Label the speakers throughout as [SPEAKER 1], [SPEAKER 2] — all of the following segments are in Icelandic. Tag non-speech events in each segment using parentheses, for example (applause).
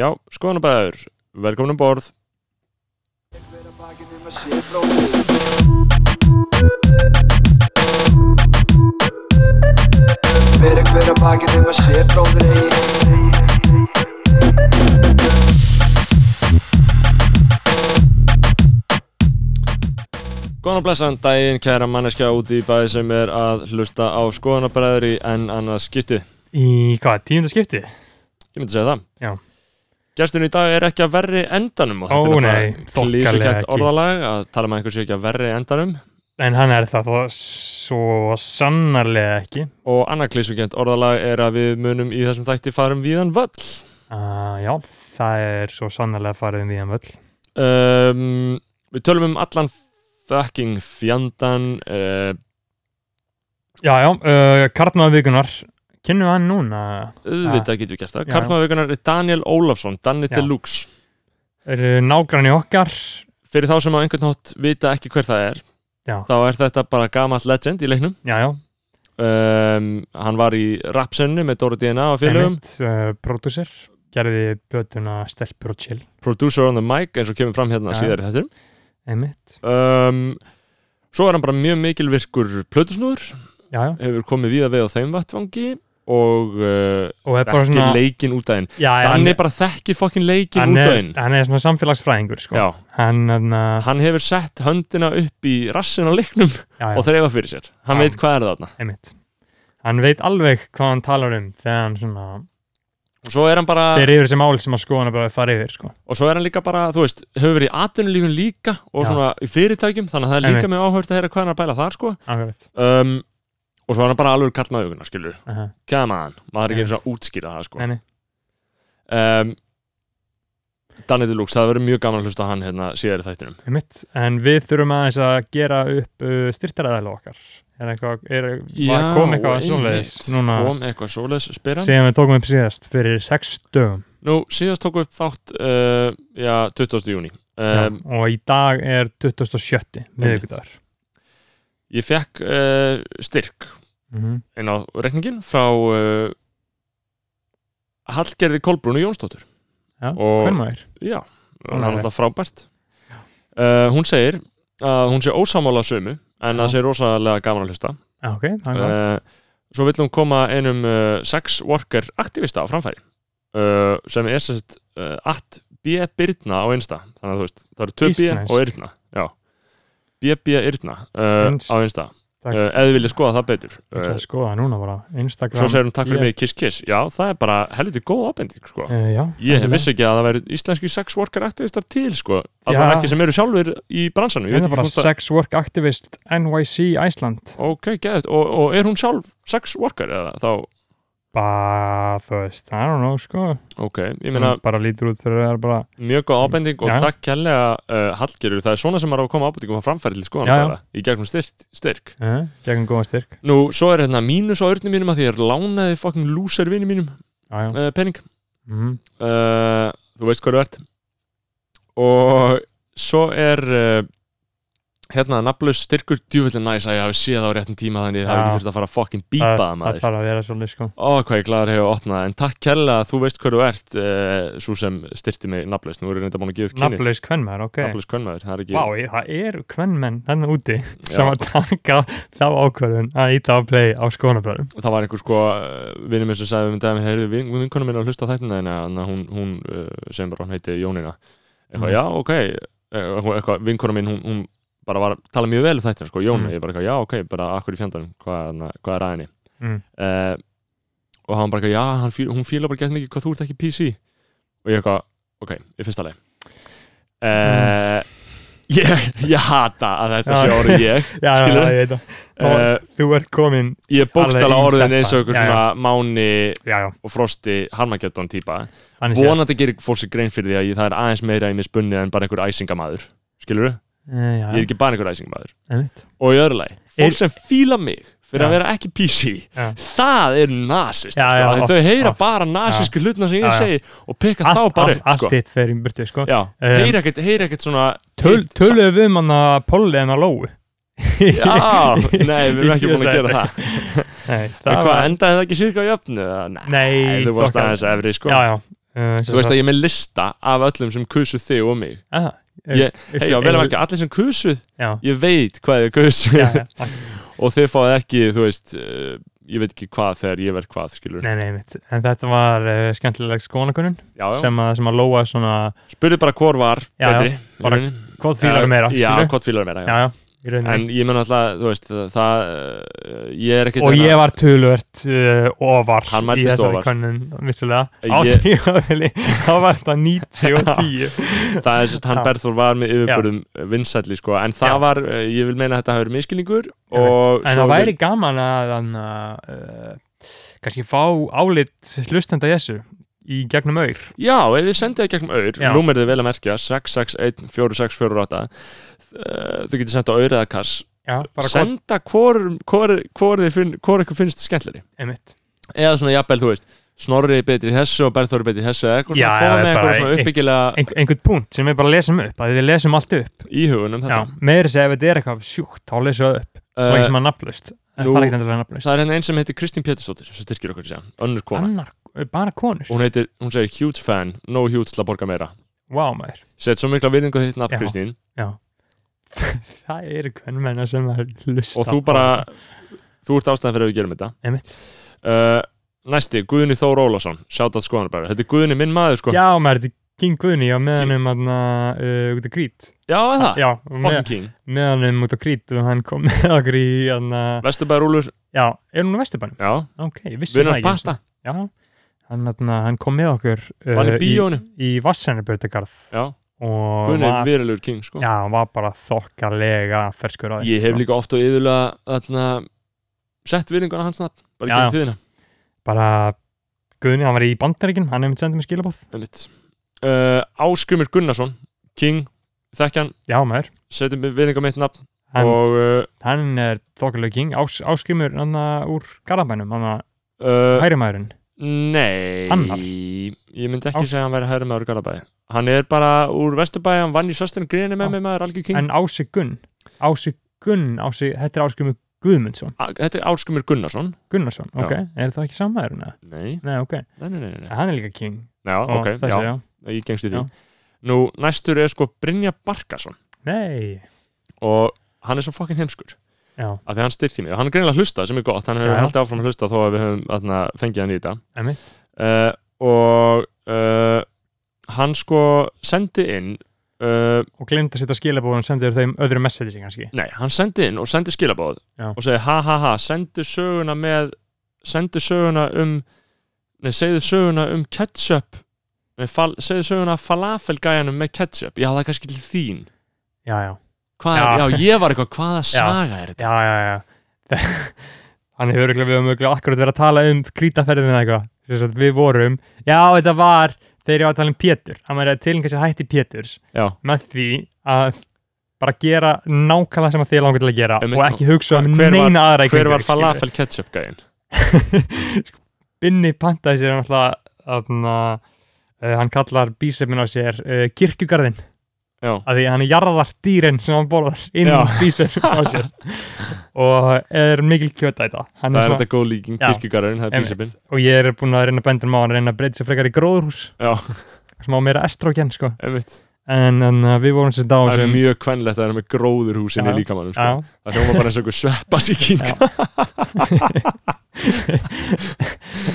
[SPEAKER 1] Já, skoðanabæður, velkomin um borð
[SPEAKER 2] Fyrir hver að bakið um að sé bróður eigi
[SPEAKER 1] Góðan og blessan daginn, kæra manneskja út í bæði sem er að hlusta á skoðanabæður í enn annað skipti Ég
[SPEAKER 3] Í hvað, tíundu skipti?
[SPEAKER 1] myndi segja það
[SPEAKER 3] Já.
[SPEAKER 1] Gestin í dag er ekki að verri endanum og
[SPEAKER 3] Ó,
[SPEAKER 1] þetta er
[SPEAKER 3] nei,
[SPEAKER 1] náttúrulega klísugætt
[SPEAKER 3] þokkalega ekki.
[SPEAKER 1] orðalag að tala með einhver sé ekki að verri endanum
[SPEAKER 3] En hann er það þó svo sannarlega ekki.
[SPEAKER 1] og annað klísugætt orðalag er að við munum í þessum þætti farum víðan völl
[SPEAKER 3] Uh, já, það er svo sannarlega farið um viðan völl.
[SPEAKER 1] um, Við tölum um allan fucking fjandan uh,
[SPEAKER 3] Já, já, uh, Karlmaður vikunar, kynnum við hann núna?
[SPEAKER 1] auðvitað getum við gert það
[SPEAKER 3] Ah. Já, já.
[SPEAKER 1] Karlmaðurvikunar er Daniel Ólafsson, Danny
[SPEAKER 3] Já.
[SPEAKER 1] Deluxe
[SPEAKER 3] Er nágrann í okkar?
[SPEAKER 1] fyrir þá sem á einhvern hótt vita ekki hver það er
[SPEAKER 3] Já.
[SPEAKER 1] þá er þetta bara gamall legend í leiknum
[SPEAKER 3] Já, já,
[SPEAKER 1] um, hann var í rapsennu með Dóri DNA og félögum
[SPEAKER 3] einmitt, uh, pródúsir, gerði blötuna stelpur og chill,
[SPEAKER 1] producer on the mic eins og kemur fram hérna
[SPEAKER 3] Já.
[SPEAKER 1] síðar í þettir
[SPEAKER 3] einmitt.
[SPEAKER 1] um, svo er hann bara mjög mikilvirkur plötusnúður,
[SPEAKER 3] Já, já,
[SPEAKER 1] hefur komið víða veið á þeim vattvangi og uh,
[SPEAKER 3] og er
[SPEAKER 1] þekkir
[SPEAKER 3] bara svona...
[SPEAKER 1] leikinn út af einn
[SPEAKER 3] Já, já,
[SPEAKER 1] hann er bara þekki fokkin leikinn
[SPEAKER 3] hann
[SPEAKER 1] út af
[SPEAKER 3] er,
[SPEAKER 1] einn
[SPEAKER 3] hann er svona samfélagsfræðingur, sko.
[SPEAKER 1] Já,
[SPEAKER 3] Hann, hann,
[SPEAKER 1] hann hefur sett höndina upp í rassin á leiknum
[SPEAKER 3] já, já.
[SPEAKER 1] og þreifa fyrir sér hann
[SPEAKER 3] Já.
[SPEAKER 1] veit hvað er þarna
[SPEAKER 3] einmitt hann veit alveg hvað hann talar um þegar hann svona
[SPEAKER 1] og svo er hann bara
[SPEAKER 3] fer yfir þessi mál sem að skoðan bara fara yfir sko.
[SPEAKER 1] og svo er hann líka bara, þú veist, hefur verið í atvinnulífun líka og
[SPEAKER 3] Já.
[SPEAKER 1] svona í fyrirtækjum þannig að það er líka
[SPEAKER 3] Einmitt.
[SPEAKER 1] með áhört að heyra hvað hann er að bæla þar sko
[SPEAKER 3] Akkurat.
[SPEAKER 1] um, og svo er hann bara alveg kall með augunar, skilur
[SPEAKER 3] Aha.
[SPEAKER 1] kæma hann, maður er ekki eins og
[SPEAKER 3] Einmitt.
[SPEAKER 1] að útskýra það sko
[SPEAKER 3] Nei, nei.
[SPEAKER 1] um, Danny Deluxe, það verður mjög gaman að hlusta á hann hérna síðar í þættinum
[SPEAKER 3] einmitt en við þurfum aðeins að gera upp uh, styrtaræðala okkar er eitthvað, er, var, kom eitthvað
[SPEAKER 1] einmitt.
[SPEAKER 3] svoleiðis núna
[SPEAKER 1] kom eitthvað svoleiðis, spyr hann
[SPEAKER 3] sem við tókum upp síðast fyrir sex dögum
[SPEAKER 1] Nú, síðast tóku upp þátt uh, já, 20. júni um,
[SPEAKER 3] Já, og í dag er 27. miðvikudagur
[SPEAKER 1] ég fekk uh, styrk
[SPEAKER 3] mm -hmm.
[SPEAKER 1] inn á reikningin frá uh, Hallgerði Kolbrún og Jónsdóttur
[SPEAKER 3] Já,
[SPEAKER 1] Og-
[SPEAKER 3] hver maður
[SPEAKER 1] já,
[SPEAKER 3] Hún
[SPEAKER 1] hún
[SPEAKER 3] er
[SPEAKER 1] er alltaf frábært uh, hún segir að hún sé ósamála sömu en
[SPEAKER 3] Já.
[SPEAKER 1] það sé rosalega gaman að hlusta
[SPEAKER 3] ah, ok, það er gott
[SPEAKER 1] uh, svo vill hún koma einum uh, sex worker aktivista á framfæri uh, sem er sérst uh, at B. Byrna á einsta þannig að þú veist, það eru 2 B
[SPEAKER 3] Íslenskt.
[SPEAKER 1] og Yrna já, B. B. Yrna uh, á
[SPEAKER 3] Innst-
[SPEAKER 1] einsta
[SPEAKER 3] Takk.
[SPEAKER 1] uh, eða vilja skoða það betur
[SPEAKER 3] ég ætla
[SPEAKER 1] uh,
[SPEAKER 3] að skoða það núna bara Instagram
[SPEAKER 1] Svo segir hún takk fyrir
[SPEAKER 3] ég-
[SPEAKER 1] mig kiss kiss Já, það er bara helviti góð ábending sko.
[SPEAKER 3] uh, já,
[SPEAKER 1] Ég
[SPEAKER 3] endilega.
[SPEAKER 1] vissi ekki að það væri íslenski sex worker aktivistar til sko. Alltaf
[SPEAKER 3] Já.
[SPEAKER 1] ekki sem eru sjálfur í bransanum Ég
[SPEAKER 3] Ég
[SPEAKER 1] veit
[SPEAKER 3] er bara
[SPEAKER 1] ekki hvort það
[SPEAKER 3] sex work activist NYC Iceland
[SPEAKER 1] Ok, geðið og, og er hún sjálf sex worker eða þá
[SPEAKER 3] bara, þú veist, I don't know sko,
[SPEAKER 1] Ok, ég meina
[SPEAKER 3] Hún bara lítur út fyrir að vera bara,
[SPEAKER 1] mjög góð ábending og
[SPEAKER 3] Mm. Já.
[SPEAKER 1] takk kærlega uh, Hallgerur, það er svona sem maður á að koma ábendingum á framfæri til skoðan
[SPEAKER 3] Já, já.
[SPEAKER 1] í gegnum styrk, styrk
[SPEAKER 3] uh, gegn góðan styrk
[SPEAKER 1] Nú, svo er hérna mínus á örnum mínum að því ég er lánaði fucking loser vinni mínum
[SPEAKER 3] já, já,
[SPEAKER 1] uh, pening
[SPEAKER 3] mm,
[SPEAKER 1] uh, þú veist hvað þú ert og svo er uh, hérna nafnlaus styrkur djúvillin næs að ég hafi séð á réttum tíma þannig ég hafi
[SPEAKER 3] Já.
[SPEAKER 1] ekki þurft að fara að fucking bípa það
[SPEAKER 3] það
[SPEAKER 1] maður
[SPEAKER 3] þarf að vera svolítið sko
[SPEAKER 1] ó hvað ég glæður hefur opnað en takk kærlega að þú veist hvað þú ert uh, svo sem styrti mig nafnlaus nú erum reynda búin að gefa upp kynni
[SPEAKER 3] nafnlaus kvennmenn, ok
[SPEAKER 1] nafnlaus kvönmaður það er ekki
[SPEAKER 3] Vá, ég, það eru kvennmenn þannig úti (laughs) sem
[SPEAKER 1] Já.
[SPEAKER 3] að taka þá ákvörðun að íta á play á skoðanabröðum
[SPEAKER 1] það var einhver sko vinnum minn sem sagði um daginn, heyrðu vin- vinkonum minn að hlusta á þættina þína, þannig að hún, hún uh, sem bara hún heiti Jónina eitthvað,
[SPEAKER 3] Mm.
[SPEAKER 1] já, ok Eh, hún- eitthvað, vinkonum minn, hún, hún bara var að tala mjög vel um þættina, sko, Jónina,
[SPEAKER 3] Mm.
[SPEAKER 1] ég bara eitthvað, já, ok bara akkur í fjandanum, hvað, na, hvað er að henni
[SPEAKER 3] Mm.
[SPEAKER 1] uh, og hann bara eitthvað, já, hann fíl, hún fíla bara gett mikið hvað þú ert ekki PC og ég eitthvað, ok, í fyrsta leið uh, ég, ég hata að þetta
[SPEAKER 3] Mm. Já.
[SPEAKER 1] sé orðið ég
[SPEAKER 3] (laughs) já, já, já,
[SPEAKER 1] Skilurðu?
[SPEAKER 3] ég veit það,
[SPEAKER 1] uh,
[SPEAKER 3] þú ert komin
[SPEAKER 1] ég bókstala
[SPEAKER 3] Alveg í
[SPEAKER 1] orðin
[SPEAKER 3] þetta.
[SPEAKER 1] eins og einhver
[SPEAKER 3] Já, já.
[SPEAKER 1] svona máni
[SPEAKER 3] já, já,
[SPEAKER 1] og Frosti Harmageddon típa
[SPEAKER 3] þannig séð.
[SPEAKER 1] vonandi gerir fólk sér grein fyrir því að ég, það er aðeins meira í mér spunnið en bara einhver æsingamaður skilur
[SPEAKER 3] Eh, já,
[SPEAKER 1] ég er
[SPEAKER 3] já,
[SPEAKER 1] ekki bara einhver æsingamaður
[SPEAKER 3] einmitt.
[SPEAKER 1] og í öðru lagi, fólk
[SPEAKER 3] Er-
[SPEAKER 1] sem fíla mig fyrir
[SPEAKER 3] Já.
[SPEAKER 1] að vera ekki PC
[SPEAKER 3] Já.
[SPEAKER 1] það er nasist sko.
[SPEAKER 3] Já, já, oft,
[SPEAKER 1] þau heyra
[SPEAKER 3] oft.
[SPEAKER 1] bara nasísku hlutna sem ég
[SPEAKER 3] Já, já.
[SPEAKER 1] segi og peka
[SPEAKER 3] allt,
[SPEAKER 1] þá bara
[SPEAKER 3] allt,
[SPEAKER 1] upp
[SPEAKER 3] allt
[SPEAKER 1] sko.
[SPEAKER 3] þitt fer í burtu sko
[SPEAKER 1] já,
[SPEAKER 3] Um,
[SPEAKER 1] heyra ekkert, heyra ekkert svona
[SPEAKER 3] Töl,
[SPEAKER 1] heilt-
[SPEAKER 3] Töluðu við um hann að Polli en að Lóu
[SPEAKER 1] já, nei, við erum
[SPEAKER 3] (laughs) Í
[SPEAKER 1] ekki búin
[SPEAKER 3] síðasta
[SPEAKER 1] að gera
[SPEAKER 3] þætti.
[SPEAKER 1] það
[SPEAKER 3] Nei,
[SPEAKER 1] en
[SPEAKER 3] það
[SPEAKER 1] hvað,
[SPEAKER 3] var
[SPEAKER 1] endaði það ekki sirka í öfnu? Nei,
[SPEAKER 3] Nei,
[SPEAKER 1] þú varst
[SPEAKER 3] þokkar.
[SPEAKER 1] aðeins efri sko
[SPEAKER 3] Já, já, Uh,
[SPEAKER 1] Þú veist að ég er með lista af öllum sem kusuð þig og mig
[SPEAKER 3] Aha, Eh,
[SPEAKER 1] Ég- Hei, já, vel að verka, allir sem kusuð,
[SPEAKER 3] Já,
[SPEAKER 1] ég veit hvað þið kusuð
[SPEAKER 3] já, já, akkurat.
[SPEAKER 1] (laughs) og þið fáið ekki, þú veist uh, ég veit ekki hvað þegar ég verð hvað, skilur
[SPEAKER 3] nei, nei, mitt. En þetta var uh, skemmtileg skonakunnun
[SPEAKER 1] já, já.
[SPEAKER 3] sem að, sem að lóa svona
[SPEAKER 1] Spurðu bara hvor var
[SPEAKER 3] Já, já,
[SPEAKER 1] betri í
[SPEAKER 3] bara
[SPEAKER 1] rauninni.
[SPEAKER 3] hvað fýlar
[SPEAKER 1] Eh,
[SPEAKER 3] meira.
[SPEAKER 1] Já,
[SPEAKER 3] skilur?
[SPEAKER 1] hvort fílar meira, já,
[SPEAKER 3] já, já, í rauninni.
[SPEAKER 1] En ég mun alltaf, þú veist, það uh, ég er ekki
[SPEAKER 3] og ég var tölvört uh, ofar
[SPEAKER 1] Hann mæltist ofar.
[SPEAKER 3] kannun, vissulega á
[SPEAKER 1] Ég-
[SPEAKER 3] tímafili, þá var þetta 90 og
[SPEAKER 1] (laughs)
[SPEAKER 3] 10
[SPEAKER 1] það er sérst hann
[SPEAKER 3] Já.
[SPEAKER 1] Berþór var með yfirbörðum vinsælli sko, en það
[SPEAKER 3] Já.
[SPEAKER 1] var, eh, ég vil meina að þetta hafi verið miskilningur
[SPEAKER 3] Ég veit.
[SPEAKER 1] og
[SPEAKER 3] en það væri gaman að hann, uh, kannski fá álit hlustenda þessu í gegnum aur
[SPEAKER 1] já, ef þið sendið það gegnum auður,
[SPEAKER 3] Já.
[SPEAKER 1] númerið er vel að merkja 661-4648 eh, þau getur sendið á auður eða kass
[SPEAKER 3] já, bara Sen...
[SPEAKER 1] senda hvor, hvor, hvor, þið finn, hvor ykkur finnst skemmtleri
[SPEAKER 3] einmitt
[SPEAKER 1] eða svona jafnvel, þú veist Snorri er betri í þessu og Berþór er betri í þessu eða eitthvað
[SPEAKER 3] Já,
[SPEAKER 1] svona
[SPEAKER 3] já,
[SPEAKER 1] koma með
[SPEAKER 3] bara
[SPEAKER 1] eitthvað svona
[SPEAKER 3] ein-
[SPEAKER 1] uppbyggilega
[SPEAKER 3] Ein, einhvern punkt sem við bara lesum upp að við lesum allt upp
[SPEAKER 1] íhugun um
[SPEAKER 3] já,
[SPEAKER 1] þetta
[SPEAKER 3] meður segja ef þetta er eitthvað sjúkt þá lesum við það upp, svo
[SPEAKER 1] Eh,
[SPEAKER 3] lengi sem að nafnlaust en
[SPEAKER 1] nú-
[SPEAKER 3] það er ekki endilega nafnlaust
[SPEAKER 1] það er hérna einn sem heitir Kristín Pétursdóttir sem styrkir okkur sér, önnur kona
[SPEAKER 3] annar, eh, bara konur,
[SPEAKER 1] og hún, heitir, hún segir huge fan, no huge til að borga meira
[SPEAKER 3] wow maður
[SPEAKER 1] Sett svo mikla virðingu á þitt nafn,
[SPEAKER 3] Já.
[SPEAKER 1] Kristín
[SPEAKER 3] (laughs) það eru hvern menna sem er hlusta
[SPEAKER 1] og þú bara, þú ert ástæðan fyrir að við gerum þetta
[SPEAKER 3] Einmitt.
[SPEAKER 1] uh, Næsti, Guðni Þór Ólafsson Sjátt að skoðan bara, þetta er Guðni minn maður sko
[SPEAKER 3] já maður, þetta er King Guðni á meðanum aðna uh, út á krít
[SPEAKER 1] Já, er það,
[SPEAKER 3] já,
[SPEAKER 1] fucking
[SPEAKER 3] með,
[SPEAKER 1] king
[SPEAKER 3] meðanum út á krít og hann kom (laughs) með okkur í aðna,
[SPEAKER 1] Vesturbæður Úlur,
[SPEAKER 3] já, er hún á Vesturbænum?
[SPEAKER 1] já,
[SPEAKER 3] ok, ég vissi
[SPEAKER 1] Vinnars
[SPEAKER 3] eins
[SPEAKER 1] Pasta
[SPEAKER 3] og- já, hann, aðna, hann kom með okkur eh,
[SPEAKER 1] Var hann Eh, í
[SPEAKER 3] í,
[SPEAKER 1] bíónu,
[SPEAKER 3] í Vassarnabjördagarð
[SPEAKER 1] já,
[SPEAKER 3] og
[SPEAKER 1] Guðni
[SPEAKER 3] var,
[SPEAKER 1] virðilegur king sko
[SPEAKER 3] já, hann var bara þokkalega ferskur á því
[SPEAKER 1] Ég hef
[SPEAKER 3] sko.
[SPEAKER 1] líka oft og yðurlega þarna, sett virðinguna hans nafn bara
[SPEAKER 3] Já,
[SPEAKER 1] ekki tíðina,
[SPEAKER 3] bara Guðni, hann var í bandaríkinn, hann hefði sendið mér skilabóð
[SPEAKER 1] um mitt uh, Áskrumur Gunnarsson, king þekkjan,
[SPEAKER 3] já maður,
[SPEAKER 1] setjum virðingu á mitt nafn
[SPEAKER 3] hann
[SPEAKER 1] og uh,
[SPEAKER 3] hann er þokkalega king Ás, áskrimur hann úr garabænum hann að
[SPEAKER 1] uh,
[SPEAKER 3] hæri maðurinn
[SPEAKER 1] Nei
[SPEAKER 3] Annar?
[SPEAKER 1] Ég myndi ekki
[SPEAKER 3] Ás-
[SPEAKER 1] segja að hann væri hægri maður Garabæði Hann er bara úr Vesturbæði, hann vann í Söstin Grini
[SPEAKER 3] Já.
[SPEAKER 1] með mig maður Algjör King
[SPEAKER 3] en Ási Gunn Ási Gunn, Ási, þetta er áskrimur Guðmundsson
[SPEAKER 1] A- Þetta er Árskumur Gunnarsson
[SPEAKER 3] Gunnarsson,
[SPEAKER 1] Já.
[SPEAKER 3] ok, er það ekki sama maðurinn? eða?
[SPEAKER 1] Nei,
[SPEAKER 3] Nei, ok, en
[SPEAKER 1] nei, nei, nei, nei.
[SPEAKER 3] hann er líka king
[SPEAKER 1] Já,
[SPEAKER 3] og
[SPEAKER 1] Ah, ok,
[SPEAKER 3] þessi,
[SPEAKER 1] já,
[SPEAKER 3] já.
[SPEAKER 1] ég gengst í því
[SPEAKER 3] Já.
[SPEAKER 1] Nú, næstur er sko Brynja Barkason
[SPEAKER 3] Nei,
[SPEAKER 1] Og hann er svo fucking heimskur
[SPEAKER 3] já,
[SPEAKER 1] Af því hann styrkir mig, og hann er greinilega að hlusta sem er gott Hann hefur
[SPEAKER 3] Já.
[SPEAKER 1] haldið áfram að hlusta þó að við höfum þarna, fengið hann í þetta
[SPEAKER 3] emitt
[SPEAKER 1] uh, Og uh, hann sko sendi inn uh,
[SPEAKER 3] og glemt að setja skilabóð og sendur þeim öðru messaging kannski
[SPEAKER 1] Nei, hann sendi inn og sendi skilabóð
[SPEAKER 3] Já.
[SPEAKER 1] og segi ha ha ha, sendu söguna með sendu söguna um nei, segðu söguna um ketchup nei, fal, segðu söguna falafelgæjanum með ketchup, já það er kannski til þín
[SPEAKER 3] Já, já,
[SPEAKER 1] Hvað,
[SPEAKER 3] Já.
[SPEAKER 1] já. ég var eitthvað, hvaða saga er þetta?
[SPEAKER 3] já, já, já (laughs) Hann hefur örugglega- við höfum örugglega akkurat verið að tala um krítaferðin eða eitthvað Sem sagt, Við vorum, já, þetta var þegar ég var að tala um Pétur Hann var að tilinka sér hætti Péturs
[SPEAKER 1] Já,
[SPEAKER 3] með því að bara gera nákvæmlega sem að þið langar til að gera
[SPEAKER 1] Einmitt.
[SPEAKER 3] og ekki hugsa um
[SPEAKER 1] Hver var-
[SPEAKER 3] neina aðra í
[SPEAKER 1] hver
[SPEAKER 3] kringum
[SPEAKER 1] var
[SPEAKER 3] þig, skilurðu. (laughs)
[SPEAKER 1] falafel ketchup gæjan?
[SPEAKER 3] Binni pantaði sér náttúrulega aðna, uh, hann kallar bísefin á sér uh, kirkjugarðin
[SPEAKER 1] Já,
[SPEAKER 3] að því hann jarðar dýrin sem hann borðar inn
[SPEAKER 1] Já.
[SPEAKER 3] í bísefin á sér og er mikil kjöta þetta hann
[SPEAKER 1] það er
[SPEAKER 3] er
[SPEAKER 1] þetta góð líking,
[SPEAKER 3] Já.
[SPEAKER 1] kirkjugarðurinn, það er
[SPEAKER 3] Einmitt.
[SPEAKER 1] bísipinn
[SPEAKER 3] og ég er búin að reyna að benda um á hann að reyna að breyta sér frekar í gróðurhús
[SPEAKER 1] Já,
[SPEAKER 3] sem á meira estrogen sko
[SPEAKER 1] einmitt,
[SPEAKER 3] en, en uh, við vorum sér dá
[SPEAKER 1] það er
[SPEAKER 3] sem
[SPEAKER 1] mjög kvennlegt að það er með gróðurhúsin í
[SPEAKER 3] Já.
[SPEAKER 1] líkamannum sko.
[SPEAKER 3] Já,
[SPEAKER 1] Það hljóma bara eins og einhver sveppasíking
[SPEAKER 3] Já.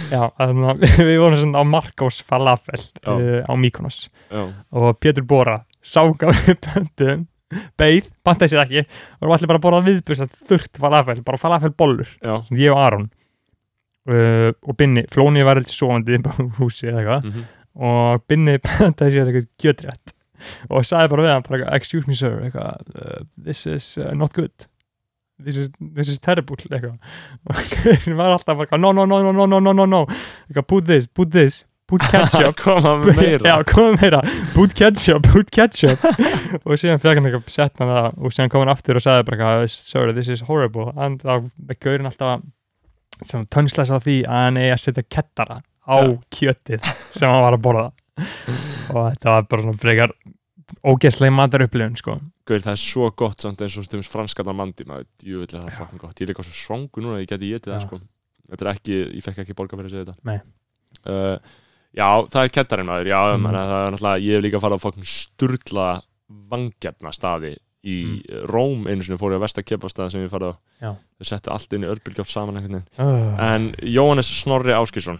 [SPEAKER 3] já, þannig að (laughs) við vorum svona á Marcos Falafel
[SPEAKER 1] Já.
[SPEAKER 3] uh, á Mykonos
[SPEAKER 1] Já,
[SPEAKER 3] og Pétur Bóra sáka við pöntum beið, pantaði sér ekki og vorum allir bara að borða viðbjörs að þurrt falafel, bara falafel bollur
[SPEAKER 1] já,
[SPEAKER 3] sem ég og Aron uh, og Binni, Flóni var eitthvað svoandi bara úr húsi eða eitthvað
[SPEAKER 1] mhm
[SPEAKER 3] og Binni pantaði sér eitthvað gjötrétt og sagði bara við hann, bara, eitthvað, excuse me sir eitthvað, uh, this is uh, not good this is, this is terrible eitthvað. og (laughs) hann var alltaf bara, eitthvað, no, no, no, no, no, no, no, no, no eitthvað, put this, put this, put ketchup
[SPEAKER 1] koma með meira
[SPEAKER 3] (laughs) já, komum meira, put ketchup, put ketchup og síðan fekk hann eitthvað sett hann það og síðan kom hann aftur og sagði bara eitthvað, sir, this is horrible en þá er gaurinn alltaf sem tönslas á því að hann eigi að setja kettara á
[SPEAKER 1] Já.
[SPEAKER 3] kjötið sem hann var að borða og þetta var bara svona frekar ógeðslega matar upplifun sko
[SPEAKER 1] Gauð, það er svo gott samt eins og stundum franskarnar mandi maður, djúvillig það er fucking gott ég er líka svo svangu núna að ég geti getið það
[SPEAKER 3] Já.
[SPEAKER 1] sko þetta er ekki, ég fekk ekki borga fyrir að segja þetta
[SPEAKER 3] Nei.
[SPEAKER 1] uh, Já, það er kettarinn maður, já,
[SPEAKER 3] Mm.
[SPEAKER 1] mm. það er náttúrulega, ég hef líka farið á fokkin sturla vangjarna staði í Róm einu sinni fór ég á versta kepastað sem ég farið á,
[SPEAKER 3] Mm. Já.
[SPEAKER 1] þau settu allt inn í örbylgjöf saman einhvern veginn.
[SPEAKER 3] uh,
[SPEAKER 1] En Jóhannes Snorri Áskísson,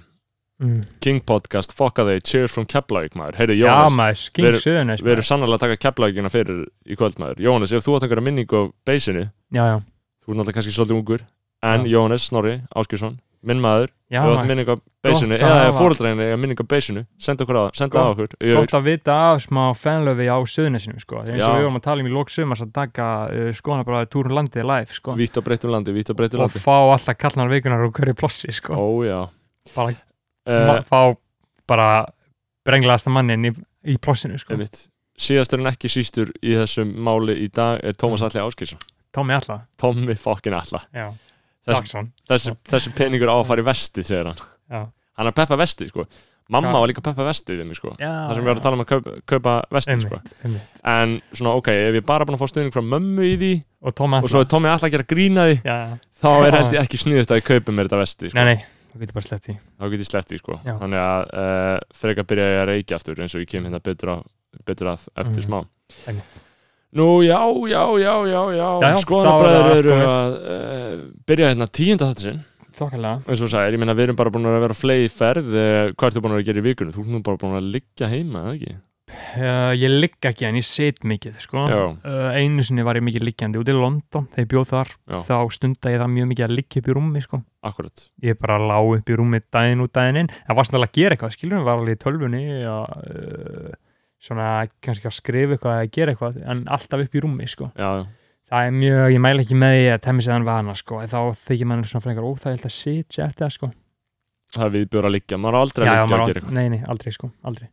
[SPEAKER 3] mm.
[SPEAKER 1] King Podcast, fokka þeir, cheers from Keflavík maður, heyrðu
[SPEAKER 3] Já
[SPEAKER 1] Jóhannes,
[SPEAKER 3] maður, skink
[SPEAKER 1] veru-
[SPEAKER 3] söðunis
[SPEAKER 1] við erum sannlega að taka Keflavíkina fyrir í kvöld maður. Jóhannes, ef þú átt einhverja minningu á beisinu,
[SPEAKER 3] Já, já,
[SPEAKER 1] þú ert náttúrulega kannski svolítið ungur, en
[SPEAKER 3] Já.
[SPEAKER 1] Jóhannes Snorri Áskísson, minn maður, ef
[SPEAKER 3] já
[SPEAKER 1] þú átt
[SPEAKER 3] maður,
[SPEAKER 1] minningu á beisinu,
[SPEAKER 3] Gott að
[SPEAKER 1] eða
[SPEAKER 3] hafa.
[SPEAKER 1] fóreldræðinu eða minningu á beisinu, senda okkur á, senda á okkur. Ég-
[SPEAKER 3] gott að vita af smá fanlöfi á söðunisinum sko Það er eins og
[SPEAKER 1] Já.
[SPEAKER 3] við vorum að tala um í lóksumars að taka uh, skoðan bara túrun landið live sko
[SPEAKER 1] Vítt og breytt um landi, vítt og breytt um
[SPEAKER 3] og
[SPEAKER 1] landi
[SPEAKER 3] fá alltaf kallnar vikunar og hverju plossi sko
[SPEAKER 1] Ó já
[SPEAKER 3] bara,
[SPEAKER 1] uh,
[SPEAKER 3] ma- fá bara brenglaðasta mannin í, í plossinu sko
[SPEAKER 1] einmitt. Síðastur en ekki sístur í þessum máli í dag er Tómas Alli Áskilsson
[SPEAKER 3] Tómi alltaf,
[SPEAKER 1] Tommi fokkin Alla
[SPEAKER 3] já,
[SPEAKER 1] Þess,
[SPEAKER 3] Jackson
[SPEAKER 1] þessi, þessi peningur á að fara í vesti segir hann
[SPEAKER 3] Já.
[SPEAKER 1] Hann er að peppa vesti sko Mamma
[SPEAKER 3] Já.
[SPEAKER 1] var líka að peppa vesti við mig sko
[SPEAKER 3] Já,
[SPEAKER 1] Það sem við varum að tala um að kaupa, kaupa vesti sko
[SPEAKER 3] einmitt, einmitt.
[SPEAKER 1] En svona ok, ef ég er bara búin að fá stuðning frá mömmu í því
[SPEAKER 3] og Tómi
[SPEAKER 1] Og svo
[SPEAKER 3] alltaf
[SPEAKER 1] er Tommi Alla að gera grína því
[SPEAKER 3] já,
[SPEAKER 1] Þá er
[SPEAKER 3] Já.
[SPEAKER 1] held ég ekki sniðut að ég kaupi mér þetta vesti sko.
[SPEAKER 3] nei, nei, það getur bara slett í
[SPEAKER 1] þá get ég sleppt því sko
[SPEAKER 3] Já.
[SPEAKER 1] þannig að uh, frekar byrja ég að reykja aftur eins og ég kem hérna betur, á, betur að eftir
[SPEAKER 3] Mm.
[SPEAKER 1] smá
[SPEAKER 3] Einmitt.
[SPEAKER 1] Nú já, já, já, já, já,
[SPEAKER 3] Já, já, þá
[SPEAKER 1] skoðanabræður
[SPEAKER 3] er það
[SPEAKER 1] eru
[SPEAKER 3] allt
[SPEAKER 1] að uh, byrja hérna tíunda þetta sinn
[SPEAKER 3] þokkalega
[SPEAKER 1] eins og þú sagðir, ég meina við erum bara búin að vera á flegi ferð, uh, hvað ertu búin að vera að gera í vikunum? Þú ert nú bara búin að liggja heima, eða ekki?
[SPEAKER 3] Uh, ég ligg ekki en ég sit mikið sko.
[SPEAKER 1] Já.
[SPEAKER 3] uh, einu sinni var ég mikið liggjandi út í London þegar ég bjóð þar
[SPEAKER 1] Já.
[SPEAKER 3] þá stunda ég það mjög mikið að liggja upp í rúmi sko.
[SPEAKER 1] Akkurat,
[SPEAKER 3] ég bara lá upp í rúmi daginn út daginn inn það var snarlega að gera eitthvað skilur við var alveg í tölvunni að, uh, svona kannski að skrifa eitthvað að gera eitthvað en alltaf upp í rúmi sko.
[SPEAKER 1] já, já,
[SPEAKER 3] það er mjög, ég mæla ekki með því að temmi séðan vana sko. en þá þykir mann svona frekar óþægild að sitja eftir það sko.
[SPEAKER 1] það er viðbjör að liggja maður á aldrei
[SPEAKER 3] já,
[SPEAKER 1] að
[SPEAKER 3] já,
[SPEAKER 1] liggja að
[SPEAKER 3] maður á-
[SPEAKER 1] gera eitthvað
[SPEAKER 3] nei, nei, aldrei sko, aldrei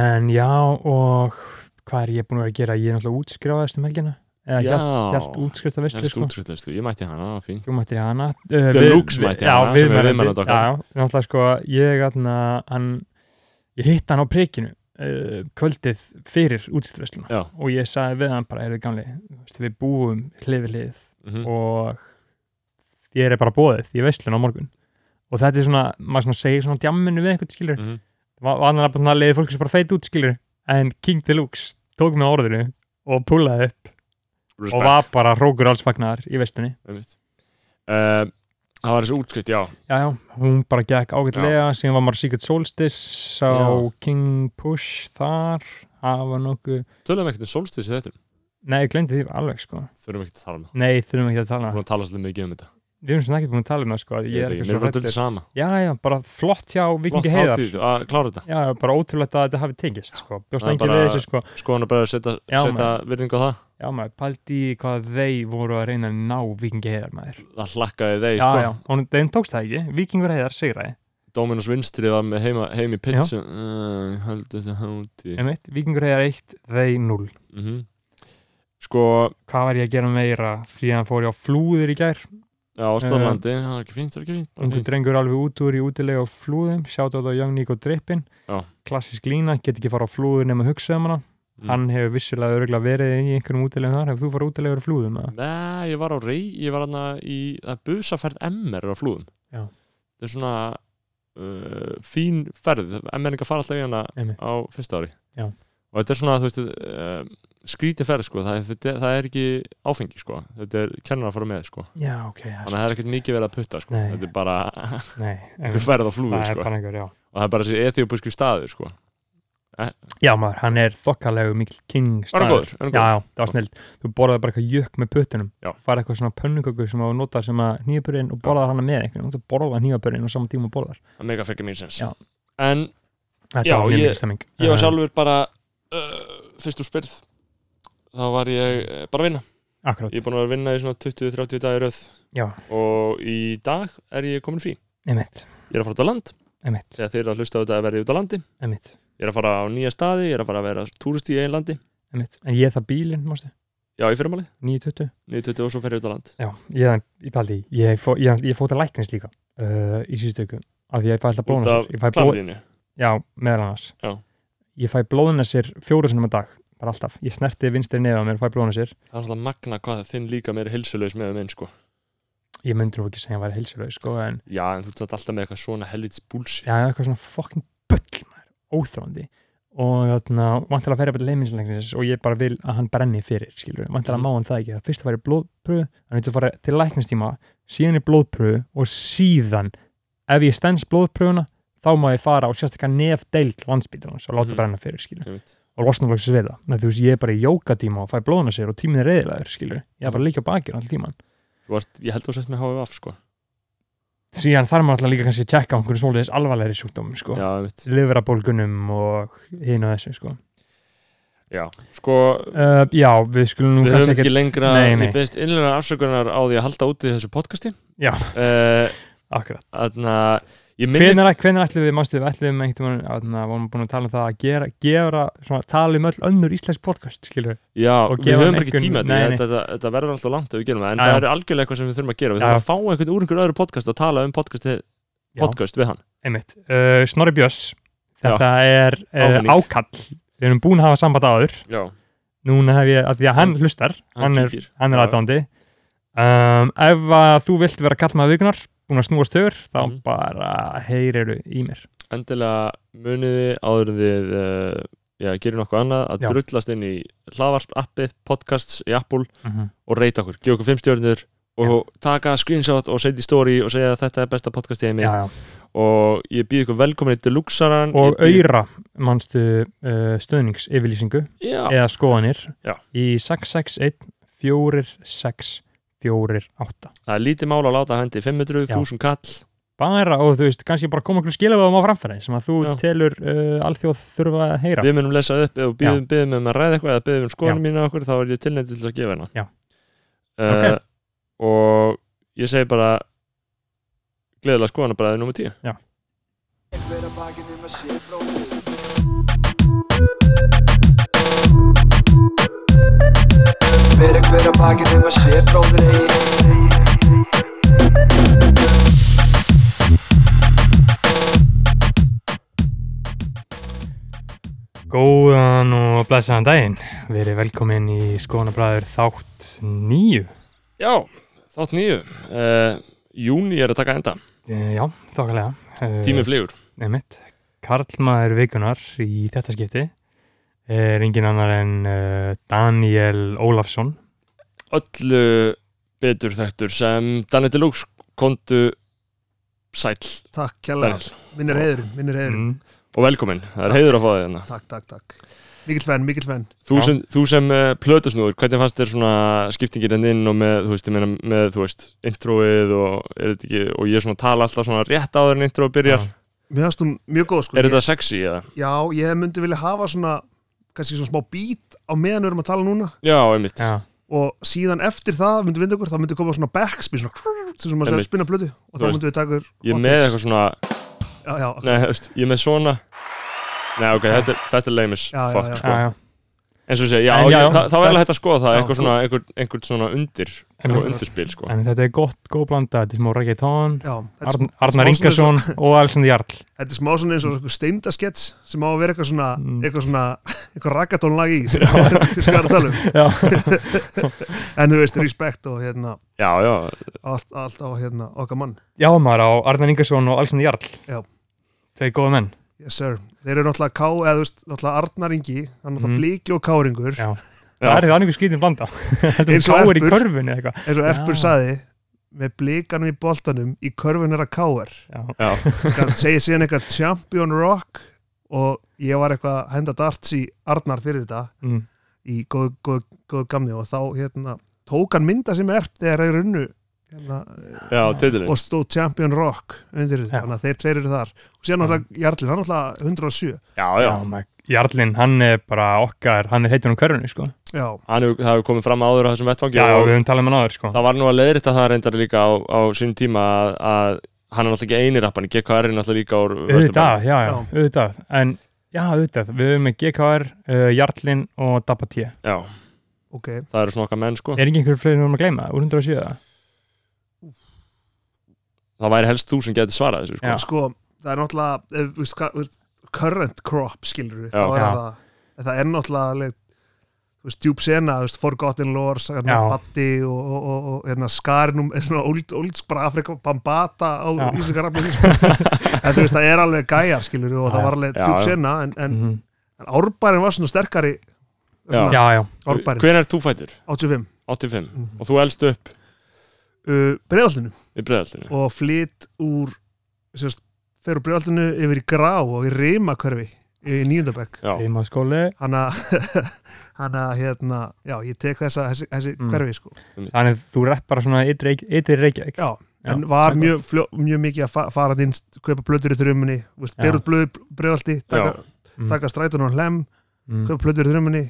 [SPEAKER 3] en já, og hvað er ég búin að vera að gera, ég er náttúrulega útskráðast um helgina, eða
[SPEAKER 1] Já.
[SPEAKER 3] hjælt, hjælt útskrifta veistlu
[SPEAKER 1] Helst
[SPEAKER 3] sko,
[SPEAKER 1] útskriftleiðslu, ég mætti hana, fín
[SPEAKER 3] þú mættir í hana uh,
[SPEAKER 1] Deluxe mætti
[SPEAKER 3] já,
[SPEAKER 1] hana, sem er
[SPEAKER 3] viðmælandi,
[SPEAKER 1] viðmælandi okkar.
[SPEAKER 3] já, náttúrulega sko ég, atna, hann, ég hitt hann á prikinu uh, kvöldið fyrir útskrifta
[SPEAKER 1] Já.
[SPEAKER 3] og ég sagði við hann bara, er þið gamli þú veist, við búum hlið við hlið
[SPEAKER 1] mm
[SPEAKER 3] og þér er bara bóðið í veistlun á morgun og þetta er svona, maður svona segir svona djamminu við einhvern skilur
[SPEAKER 1] -hmm.
[SPEAKER 3] var annar bara svona leiði fólk sem bara feit út skilur en King Deluxe tók mig á orðinu og púlaði upp og
[SPEAKER 1] Respekt,
[SPEAKER 3] var bara hrókur alls fagnar í vestunni
[SPEAKER 1] einmitt uh, Það var þessi útskrift, já
[SPEAKER 3] já, já, hún bara gekk ágætlega síðan var maður Secret Solstice sá
[SPEAKER 1] Já.
[SPEAKER 3] King Push þar hafa nokku,
[SPEAKER 1] Tölum ekkert um solstísi þetta
[SPEAKER 3] nei, ég glemdi því alveg sko,
[SPEAKER 1] þurfum ekki að tala um það.
[SPEAKER 3] nei, þurfum ekki að tala
[SPEAKER 1] Við erum að tala svolítið mikið um þetta.
[SPEAKER 3] við erum svona ekki búin að tala um það sko ég
[SPEAKER 1] veit
[SPEAKER 3] er
[SPEAKER 1] ekki,
[SPEAKER 3] ekki
[SPEAKER 1] mér
[SPEAKER 3] svo
[SPEAKER 1] er bara döldið
[SPEAKER 3] rættur,
[SPEAKER 1] sama.
[SPEAKER 3] já, já, bara flott hjá Vikingi
[SPEAKER 1] Flott
[SPEAKER 3] Heiðar
[SPEAKER 1] hátíð að klára þetta.
[SPEAKER 3] já, já, bara ótrúlegt að þetta hafi tengist sko, bjóst
[SPEAKER 1] Það er
[SPEAKER 3] engin
[SPEAKER 1] bara-
[SPEAKER 3] við þessu sko
[SPEAKER 1] Skoðan að bara setja,
[SPEAKER 3] Já,
[SPEAKER 1] setja
[SPEAKER 3] maður.
[SPEAKER 1] virðingu á það.
[SPEAKER 3] já, maður, paldi hvað þeir voru að reyna að ná Vikingi Heiðar maður
[SPEAKER 1] Það hlakkaði þeir,
[SPEAKER 3] já,
[SPEAKER 1] sko.
[SPEAKER 3] já, og þeim tókst það ekki Víkingur heiðar sigraði,
[SPEAKER 1] Dominus Vinstri var með heima, heim í pizza. Uh, Haldu þessi hátíð.
[SPEAKER 3] einmitt, Víkingur heiðar 1 þeir 0.
[SPEAKER 1] Mm Sko,
[SPEAKER 3] Hvað var ég að gera meira því að fór ég á flúðir í gær
[SPEAKER 1] já, Ástofnlandi,
[SPEAKER 3] Eh,
[SPEAKER 1] það var ekki fínt, það var ekki fínt. bara
[SPEAKER 3] ungu
[SPEAKER 1] fínt.
[SPEAKER 3] drengur alveg út úr í útilega á flúðum sjátt á þetta Young Nico Drippin
[SPEAKER 1] Já.
[SPEAKER 3] klassisk lína, get ekki fara á flúður nema hugsa um hana,
[SPEAKER 1] Mm.
[SPEAKER 3] hann hefur vissulega öruglega verið í einhverjum útilegum þar, hefur þú farið útilega á flúðum eða?
[SPEAKER 1] Nei, ég var á rey, ég var aðna í, það er busaferð MR á flúðum.
[SPEAKER 3] Já.
[SPEAKER 1] Það er svona uh, fín ferð, MR-ingar fara alltaf í hana
[SPEAKER 3] Einmitt.
[SPEAKER 1] á fyrsta ári.
[SPEAKER 3] Já.
[SPEAKER 1] Og þetta er svona, þú veist, uh, skríti ferð, sko, það, er- þetta, það er ekki áfengi, sko, þetta er kennar að fara með, sko.
[SPEAKER 3] Já, ok, það
[SPEAKER 1] Þannig að það er ekkert mikið verið að putta, sko,
[SPEAKER 3] Nei.
[SPEAKER 1] þetta er
[SPEAKER 3] (laughs)
[SPEAKER 1] bara
[SPEAKER 3] er Nei,
[SPEAKER 1] einhver
[SPEAKER 3] einmitt,
[SPEAKER 1] ferð á flúðu,
[SPEAKER 3] það er
[SPEAKER 1] sko.
[SPEAKER 3] bara einhver, já
[SPEAKER 1] Og það er bara þessi ethiopísku staður, sko.
[SPEAKER 3] Já maður, hann er þokkalegu mikil king
[SPEAKER 1] Er hann
[SPEAKER 3] staður.
[SPEAKER 1] góður? Er hann
[SPEAKER 3] já,
[SPEAKER 1] góður?
[SPEAKER 3] já, það var snild þú borðaði bara eitthvað jökk með puttunum
[SPEAKER 1] Já.
[SPEAKER 3] farið eitthvað svona pönnuköku sem að nota sem að nýjapurinn og borðaði hana með einhvern þú borðaði nýjapurinn og saman tíma og borðar
[SPEAKER 1] Það er mega fekkir mín sens.
[SPEAKER 3] Já.
[SPEAKER 1] En
[SPEAKER 3] þetta
[SPEAKER 1] Já,
[SPEAKER 3] var mjög
[SPEAKER 1] ég-
[SPEAKER 3] mikil stemming
[SPEAKER 1] ég var
[SPEAKER 3] Eh,
[SPEAKER 1] sjálfur bara, uh, fyrst úr spyrð, þá var ég uh, bara að vinna.
[SPEAKER 3] akkurat,
[SPEAKER 1] Ég er búin að vera að vinna í svona 20-30 dagi röð
[SPEAKER 3] já,
[SPEAKER 1] og í dag er ég komin frí.
[SPEAKER 3] emitt
[SPEAKER 1] Ég er að fara út á land,
[SPEAKER 3] emitt,
[SPEAKER 1] þegar þeir eru að hlusta á þetta að vera út á landi.
[SPEAKER 3] emitt,
[SPEAKER 1] Ég er að fara á nýja staði, ég er að fara að vera túrist í einn landi.
[SPEAKER 3] emitt en ég það bílinn, mástu,
[SPEAKER 1] Já, í fyrirmáli,
[SPEAKER 3] 9.20
[SPEAKER 1] 9.20 og svo fer ég út á land.
[SPEAKER 3] já, ég, ég paldi, ég, fó, ég, ég fóta læknis líka uh, í síðustu ykkur af því að ég fæ alltaf
[SPEAKER 1] Út af
[SPEAKER 3] blóðnasir ég fæ blóð,
[SPEAKER 1] klamriðinu.
[SPEAKER 3] já, meðal annars
[SPEAKER 1] Já.
[SPEAKER 3] ég fæ blóðnasir fjóru sinum að dag bara alltaf, ég snerti vinstri nefa mér og fæ blóðnasir
[SPEAKER 1] Það er alltaf magna hvað þinn líka meiri hilsulegs með minn sko.
[SPEAKER 3] ég myndur ekki segja að hann væri heilsulega sko, en
[SPEAKER 1] Já, en þú ert samt alltaf með eitthvað svona helvits búlsitt.
[SPEAKER 3] Já, eitthvað svona fucking bull maður, óþrandi og þarna, vantilega að færa bara leiminnslæknis og ég bara vil að hann brenni fyrir skilur, vantilega
[SPEAKER 1] Mhm.
[SPEAKER 3] má hann það ekki, það fyrst að fara í blóðpröfu hann veitur að fara til læknistíma síðan í blóðpröfu og síðan ef ég stens blóðpröfuna þá má ég fara og sérstaklega nef deild landspítalans og láta
[SPEAKER 1] Mhm.
[SPEAKER 3] brenna fyrir skilur
[SPEAKER 1] einmitt.
[SPEAKER 3] og losna loksins við það Nei, þú veist, ég er bara í jókatíma og fæ blóðuna sér og tíminn er reyðilegur skilur, ég
[SPEAKER 1] Mhm.
[SPEAKER 3] er bara líka á bakir all tíman
[SPEAKER 1] Þú varst, ég held þú sett með HVF sko
[SPEAKER 3] síðan þarf maður alltaf líka kannski að tjekka á einhverjum svoleiðis alvarlegri sjúkdómum sko,
[SPEAKER 1] Já, einmitt
[SPEAKER 3] liverabólgunum og hinn og þessu sko
[SPEAKER 1] Já, sko
[SPEAKER 3] uh, já, við skulum nú
[SPEAKER 1] Við höfum
[SPEAKER 3] kannski
[SPEAKER 1] ekki lengra,
[SPEAKER 3] nei,
[SPEAKER 1] ég
[SPEAKER 3] nei,
[SPEAKER 1] beðist innlega afsökunar á því að halda úti þessu podcasti
[SPEAKER 3] Já.
[SPEAKER 1] Eh,
[SPEAKER 3] akkurat
[SPEAKER 1] Þarna, ég minni
[SPEAKER 3] hvenær, hvenær ætlum við, mástu við ætlum einhvern veginn, að vorum búin að tala um það að gera, gera svona, tala um öll önnur íslensk podcast skilur,
[SPEAKER 1] Já,
[SPEAKER 3] og
[SPEAKER 1] við
[SPEAKER 3] gefa
[SPEAKER 1] höfum
[SPEAKER 3] hann
[SPEAKER 1] bara ekki
[SPEAKER 3] einhvern-
[SPEAKER 1] tíma
[SPEAKER 3] Nei,
[SPEAKER 1] þetta,
[SPEAKER 3] nei.
[SPEAKER 1] þetta, þetta verður alltaf langt ef við gerum það, en
[SPEAKER 3] Já,
[SPEAKER 1] það
[SPEAKER 3] já.
[SPEAKER 1] eru algjörlega eitthvað sem við þurfum að gera, við
[SPEAKER 3] Já,
[SPEAKER 1] þurfum að fá einhvern úr einhverju öðru podcast og tala um podcast,
[SPEAKER 3] Já.
[SPEAKER 1] podcast við hann
[SPEAKER 3] einmitt uh, Snorri Björns, þetta er uh,
[SPEAKER 1] Áminning.
[SPEAKER 3] ákall, við erum búin að hafa samband áður
[SPEAKER 1] Já,
[SPEAKER 3] núna hef ég, að því að hann hlustar
[SPEAKER 1] hann,
[SPEAKER 3] hann er,
[SPEAKER 1] kíkir
[SPEAKER 3] hann er
[SPEAKER 1] Já.
[SPEAKER 3] aðdándi um, ef að þú vilt vera kallmaður vikunar búin að snúast högur, þá
[SPEAKER 1] Mhm.
[SPEAKER 3] bara heyriru í mér
[SPEAKER 1] Endilega muniði áður en þið uh, já, gerir nokkuð annað að
[SPEAKER 3] Já.
[SPEAKER 1] drullast inn í hlavarp appið, podcasts í Apple og reyta okkur, gefa okkur fimm stjörnur og taka screenshot og setja í story og segja að þetta er besta podcast í heimi
[SPEAKER 3] já, já.
[SPEAKER 1] og ég býð ykkur velkomin til Luxaran
[SPEAKER 3] og auðra manstu uh, stöðningsyfirlýsingu
[SPEAKER 1] Já,
[SPEAKER 3] eða skoðanir
[SPEAKER 1] Já.
[SPEAKER 3] í 661 4648
[SPEAKER 1] það er lítið mál að láta hendi 500,
[SPEAKER 3] Já.
[SPEAKER 1] 1000 kall
[SPEAKER 3] bara og þú veist, kannski bara koma okkur skilaföðum á framfæri sem að þú
[SPEAKER 1] Já.
[SPEAKER 3] telur uh, alþjóð þurfa að heyra
[SPEAKER 1] Við munum lesa upp og býðum, býðum um að ræða eitthvað eða býðum um skoðunum mína okkur, þá er ég tilnættið til að gefa hérna.
[SPEAKER 3] Já.
[SPEAKER 1] Uh,
[SPEAKER 3] Ok.
[SPEAKER 1] Og ég segi bara gleðilega skoðanabræðið nummer 10.
[SPEAKER 2] Hver að bakið um að sé bróðir eigin Vera hver að bakið um að sé bróðir eigin
[SPEAKER 3] Góðan og blessaðan daginn. Verið velkomin í Skonabræður þátt nýju.
[SPEAKER 1] Já, þátt nýju. Uh, júni er að taka enda.
[SPEAKER 3] E, já, þokkalega. E,
[SPEAKER 1] Tími flygur.
[SPEAKER 3] Einmitt. Karlmaður vikunar í þetta skipti er engin annar en uh, Daniel Ólafsson.
[SPEAKER 1] Öllu betur þektur sem Danny Deluxe kontu sæll.
[SPEAKER 4] Takk kjærlega,
[SPEAKER 1] Daniel.
[SPEAKER 4] minn er heiðurinn, minn er heiðurinn
[SPEAKER 3] Mm.
[SPEAKER 1] Og velkomin. Það er heiður að fá þig hérna.
[SPEAKER 4] Takk, takk, takk Mikill fenn, mikill fenn
[SPEAKER 1] Þú
[SPEAKER 3] Já.
[SPEAKER 1] sem, þú sem uh, plötusnúður, hvernig fannst þér svona skiptingin enn inn og með, þú veist, ég meina með, þú veist, introið og er þetta ekki, og ég svona tala alltaf svona rétt áður en introið byrjar.
[SPEAKER 3] Já.
[SPEAKER 4] Mér fannst hún mjög góð sko
[SPEAKER 1] er þetta
[SPEAKER 4] ég,
[SPEAKER 1] sexy eða?
[SPEAKER 4] Já, ég myndi vilja hafa svona kannski svona smá bít á meðan við erum að tala núna
[SPEAKER 1] Já, einmitt.
[SPEAKER 3] Já,
[SPEAKER 4] og síðan eftir það myndi vinda okkur þá myndi koma svona backspin svona krrrr, sem maður sér
[SPEAKER 1] Einmitt.
[SPEAKER 4] að spinna blödu og
[SPEAKER 1] Þú
[SPEAKER 4] þá myndi við taka okkur
[SPEAKER 1] Ég er
[SPEAKER 4] hot
[SPEAKER 1] með
[SPEAKER 4] takes.
[SPEAKER 1] eitthvað svona,
[SPEAKER 4] Já, já, ok.
[SPEAKER 1] nei, þú veist, ég er með svona, nei, ok, þetta, er- þetta er leimis,
[SPEAKER 4] Já, já,
[SPEAKER 1] fuck,
[SPEAKER 4] já.
[SPEAKER 1] sko.
[SPEAKER 3] já, já.
[SPEAKER 1] En svo sé, já,
[SPEAKER 3] En
[SPEAKER 1] já,
[SPEAKER 3] já,
[SPEAKER 1] ég, þa þá er alveg hægt að skoða það,
[SPEAKER 4] Já,
[SPEAKER 1] einhver svona, einhver, einhver svona undir,
[SPEAKER 3] Einmitt.
[SPEAKER 1] og undirspil, sko.
[SPEAKER 3] En þetta er gott, góð blanda, þetta er smá reggaetón,
[SPEAKER 4] já þetta,
[SPEAKER 3] Arn,
[SPEAKER 4] er-
[SPEAKER 3] Arnar
[SPEAKER 4] smá svona
[SPEAKER 3] Ingarsson og Alexander Jarl.
[SPEAKER 4] þetta er smá svona eins og steindaskets sem á að vera eitthvað svona
[SPEAKER 3] Mm.
[SPEAKER 4] eitthvað svona, (laughs) eitthvað raggatónlag í
[SPEAKER 1] (laughs)
[SPEAKER 4] sem við erum að tala um
[SPEAKER 3] Já,
[SPEAKER 4] en þú veist, respect og hérna
[SPEAKER 1] Já, já,
[SPEAKER 4] allt, allt á hérna okkar mann
[SPEAKER 3] já maður á Arnar Ingarsson og Alexander Jarl.
[SPEAKER 4] Já.
[SPEAKER 3] Tvei góða menn.
[SPEAKER 4] Yes sir, þeir eru náttúrulega Ká, eða þú veist, náttúrulega Arnar Ingi, það er náttúrulega
[SPEAKER 3] Mm.
[SPEAKER 4] Bliki og Káringur,
[SPEAKER 3] Já.
[SPEAKER 1] já,
[SPEAKER 3] Það er það annir skýtin blanda. Þetta er
[SPEAKER 4] Eins og
[SPEAKER 3] káir í
[SPEAKER 4] erpur.
[SPEAKER 3] körfunni eða eitthvað.
[SPEAKER 4] eins og Erpur
[SPEAKER 3] Já.
[SPEAKER 4] saði, með Blikanum í boltanum í körfun er að Káar.
[SPEAKER 3] Já,
[SPEAKER 1] já,
[SPEAKER 4] Hann segir síðan eitthvað Champion Rock og ég var eitthvað að henda darts í Arnar fyrir þetta
[SPEAKER 3] mm.
[SPEAKER 4] í góðu góð, góð gamni og þá hérna tók hann mynda sem Erp þegar þeir runnu hérna,
[SPEAKER 1] já, titilin.
[SPEAKER 4] og stóð Champion Rock undir
[SPEAKER 3] Já.
[SPEAKER 4] þetta, þannig að þeir tveir eru þar. Og síðan náttúrulega Jarlin, hann náttúrulega 107.
[SPEAKER 1] Já, já,
[SPEAKER 3] já maður, Jarlinn, hann er bara okkar, hann er heitur um körfunni, sko.
[SPEAKER 4] Já,
[SPEAKER 1] hann hefur, það hefur komið fram áður á þessum vettfangi
[SPEAKER 3] Já,
[SPEAKER 1] og
[SPEAKER 3] við höfum talað með náður, sko.
[SPEAKER 1] það var nú að leiðrita það reyndar líka á, á sín tíma að, að hann er náttúrulega ekki eini rappan, GKR er náttúrulega líka úr Vesturbænum.
[SPEAKER 3] Auðvitað, já, já,
[SPEAKER 4] Já.
[SPEAKER 3] auðvitað. En, já, auðvitað, við höfum með GKR, uh, Jarlinn og Dabba T.
[SPEAKER 1] Já,
[SPEAKER 4] ok.
[SPEAKER 1] það eru svona okkar menn sko
[SPEAKER 3] Er ekki einhver fleiri núna að gleyma, úr 107?
[SPEAKER 1] Það væri helst þú sem geti svarað þessu sko
[SPEAKER 3] Já.
[SPEAKER 4] sko, það er náttúrulega eh, ef, veist, hvað- veist, current crop, skilur við
[SPEAKER 1] Já.
[SPEAKER 4] þá er
[SPEAKER 3] Já.
[SPEAKER 4] það, en það er náttúrulega alveg, þú veist, djúb sena, þú veist, Forgotten Lores hérna,
[SPEAKER 3] Já.
[SPEAKER 4] Batti og, og, og, og hérna, Skarinum, eh, (laughs) svona old, old bara Afrika, Bambata á
[SPEAKER 3] Já.
[SPEAKER 4] Íslingarafni sko. en þú veist, það er alveg gæjar skilur og
[SPEAKER 3] Já,
[SPEAKER 4] það var alveg
[SPEAKER 1] já,
[SPEAKER 4] djúb
[SPEAKER 1] já.
[SPEAKER 4] sena en, en,
[SPEAKER 3] Mhm.
[SPEAKER 4] en árbærin var svona sterkari svona,
[SPEAKER 3] já, já,
[SPEAKER 1] Eh,
[SPEAKER 4] árbærin,
[SPEAKER 1] Hvenær er þú fættur?
[SPEAKER 4] 85
[SPEAKER 1] 85
[SPEAKER 4] Mhm.
[SPEAKER 1] Og þú elst upp
[SPEAKER 4] uh, breiðaldinu
[SPEAKER 1] í breðaltinu
[SPEAKER 4] og flytt úr sérst, fer úr breiðaldinu yfir í grá og í rimakörfi í nýjöndabæk
[SPEAKER 1] Já,
[SPEAKER 3] heima skóli
[SPEAKER 4] hana, (laughs) hana hérna já, ég tek þessa, þessi, þessi
[SPEAKER 3] Mm.
[SPEAKER 4] hverfi sko.
[SPEAKER 3] þannig þú repp bara svona ytri Reykj- ytri Reykjavík
[SPEAKER 4] já,
[SPEAKER 3] Já,
[SPEAKER 4] en
[SPEAKER 3] það
[SPEAKER 4] var
[SPEAKER 3] er
[SPEAKER 4] mjög, fljó, mjög mikið að fa fara inn, kaupa blöður í þrjumunni
[SPEAKER 3] Já.
[SPEAKER 4] berut blöður breiðaldi taka,
[SPEAKER 3] Mm.
[SPEAKER 4] taka strætun og hlem,
[SPEAKER 3] mm.
[SPEAKER 4] kaupa blöður í þrjumunni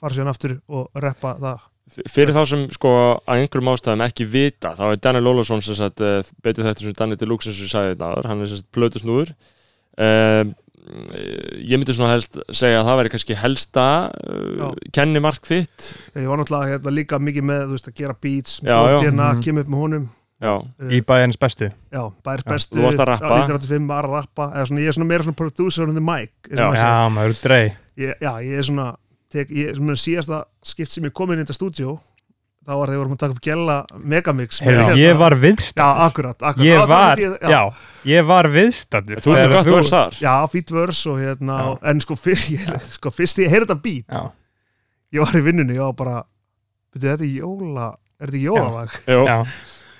[SPEAKER 4] fara síðan aftur og reppa það
[SPEAKER 1] F- Fyrir þá sem sko að einhverjum ástæðum ekki vita þá er Daniel Ólafsson sem sagt eh, betur þetta sem Daniel Deluxe sem sagði þetta áður, hann er sem sagt blötusnúður um, ég myndi svona helst segja að það væri kannski helsta uh, kennimark þitt
[SPEAKER 4] ég var náttúrulega hérna, líka mikið með þú veist, að gera beats,
[SPEAKER 1] Já, já.
[SPEAKER 4] blókina,
[SPEAKER 3] Mhm.
[SPEAKER 4] kemur upp með honum
[SPEAKER 1] Já,
[SPEAKER 3] í bæjarins bestu
[SPEAKER 4] Já, bæri
[SPEAKER 3] Já,
[SPEAKER 4] bestu
[SPEAKER 1] þú varst að rappa.
[SPEAKER 4] Já, 1985 var að rappa eða svona, ég er svona meira svona producer on the mic eins og maður segir.
[SPEAKER 3] já, maður er drey
[SPEAKER 4] Ég, já, ég er svona tek, ég er svona síðasta skipt sem ég kom inn í þetta stúdjó þá var þegar við vorum að taka upp gæla megamix með
[SPEAKER 3] Heyrðu,
[SPEAKER 4] hérna-
[SPEAKER 3] ég var viðst
[SPEAKER 4] Já, akkurat, akkurat
[SPEAKER 3] ég
[SPEAKER 4] Já, það
[SPEAKER 3] var,
[SPEAKER 4] myndi ég-
[SPEAKER 3] já, ég var viðstættur
[SPEAKER 1] þú erum gott að vera þar
[SPEAKER 4] Já, fýtt vörs og hérna
[SPEAKER 3] Já.
[SPEAKER 4] og- en sko fyrst, (laughs) ég, sko fyrst þegar ég heyrði þetta beat
[SPEAKER 3] já,
[SPEAKER 4] ég var í vinnunni, ég var bara veitu, þetta er jóla, er þetta ekki jólalag?
[SPEAKER 1] Jó,
[SPEAKER 3] já,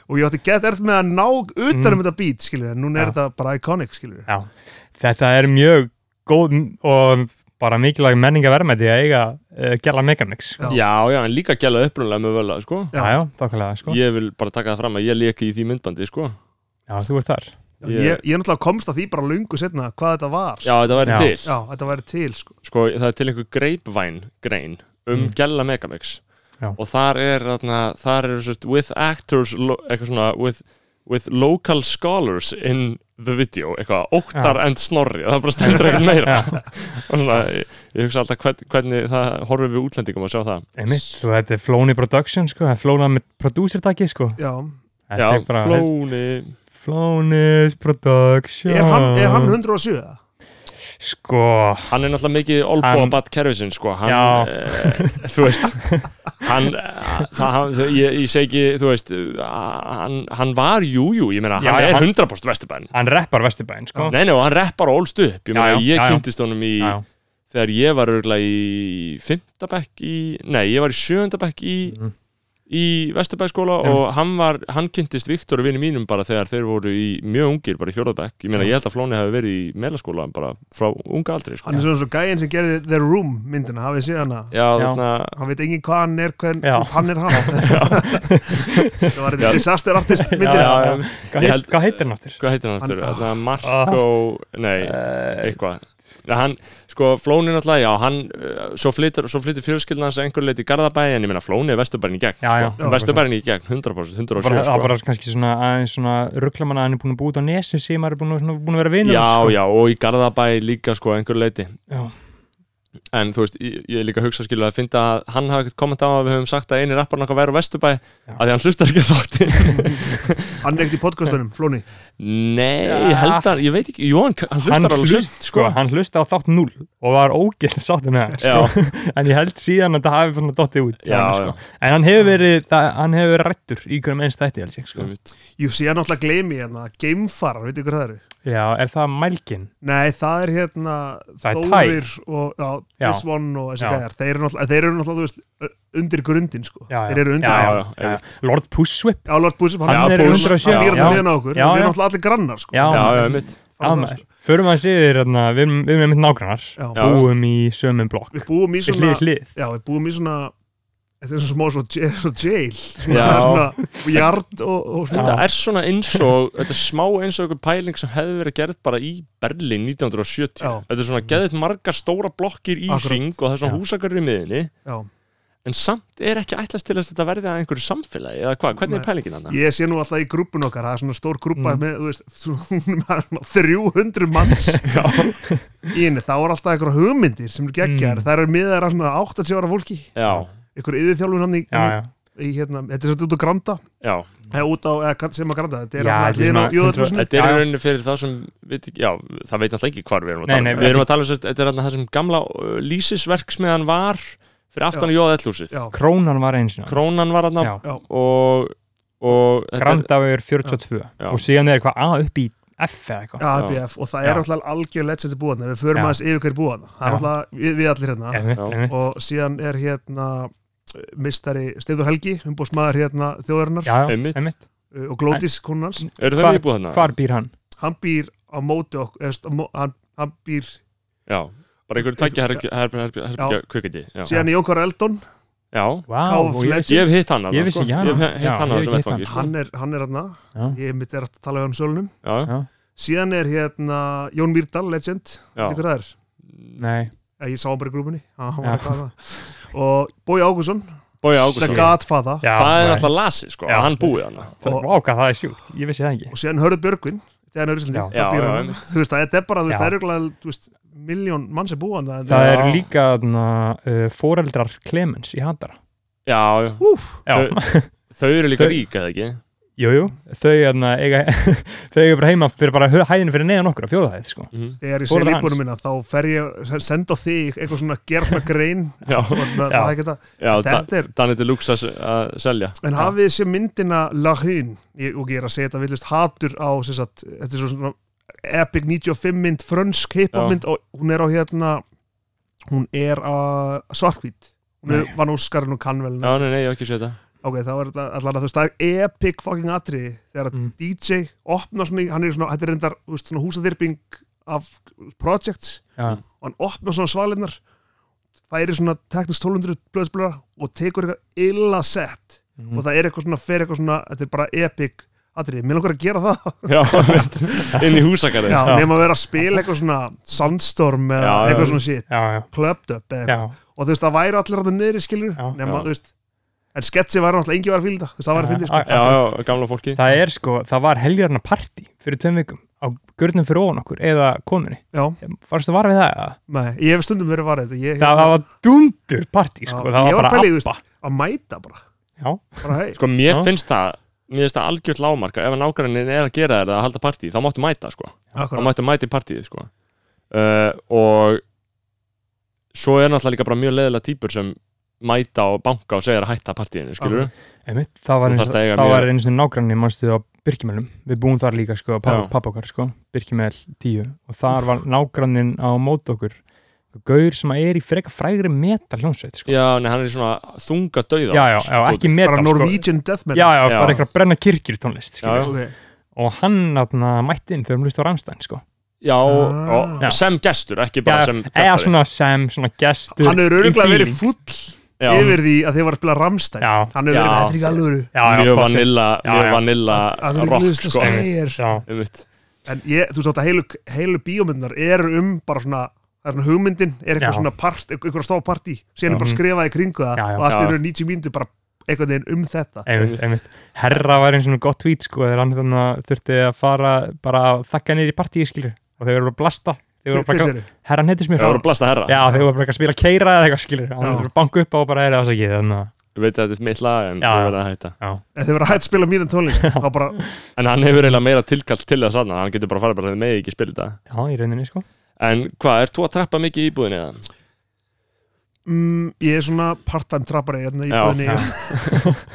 [SPEAKER 3] Mm.
[SPEAKER 4] Og ég átti gett erft með að ná utan um þetta beat, skilur, en núna er
[SPEAKER 3] Já.
[SPEAKER 4] þetta bara iconic, skilur
[SPEAKER 3] já þetta er mjög góð og bara mikilvæg menningaverðmæti að eiga uh, gæla megamix
[SPEAKER 4] Já.
[SPEAKER 1] já, já, en líka gæla upprunlega með völa, sko
[SPEAKER 4] Já.
[SPEAKER 3] já, já, þokkalega, sko
[SPEAKER 1] Ég vil bara taka það fram að ég leki í því myndbandi, sko
[SPEAKER 3] já, þú ert þar
[SPEAKER 4] Já,
[SPEAKER 1] Ég-
[SPEAKER 4] Ég, ég náttúrulega komst að því bara lungu setna hvað þetta var
[SPEAKER 1] Já, þetta væri
[SPEAKER 3] Já.
[SPEAKER 1] til
[SPEAKER 4] Já, þetta væri til sko.
[SPEAKER 1] sko, það er til einhver greipvæn grein um
[SPEAKER 3] Mm.
[SPEAKER 1] Gjalla Megamix
[SPEAKER 3] Já.
[SPEAKER 1] og þar er þarna, þar eru sérst with actors, lo- eitthvað svona with, with local scholars in the video, eitthvað, óttar and snorri, það bara stendur ekkert meira
[SPEAKER 3] já,
[SPEAKER 1] og svona, ég, ég hugsa alltaf hvern, hvernig það horfum við útlendingum að sjá það
[SPEAKER 3] einmitt, þú þetta er Flóni Production, sko það er Flóna með prodúsertaki, sko
[SPEAKER 4] Já.
[SPEAKER 1] Já,
[SPEAKER 3] Þetta er bara-
[SPEAKER 1] flóni
[SPEAKER 3] Flónis Production
[SPEAKER 4] Er, hann, er hann 107? eða?
[SPEAKER 3] sko,
[SPEAKER 1] Hann er náttúrulega mikið
[SPEAKER 3] Hann-
[SPEAKER 1] olbóabatt kerfisinn sko
[SPEAKER 3] Já.
[SPEAKER 1] hann,
[SPEAKER 3] (laughs)
[SPEAKER 1] e, Þú veist hann, eh, það, hann, ég, ég segi ekki þú veist, eh, hann, hann var jújú, jú, ég meina,
[SPEAKER 3] Já,
[SPEAKER 1] hann
[SPEAKER 3] já,
[SPEAKER 1] er
[SPEAKER 3] hann-
[SPEAKER 1] 100% vesturbæn
[SPEAKER 3] hann reppar Vesturbæn, sko
[SPEAKER 1] Nei, nei, og hann reppar og ólst upp Ég, meina,
[SPEAKER 3] Já, já,
[SPEAKER 1] ég
[SPEAKER 3] já, já.
[SPEAKER 1] kynntist honum í,
[SPEAKER 3] já,
[SPEAKER 1] þegar ég var örgulega í fymta bekk í, nei, ég var í sjöunda bekk í,
[SPEAKER 3] Mhm.
[SPEAKER 1] í vesturbækskóla
[SPEAKER 3] Einmitt.
[SPEAKER 1] og hann var, hann kynntist Viktor og vini mínum bara þegar þeir voru í mjög ungir, bara í fjórða bekk, ég meina,
[SPEAKER 3] Já.
[SPEAKER 1] ég held að Flóni hafi verið í melaskóla bara frá unga aldri, sko
[SPEAKER 4] Hann er svona svo gæinn sem gerði The Room myndina, hafið séð hana
[SPEAKER 1] Já,
[SPEAKER 3] Já.
[SPEAKER 1] þarna,
[SPEAKER 4] Hann veit engin hvað hann er, hvern,
[SPEAKER 3] Já.
[SPEAKER 4] hvort hann er
[SPEAKER 3] (laughs)
[SPEAKER 4] hann (laughs) Það var
[SPEAKER 1] Já.
[SPEAKER 4] þetta disaster artist
[SPEAKER 3] já,
[SPEAKER 4] myndina
[SPEAKER 3] já,
[SPEAKER 1] já.
[SPEAKER 3] já.
[SPEAKER 1] Ég
[SPEAKER 3] Hvað,
[SPEAKER 1] held-
[SPEAKER 3] heit, hvað heitir hann Ah. Eh, áttur?
[SPEAKER 1] hvað heitir hann aftur?
[SPEAKER 4] Hann-
[SPEAKER 1] Þarna Marco, nei, Eh, eitthvað Nei, hann, sko, Flóni náttúrulega, já, hann uh, svo flyttur, svo flyttur fjölskyldan hans að einhver leiti í Garðabæ, en ég meina Flóni er vesturbærin í gegn
[SPEAKER 3] Já, já.
[SPEAKER 1] sko. vesturbærin í gegn, 100%, 100%
[SPEAKER 3] bara,
[SPEAKER 1] sko.
[SPEAKER 3] það bara kannski svona aðeins svona rugglamann að hann er búin að búið á nesin sem maður er búin að, svona, búin að vera vinur
[SPEAKER 1] já,
[SPEAKER 3] sko.
[SPEAKER 1] já, og í Garðabæ líka, sko, að einhver leiti
[SPEAKER 3] já,
[SPEAKER 1] en þú veist, ég, ég er líka að hugsa skilu að finna að hann hafi ekkert komment á að við höfum sagt að eini rapparinn okkar væri á Vesturbæ
[SPEAKER 3] Já.
[SPEAKER 1] að því hann hlustar ekki þátti
[SPEAKER 4] Hann er ekkert í podcastunum, Flóni
[SPEAKER 1] Nei,
[SPEAKER 3] Já.
[SPEAKER 1] ég held að, ég veit ekki, jú, hann, hann hlustar
[SPEAKER 3] hann,
[SPEAKER 1] alveg
[SPEAKER 3] hlust,
[SPEAKER 1] sumt,
[SPEAKER 3] sko, hann hlusta á þátt 0 og var ógæst að sátti með hann sko. en ég held síðan að það hafi svona dottið út
[SPEAKER 1] Já,
[SPEAKER 3] hann, sko. en hann hefur verið það, hann hefur verið rættur í hverjum eins þætti held ég, sko.
[SPEAKER 1] Einmitt.
[SPEAKER 4] Jú, sé hann náttúrulega gleymi hérna, geimfarar, veitir hvað það eru?
[SPEAKER 3] já, er það mælgin
[SPEAKER 4] Nei, það er hérna
[SPEAKER 3] Það er
[SPEAKER 4] Þórir og já,
[SPEAKER 3] Já.
[SPEAKER 4] This One og þessi
[SPEAKER 3] Já.
[SPEAKER 4] gæjar Þeir eru náttúrulega, þeir eru náttúrulega, þú veist, undir grundin sko
[SPEAKER 3] já, já.
[SPEAKER 4] Þeir eru undir
[SPEAKER 3] já, já,
[SPEAKER 1] Já,
[SPEAKER 3] já. Lord Pushwip
[SPEAKER 4] Já, Lord Búsip,
[SPEAKER 3] Hann
[SPEAKER 1] er
[SPEAKER 3] 107,
[SPEAKER 4] Búsip, Hann býr
[SPEAKER 1] já.
[SPEAKER 4] hann hérna okkur,
[SPEAKER 3] Já,
[SPEAKER 4] við
[SPEAKER 3] já.
[SPEAKER 4] erum alltaf allir grannar sko.
[SPEAKER 1] Já,
[SPEAKER 3] já,
[SPEAKER 1] já, mitt
[SPEAKER 4] Farðu það,
[SPEAKER 3] maður. förum að séu þér við erum einmitt nágrannar
[SPEAKER 4] sko. já.
[SPEAKER 1] Já.
[SPEAKER 3] búum í sömum blokk
[SPEAKER 4] Við búum í
[SPEAKER 3] við
[SPEAKER 4] svona
[SPEAKER 3] hlið hlið
[SPEAKER 4] Já, við búum í svona Þetta er svona smá svo, j- svo jail Svona,
[SPEAKER 1] Já.
[SPEAKER 4] svona jard og, og svona
[SPEAKER 1] Þetta er svona eins og, þetta er smá eins og einhver pæling sem hefði verið gerð bara í Berlín 1970.
[SPEAKER 4] Já.
[SPEAKER 1] Þetta er svona geðið margar stóra blokkir í
[SPEAKER 4] Akkurat.
[SPEAKER 1] hring og það er svona
[SPEAKER 3] Já.
[SPEAKER 1] húsakarri í miðinni,
[SPEAKER 4] Já.
[SPEAKER 1] en samt er ekki ætlast til þess að þetta verði að einhverju samfélagi eða hvað, hvernig er
[SPEAKER 4] Nei.
[SPEAKER 1] pælingin þarna?
[SPEAKER 4] Ég sé nú alltaf í grúppun okkar, það er svona stór grúppa
[SPEAKER 3] Mm.
[SPEAKER 4] með, þú veist, svona 300 manns í henni, þá er alltaf einhverja hugmyndir sem eru geggjar,
[SPEAKER 3] Mm.
[SPEAKER 4] mm. það eru miðar af svona 80 ára fólki,
[SPEAKER 1] Já,
[SPEAKER 4] einhverju yðurþjálfun hann í,
[SPEAKER 3] já, já,
[SPEAKER 4] í hérna, þetta er svolítið út á Granda
[SPEAKER 1] já,
[SPEAKER 4] eða út á, eða sem á Granda, þetta
[SPEAKER 3] Já,
[SPEAKER 4] er hérna
[SPEAKER 3] þetta er
[SPEAKER 4] hliðin á
[SPEAKER 3] svona-
[SPEAKER 4] Jóðurhúsinu
[SPEAKER 1] þetta er í
[SPEAKER 3] Já.
[SPEAKER 1] rauninni fyrir þá sem, við, já, það veit alltaf ekki hvar við erum að
[SPEAKER 3] Nei,
[SPEAKER 1] tala um.
[SPEAKER 3] nei,
[SPEAKER 1] Við erum að tala um þess að þetta er þarna það sem gamla uh, lýsisverksmiðan var fyrir aftan jóðellúsið
[SPEAKER 4] já,
[SPEAKER 3] Krónan var eins og
[SPEAKER 1] krónan var hann
[SPEAKER 3] Já.
[SPEAKER 1] og, og þetta er-
[SPEAKER 3] Grandavegur 42
[SPEAKER 1] Já.
[SPEAKER 3] og síðan er eitthvað A upp í F eða eitthvað
[SPEAKER 4] já, ABF og það
[SPEAKER 3] Já.
[SPEAKER 4] er alltaf algjör legend í búana, við
[SPEAKER 3] Já.
[SPEAKER 4] förum aðeins yfir hverju búana það er
[SPEAKER 3] Já.
[SPEAKER 4] alltaf við, við allir hérna
[SPEAKER 3] Einmitt,
[SPEAKER 1] Já.
[SPEAKER 3] einmitt.
[SPEAKER 4] og síðan er hérna mistari Steidur Helgi, umbóðsmaður hérna þjóðarinnar
[SPEAKER 3] Já, já,
[SPEAKER 1] Einmitt.
[SPEAKER 3] einmitt.
[SPEAKER 4] uh, og Glótis konunans,
[SPEAKER 1] eru þau
[SPEAKER 3] Hvar-
[SPEAKER 1] íbúð þarna?
[SPEAKER 3] Hvar býr hann?
[SPEAKER 4] hann býr á móti okkur, eða, þú veist, á mó- hann, hann býr
[SPEAKER 1] Já, bara einhverju tækja herbyggja kvikindi Já,
[SPEAKER 4] síðan í Jónkvar Eldon,
[SPEAKER 1] já.
[SPEAKER 3] Vá,
[SPEAKER 4] Káf
[SPEAKER 3] og ég
[SPEAKER 4] Legend.
[SPEAKER 3] vissi-
[SPEAKER 1] ég hef hitt hann þarna,
[SPEAKER 3] Ég vissi
[SPEAKER 1] sko.
[SPEAKER 3] ekki hana.
[SPEAKER 1] Ég hef
[SPEAKER 3] Já,
[SPEAKER 1] hitt hann á
[SPEAKER 3] ég hef
[SPEAKER 1] þessum
[SPEAKER 3] ekki hitt
[SPEAKER 1] vettvangi sko.
[SPEAKER 4] hann er, hann er hérna
[SPEAKER 3] Já.
[SPEAKER 4] ég mitt er að tala við hann sölunum
[SPEAKER 1] Já,
[SPEAKER 3] Já.
[SPEAKER 4] síðan er hérna Jón Mýrdal, legend,
[SPEAKER 1] já,
[SPEAKER 4] veitir hvað það er
[SPEAKER 3] Nei,
[SPEAKER 4] Já, ég sá hann bara í grúpunni Já, hann
[SPEAKER 3] Já.
[SPEAKER 4] var eitthvað annað. og Bói Ágússon,
[SPEAKER 1] Bói
[SPEAKER 4] The
[SPEAKER 1] Ágússon
[SPEAKER 4] Godfather
[SPEAKER 3] já,
[SPEAKER 1] Það er
[SPEAKER 3] nei.
[SPEAKER 1] alltaf lasi, sko,
[SPEAKER 3] Já.
[SPEAKER 1] að hann búið hann
[SPEAKER 3] Það- Vá, hvað það er sjúkt, ég vissi það ekki
[SPEAKER 4] og síðan Hörður Björgvin þegar hann er í Íslandi,
[SPEAKER 3] Já.
[SPEAKER 1] Já,
[SPEAKER 4] það býr
[SPEAKER 1] já,
[SPEAKER 4] hann
[SPEAKER 1] einmitt.
[SPEAKER 4] þú veist, það er bara, þú veist,
[SPEAKER 3] Já.
[SPEAKER 4] það er örugglega miljón mann sem búa hann
[SPEAKER 3] Það
[SPEAKER 1] Já.
[SPEAKER 3] eru líka na, uh, foreldrar Clemens í Hatara
[SPEAKER 1] Já, já.
[SPEAKER 4] úf,
[SPEAKER 3] Já,
[SPEAKER 1] þau eru líka
[SPEAKER 3] Þau-
[SPEAKER 1] rík, eða ekki?
[SPEAKER 3] (laughs) jú, jú, þau hérna, eiga, (laughs) þau eiga bara heima fyrir bara hö- hæðinu fyrir neðan okkur á fjóðahæð sko.
[SPEAKER 1] Mhm.
[SPEAKER 4] þegar ég
[SPEAKER 3] Foreldrar
[SPEAKER 4] segi
[SPEAKER 3] hans.
[SPEAKER 4] líbunum minna þá fer ég að senda á þig eitthvað svona, gera svona grein
[SPEAKER 1] Já,
[SPEAKER 4] og það það er ekki það,
[SPEAKER 1] já,
[SPEAKER 4] Þetta er-
[SPEAKER 1] þannig til lúks að að selja
[SPEAKER 4] en
[SPEAKER 3] Já.
[SPEAKER 4] hafið þessi myndina Lahun, ég, og ég er að segja þetta villist hatur á, sem sagt, þetta er svona epic 95 mynd, frönsk
[SPEAKER 1] Já.
[SPEAKER 4] hip-hop mynd og hún er á hérna hún er á svartkvít hún er,
[SPEAKER 3] Nei.
[SPEAKER 4] var nú skarinn og kannvelin
[SPEAKER 3] Mhm.
[SPEAKER 1] Já, nei, nei, ég hef ekki séð þetta
[SPEAKER 4] ok, þá er þetta allan að þú veist, það er epic fucking atriði þegar að
[SPEAKER 3] Mm.
[SPEAKER 4] DJ opnar svona, í- hann er svona, þetta er reyndar þú veist, svona húsathyrping af projects
[SPEAKER 3] Já,
[SPEAKER 4] og hann opnar svona svalinnar færi svona teknist 1200 blöðsblöðar og tekur eitthvað illa sett
[SPEAKER 3] Mhm.
[SPEAKER 1] Mm.
[SPEAKER 4] og það er eitthvað svona, fer eitthvað svona þetta er bara epic atriði, mér langar að gera það
[SPEAKER 1] Já, (laughs) veit, inn í húsakarði
[SPEAKER 4] já,
[SPEAKER 3] (laughs) Já.
[SPEAKER 4] nema að vera að spila eitthvað svona sandstorm eða
[SPEAKER 1] Já, já.
[SPEAKER 4] eitthvað svona shit
[SPEAKER 3] já, já,
[SPEAKER 4] clubbed up eða
[SPEAKER 3] já,
[SPEAKER 4] eitthvað og þú veist, það væri allir að það niður í skilur
[SPEAKER 3] Já.
[SPEAKER 4] nema,
[SPEAKER 1] Já.
[SPEAKER 4] þú veist, en sketsi var náttúrulega engi var að fylgja það, þú veist, það var að fylgja sko.
[SPEAKER 1] Já, já, gamla fólki
[SPEAKER 3] Það er sko, það var helgarna party fyrir tveim vikum á görnum fyrir ofan okkur eða konunni,
[SPEAKER 4] já,
[SPEAKER 3] varstu var við það? eða?
[SPEAKER 4] Nei, ég hef stundum verið varðið Ég
[SPEAKER 3] Það, það var dundur party sko,
[SPEAKER 4] Já,
[SPEAKER 3] það var
[SPEAKER 4] ég var
[SPEAKER 3] bara
[SPEAKER 4] pælið, þú veist.
[SPEAKER 3] appa
[SPEAKER 4] að mæta bara,
[SPEAKER 3] Já,
[SPEAKER 4] bara hei
[SPEAKER 1] Sko, mér
[SPEAKER 3] Já.
[SPEAKER 1] finnst það Mér finnst það algjört lágmarka Ef að nágrannin er að gera þér að halda partí Þá máttu mæta, sko Þá
[SPEAKER 4] Akkurat,
[SPEAKER 1] mættu mæti í partíið, sko uh, Og Svo er náttúrulega líka bara mjög leðilega típur sem mæta og banka og segja þér að hætta partíinu, skilur við?
[SPEAKER 3] einmitt, það var
[SPEAKER 1] Þú
[SPEAKER 3] eins
[SPEAKER 1] þarft að eiga
[SPEAKER 3] og- það
[SPEAKER 1] mjög-
[SPEAKER 3] var eins og nágranni mannstu á Birkimælum, við búum þar líka sko,
[SPEAKER 1] Já.
[SPEAKER 3] pappa okkar sko, Birkimæl 10 og þar var nágrannin á mót okkur gaur sem er í freka frægri metal hljónsveit sko. já,
[SPEAKER 1] Já, nei, hann er í svona þunga dauða
[SPEAKER 3] já, já, ekki metal
[SPEAKER 4] bara
[SPEAKER 3] sko.
[SPEAKER 4] Norwegian Death
[SPEAKER 3] já,
[SPEAKER 4] Metal
[SPEAKER 3] já,
[SPEAKER 1] Já.
[SPEAKER 3] bara eitthvað að brenna kirkjur tónlist
[SPEAKER 1] Já, já.
[SPEAKER 3] já, og hann atna, mætti inn þegar hún hlust á Rammstein sko.
[SPEAKER 1] Já, og,
[SPEAKER 4] Ah.
[SPEAKER 1] og,
[SPEAKER 3] Já.
[SPEAKER 1] sem gestur, ekki bara
[SPEAKER 3] já,
[SPEAKER 1] sem
[SPEAKER 3] eða
[SPEAKER 1] kantari.
[SPEAKER 3] svona sem, svona gestur
[SPEAKER 4] Hann hefur
[SPEAKER 3] í
[SPEAKER 4] örgulega verið
[SPEAKER 3] feeling.
[SPEAKER 4] full
[SPEAKER 1] Já.
[SPEAKER 4] yfir því að þið var að spila Rammstein
[SPEAKER 3] Já.
[SPEAKER 4] Hann hefur
[SPEAKER 1] Já.
[SPEAKER 4] verið þetta er ekki alvöru
[SPEAKER 3] já, já,
[SPEAKER 1] mjög
[SPEAKER 3] pottet.
[SPEAKER 1] vanilla,
[SPEAKER 3] Já,
[SPEAKER 1] mjög
[SPEAKER 3] já.
[SPEAKER 1] vanilla
[SPEAKER 4] Að vera
[SPEAKER 1] rock
[SPEAKER 4] glust að
[SPEAKER 1] sko
[SPEAKER 4] stegir
[SPEAKER 3] já,
[SPEAKER 1] Einmitt.
[SPEAKER 4] En ég, þú veist þetta heilu, heilu bíómyndnar eru um bara svona það er svona hugmyndin, er eitthvað
[SPEAKER 3] Já.
[SPEAKER 4] svona part eitthvað stóð partí,
[SPEAKER 3] Já.
[SPEAKER 4] síðan er bara skrifað í kringu það
[SPEAKER 3] Já, já.
[SPEAKER 4] og allt
[SPEAKER 1] Mhm. Já.
[SPEAKER 4] eru 90 mínútur bara einhvern veginn um þetta
[SPEAKER 3] einmitt, einmitt. Herra var eins og nú gott vít sko þegar hann þannig þurfti að fara bara að þakka niður í partíi skilur og þeir voru að blasta þeir voru bara
[SPEAKER 4] Hvað
[SPEAKER 3] að,
[SPEAKER 4] séru?
[SPEAKER 3] herran heitir
[SPEAKER 1] það voru
[SPEAKER 3] smér
[SPEAKER 1] blasta herra
[SPEAKER 3] Já, þeir voru bara að spila keira eða eitthvað skilur og þeir voru að banka upp á og bara hérna." er það ekki þannig að
[SPEAKER 1] ég veit að þetta er mitt lag en
[SPEAKER 3] Já,
[SPEAKER 1] það
[SPEAKER 3] já.
[SPEAKER 1] verða að hætta
[SPEAKER 4] Ef þið verið að hægt spila mínu tónlist þá bara,
[SPEAKER 1] en hann hefur eiginlega meira tilkall til þess aðna hann getur bara farið bara "Þið megið ekki spila þetta
[SPEAKER 3] Já, í rauninni sko
[SPEAKER 1] en hvað, er þú að trappa mikið í íbúðinni eða?
[SPEAKER 4] mm, ég er svona part-time trappari hérna í
[SPEAKER 1] Já.
[SPEAKER 4] búinni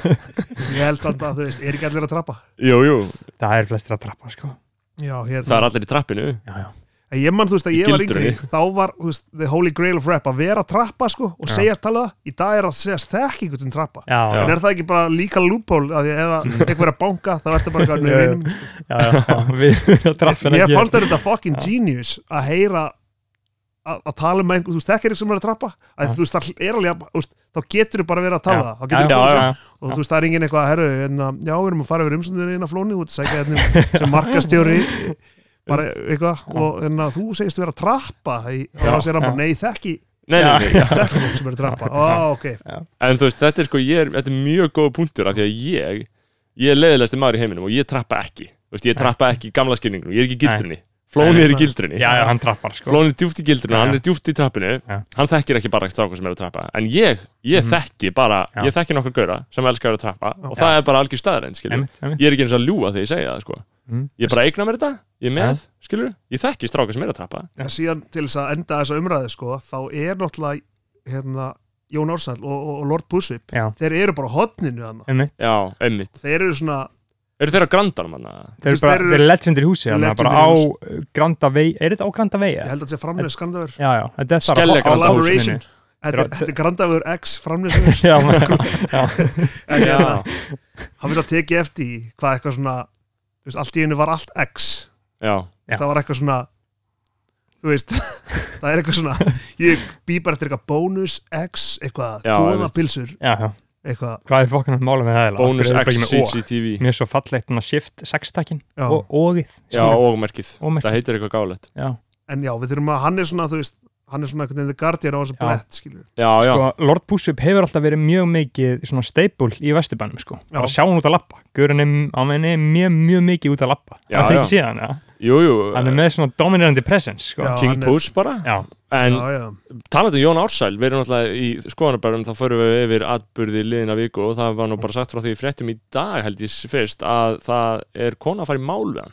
[SPEAKER 4] Ég held samt að þú veist, er ekki allir að trappa
[SPEAKER 1] jú, jú,
[SPEAKER 3] Það er flestir að trappa sko
[SPEAKER 4] Já,
[SPEAKER 1] það
[SPEAKER 4] hérna
[SPEAKER 1] er allir í trappinu
[SPEAKER 3] Já, já,
[SPEAKER 4] En Ég mann, þú veist, að
[SPEAKER 1] Í
[SPEAKER 4] ég var
[SPEAKER 1] gildrunni.
[SPEAKER 4] yngri Þá var, þú veist, the holy grail of rap Að vera að trappa, sko, og
[SPEAKER 3] Já.
[SPEAKER 4] segja tala það Í dag er að segja þekkingut um trappa
[SPEAKER 3] já, já,
[SPEAKER 4] En er það ekki bara líka loophole Að ég ef
[SPEAKER 3] (laughs)
[SPEAKER 4] að einhver er að banka, þá ertu bara eitthvað, "Nei,
[SPEAKER 3] Já, já.
[SPEAKER 4] vinur minn."
[SPEAKER 3] já, já, (laughs) já Við erum að trappa
[SPEAKER 4] Mér fannst
[SPEAKER 3] (laughs)
[SPEAKER 4] þér þetta fucking genius Að heyra að að tala með einhver Þú veist, þekkir ekki sem er að trappa að
[SPEAKER 3] Já.
[SPEAKER 4] Þú veist, það er alveg, að- þú veist, þá getur þú bara verið að tala það Þá
[SPEAKER 3] Já,
[SPEAKER 4] getur
[SPEAKER 3] já,
[SPEAKER 4] þú
[SPEAKER 1] bara-
[SPEAKER 3] já,
[SPEAKER 4] og þú veist, það er enginn eitthvað herru, en, já, við erum að fara yfir umsöndinu inn að flóni út, segja þetta sem markastjóri
[SPEAKER 3] (laughs)
[SPEAKER 4] bara eitthvað og en, þú segist vera að trappa í, og
[SPEAKER 1] Já,
[SPEAKER 4] þá segir hann bara,
[SPEAKER 3] já.
[SPEAKER 4] nei, þekki
[SPEAKER 1] nei, nei, nei.
[SPEAKER 4] þekki fólk sem er að trappa, ó, ok
[SPEAKER 1] en þú veist, þetta er sko ég er, þetta er mjög góð punktur af því að ég ég er leiðilegsti maður í heiminum og ég trappa ekki þú veist, ég trappa ekki í gamla skilningnum, ég er ekki í gildrunni Flóni er í gildrunni
[SPEAKER 3] já, já, hann trappar sko
[SPEAKER 1] Flóni er djúft í gildrunni,
[SPEAKER 3] Já.
[SPEAKER 1] hann er djúft í trappinu
[SPEAKER 3] Já. Mhm.
[SPEAKER 1] hann þekkir ekki bara ekki strákar sem eru að trappa en ég, ég þekki bara,
[SPEAKER 3] Já.
[SPEAKER 1] ég þekki nokkur gauðra sem elskar að vera að trappa og það er bara algjör staðarinn, skilur
[SPEAKER 3] Einmitt, einmitt
[SPEAKER 1] ég er ekki eins og að ljúa þegar ég segja það, sko
[SPEAKER 3] Mm.
[SPEAKER 1] ég bara eigna mér þetta, ég er með, skilur ég þekki strákar sem eru að trappa
[SPEAKER 4] en síðan til þess að enda þessa umræðu sko, þá er náttúrulega hérna, Jón Ársall og, og, og Lord Bullsvip
[SPEAKER 3] já,
[SPEAKER 4] þeir eru bara á hotninu hann
[SPEAKER 3] einmitt
[SPEAKER 1] já, einmitt
[SPEAKER 4] þeir eru svona,
[SPEAKER 1] eru þeirra grandar manna?
[SPEAKER 3] Þeir eru
[SPEAKER 4] Fyrst
[SPEAKER 3] bara,
[SPEAKER 4] þeir eru-
[SPEAKER 3] þeir eru legendir í húsi, þannig að bara á
[SPEAKER 4] Legendir í
[SPEAKER 3] uh, Granda vei, er þetta á Granda vei?
[SPEAKER 4] ég held að þetta sé framlega skandaður
[SPEAKER 3] Já, já, þetta er þar á-
[SPEAKER 1] Skelja
[SPEAKER 3] á
[SPEAKER 1] Granda.
[SPEAKER 3] húsinu.
[SPEAKER 4] Collaboration. Þetta er-
[SPEAKER 3] Þeir-
[SPEAKER 4] þetta er grandaður X framlega
[SPEAKER 3] (laughs) Já, já, já,
[SPEAKER 4] en
[SPEAKER 1] Já.
[SPEAKER 4] hérna, hann vil að teki eftir í hvað eitthvað svona þú veist, allt í einu var allt X
[SPEAKER 1] Já,
[SPEAKER 3] Já.
[SPEAKER 4] það var eitthvað svona þú veist, (laughs) það er eitthvað svona ég bý bara eftir eitthvað bónus X, eitthvað,
[SPEAKER 1] Já,
[SPEAKER 4] góðapilsur
[SPEAKER 3] já, já,
[SPEAKER 4] eitthvað,
[SPEAKER 3] hvað er fokkan að mála með það? eiginlega?
[SPEAKER 1] bónus
[SPEAKER 3] Af hverju
[SPEAKER 1] X
[SPEAKER 3] eru bara ekki með O?
[SPEAKER 1] CCTV
[SPEAKER 3] Mér er svo fallegt þannig að shift sextakinn
[SPEAKER 4] já,
[SPEAKER 3] og ógið
[SPEAKER 1] Já, og merkið,
[SPEAKER 3] Og merkið.
[SPEAKER 1] það heitir eitthvað gálegt
[SPEAKER 3] já.
[SPEAKER 4] en já, við þurfum að hann er svona, þú veist hann er svona einhvern veginn the guardian á þessu
[SPEAKER 3] Já.
[SPEAKER 4] blett, skilur
[SPEAKER 1] Já, já,
[SPEAKER 3] Sko, Lord Búsup hefur alltaf verið mjög mikið svona steipul í vesturbænum sko.
[SPEAKER 4] Já.
[SPEAKER 3] bara sjá hann út að lappa Gurin er, hann er mjög, mjög mikið út að lappa
[SPEAKER 1] Já,
[SPEAKER 3] það er ekki
[SPEAKER 1] já.
[SPEAKER 3] síðan, ja.
[SPEAKER 1] jú, jú
[SPEAKER 3] hann er með svona dominerandi presence sko.
[SPEAKER 4] Já,
[SPEAKER 1] King
[SPEAKER 4] hann er-
[SPEAKER 1] Puss bara
[SPEAKER 3] já,
[SPEAKER 1] En
[SPEAKER 4] já, já,
[SPEAKER 1] talandi um Jón Ársæl, við erum náttúrulega í skoðanabærum þá förum við yfir atburði liðina viku og það var nú bara sagt frá því í fréttum í dag held ég fyrst að það er kona að fara í mál við hann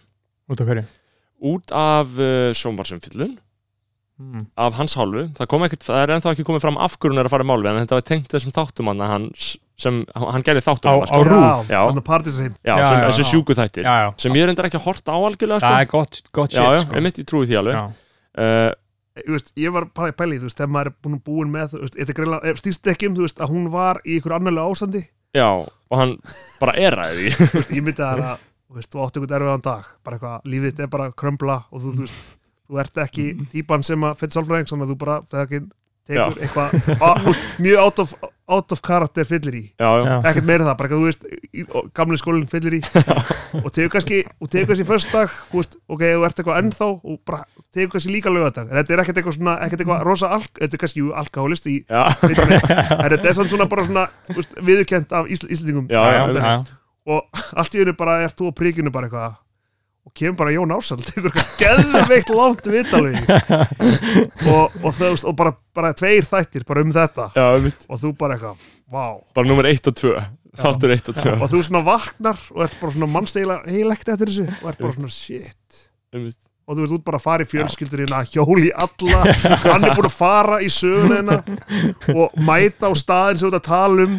[SPEAKER 3] út á hverju
[SPEAKER 1] út af uh, sjónvarsumfyllun
[SPEAKER 3] mm.
[SPEAKER 1] af hans hálfu, það, kom ekkert, það er ennþá ekki komið fram af hverju hann er að fara í mál við hann en þetta var tengt þessum þáttum hann hans sem hann gerði þáttum
[SPEAKER 3] Á-
[SPEAKER 1] hann
[SPEAKER 3] á-
[SPEAKER 1] sko.
[SPEAKER 3] RÚV.
[SPEAKER 1] Já.
[SPEAKER 4] hann er partisreim
[SPEAKER 1] já,
[SPEAKER 3] Já,
[SPEAKER 1] sem,
[SPEAKER 3] já,
[SPEAKER 1] þessi
[SPEAKER 3] já.
[SPEAKER 1] sjúku þættir
[SPEAKER 3] já, já,
[SPEAKER 1] sem ég er reyndar ekki að horta á algjörlega
[SPEAKER 3] það
[SPEAKER 1] sko.
[SPEAKER 3] er gott, gott
[SPEAKER 1] já,
[SPEAKER 3] shit
[SPEAKER 1] já,
[SPEAKER 3] sko.
[SPEAKER 1] einmitt ég trúi því alveg
[SPEAKER 3] já.
[SPEAKER 1] uh,
[SPEAKER 4] Ég veist, ég var bara í pæli, þú veist, þegar maður er búin búin með, þú veist, þetta er greinlega, ef stýst ekki um, þú veist, að hún var í ykkur annarlega ástandi,
[SPEAKER 1] já, og hann bara er að því
[SPEAKER 3] (laughs)
[SPEAKER 4] þú veist, ég myndi að það, þú veist, þú átt ykkur erfiðan dag, bara eitthvað, lífið þetta er bara að krömbla og þú, þú veist, þú ert ekki típan sem að fyrir sálfræðing, þannig að þú bara, þegar ekki tekur eitthvað, að, þú veist, mjög out of, out of character fyllir í,
[SPEAKER 1] já, já,
[SPEAKER 3] Já.
[SPEAKER 4] ekkert meira það, bara eitthvað, þú veist, í, og, gamli skólinn fyllir í og tegur kannski, og tegur kannski föstudag, þú veist, ok, þú ert eitthvað ennþá og bara tegur kannski líka lögadag, en þetta er ekkert eitthvað svona, ekkert eitthvað rosa alk, þetta er kannski jú, alkoholist
[SPEAKER 1] (laughs)
[SPEAKER 4] í
[SPEAKER 1] já,
[SPEAKER 4] Veitum við. En þetta er samt svona bara svona þú veist, viðurkent af Ísl Íslendingum
[SPEAKER 1] Já, já,
[SPEAKER 3] já, já.
[SPEAKER 4] og (laughs) allt í hennu bara er þú á prikinu bara eitthvað og kemur bara Jón Ársall tekur eitthvað geðveikt langt vitalegi og, og, þau, og bara, bara tveir þættir bara um þetta
[SPEAKER 1] já, einmitt
[SPEAKER 4] og þú bara eitthvað, vá
[SPEAKER 1] bara nummer 1 og 2 þáttur 1 og 2
[SPEAKER 4] og þú svona vaknar og ert bara svona mannstegila heilegt eftir þessu og ert bara svona shit
[SPEAKER 1] Einmitt.
[SPEAKER 4] og þú veist út bara að fara í fjölskyldurina hjóli alla, hann er búin að fara í söguna og mæta á staðin sem þú ert að tala um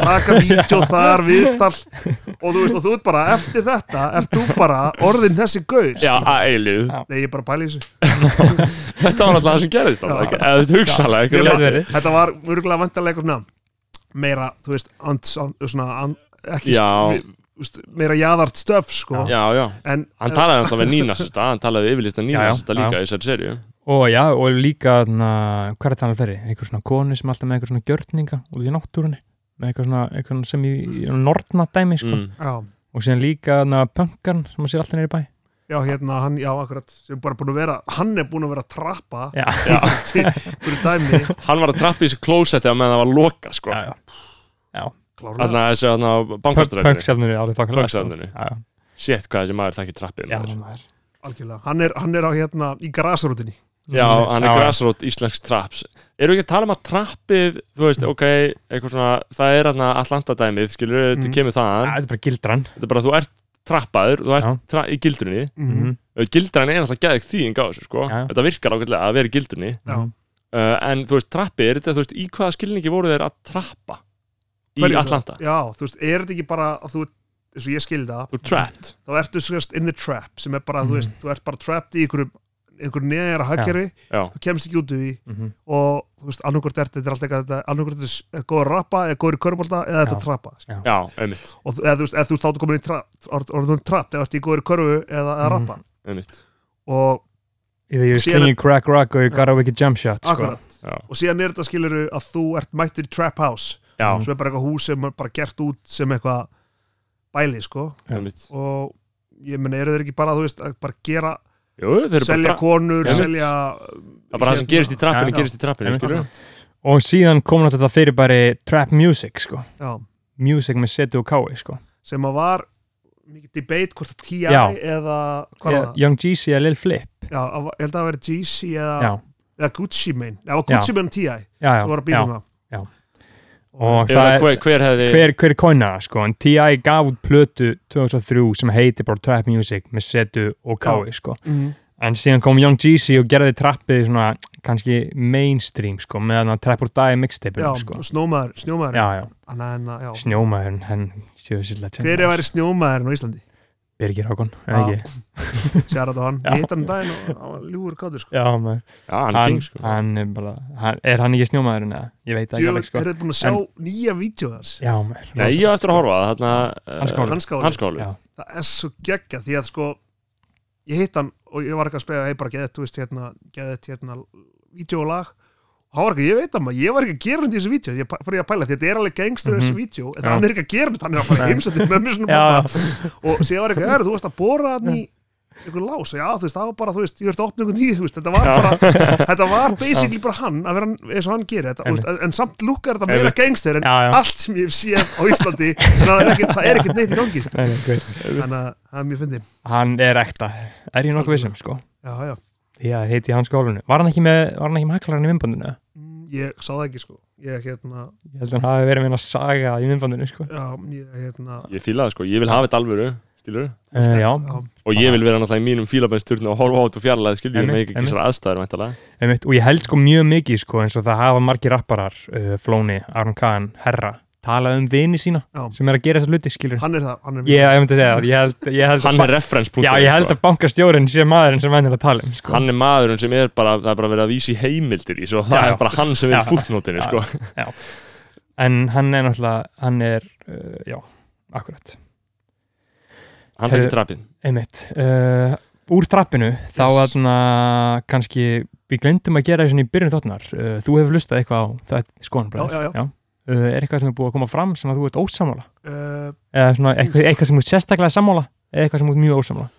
[SPEAKER 4] taka vídeo þar, viðtal og þú veist, og þú ert bara eftir þetta ert þú bara orðin þessi gaur
[SPEAKER 1] já, að eilíð
[SPEAKER 3] Já.
[SPEAKER 4] nei, ég er bara að pæla í þessu
[SPEAKER 1] þetta var alltaf það sem gerðist þarna,
[SPEAKER 4] Já.
[SPEAKER 1] ekki? eða þetta hugsalega
[SPEAKER 3] Gæti
[SPEAKER 1] ekki?
[SPEAKER 4] Nema-
[SPEAKER 3] verið.
[SPEAKER 4] þetta var mörgulega vantarlega svona meira, þú veist, and, and, svona, and, ekki,
[SPEAKER 1] Já.
[SPEAKER 4] við- þú veist, meira jaðart stöf sko.
[SPEAKER 1] já, já
[SPEAKER 4] en
[SPEAKER 1] Hann talaði alltaf við Nína sérsta, hann talaði við yfirlista Nína
[SPEAKER 3] Já, já,
[SPEAKER 1] sérsta
[SPEAKER 3] já.
[SPEAKER 1] líka í þessari serju.
[SPEAKER 3] og já, og líka na, hvað er það hann fyrir, einhver svona konu sem er alltaf með einhver svona gjörninga út í náttúrunni með eitthvað svona, eitthvað sem í, í nornadæmi sko.
[SPEAKER 1] Mm.
[SPEAKER 4] já,
[SPEAKER 3] og síðan líka na, pönkarn sem að sér alltaf neyri bæ
[SPEAKER 4] já, hérna, hann, já, akkurat sem bara búin að vera, hann er búin að vera að trappa
[SPEAKER 3] já,
[SPEAKER 4] fyrir dæmi
[SPEAKER 1] Hann var að trappa í þessu klósetti á meðan það var loka, sko.
[SPEAKER 3] já, já.
[SPEAKER 4] klárlega,
[SPEAKER 1] Þannig að þessu hann á bankastræðinu.
[SPEAKER 3] Pöngsafnir er alveg þokkalega
[SPEAKER 1] Pönksafninu.
[SPEAKER 3] Já,
[SPEAKER 1] Sétt hvað þessi maður þekki trappið.
[SPEAKER 3] já,
[SPEAKER 1] maður.
[SPEAKER 3] maður.
[SPEAKER 4] algjörlega hann er, hann er á hérna í grasrótinni
[SPEAKER 1] já, hann er
[SPEAKER 3] Mhm. Já, já.
[SPEAKER 1] grassrót íslensk traps. Eru ekki að tala um að trappið, þú veist, ok, eitthvað svona, það er hann allandadæmið, skilur, þetta
[SPEAKER 4] Mm.
[SPEAKER 1] kemur
[SPEAKER 3] Já,
[SPEAKER 1] þaðan.
[SPEAKER 3] Þetta er bara gildran
[SPEAKER 1] Þetta er bara, þú ert trappaður, þú ert
[SPEAKER 3] Já.
[SPEAKER 1] tra í gildrunni.
[SPEAKER 3] Mhm.
[SPEAKER 1] Eh,
[SPEAKER 4] mm.
[SPEAKER 1] Gildran er alltaf gæðið þýðing á þessu, sko.
[SPEAKER 3] Já.
[SPEAKER 1] Þetta virkar ákveðlega að vera í gildrunni.
[SPEAKER 4] Já.
[SPEAKER 3] Mhm.
[SPEAKER 1] Uh, en þú veist, trappið, er þetta, þú veist, í hvaða skilningi voru þeir að trappa í
[SPEAKER 4] Hverju?
[SPEAKER 1] Atlanta?
[SPEAKER 4] já, þú veist, er þetta ekki bara að þú, eins og ég skildi það
[SPEAKER 1] Þú er trapped.
[SPEAKER 4] þá ertu sérst in the trap sem er bara, þú veist, þú ert bara trapped í einhverjum einhverjum neðjara hagkerfi,
[SPEAKER 1] Já.
[SPEAKER 4] þú kemst ekki út úr því
[SPEAKER 3] Mhm.
[SPEAKER 4] og þú veist, annarkvort ert þetta er alltaf eitthvað, annarkvort er þetta góður rappa eða góður körfbólta eða þetta
[SPEAKER 3] Já.
[SPEAKER 4] trappa skilur.
[SPEAKER 1] Já, einmitt,
[SPEAKER 4] og þú- eða þú veist, eða þú veist, þá ertu komin í trapp, orðun trapp eða ertu í góður körfu eða að
[SPEAKER 3] Mhm.
[SPEAKER 4] rappa
[SPEAKER 1] einmitt.
[SPEAKER 4] og
[SPEAKER 3] Either you
[SPEAKER 4] Síðan
[SPEAKER 3] sling you crack rock or you got away with jump shot sko.
[SPEAKER 4] akkurat,
[SPEAKER 1] Já,
[SPEAKER 4] og síðan er þetta skilur að þú ert mættur í trap house
[SPEAKER 1] já
[SPEAKER 4] sem er bara eitthvað hús sem er bara gert út sem eitthvað bæli sko
[SPEAKER 3] Mm.
[SPEAKER 1] einmitt.
[SPEAKER 4] og ég meina eru þeir ekki bara þú veist að bara gera,
[SPEAKER 1] Jú, þeir eru
[SPEAKER 4] selja hérna.
[SPEAKER 1] bara, tra-
[SPEAKER 4] konur,
[SPEAKER 1] Já.
[SPEAKER 4] selja
[SPEAKER 1] það er bara það sem gerist í trappinu,
[SPEAKER 3] Já.
[SPEAKER 1] gerist í trappinu,
[SPEAKER 3] Einmitt.
[SPEAKER 1] skilur.
[SPEAKER 3] Og síðan kom náttúrulega þetta fyrir bara trap music sko.
[SPEAKER 4] já,
[SPEAKER 3] Music með setu og kái sko.
[SPEAKER 4] sem að var mikið debate hvort að T.I.
[SPEAKER 3] Já.
[SPEAKER 4] eða hvað var
[SPEAKER 3] Ég-
[SPEAKER 4] það?
[SPEAKER 3] Young Jeezy eða Lil Flip
[SPEAKER 4] Já, að- ég held að það væri GC eða,
[SPEAKER 3] Já,
[SPEAKER 4] eða Gucci main, já, Gucci main og T.I.
[SPEAKER 3] já, já,
[SPEAKER 4] það var að
[SPEAKER 3] já.
[SPEAKER 4] býta um það
[SPEAKER 3] já.
[SPEAKER 4] og
[SPEAKER 3] Og
[SPEAKER 1] Ef það-
[SPEAKER 3] það
[SPEAKER 1] Hver,
[SPEAKER 3] er
[SPEAKER 1] hver hefði,
[SPEAKER 3] Hver, hver kona, sko, en T.I. gaf út plötu 2003 sem heitir bara Trap Music með setu og kái, sko
[SPEAKER 4] Mhm.
[SPEAKER 3] en síðan kom Young Jeezy og gerði trappið svona kannski mainstream sko, með hann að Trapper Die mixtape
[SPEAKER 4] já,
[SPEAKER 3] sko.
[SPEAKER 4] snjómaður, snjómaður
[SPEAKER 3] já, já,
[SPEAKER 4] Anna, anna, já.
[SPEAKER 3] snjómaðurinn hann séu þessi legend
[SPEAKER 4] hver er að vera snjómaðurinn á Íslandi
[SPEAKER 3] Birgir Hákon, eða
[SPEAKER 4] Já.
[SPEAKER 3] ekki
[SPEAKER 4] sér að hann,
[SPEAKER 3] Já.
[SPEAKER 4] ég hitt hann um daginn og hann var ljúfur kátur sko.
[SPEAKER 3] já, maður,
[SPEAKER 1] Já, hann er
[SPEAKER 3] hann,
[SPEAKER 1] king sko
[SPEAKER 3] hann er bara hann, er hann ekki snjómaðurinn eða, ég veit það ekki
[SPEAKER 4] Djöfull,
[SPEAKER 3] alveg sko
[SPEAKER 4] er þetta búin að sjá nýja vídeo þar
[SPEAKER 3] já, maður,
[SPEAKER 1] Nei, ég á eftir að horfa þarna eh,
[SPEAKER 3] Hans Káli.
[SPEAKER 4] hans gáli,
[SPEAKER 1] Hans Káli
[SPEAKER 3] Já.
[SPEAKER 4] það er svo geggja því að sko ég hitt hann og ég var ekki að spega hei bara geðið, þú veist, hérna, geðið, hérna vídeo og lag og hann var ekki, ég veit það maður, ég var ekki að gera hann í þessu vídeo ég fór ég að pæla, því þetta er alveg gangstur í þessu
[SPEAKER 3] Mhm.
[SPEAKER 4] vídeo, en
[SPEAKER 3] Já.
[SPEAKER 4] hann er ekki að gera þetta hann er að fara heimsætti með mér svona
[SPEAKER 3] Já,
[SPEAKER 4] pappa og séð var eitthvað, "Herra, þú varst að bóra hann í einhver lás, já þú veist, það var bara, þú veist ég veist, opna einhvern nýð, þú veist, þetta var bara þetta var basically bara hann, að vera hann eins og hann gerir þetta, þú veist, en- en samt lukkar þetta meira
[SPEAKER 1] Einmitt.
[SPEAKER 4] gangster en
[SPEAKER 3] Já, já.
[SPEAKER 4] allt sem ég hef séð á Íslandi, þannig að það er ekkert- það er ekkert neitt í gangi, sko.
[SPEAKER 3] nei, nei, great.
[SPEAKER 4] þannig að það er mjög fyndi
[SPEAKER 3] hann er ekta er ég nokkuð vissum sko
[SPEAKER 4] já, já,
[SPEAKER 3] já, heiti hans skólinu, var hann ekki með var hann ekki með haklarinn í minnbandinu
[SPEAKER 4] Mm, ég sá það ekki, sko ég hérna,
[SPEAKER 3] ég held að hann hafi verið með hann að saga í minnbandinu sko.
[SPEAKER 4] já, ég hérna
[SPEAKER 1] Ég fíla það sko, ég vil hafa þetta alvöru Skilur
[SPEAKER 3] uh, já,
[SPEAKER 1] Og ég vil vera náttúrulega í mínum fílabennsturnu og horfa át og fjarlæði skilur Ég
[SPEAKER 3] Einmitt,
[SPEAKER 1] með ekki
[SPEAKER 3] einmitt.
[SPEAKER 1] þessar aðstæður væntalega
[SPEAKER 3] einmitt, og ég held sko mjög mikið sko, eins og það hafa margir rapparar uh, Flóni, Aron Kahn, Herra talað um vini sína
[SPEAKER 4] Já.
[SPEAKER 3] sem er að gera þessar hluti skilur
[SPEAKER 4] hann er það, hann er
[SPEAKER 3] ég, ég myndi segja það, ég held, ég held
[SPEAKER 1] (laughs) Hann er reference
[SPEAKER 3] já, ég held að bankastjórin sé maðurinn sem hann er að tala um sko.
[SPEAKER 1] Hann er maðurinn sem er bara, það er bara verið að vísi heimildir í Svo það
[SPEAKER 3] Já, já.
[SPEAKER 1] er bara hann sem er
[SPEAKER 3] Já.
[SPEAKER 1] í fútnótinni
[SPEAKER 3] Já.
[SPEAKER 1] sko
[SPEAKER 3] en hann er náttúrulega, hann er uh, já, akkurat
[SPEAKER 1] Hann fætti trappin
[SPEAKER 3] einmitt, uh, úr trappinu þá
[SPEAKER 4] Yes.
[SPEAKER 3] aðna kannski við glendum að gera þessu í byrjun þáttnar uh, þú hefur lustað eitthvað á þetta skoðanbræð
[SPEAKER 4] Já, já, já.
[SPEAKER 3] Uh, er eitthvað sem er búið að koma fram sem að þú ert ósamála
[SPEAKER 4] uh,
[SPEAKER 3] eða svona eitthvað, eitthvað sem út sérstaklega sammála eða eitthvað sem út mjög ósammála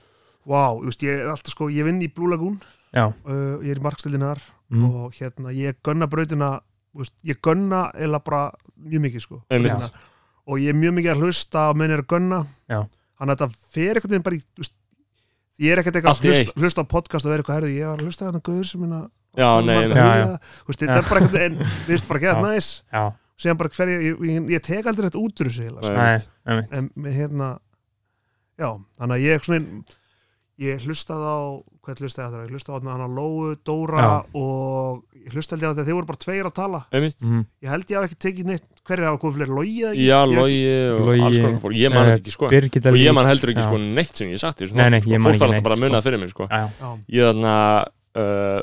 [SPEAKER 4] wow, þú veist, ég er alltaf, sko, ég vinn í Blue Lagoon
[SPEAKER 3] já,
[SPEAKER 4] uh, ég er í markstildinnar
[SPEAKER 3] mm.
[SPEAKER 4] og hérna ég gunna brautina þú veist, ég gunna eða bara mjög mikið sko
[SPEAKER 1] Einmitt.
[SPEAKER 4] Hérna, og ég er mjög mikið að hlusta á menn er að gunna
[SPEAKER 3] Já.
[SPEAKER 4] þannig að þetta fer einhvern veginn bara í þú veist, ég er ekkert eitthvað
[SPEAKER 1] Allt í
[SPEAKER 4] að hlusta,
[SPEAKER 1] eitt.
[SPEAKER 4] hlusta á podcast og vera eitthvað herðu ég var að hlusta á þetta guður sem minna
[SPEAKER 1] Já, nei,
[SPEAKER 3] Já,
[SPEAKER 1] nei.
[SPEAKER 3] já.
[SPEAKER 4] þetta er bara einhvern veginn mér finnst bara að
[SPEAKER 3] Já.
[SPEAKER 4] geða næs
[SPEAKER 3] já,
[SPEAKER 4] síðan bara hverja, ég, ég, ég tek aldrei þetta út úr þessu heila,
[SPEAKER 1] Nei.
[SPEAKER 4] sko.
[SPEAKER 3] nei, einmitt
[SPEAKER 4] en með hérna já, þannig að ég svona, ég hlustaði á hvað hlustaði á þetta, ég hlustaði á þarna hana Lóu, Dóra og ég hlustaði á þetta þeir voru bara tveir að tala,
[SPEAKER 1] Einmitt.
[SPEAKER 3] mm.
[SPEAKER 4] ég held ég hafi ekki tekið neitt hverju hafa komið fleiri, Lói eða ekki
[SPEAKER 1] Já,
[SPEAKER 4] Ég-
[SPEAKER 1] logi og
[SPEAKER 3] Logi,
[SPEAKER 1] alls konar fólk Ég man
[SPEAKER 3] eh,
[SPEAKER 1] þetta ekki sko
[SPEAKER 3] Birgitta
[SPEAKER 1] Og
[SPEAKER 3] Líf.
[SPEAKER 1] ég man heldur ekki
[SPEAKER 3] Já.
[SPEAKER 1] sko neitt sem ég hef sagt í þessu
[SPEAKER 3] Nei, nei,
[SPEAKER 1] þáttum, sko.
[SPEAKER 3] ég man
[SPEAKER 1] Fólk
[SPEAKER 3] ekki
[SPEAKER 1] þarf alltaf
[SPEAKER 3] neitt,
[SPEAKER 1] bara að munna
[SPEAKER 3] sko.
[SPEAKER 1] það fyrir mér sko
[SPEAKER 3] já, já,
[SPEAKER 4] já,
[SPEAKER 1] ég þarna Hérna, uh,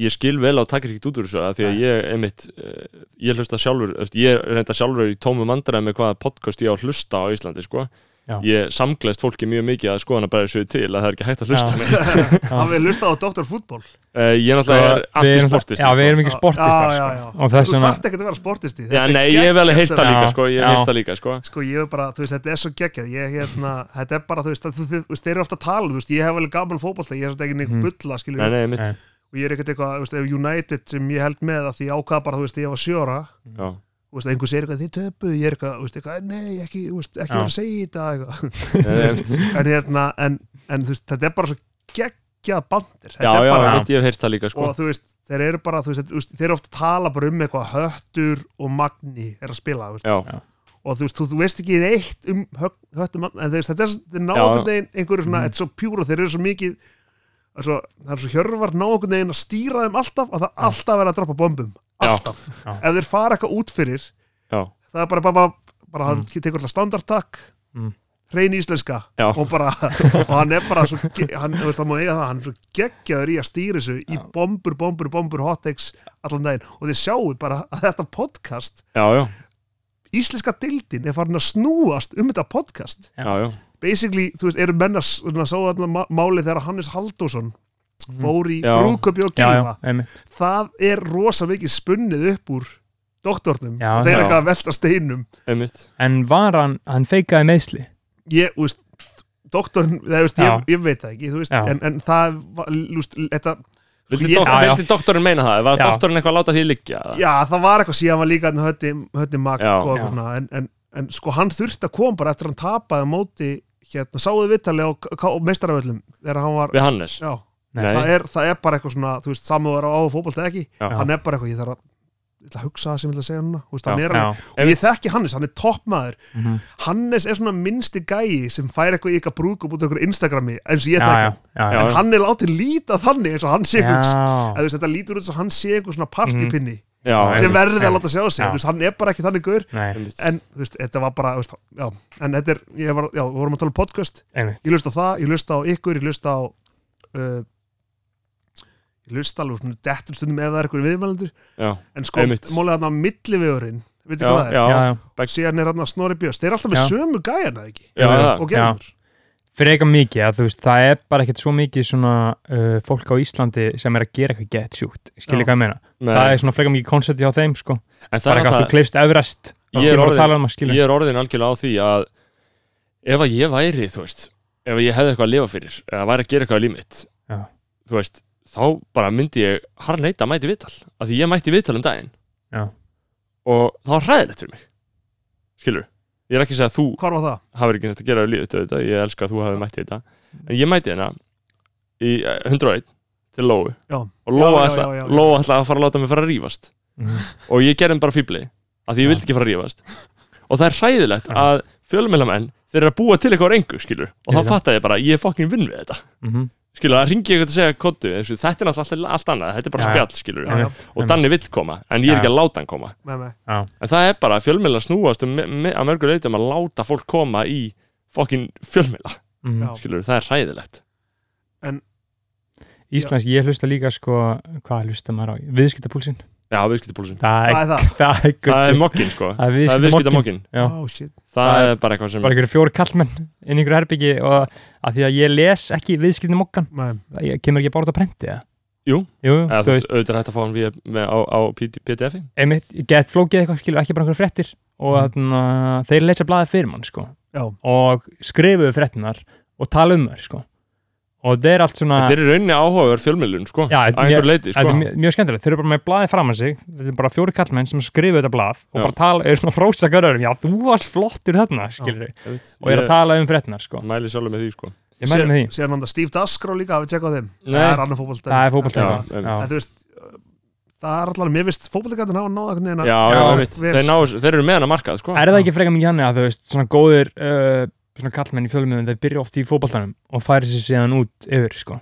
[SPEAKER 1] ég skil vel á takkir ekkert út úr þessu af því að ég einmitt uh, ég hlusta sjálfur, eftir, ég reynda sjálfur í tómu mandara með hvaða podcast ég á að hlusta á Íslandi sko,
[SPEAKER 3] Já.
[SPEAKER 1] ég samglaðist fólki mjög mikið að skoðana bara þessu til að það er ekki hægt að hlusta
[SPEAKER 3] Já. Sko,
[SPEAKER 1] með
[SPEAKER 4] hafi hlustaði á Dr. Fútbol
[SPEAKER 1] uh, ég náttúrulega er
[SPEAKER 3] Við erum-
[SPEAKER 1] antisportist
[SPEAKER 3] já, við erum ekki
[SPEAKER 4] já,
[SPEAKER 3] sportistar
[SPEAKER 4] já,
[SPEAKER 3] sko.
[SPEAKER 4] já.
[SPEAKER 3] og þess
[SPEAKER 4] þú
[SPEAKER 3] vegna
[SPEAKER 4] þarft ekkert að vera sportisti
[SPEAKER 1] já,
[SPEAKER 4] Þetta er
[SPEAKER 1] nei, ég hef alveg heyrt
[SPEAKER 4] geggjast-
[SPEAKER 1] það
[SPEAKER 3] Já.
[SPEAKER 1] líka sko, ég
[SPEAKER 3] Já.
[SPEAKER 1] hef heyrt það líka sko
[SPEAKER 4] sko ég er bara, þú veist, þetta er svo geggjað ég hérna, þetta er bara, þú veist, það- þú- þú- þú veist, þeir eru ofta að tala, þú veist, ég hef alveg gaman fótbolta ég er svolítið ekki neitt
[SPEAKER 3] Mhm.
[SPEAKER 4] bulla, skilur
[SPEAKER 1] nei, nei, mitt
[SPEAKER 3] Nei.
[SPEAKER 4] og ég er ekkert eitthvað, þú veist, ef United sem ég held með að því ég ákvað bara, þú veist, þegar ég var sjóra
[SPEAKER 1] já.
[SPEAKER 4] þú veist, einhver segir eitthvað, þið töpuð, ég er eitthvað, þú veist, eitthvað, nei, ekki, þú veist, ekki
[SPEAKER 3] Já.
[SPEAKER 4] vera að segja þetta eitthvað. (laughs)
[SPEAKER 1] Nei, nei,
[SPEAKER 3] (laughs)
[SPEAKER 1] mitt.
[SPEAKER 4] en hérna, en, en þú veist, þetta er bara svo geggjað bandir,
[SPEAKER 1] já,
[SPEAKER 4] þetta er
[SPEAKER 1] já,
[SPEAKER 4] bara
[SPEAKER 1] mitt, ég hef heyrt það líka sko
[SPEAKER 4] og þú veist, þeir eru bara, þú veist, þú veist, þeir eru ofta að tala bara um eitthvað höttur og magni er að spila, þú veist,
[SPEAKER 1] já,
[SPEAKER 4] og þú veist, þú, þú veist ekki neitt um hö- höttum, magn- en þú veist, þetta er, þetta er ná
[SPEAKER 1] Já. Mhm.
[SPEAKER 4] einhvern veginn, einhverju svona, þetta er svo pjúra, þeir eru svo mikið það er svo, það er svo hjörvar ná einhvern veginn að stýra þeim alltaf, að það alltaf vera að droppa bombum,
[SPEAKER 1] Já.
[SPEAKER 4] alltaf
[SPEAKER 3] Já.
[SPEAKER 4] ef þeir fara eitthvað út fyrir
[SPEAKER 1] já,
[SPEAKER 4] það er bara, bara, bara, bara hann
[SPEAKER 1] Mhm.
[SPEAKER 4] tekur alltaf standardtak
[SPEAKER 3] Mm.
[SPEAKER 4] hrein íslenska
[SPEAKER 1] Já.
[SPEAKER 4] og, bara, og hann er bara svo, ge- hann, þú veist, það má eiga það, hann er svo geggjaður í að stýra þessu í bombur, bombur, bombur, hot takes allan daginn og þið sjáu bara að þetta podcast
[SPEAKER 1] já, já,
[SPEAKER 4] íslenska dildin er farin að snúast um þetta podcast
[SPEAKER 1] já, já.
[SPEAKER 4] basically, þú veist, eru menn að s- svona sá þarna ma- máli þegar Hannes Halldórsson fór í
[SPEAKER 1] Já.
[SPEAKER 4] brúköpi og
[SPEAKER 3] Mm. já, já,
[SPEAKER 4] gilva
[SPEAKER 3] einmitt
[SPEAKER 4] það er rosa mikið spunnið upp úr doktornum
[SPEAKER 3] Já.
[SPEAKER 4] og þeir
[SPEAKER 1] Já.
[SPEAKER 4] eru eitthvað að velta steinum
[SPEAKER 1] einmitt
[SPEAKER 3] en var hann, hann feikaði meðsli
[SPEAKER 4] ég, þú veist doktorn, það, veist, ég,
[SPEAKER 3] Já.
[SPEAKER 4] ég veit það ekki þú veist,
[SPEAKER 3] Já.
[SPEAKER 4] en, en það, var- þú veist, þetta
[SPEAKER 1] vildi,
[SPEAKER 4] Ég-
[SPEAKER 1] dok
[SPEAKER 3] Já, já.
[SPEAKER 1] vildi doktorinn meina það, var
[SPEAKER 3] Já.
[SPEAKER 1] doktorinn eitthvað að láta því liggja eða?
[SPEAKER 4] já, það var eitthvað síðan var líka þarna hötti, hötti mag
[SPEAKER 1] Já.
[SPEAKER 4] og
[SPEAKER 3] Já.
[SPEAKER 4] eitthvað svona, en, en, en sko hann þurfti að koma bara eftir að hann tapaði á móti hérna, sáðu vittalega á, K- á meistaraföllum þegar hann var,
[SPEAKER 1] við Hannes
[SPEAKER 4] já,
[SPEAKER 3] Nei.
[SPEAKER 4] það er, það er bara eitthvað svona, þú veist, samúður á fótbolta ekki,
[SPEAKER 1] Já.
[SPEAKER 4] hann er bara eitthvað, ég þarf að ég ætla að hugsa það sem ég ætla að segja núna Þú veist,
[SPEAKER 3] Já,
[SPEAKER 4] hann er alveg, og ég þekki Hannes, hann er toppmaður
[SPEAKER 3] Mhm.
[SPEAKER 4] Hannes er svona minnsti gæi sem fær eitthvað í eitthvað brúk og búið eitthvað Instagrami eins og
[SPEAKER 3] já,
[SPEAKER 4] ég þekki
[SPEAKER 3] já,
[SPEAKER 4] hann
[SPEAKER 3] já, já,
[SPEAKER 4] en hann er látið líta þannig eins og hann sé eitthvað
[SPEAKER 3] já, Mhm.
[SPEAKER 4] eða þú veist, þetta lítur út svo hann sé eitthvað svona partypinni
[SPEAKER 1] já,
[SPEAKER 3] Já,
[SPEAKER 4] sem
[SPEAKER 1] einmitt.
[SPEAKER 4] verður
[SPEAKER 3] Já.
[SPEAKER 4] að láta sjá sig
[SPEAKER 3] Já.
[SPEAKER 4] þú veist, hann er bara ekki þannig gaur
[SPEAKER 3] nei,
[SPEAKER 4] en þú veist, þetta var bara þú veist, já, en þetta er, ég var, já, við vorum að tala um podcast
[SPEAKER 3] einmitt,
[SPEAKER 4] ég lusta á það, ég lusta á ykkur ég lusta á uh, ég lusta alveg svona dettur stundum ef það er ykkur viðmælendur
[SPEAKER 1] já,
[SPEAKER 4] en sko,
[SPEAKER 1] Einmitt.
[SPEAKER 4] mólið hann á millivegurinn veitir
[SPEAKER 1] já,
[SPEAKER 4] hvað það er,
[SPEAKER 1] já,
[SPEAKER 3] já,
[SPEAKER 1] já,
[SPEAKER 3] já,
[SPEAKER 4] síðan er hann að Snorri Björns þeir eru alltaf með
[SPEAKER 3] Já.
[SPEAKER 4] sömu gæjana ekki
[SPEAKER 1] já,
[SPEAKER 4] og
[SPEAKER 3] Já.
[SPEAKER 4] gerður,
[SPEAKER 3] freka mikið að þú veist, það er bara ekkert svo mikið svona uh, fólk á Íslandi sem er að gera eitthvað get shoot, skilja
[SPEAKER 4] Já.
[SPEAKER 3] hvað ég meina
[SPEAKER 1] Nei,
[SPEAKER 3] það er svona freka mikið koncepti á þeim sko
[SPEAKER 1] en það
[SPEAKER 3] bara
[SPEAKER 1] er
[SPEAKER 3] eitthvað þú
[SPEAKER 1] alltaf,
[SPEAKER 3] kleifst Everest
[SPEAKER 1] Ég er
[SPEAKER 3] og
[SPEAKER 1] orðinn-
[SPEAKER 3] að tala um að skilja
[SPEAKER 1] ég er orðin algjörlega á því að ef að ég væri, þú veist ef að ég hefði eitthvað að lifa fyrir, eða væri að gera eitthvað að límitt
[SPEAKER 3] Já.
[SPEAKER 1] þú veist, þá bara myndi ég harneita að mæti viðtal, af því ég mætti viðtal um daginn
[SPEAKER 3] Já.
[SPEAKER 1] og það var hræðilegt fyrir mig skilur, ég er ekki að segja að þú
[SPEAKER 4] hvar var það?
[SPEAKER 1] hafur ekki nætt að gera í lífið þetta, ég elska að þú hafi mætti þetta en ég mætti hérna í eh, 101 til Lóu
[SPEAKER 4] Já.
[SPEAKER 1] og Lóa
[SPEAKER 4] Já, já, já,
[SPEAKER 1] ætlaði
[SPEAKER 4] já, já.
[SPEAKER 1] Lóa ætlaði að fara að láta mig fara að rífast
[SPEAKER 3] Mhm.
[SPEAKER 1] og ég gerði henni bara fýbli af því ég vildi ekki fara að rífast og það er hræðilegt
[SPEAKER 3] Já.
[SPEAKER 1] að fjölumilamenn þeir eru að búa til eitthvað á rengu skilur og
[SPEAKER 3] Já.
[SPEAKER 1] þá fatta ég bara, ég er fokkin vinn við þetta
[SPEAKER 3] Mhm.
[SPEAKER 1] skilur, það ringi ég eitthvað að segja kottu eins og þetta er náttúrulega allt, allt annað, þetta er bara
[SPEAKER 3] Já.
[SPEAKER 1] spjall skilur
[SPEAKER 4] Já, já,
[SPEAKER 1] og Danni vill koma, en ég er ekki að láta hann koma
[SPEAKER 4] með mig
[SPEAKER 1] en það er bara, fjölmiðla snúast um, me, að mörgur leitum að láta fólk koma í fokkin fjölmiðla,
[SPEAKER 3] Mhm.
[SPEAKER 4] Já.
[SPEAKER 1] skilur, það er hræðilegt
[SPEAKER 3] Íslands, ég hlusta líka sko hvað hlusta maður á, viðskiptapúlsin
[SPEAKER 1] já, viðskiptapúlsin,
[SPEAKER 3] það er,
[SPEAKER 4] hvað er það?
[SPEAKER 3] það er good
[SPEAKER 1] það er
[SPEAKER 3] shit.
[SPEAKER 1] mokkin sko
[SPEAKER 3] það er
[SPEAKER 1] það er viðskiptamokkin,
[SPEAKER 3] viðskiptamokkin Já.
[SPEAKER 4] Oh, shit.
[SPEAKER 1] það er bara eitthvað sem
[SPEAKER 3] bara einhverju fjóri kallmenn inn í einhverju herbyggi og að því að ég les ekki viðskiptamokkan
[SPEAKER 4] Nei.
[SPEAKER 3] ég kemur ekki bara út að prenti eða?
[SPEAKER 1] Jú.
[SPEAKER 3] Jú,
[SPEAKER 1] eða,
[SPEAKER 3] þú
[SPEAKER 1] þú
[SPEAKER 3] veist,
[SPEAKER 1] veist,
[SPEAKER 3] Ah.
[SPEAKER 1] auðvitað er hægt að fá hann við, með, á, á PDF-i
[SPEAKER 3] einmitt, get flókið eitthvað skilur ekki bara einhverju fréttir og
[SPEAKER 1] Mm.
[SPEAKER 3] þarna, þeir lesa blaðið fyrir mann sko
[SPEAKER 4] Já.
[SPEAKER 3] og skrifuðu fréttinar og tala um þær sko og þetta er allt svona
[SPEAKER 1] þetta er í rauninni áhugaverð fjölmiðlun sko,
[SPEAKER 3] Já,
[SPEAKER 1] að
[SPEAKER 3] þetta-
[SPEAKER 1] einhver leiti
[SPEAKER 3] Þetta
[SPEAKER 1] sko.
[SPEAKER 3] er mjög, mjög skemmtilegt, þeir eru bara með blaðið framan sig þetta er bara fjóri kallmenn sem skrifu þetta blað og
[SPEAKER 1] Já.
[SPEAKER 3] bara tala, eru svona að rósa görðurum já, þú varst flottur þarna, skilur við
[SPEAKER 1] Ég veit,
[SPEAKER 3] og eru að tala um frettinar, sko
[SPEAKER 1] ég mæli sjálfur með því sko.
[SPEAKER 3] ég mæli með því,
[SPEAKER 4] síðan hann það Steve Daskrá líka, hafið tjekkað á þeim
[SPEAKER 1] Nei.
[SPEAKER 4] það er annar fótbolta
[SPEAKER 3] það er fótbollt
[SPEAKER 1] Já,
[SPEAKER 3] já,
[SPEAKER 1] einmitt.
[SPEAKER 4] En þú veist, það er allavega, mér veist fótbollegættin hafa náða einhvern
[SPEAKER 1] já,
[SPEAKER 4] veginn að-
[SPEAKER 1] já,
[SPEAKER 3] Já,
[SPEAKER 1] ég veit,
[SPEAKER 4] vel,
[SPEAKER 1] þeir, ná, þeir eru með hann að markað sko.
[SPEAKER 3] er það ekki frekar mikið hann að þú veist, svona góðir uh, svona kallmenn í fjölumöðum, þeir byrja oft í fótboltanum og færi sér síðan út yfir, sko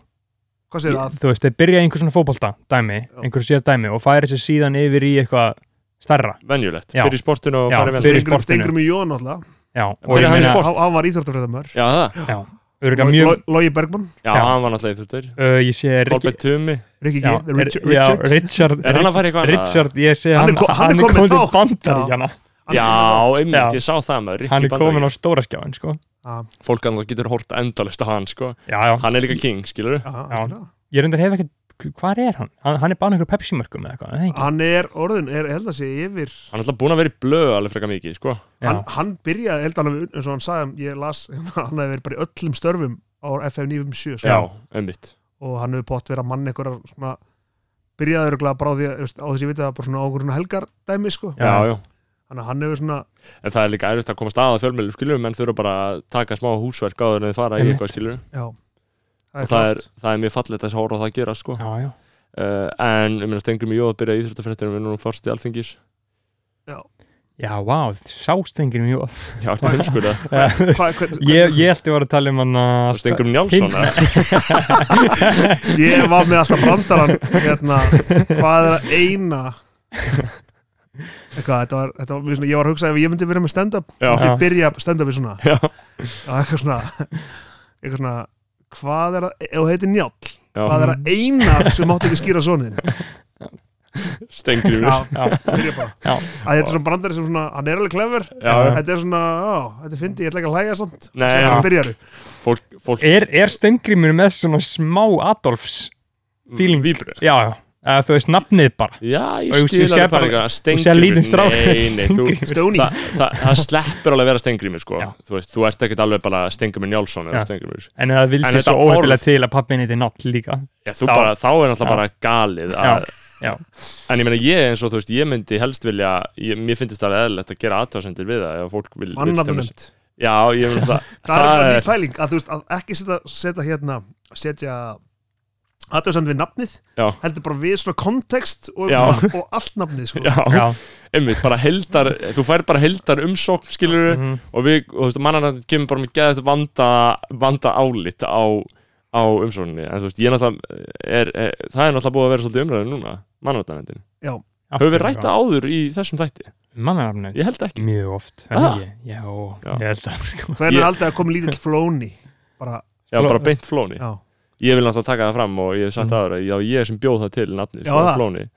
[SPEAKER 4] Hvað segir það?
[SPEAKER 3] þú veist, þeir byrja í einhver svona fótbolta, dæmi
[SPEAKER 4] Já.
[SPEAKER 3] einhver sér dæmi og færi sér síðan yfir í eitthvað starra,
[SPEAKER 1] venjulegt,
[SPEAKER 3] Já.
[SPEAKER 1] fyrir sportinu og
[SPEAKER 3] Já,
[SPEAKER 1] farið
[SPEAKER 3] fyrir-
[SPEAKER 1] með
[SPEAKER 4] Steingrim,
[SPEAKER 3] sportinu.
[SPEAKER 4] Steingrim í um Jón alltaf
[SPEAKER 3] já, og
[SPEAKER 1] Byrja
[SPEAKER 3] ég
[SPEAKER 1] hann í
[SPEAKER 3] meina
[SPEAKER 1] sport.
[SPEAKER 4] Hann var íþjóttarfræðamör
[SPEAKER 1] já, það,
[SPEAKER 3] já, örgulega mjög
[SPEAKER 4] Logi Bergman,
[SPEAKER 1] já,
[SPEAKER 3] Já.
[SPEAKER 1] hann var náttúrulega í þurftur
[SPEAKER 3] uh, ég sé Rikki-
[SPEAKER 1] Kolbett Tumi,
[SPEAKER 4] Rikki G,
[SPEAKER 3] Já,
[SPEAKER 4] The
[SPEAKER 3] er-
[SPEAKER 4] Richard,
[SPEAKER 3] já,
[SPEAKER 4] Richard.
[SPEAKER 3] Richard,
[SPEAKER 1] er hann að fara í eitthvað annað?
[SPEAKER 3] Richard, ég segi
[SPEAKER 4] Hann
[SPEAKER 3] hann,
[SPEAKER 4] er ko- hann er kominn
[SPEAKER 3] kominn til
[SPEAKER 4] þá.
[SPEAKER 3] bandaríkjana
[SPEAKER 1] já,
[SPEAKER 3] Já.
[SPEAKER 1] einmitt, ég sá það maður Rikki
[SPEAKER 3] hann er komin á
[SPEAKER 1] Bandaríkjana.
[SPEAKER 3] stóra skjáin sko.
[SPEAKER 4] Já,
[SPEAKER 1] fólk annað getur hort endalist á hann sko.
[SPEAKER 3] já, já.
[SPEAKER 1] hann er líka king, skilur
[SPEAKER 4] já,
[SPEAKER 3] Já.
[SPEAKER 4] algjörlega.
[SPEAKER 3] ég reyndar hef ekkert hvað er hann? hann hann er bara einhverjum pepsimörkum eða eitthvað er það ekki?
[SPEAKER 4] Hann er orðin, er, ég held að sé yfir
[SPEAKER 1] hann er alltaf búin að vera í blöð alveg freka mikið sko.
[SPEAKER 3] Já.
[SPEAKER 4] hann, hann byrjaði, held að hann, eins og hann sagði ég las, (laughs) hann hefði verið bara í öllum störfum á FM 957
[SPEAKER 1] já, einmitt
[SPEAKER 4] sko. og hann hefði pott verið að mann einhverjar svona byrjaði örgulega bara á því að, þú veist, á þess að ég veit að bara svona á einhverjum svona helgardæmi sko,
[SPEAKER 3] Já.
[SPEAKER 1] já, já.
[SPEAKER 4] þannig að hann hefur svona
[SPEAKER 1] en það er líka erfitt að komast að að fjölmjölu skilur menn þurfa bara að taka smá húsverk áður en þið fara í
[SPEAKER 3] Einmitt.
[SPEAKER 1] eitthvað skilur
[SPEAKER 4] já, það
[SPEAKER 1] og það er,
[SPEAKER 4] klárt.
[SPEAKER 1] það er mjög fallegt að hóra það að gera sko. uh,
[SPEAKER 3] já, já.
[SPEAKER 1] en um, stengum í jóð að byrja í Íþróttafréttunum við erum nú fórst í alþingis
[SPEAKER 3] já, vá, sástengir mjög
[SPEAKER 1] já, ertu heimskur að
[SPEAKER 4] Hvað- hvern-
[SPEAKER 3] (laughs) ég, ég ætti að vera að tala um hann að-
[SPEAKER 1] stengum Njálsson
[SPEAKER 3] Hinn-
[SPEAKER 1] eða?
[SPEAKER 4] (laughs) Ég var með alltaf brandarann hérna, hvað er að eina eitthvað, þetta var, þetta var mjög svona, ég var að hugsa ef ég myndi vera með stand-up
[SPEAKER 1] Já.
[SPEAKER 4] myndi ég byrja stand-upi svona
[SPEAKER 1] Já.
[SPEAKER 4] og eitthvað svona eitthvað svona, hvað er að ef þú heitir Njáll,
[SPEAKER 1] já,
[SPEAKER 4] hvað er að eina sem máttu ekki skýra sonin
[SPEAKER 1] stengum
[SPEAKER 4] Já,
[SPEAKER 1] já,
[SPEAKER 4] byrja bara
[SPEAKER 3] Já.
[SPEAKER 4] að þetta er svona brandari sem svona, hann er alveg klefur
[SPEAKER 1] já.
[SPEAKER 4] þetta er svona, á, þetta fyndi, ég ætla ekki að hlæja samt
[SPEAKER 1] Nei,
[SPEAKER 4] Síðan
[SPEAKER 1] já.
[SPEAKER 4] byrjar þú.
[SPEAKER 1] fólk, fólk
[SPEAKER 3] er, er stengrimur með svona smá Adolfs feeling.
[SPEAKER 1] víbru
[SPEAKER 3] já, já, Eða, þú veist nafnið bara
[SPEAKER 1] Já, ég
[SPEAKER 3] Og ég
[SPEAKER 1] skil
[SPEAKER 3] sé
[SPEAKER 1] alveg
[SPEAKER 3] bara-
[SPEAKER 1] bara
[SPEAKER 3] og sé að lítinn strák
[SPEAKER 1] Nei, nei, þú
[SPEAKER 3] Steingrímur.
[SPEAKER 4] Stóni,
[SPEAKER 1] Þa, það, það sleppur alveg að vera stengrimur sko.
[SPEAKER 3] Já.
[SPEAKER 1] þú veist, þú ert ekkert alveg bara stengrimur Njálsson eða
[SPEAKER 3] Já.
[SPEAKER 1] stengrimur
[SPEAKER 3] en það
[SPEAKER 1] En
[SPEAKER 3] vildi
[SPEAKER 1] þetta
[SPEAKER 3] svo óhefilega
[SPEAKER 1] orð-
[SPEAKER 3] til að pappin heiti nátt líka
[SPEAKER 1] Já, þú
[SPEAKER 3] Já.
[SPEAKER 1] bara, þá er náttúrulega
[SPEAKER 3] Já.
[SPEAKER 1] bara galið
[SPEAKER 3] já,
[SPEAKER 1] að,
[SPEAKER 3] já,
[SPEAKER 1] en ég meina ég eins og þú veist, ég myndi helst vilja ég, mér finnst það eðlilegt að gera aðtöðsendir við það ef fólk vil, vil stemma
[SPEAKER 4] mannafnönd
[SPEAKER 1] sig. Já, ég
[SPEAKER 3] (laughs)
[SPEAKER 1] meina það
[SPEAKER 4] það er
[SPEAKER 1] það
[SPEAKER 4] eitthvað ný
[SPEAKER 1] er,
[SPEAKER 4] pæling að þú veist að ekki setja, setja hérna setja aðtöðsand við nafnið
[SPEAKER 1] Já.
[SPEAKER 4] heldur bara við svona kontekst og,
[SPEAKER 1] Já.
[SPEAKER 4] og allt nafnið sko.
[SPEAKER 1] já,
[SPEAKER 3] já,
[SPEAKER 1] einmitt, bara heldar þú fær bara heldar umsókn skilur
[SPEAKER 3] mhm,
[SPEAKER 1] og við, og þú veist, mannarnarn kemur bara með geðast vanda, vanda álit á, á umsókninni en þú veist, ég náttúrulega er, er, það er náttúrulega búið að vera svolítið umræður núna mannarnarnefndin, höfum við rætt það áður í þessum þætti,
[SPEAKER 3] mannarafnöð,
[SPEAKER 1] ég held ekki
[SPEAKER 3] mjög oft er
[SPEAKER 1] Ah.
[SPEAKER 3] það ekki? já,
[SPEAKER 1] Já.
[SPEAKER 3] ég held að sko.
[SPEAKER 4] hvernig
[SPEAKER 1] Ég-
[SPEAKER 4] er aldrei að koma lítill flóni bara,
[SPEAKER 1] já, bara beint flóni,
[SPEAKER 4] já,
[SPEAKER 1] ég vil náttúrulega taka það fram og ég hef sagt
[SPEAKER 3] Mm.
[SPEAKER 1] mm. aðra, já, ég sem bjóð það til nafni,
[SPEAKER 4] Já,
[SPEAKER 1] sko,
[SPEAKER 4] það.
[SPEAKER 1] flóni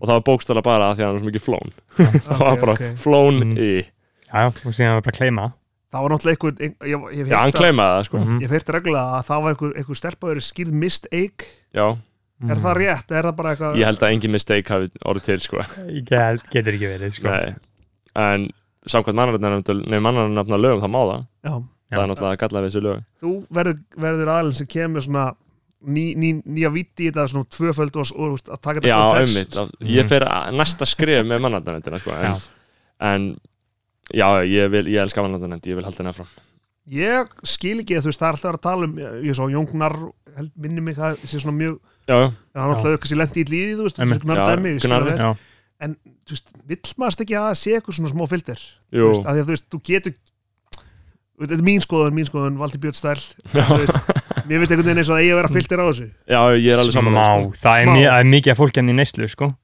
[SPEAKER 1] og það var bókstala bara af því að hann er svo mikið flón (laughs) það var
[SPEAKER 4] ok,
[SPEAKER 1] bara
[SPEAKER 4] ok.
[SPEAKER 1] flón
[SPEAKER 3] Mm.
[SPEAKER 1] í
[SPEAKER 3] já, já, og síðan var bara að kleima
[SPEAKER 4] það var náttúrulega einhver ein- ég, ég, hef
[SPEAKER 1] já, hann
[SPEAKER 4] heyrt að- Mm.
[SPEAKER 1] kleimaði það, sko
[SPEAKER 3] Mhm,
[SPEAKER 4] ég fyrst reglulega að það var einhver, einhver stelpaður skýrð mist eik,
[SPEAKER 1] já,
[SPEAKER 4] er það
[SPEAKER 3] mhm.
[SPEAKER 4] rétt er það bara eitthvað,
[SPEAKER 1] Mm. ég held að engin mistake hafi orðið til, sko
[SPEAKER 3] Mhm. Ég held, getur ekki verið sko.
[SPEAKER 1] Nei, en samkvæmt mannarnafna mannarnafna lögum það má það
[SPEAKER 4] já,
[SPEAKER 1] það er náttúrulega að galla við þessu lög
[SPEAKER 4] þú verður, verður aðeins sem kemur svona ný, ný, nýja viti í þetta svona tvöföld og, og, og að taka
[SPEAKER 1] Já,
[SPEAKER 4] þetta
[SPEAKER 1] einmitt, af- ég
[SPEAKER 4] Mm.
[SPEAKER 1] fer að næsta skrif með mannarnafnendina sko, en,
[SPEAKER 3] Já.
[SPEAKER 1] en já, ég, vil, ég elska mannarnafnend ég vil halda henni fram
[SPEAKER 4] ég skil ekki að þú veist það er alltaf að tala um ég, ég svo Jóngnar, minni mig það sé svona mjög,
[SPEAKER 1] Já,
[SPEAKER 4] það er alltaf eitthvað sem lendi í líði þú veist,
[SPEAKER 3] Einmitt.
[SPEAKER 4] þú veist,
[SPEAKER 1] Já,
[SPEAKER 4] nördaði
[SPEAKER 1] gnarrið.
[SPEAKER 4] mig
[SPEAKER 3] Já,
[SPEAKER 4] en þú veist, vill maður ekki að það sé eitthvað svona smá filter
[SPEAKER 1] jú,
[SPEAKER 4] þú veist, að því að þú veist, þú getur þetta er mín skoðun, mín skoðun, Valdi Björn Stæl
[SPEAKER 1] Já.
[SPEAKER 4] þú veist, mér finnst einhvern veginn eins og það eigi að vera filter á þessu
[SPEAKER 1] já, ég er alveg saman
[SPEAKER 3] smá,
[SPEAKER 1] sko.
[SPEAKER 3] það er,
[SPEAKER 4] Smá.
[SPEAKER 3] mi það er mikið af fólk enn í neyslu sko,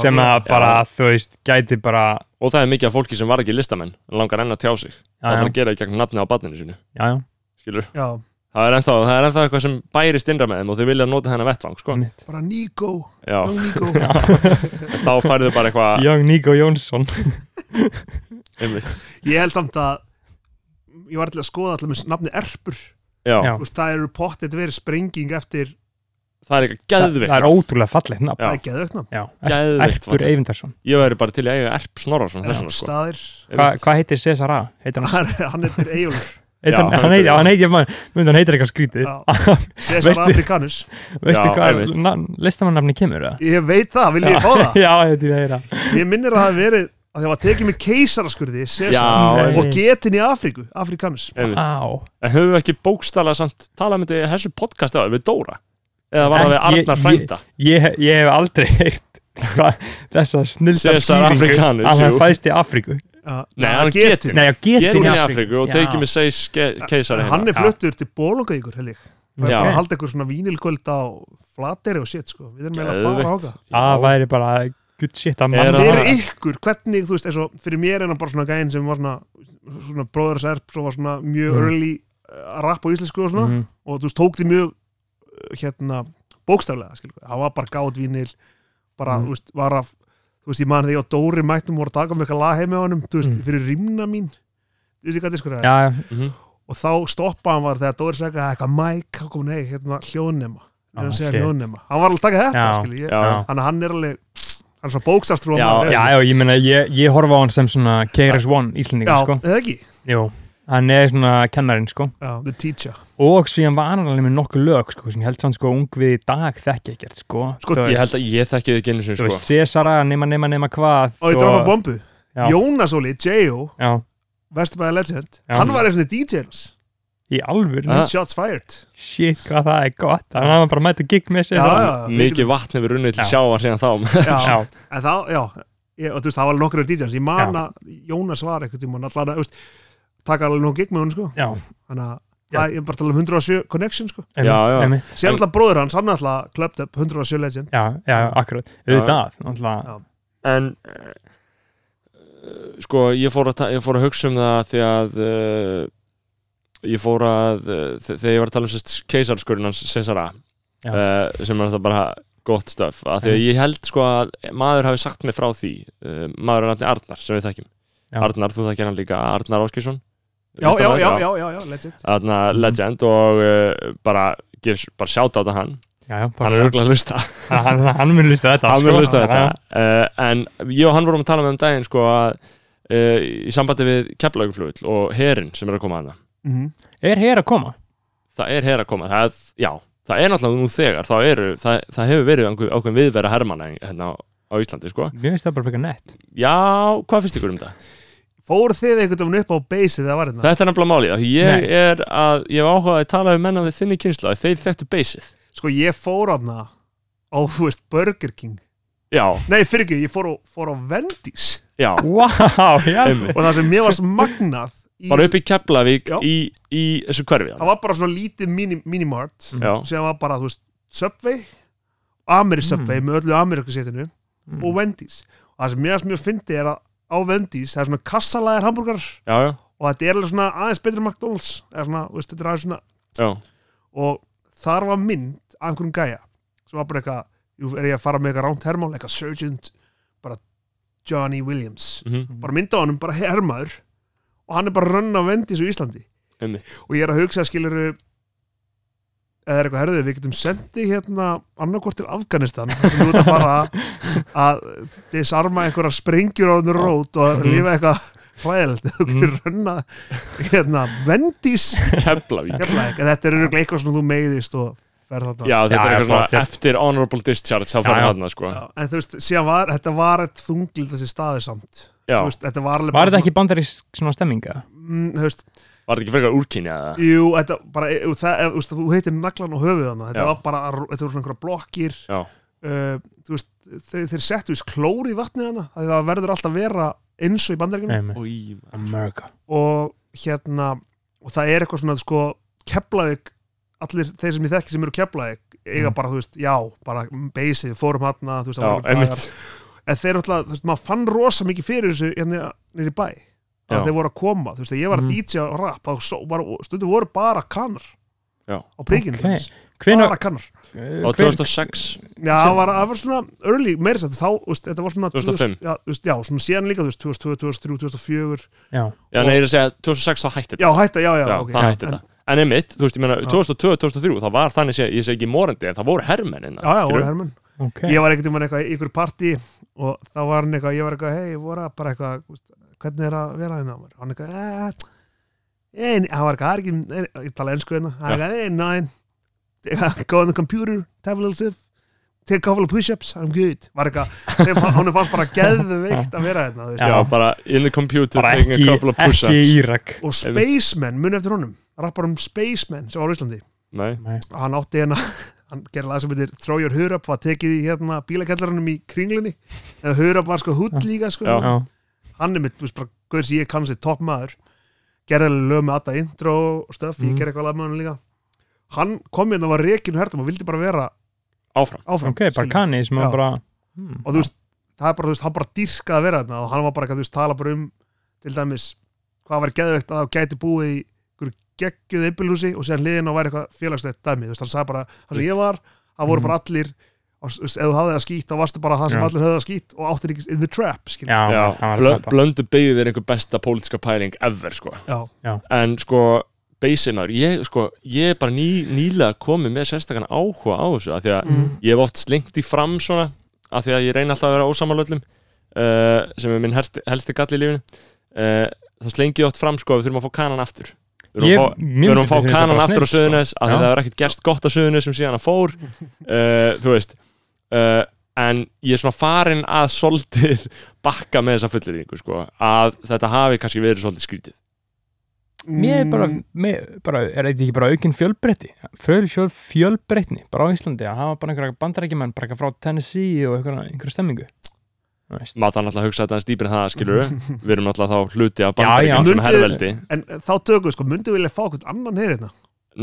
[SPEAKER 3] sem að bara, þú veist, gæti bara
[SPEAKER 1] og það er mikið af fólki sem var ekki listamenn en langar enn að tjá sig
[SPEAKER 3] já,
[SPEAKER 1] það
[SPEAKER 3] já,
[SPEAKER 1] þarf að gera í gegn nafni á barninu sínu
[SPEAKER 3] já, já,
[SPEAKER 1] skilur,
[SPEAKER 4] já,
[SPEAKER 1] það er ennþá, það er ennþá eitthvað sem bærist innra með þeim og þau vilja nota hennar vettvang sko.
[SPEAKER 3] mitt
[SPEAKER 4] bara Nico,
[SPEAKER 1] (laughs) já,
[SPEAKER 4] young Nico
[SPEAKER 3] (laughs)
[SPEAKER 1] þá færðu bara eitthvað
[SPEAKER 3] Young Nico Jónsson
[SPEAKER 1] einmitt.
[SPEAKER 4] ég held samt að ég var alltaf að skoða alltaf með nafni Erpur
[SPEAKER 1] já,
[SPEAKER 3] Já.
[SPEAKER 4] Þú veist, það eru pottet verið sprenging eftir
[SPEAKER 1] það er eitthvað
[SPEAKER 3] Þa, það
[SPEAKER 1] geðvikt
[SPEAKER 3] er ótrúlega fallegt
[SPEAKER 1] Já.
[SPEAKER 3] nafn
[SPEAKER 4] það er geðauknam,
[SPEAKER 3] Já,
[SPEAKER 1] Geðveikt
[SPEAKER 3] Erpur
[SPEAKER 1] fallegt.
[SPEAKER 3] Eyvindarsson
[SPEAKER 1] ég væri bara til í að eiga Erp Snorrason þess vegna, sko.
[SPEAKER 4] Erpstaðir
[SPEAKER 3] Hva-
[SPEAKER 1] Einmitt.
[SPEAKER 3] Hvað heitir César A? Heitir hann
[SPEAKER 4] (laughs) hann heitir Eyjólfur
[SPEAKER 3] Heitir hann-
[SPEAKER 1] hann
[SPEAKER 3] hann
[SPEAKER 1] heitir-
[SPEAKER 3] heitir, hann heitir, maður, myndi hann heitir eitthvað skrítið
[SPEAKER 1] (laughs)
[SPEAKER 4] Já.
[SPEAKER 3] Veistu-
[SPEAKER 4] Cesar Afrikanus
[SPEAKER 3] veistu
[SPEAKER 1] Já,
[SPEAKER 3] hvað
[SPEAKER 1] einmitt.
[SPEAKER 3] listamannafni kemur eða?
[SPEAKER 4] ég veit það, vil ég fá það
[SPEAKER 3] (laughs) já, þetta er það
[SPEAKER 4] ég minnir að það hafi verið að það var tekið með keisaraskurði Cesar
[SPEAKER 1] já,
[SPEAKER 3] Nei.
[SPEAKER 1] einmitt,
[SPEAKER 4] og getinn í Afríku, Afrikanus
[SPEAKER 1] einmitt.
[SPEAKER 3] Á,
[SPEAKER 1] En höfum við ekki bókstala samt talað myndi þessu podcast á við Dóra? Eða var það við
[SPEAKER 3] Nei, ég-
[SPEAKER 1] Arnar
[SPEAKER 3] ég-
[SPEAKER 1] Frænda?
[SPEAKER 3] ég, ég hef aldrei heyrt hvað þessa snildar
[SPEAKER 1] César Africanus,
[SPEAKER 3] að
[SPEAKER 1] jú.
[SPEAKER 3] hann fæðist í Afríku
[SPEAKER 1] Nei, hann getinn.
[SPEAKER 3] Nei, já,
[SPEAKER 1] Getum
[SPEAKER 3] getin
[SPEAKER 1] í Afriku og tekjum við seis keisar
[SPEAKER 4] hann
[SPEAKER 1] hérna.
[SPEAKER 4] er fluttur til Bólungavíkur held ég og er
[SPEAKER 1] Já.
[SPEAKER 4] bara að halda einhver svona vínilkvöld á flateri og shit sko, við erum eiginlega að fara á
[SPEAKER 1] Geðveikt.
[SPEAKER 4] það
[SPEAKER 3] að væri bara good shit að
[SPEAKER 1] Er
[SPEAKER 3] manna
[SPEAKER 1] það-
[SPEAKER 4] fyrir ykkur, hvernig, þú veist, eins og fyrir mér er hann bara svona gæinn sem var svona svona bróðars erp, svo var svona mjög
[SPEAKER 3] Mm.
[SPEAKER 4] early uh, að rappa á íslensku og svona
[SPEAKER 3] Mhm.
[SPEAKER 4] og þú veist, tók því mjög uh, hérna, bókstaflega, skilur, hann var bara gátt vínil, bara,
[SPEAKER 3] Mm.
[SPEAKER 4] þú veist, var að þú veist, ég man þegar ég og Dóri mættum voru að taka um eitthvað lag heim með honum, þú veist,
[SPEAKER 3] Mm.
[SPEAKER 4] fyrir rimna mín þú veist, ég gæti sko
[SPEAKER 3] Já, já,
[SPEAKER 4] og þá stoppa hann var þegar Dóri sagði að eitthvað Mike, hann kom, nei, hérna, hljóðnema
[SPEAKER 3] Ah,
[SPEAKER 4] hann segja
[SPEAKER 3] shit.
[SPEAKER 4] hljóðnema, hann var alveg að taka þetta,
[SPEAKER 3] Já,
[SPEAKER 4] skilur, ég,
[SPEAKER 1] Já,
[SPEAKER 3] Já.
[SPEAKER 4] hann, hann er alveg hann er svo bókstafstrú
[SPEAKER 1] Já,
[SPEAKER 3] já, já, ég meina, ég, ég horfa á hann sem svona KRS-One
[SPEAKER 4] Já,
[SPEAKER 3] Íslendingar, sko
[SPEAKER 4] eða ekki
[SPEAKER 3] Jú, hann er svona kennarinn, sko
[SPEAKER 4] já, The Teacher
[SPEAKER 3] og síðan var hann alveg með nokkuð lög, sko sem ég held samt, sko, ung við í dag þekki ekkert, sko
[SPEAKER 4] Sko,
[SPEAKER 3] Þú
[SPEAKER 1] Ég
[SPEAKER 3] veist-
[SPEAKER 1] held að ég þekki þið genið sem
[SPEAKER 3] Þú veist,
[SPEAKER 1] sko.
[SPEAKER 3] Césara, nema, nema, nema hvað
[SPEAKER 4] og ég droppa bombu
[SPEAKER 3] Sko, Já.
[SPEAKER 4] Jónas Óli, J.O.
[SPEAKER 3] Já,
[SPEAKER 4] Vesturbæða Legend
[SPEAKER 3] Já.
[SPEAKER 4] hann var eins og DJs
[SPEAKER 3] í alvöru
[SPEAKER 1] Ah.
[SPEAKER 4] Shots Fired
[SPEAKER 3] Shit, hvað það er gott Þannig að hann bara mætti gig með sér
[SPEAKER 1] Mikið vatn hefur runnið til
[SPEAKER 3] Já.
[SPEAKER 1] sjáar síðan
[SPEAKER 4] (laughs)
[SPEAKER 1] þá.
[SPEAKER 4] já,
[SPEAKER 3] Já,
[SPEAKER 4] já. En þá, já ég, og þú veist, það var alveg nokkur DJs ég man
[SPEAKER 3] Já.
[SPEAKER 4] að Jónas var eitthvað tíma allan að, þú veist, taka alveg nóg gig með hún sko
[SPEAKER 3] já,
[SPEAKER 4] þannig að
[SPEAKER 3] Já.
[SPEAKER 4] Það, ég er bara að tala um 107 Connection sko
[SPEAKER 3] einmitt,
[SPEAKER 1] Já, já.
[SPEAKER 3] einmitt
[SPEAKER 4] Sér alltaf bróður hans, hann er alltaf klöpt upp 107 Legend
[SPEAKER 3] Já, já, akkurat, auðvitað náttúrulega.
[SPEAKER 4] Já.
[SPEAKER 1] En eh, sko, ég fór að, ta- ég fór að hugsa um það því að uh, ég fór að, uh, þegar ég var að tala um sérst keisarskurinn hans Césara
[SPEAKER 3] Já.
[SPEAKER 1] uh, sem er þetta bara gott stöf af því að ég held sko að maður hafi sagt mig frá því uh, maður er nafni Arnar sem við þekkjum
[SPEAKER 3] Já.
[SPEAKER 1] Arnar, þú þekkir hann líka, Arnar Áskjesson
[SPEAKER 4] Já, já, já, já, já, já, Legend
[SPEAKER 1] Arna,
[SPEAKER 3] Mhm.
[SPEAKER 1] legend og uh, bara, gef, bara sjáta á þetta hann
[SPEAKER 3] Já, já,
[SPEAKER 1] hann
[SPEAKER 3] bara,
[SPEAKER 1] er örgulega að lusta
[SPEAKER 3] hann, hann, hann mun lusta þetta
[SPEAKER 1] hann
[SPEAKER 3] sko.
[SPEAKER 1] vil hlusta á þetta uh, en ég og hann vorum að tala með um daginn sko að uh, í sambandi við keflauguflugul og herin sem er að koma hana
[SPEAKER 4] mm
[SPEAKER 3] Er hér að koma?
[SPEAKER 1] það er her að koma, það er, já það er náttúrulega nú þegar, það, eru, það, það hefur verið einhver, ákveðin viðvera hermanna hérna á, á Íslandi sko,
[SPEAKER 3] Mér finnst það bara fyrir nett
[SPEAKER 1] já, hvað finnst ykkur um það?
[SPEAKER 4] Fóru þið einhvern veginn upp á basið það var hérna
[SPEAKER 1] Þetta er nefnilega málið, af því ég
[SPEAKER 3] Nei.
[SPEAKER 1] er að ég hef áhugað að tala við menn af þinni kynsla, þeir þekktu beysið
[SPEAKER 4] sko ég fór aðna á, þú veist, Burger King
[SPEAKER 1] já,
[SPEAKER 4] nei, fyrir ekki, ég fór á, fór á Wendy's
[SPEAKER 1] já,
[SPEAKER 3] Wow, já
[SPEAKER 1] einmitt
[SPEAKER 4] og það sem mér varst magnað í,
[SPEAKER 1] bara upp í Keflavík
[SPEAKER 4] Já.
[SPEAKER 1] í, í þessu hverfi
[SPEAKER 4] það var bara svona lítið mini, minimart
[SPEAKER 1] já,
[SPEAKER 4] sem var bara, þú veist, Subway Ameri Subway með öllu Amerikasétinu og Wendy's og það sem mér varst mjög fyndi er að á Wendy's það er svona kassalæðir hambúrgar
[SPEAKER 1] já, já,
[SPEAKER 4] og þetta er alveg svona aðeins betri en McDonalds eða svona, þú veist, þetta er aðeins svona
[SPEAKER 1] já
[SPEAKER 4] og þar var mynd af einhverjum gæja sem var bara eitthvað, jú, er ég að fara með eitthvað ránt hermál, eitthvað Sergeant bara Johnny Williams
[SPEAKER 1] mhm,
[SPEAKER 4] bara mynd á honum, bara hermaður og hann er bara að runna vendis á Íslandi
[SPEAKER 1] einmitt
[SPEAKER 4] og ég er að hugsa, skilur eða er eitthvað herðið, við getum sendið hérna annarkort til Afganistan þar sem þú ert að fara að disarma einhverja sprengjur á þennu rót og lifa eitthvað hræðilegt þú getur
[SPEAKER 1] Mm.
[SPEAKER 4] runna hérna vendis
[SPEAKER 1] Keflavík
[SPEAKER 4] Keflavík, en þetta er örugglega eitthvað svona þú meiðist og ferð þarna
[SPEAKER 1] já, þetta
[SPEAKER 3] Já,
[SPEAKER 1] er
[SPEAKER 3] já,
[SPEAKER 1] eitthvað
[SPEAKER 3] bara
[SPEAKER 1] svona
[SPEAKER 3] þetta-
[SPEAKER 1] eftir honorable discharge þá fara
[SPEAKER 3] já.
[SPEAKER 1] þarna sko
[SPEAKER 4] Já, en þú veist, síðan var, þetta var eitt þunglið þessi staði samt
[SPEAKER 1] já,
[SPEAKER 4] Þú veist, þetta var alveg
[SPEAKER 3] Var
[SPEAKER 4] bara
[SPEAKER 3] þetta ekki bandarísk svona stemminga?
[SPEAKER 4] svona- mm, þú veist,
[SPEAKER 1] var þetta ekki frekar úrkynja eða?
[SPEAKER 4] jú, þetta bara e, jú, það, ef, þú veist, þú heitir naglan og höfuð hana þetta
[SPEAKER 1] Já.
[SPEAKER 4] var bara, þetta voru svona einhverja blokkir
[SPEAKER 1] já,
[SPEAKER 4] uh, þú veist, þeir, þeir settu þess klóri í vatnið hana, það, það verður alltaf að vera eins og í bandaríkjunum
[SPEAKER 3] Nei,
[SPEAKER 1] Í, maður.
[SPEAKER 3] America
[SPEAKER 4] og hérna, og það er eitthvað svona sko, Keflavík allir þeir sem ég þekki sem eru Keflavík eiga
[SPEAKER 3] Mm.
[SPEAKER 4] bara, þú veist, já, bara basic fórum hana, þú veist, það
[SPEAKER 1] já,
[SPEAKER 4] voru dagar.
[SPEAKER 1] einmitt
[SPEAKER 4] en þeir alltaf, þú veist, maður fann rosa mikið fyrir þessu hérna nýri bæ
[SPEAKER 1] Já. Mm.
[SPEAKER 4] að þeir voru að koma, þú veist, þegar ég var að
[SPEAKER 3] Mhm.
[SPEAKER 4] DJ og rap, þá svo, bara, stundu voru bara kannar
[SPEAKER 1] Já.
[SPEAKER 4] á príkinu
[SPEAKER 3] Ok.
[SPEAKER 4] okay.
[SPEAKER 3] Hvenær
[SPEAKER 4] bara kannar já,
[SPEAKER 1] á 2006
[SPEAKER 4] það var, það var svona early, meira sætt, þá, þú veist, þetta var svona
[SPEAKER 1] 2005.
[SPEAKER 4] 2000 já, þú veist, já, svona síðan líka, þú veist, 2002, 2003, 2004
[SPEAKER 3] Já,
[SPEAKER 1] já, nei, ég er að segja 2006 þá hætti þetta
[SPEAKER 4] já, hætta, já, já,
[SPEAKER 1] já,
[SPEAKER 4] ok
[SPEAKER 1] það hætti
[SPEAKER 4] en,
[SPEAKER 1] þetta en einmitt, þú veist, ég meina,
[SPEAKER 4] Já.
[SPEAKER 1] 2002-2003 það var þannig að ég segi ekki morandi en það voru hermenn innan,
[SPEAKER 4] já, já, voru hermenn
[SPEAKER 3] ok
[SPEAKER 4] ég var einhvern veginn eitthvað í ykkur partí og þá var hann eitthvað, ég var eitthvað, hei, voru að bara eitthvað, þú veist, hvernig er að vera hérna og hann eitthvað, eh, ein, hann var eitthvað, "Það er ekki, nei, ég tala ennsku hérna hann eitthvað, hey, nine Eitthvað, go on the computer, have a little sip take a couple of push-ups, I'm good var eitthvað, þeim- honum fannst bara geðveikt að vera hérna, þú veist
[SPEAKER 1] já, bara in the computer
[SPEAKER 3] Bara
[SPEAKER 1] taking
[SPEAKER 3] ekki,
[SPEAKER 1] a couple of
[SPEAKER 3] ekki
[SPEAKER 1] push-ups
[SPEAKER 3] Írak
[SPEAKER 4] og Spaceman, muni eftir honum rappar um Spaceman sem var á Íslandi
[SPEAKER 1] nei,
[SPEAKER 4] hann átti hérna (laughs) hann gerði lag sem heitir Throw Your Hood Up var tekið í hérna bílakellaranum í kringlunni en Hood Up var sko hútt líka sko.
[SPEAKER 1] Já.
[SPEAKER 3] Já,
[SPEAKER 4] hann er mitt, þú veist bara, guður sem ég kann sér topp maður gerði alveg lög með alltaf intro og stöf, ég
[SPEAKER 3] Mhm.
[SPEAKER 4] gerði eitthvað lag með hann líka hann kom hérna og var rekin og hertum og vildi bara vera
[SPEAKER 1] áfram
[SPEAKER 4] áfram
[SPEAKER 3] ok, bara
[SPEAKER 4] skilur.
[SPEAKER 3] kanni sem
[SPEAKER 4] Já.
[SPEAKER 3] að bara hmm,
[SPEAKER 4] og þú veist, það er bara, þú veist, hann bara dýrkaði að vera þarna og hann var bara, eitthvað, þú veist, tala bara um til dæmis, hvað var geðvegt að þá gæti búið í einhverju geggjuð einbílhúsi og síðan hliðin á væri eitthvað félagslegt dæmi, þú veist, hann sagði bara, það sem ég var það voru bara allir, og, þú veist, ef þú hafði það skýtt þá varstu bara það sem
[SPEAKER 3] Mhm. Já.
[SPEAKER 4] allir höfðu það skýtt og áttir ekki in the trap, skil
[SPEAKER 3] Já,
[SPEAKER 1] já,
[SPEAKER 3] hann var
[SPEAKER 1] blö,
[SPEAKER 3] að tapa
[SPEAKER 1] blöndu byggðir einhver besta pólitska pæling ever, sko
[SPEAKER 4] Já.
[SPEAKER 1] en sko, beisinnar, ég sko ég er bara ný, nýlega komið með sérstakann áhuga á þessu, af því að
[SPEAKER 4] Mm.
[SPEAKER 1] ég hef oft slengt því fram svona af því að ég reyna alltaf að vera ósamalöllum uh, sem er minn helsti, helsti gall í lífinu uh, þá slengi ég oft fram sko að við þurfum að fá kanan aftur Við
[SPEAKER 3] Ég-
[SPEAKER 1] þurfum að fá-
[SPEAKER 3] mér
[SPEAKER 1] við erum
[SPEAKER 3] myndi
[SPEAKER 1] að fá
[SPEAKER 3] finnst það
[SPEAKER 1] kanan
[SPEAKER 3] bara
[SPEAKER 1] aftur á
[SPEAKER 3] snill, sko.
[SPEAKER 1] söðunis að
[SPEAKER 3] Já.
[SPEAKER 1] það er ekkert gerst gott á söðunis sem síðan að
[SPEAKER 3] (laughs)
[SPEAKER 1] fór uh, þú veist uh, en ég er svona farin að (laughs) svolítið bakka með þessa fulleringu sko, að þetta hafi kannski verið svolítið skrítið
[SPEAKER 3] Mér er bara,
[SPEAKER 4] Mm,
[SPEAKER 3] mér, bara er þetta ekki bara aukin fjölbreytti fjöl, fjöl, fjölbreytni bara á Íslandi að hafa bara einhverja bandarækjumenn bara eitthvað frá Tennessee og einhverja, einhverja stemmingu Þú veist.
[SPEAKER 1] maður þarf náttúrulega að hugsa þetta en stýpir en það skilur
[SPEAKER 4] (laughs)
[SPEAKER 1] við erum náttúrulega þá hluti af
[SPEAKER 3] já.
[SPEAKER 1] bandaríkjum sem
[SPEAKER 4] Mundu-
[SPEAKER 1] herrveldi
[SPEAKER 4] en þá tökum við, sko, myndum vilja fá okkur annan hér hérna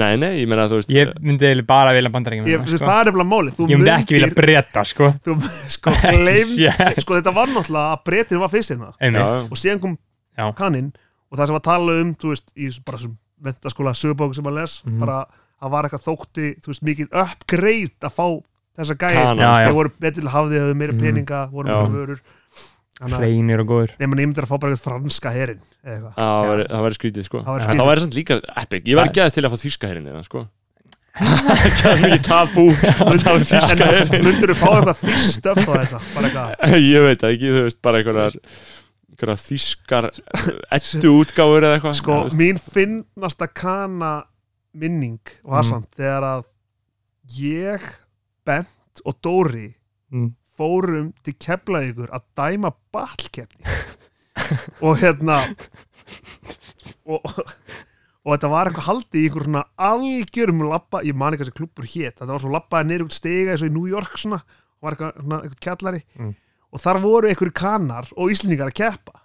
[SPEAKER 1] nei, nei, ég meina þú veist
[SPEAKER 3] Ég myndi eiginlega bara vilja
[SPEAKER 4] ég,
[SPEAKER 3] bandarækjumenn
[SPEAKER 4] þú veist,
[SPEAKER 3] sko.
[SPEAKER 4] það er nefnilega málið, þú
[SPEAKER 3] Ég myndi ekki vilja breyta sko
[SPEAKER 4] þú, (laughs) sko, gleym,
[SPEAKER 3] Shit.
[SPEAKER 4] sko, þetta var náttúrulega að breytin var fyrst hérna
[SPEAKER 3] Einmitt,
[SPEAKER 1] Já,
[SPEAKER 4] og síðan kom
[SPEAKER 3] Já.
[SPEAKER 4] kaninn og það sem var talað um, þú veist, í bara sem mentaskóla sögbók sem að les
[SPEAKER 3] Mhm.
[SPEAKER 4] bara að var eitthvað þótti, þú veist, mikið uppgreit að fá þessa gæði
[SPEAKER 1] Kanan.
[SPEAKER 4] þú veist,
[SPEAKER 3] Já, já.
[SPEAKER 4] þeir voru betil hafði, höfðu meira
[SPEAKER 3] Mhm.
[SPEAKER 4] peninga voru
[SPEAKER 1] Já.
[SPEAKER 4] meira vörur þannig að
[SPEAKER 3] hreinir og góður
[SPEAKER 4] nefnir nefndir að fá bara eitthvað franska herin eða eitthvað
[SPEAKER 1] það væri- það væri skrítið sko
[SPEAKER 4] Það væri
[SPEAKER 1] en
[SPEAKER 4] skrítið.
[SPEAKER 1] það væri samt líka epic ég væri geðið til að fá þýska herrin sko (laughs) það er mikið tabú
[SPEAKER 4] (laughs)
[SPEAKER 1] að það var þýska
[SPEAKER 4] en
[SPEAKER 1] herrin
[SPEAKER 4] myndur þú fá eitthvað þýst stöf á þetta bara
[SPEAKER 1] (laughs)
[SPEAKER 4] eitthvað
[SPEAKER 1] ég veit það ekki, þú veist, bara einhverja einhverja þýskar ettu útgáfur eða eitthvað
[SPEAKER 4] sko,
[SPEAKER 1] þú veist.
[SPEAKER 4] mín finnasta kana minning var
[SPEAKER 3] Mm.
[SPEAKER 4] samt þegar að ég, Bent og Dóri
[SPEAKER 3] Mm.
[SPEAKER 4] fórum til Keflavíkur að dæma (laughs) ballkeppni og hérna og, og þetta var eitthvað haldið í einhver svona algjörum labba, ég man ekki hvað þessi klubur hét þetta var svo labbaði niður út stiga eins og í New York svona, og var eitthvað, svona, eitthvað kjallari
[SPEAKER 3] Mm.
[SPEAKER 4] og þar voru einhver kanar og íslendingar að keppa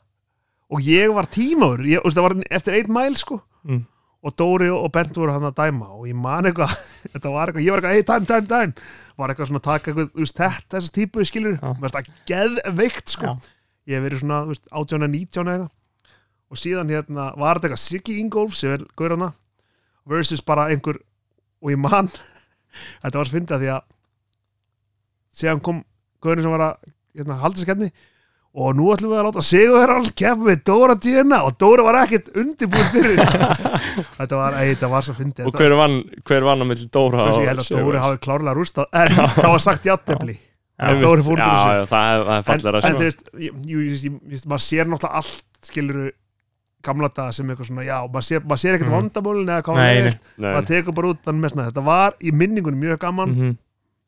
[SPEAKER 4] og ég var tímaður, ég, og þetta var eftir eitt mæl sko
[SPEAKER 3] Mm.
[SPEAKER 4] og Dóri og Bernd voru hann að dæma og ég man eitthvað, (laughs) þetta var eitthvað, ég var eitthvað hey, time, time, time, var eitthvað svona að taka eitthvað, þú veist, þetta, þessa típu skilur
[SPEAKER 3] Já.
[SPEAKER 4] mér þetta geðveikt sko
[SPEAKER 3] Já.
[SPEAKER 4] ég hef verið svona, þú veist, 18 að 19 eða eitthvað. og síðan hérna var þetta eitthvað Siggi Ingolf sem er gaurana versus bara einhver og ég man, (laughs) þetta var svindið því að síðan kom gaurinn sem var að hérna, halda þessi kemni og nú ætlum við að láta Sigurherran kemna við Dóra Díuna og Dóra var ekkert undirbúin fyrir þetta var, ei, þetta var svo fyndið
[SPEAKER 1] Og hver vann, hver vann á milli Dóra
[SPEAKER 4] Þessi,
[SPEAKER 1] og
[SPEAKER 4] ég held að
[SPEAKER 1] Sigurvegari?
[SPEAKER 4] Dóri hafi klárlega rústað en það var sagt játnefli
[SPEAKER 1] Einmitt.
[SPEAKER 4] Dóri fór út úr
[SPEAKER 1] Já,
[SPEAKER 4] þessu.
[SPEAKER 1] já, það er- það er
[SPEAKER 4] en,
[SPEAKER 1] fallara
[SPEAKER 4] en þú
[SPEAKER 1] sko.
[SPEAKER 4] veist, ég, ég, ég, ég, ég, maður sér náttúrulega allt skiluru gamla daga sem eitthvað svona, já, maður sér, maður sér ekkert
[SPEAKER 3] Mhm.
[SPEAKER 4] mm. vandamólin eða hvað
[SPEAKER 3] Nei,
[SPEAKER 4] það
[SPEAKER 3] nei.
[SPEAKER 4] er,
[SPEAKER 1] Nei,
[SPEAKER 4] maður tekur bara út þannig með svona, þetta var í minningunum mjög gaman
[SPEAKER 3] Mhm.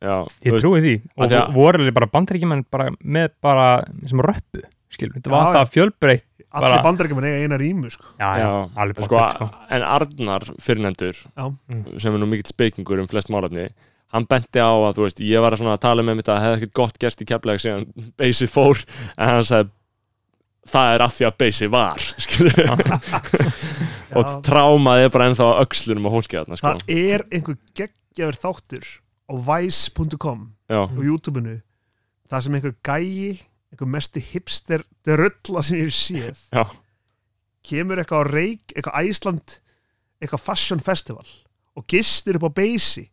[SPEAKER 1] já, þú
[SPEAKER 3] Ég
[SPEAKER 1] veist,
[SPEAKER 3] trúi því
[SPEAKER 1] Af
[SPEAKER 3] og
[SPEAKER 1] því að-
[SPEAKER 3] voru alveg bara bandaríkjumenn bara með bara sem röppu skilur, þetta var
[SPEAKER 4] Já,
[SPEAKER 3] það fjölbreytt
[SPEAKER 4] allir
[SPEAKER 3] bara-
[SPEAKER 4] bandarækjumenn eiga eina rýmu sko.
[SPEAKER 3] já, já,
[SPEAKER 1] Já.
[SPEAKER 3] alveg
[SPEAKER 1] sko,
[SPEAKER 3] bara sko.
[SPEAKER 1] en Arnar fyrirnendur
[SPEAKER 4] Já.
[SPEAKER 3] Mm.
[SPEAKER 1] sem er nú mikill spekingur um flest málefni hann benti á að, þú veist, ég var að svona að tala með mitt að það hefði ekkert gott gerst í keflæk síðan Beysi fór, en hann sagði það er af því að Beysi var (laughs) skilur (laughs) og
[SPEAKER 4] Já.
[SPEAKER 1] trámaði bara ennþá á öxlunum og hólkið þarna, sko
[SPEAKER 4] það er einhver geggjaður þáttur á vice.com
[SPEAKER 1] já,
[SPEAKER 3] Mhm.
[SPEAKER 4] og YouTube-unu það sem einhver gæi, einhver mesti hipster drölla sem ég hef séð
[SPEAKER 1] já,
[SPEAKER 4] kemur eitthvað á reik, eitthvað Æsland eitthvað fashion festival og gistir upp á Beysi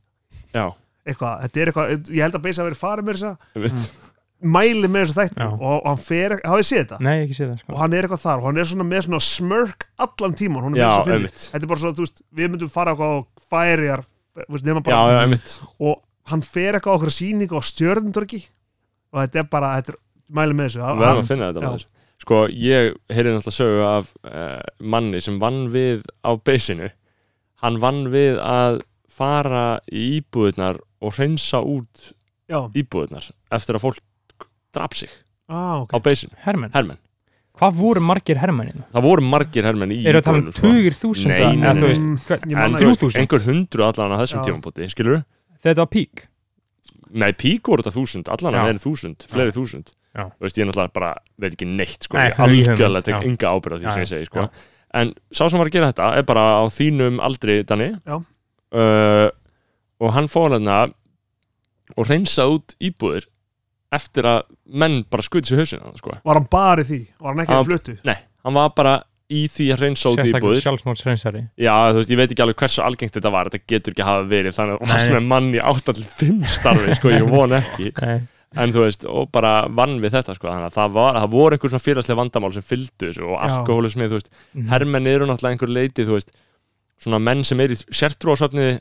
[SPEAKER 1] já,
[SPEAKER 4] eitthvað, þetta er eitthvað, ég held að Beysi hafi verið farið með þess að
[SPEAKER 1] ég veit
[SPEAKER 4] mæli með þess að þætti
[SPEAKER 3] Já.
[SPEAKER 4] og, og hann fer, hafið séð þetta
[SPEAKER 3] nei, ekki sé það sko.
[SPEAKER 4] og hann er eitthvað þar og hann er svona með svona smörk allan tíman, hún Mm. er
[SPEAKER 1] Já,
[SPEAKER 4] með svo fyndið
[SPEAKER 1] einmitt.
[SPEAKER 4] þetta er bara svo, þú veist, við myndum fara eitthvað á færijar, þú veist, nema
[SPEAKER 1] já,
[SPEAKER 4] bara
[SPEAKER 1] já, einmitt
[SPEAKER 4] og hann fer eitthvað á okkur sýningu á stjörnundorki og þetta er bara, þetta er, mæli með þessu
[SPEAKER 1] við verðum að finna þetta
[SPEAKER 4] já.
[SPEAKER 1] maður sko, ég heyrði náttúrulega sögu af uh, manni sem vann við á beisinu hann vann við að fara í íbúðurnar og hreinsa út
[SPEAKER 4] já,
[SPEAKER 1] íbúðurnar eftir að fólk draf sig á
[SPEAKER 4] ah, ok
[SPEAKER 1] beisinu,
[SPEAKER 3] hermenn,
[SPEAKER 1] hermenn
[SPEAKER 3] hvað voru margir hermennina?
[SPEAKER 1] það voru margir hermenn í
[SPEAKER 3] eru að tala um
[SPEAKER 1] sko.
[SPEAKER 3] tugir þúsunda
[SPEAKER 1] Nei, nei,
[SPEAKER 3] eða þú
[SPEAKER 1] nei,
[SPEAKER 3] veist,
[SPEAKER 4] nei.
[SPEAKER 3] hvern-
[SPEAKER 4] Ég
[SPEAKER 1] en
[SPEAKER 4] manna
[SPEAKER 1] þú veist,
[SPEAKER 3] 3000.
[SPEAKER 1] einhver hundru allan á þessum
[SPEAKER 4] Já.
[SPEAKER 1] tímampóti, skilur
[SPEAKER 3] þegar þetta var pík
[SPEAKER 1] nei, pík voru þetta þúsund, allan
[SPEAKER 3] Já.
[SPEAKER 1] að meðin þúsund fleiri þúsund,
[SPEAKER 3] Já.
[SPEAKER 1] þú veist, ég náttúrulega bara veit ekki neitt, sko,
[SPEAKER 3] Nei,
[SPEAKER 1] ég
[SPEAKER 3] það er ekki hugmynd,
[SPEAKER 1] algjörlega
[SPEAKER 3] já.
[SPEAKER 1] tek enga ábyrgð á því
[SPEAKER 3] Já,
[SPEAKER 1] sem ég
[SPEAKER 3] já,
[SPEAKER 1] segi, sko en sá sem var að gera þetta er bara á þínum aldri, Danni
[SPEAKER 4] Já.
[SPEAKER 1] uh, og hann fór hérna og reynsa út íbúðir eftir að menn bara skuði sér hausina, sko
[SPEAKER 4] var hann bara í því, var hann ekki
[SPEAKER 1] Hann-
[SPEAKER 4] að fluttu
[SPEAKER 1] nei, hann var bara í því að reynsa út
[SPEAKER 3] sérstaklega
[SPEAKER 1] íbúðir
[SPEAKER 3] sjálfsmórdsrensari
[SPEAKER 1] Já, þú veist, ég veit ekki alveg hversu algengt þetta var Þetta getur ekki hafa verið Þannig að það
[SPEAKER 3] Nei.
[SPEAKER 1] sem er mann í 8-5 starfi Sko, ég von ekki
[SPEAKER 3] nei,
[SPEAKER 1] En þú veist, og bara vann við þetta sko Þannig að það, var, það voru einhver svona félagslega vandamál sem fylgdu þessu Og
[SPEAKER 4] Já.
[SPEAKER 1] alkohólismi, þú veist
[SPEAKER 3] Mhm.
[SPEAKER 1] Hermenn eru náttúrulega einhver leiti, þú veist Svona menn sem eru í sértrúasöfni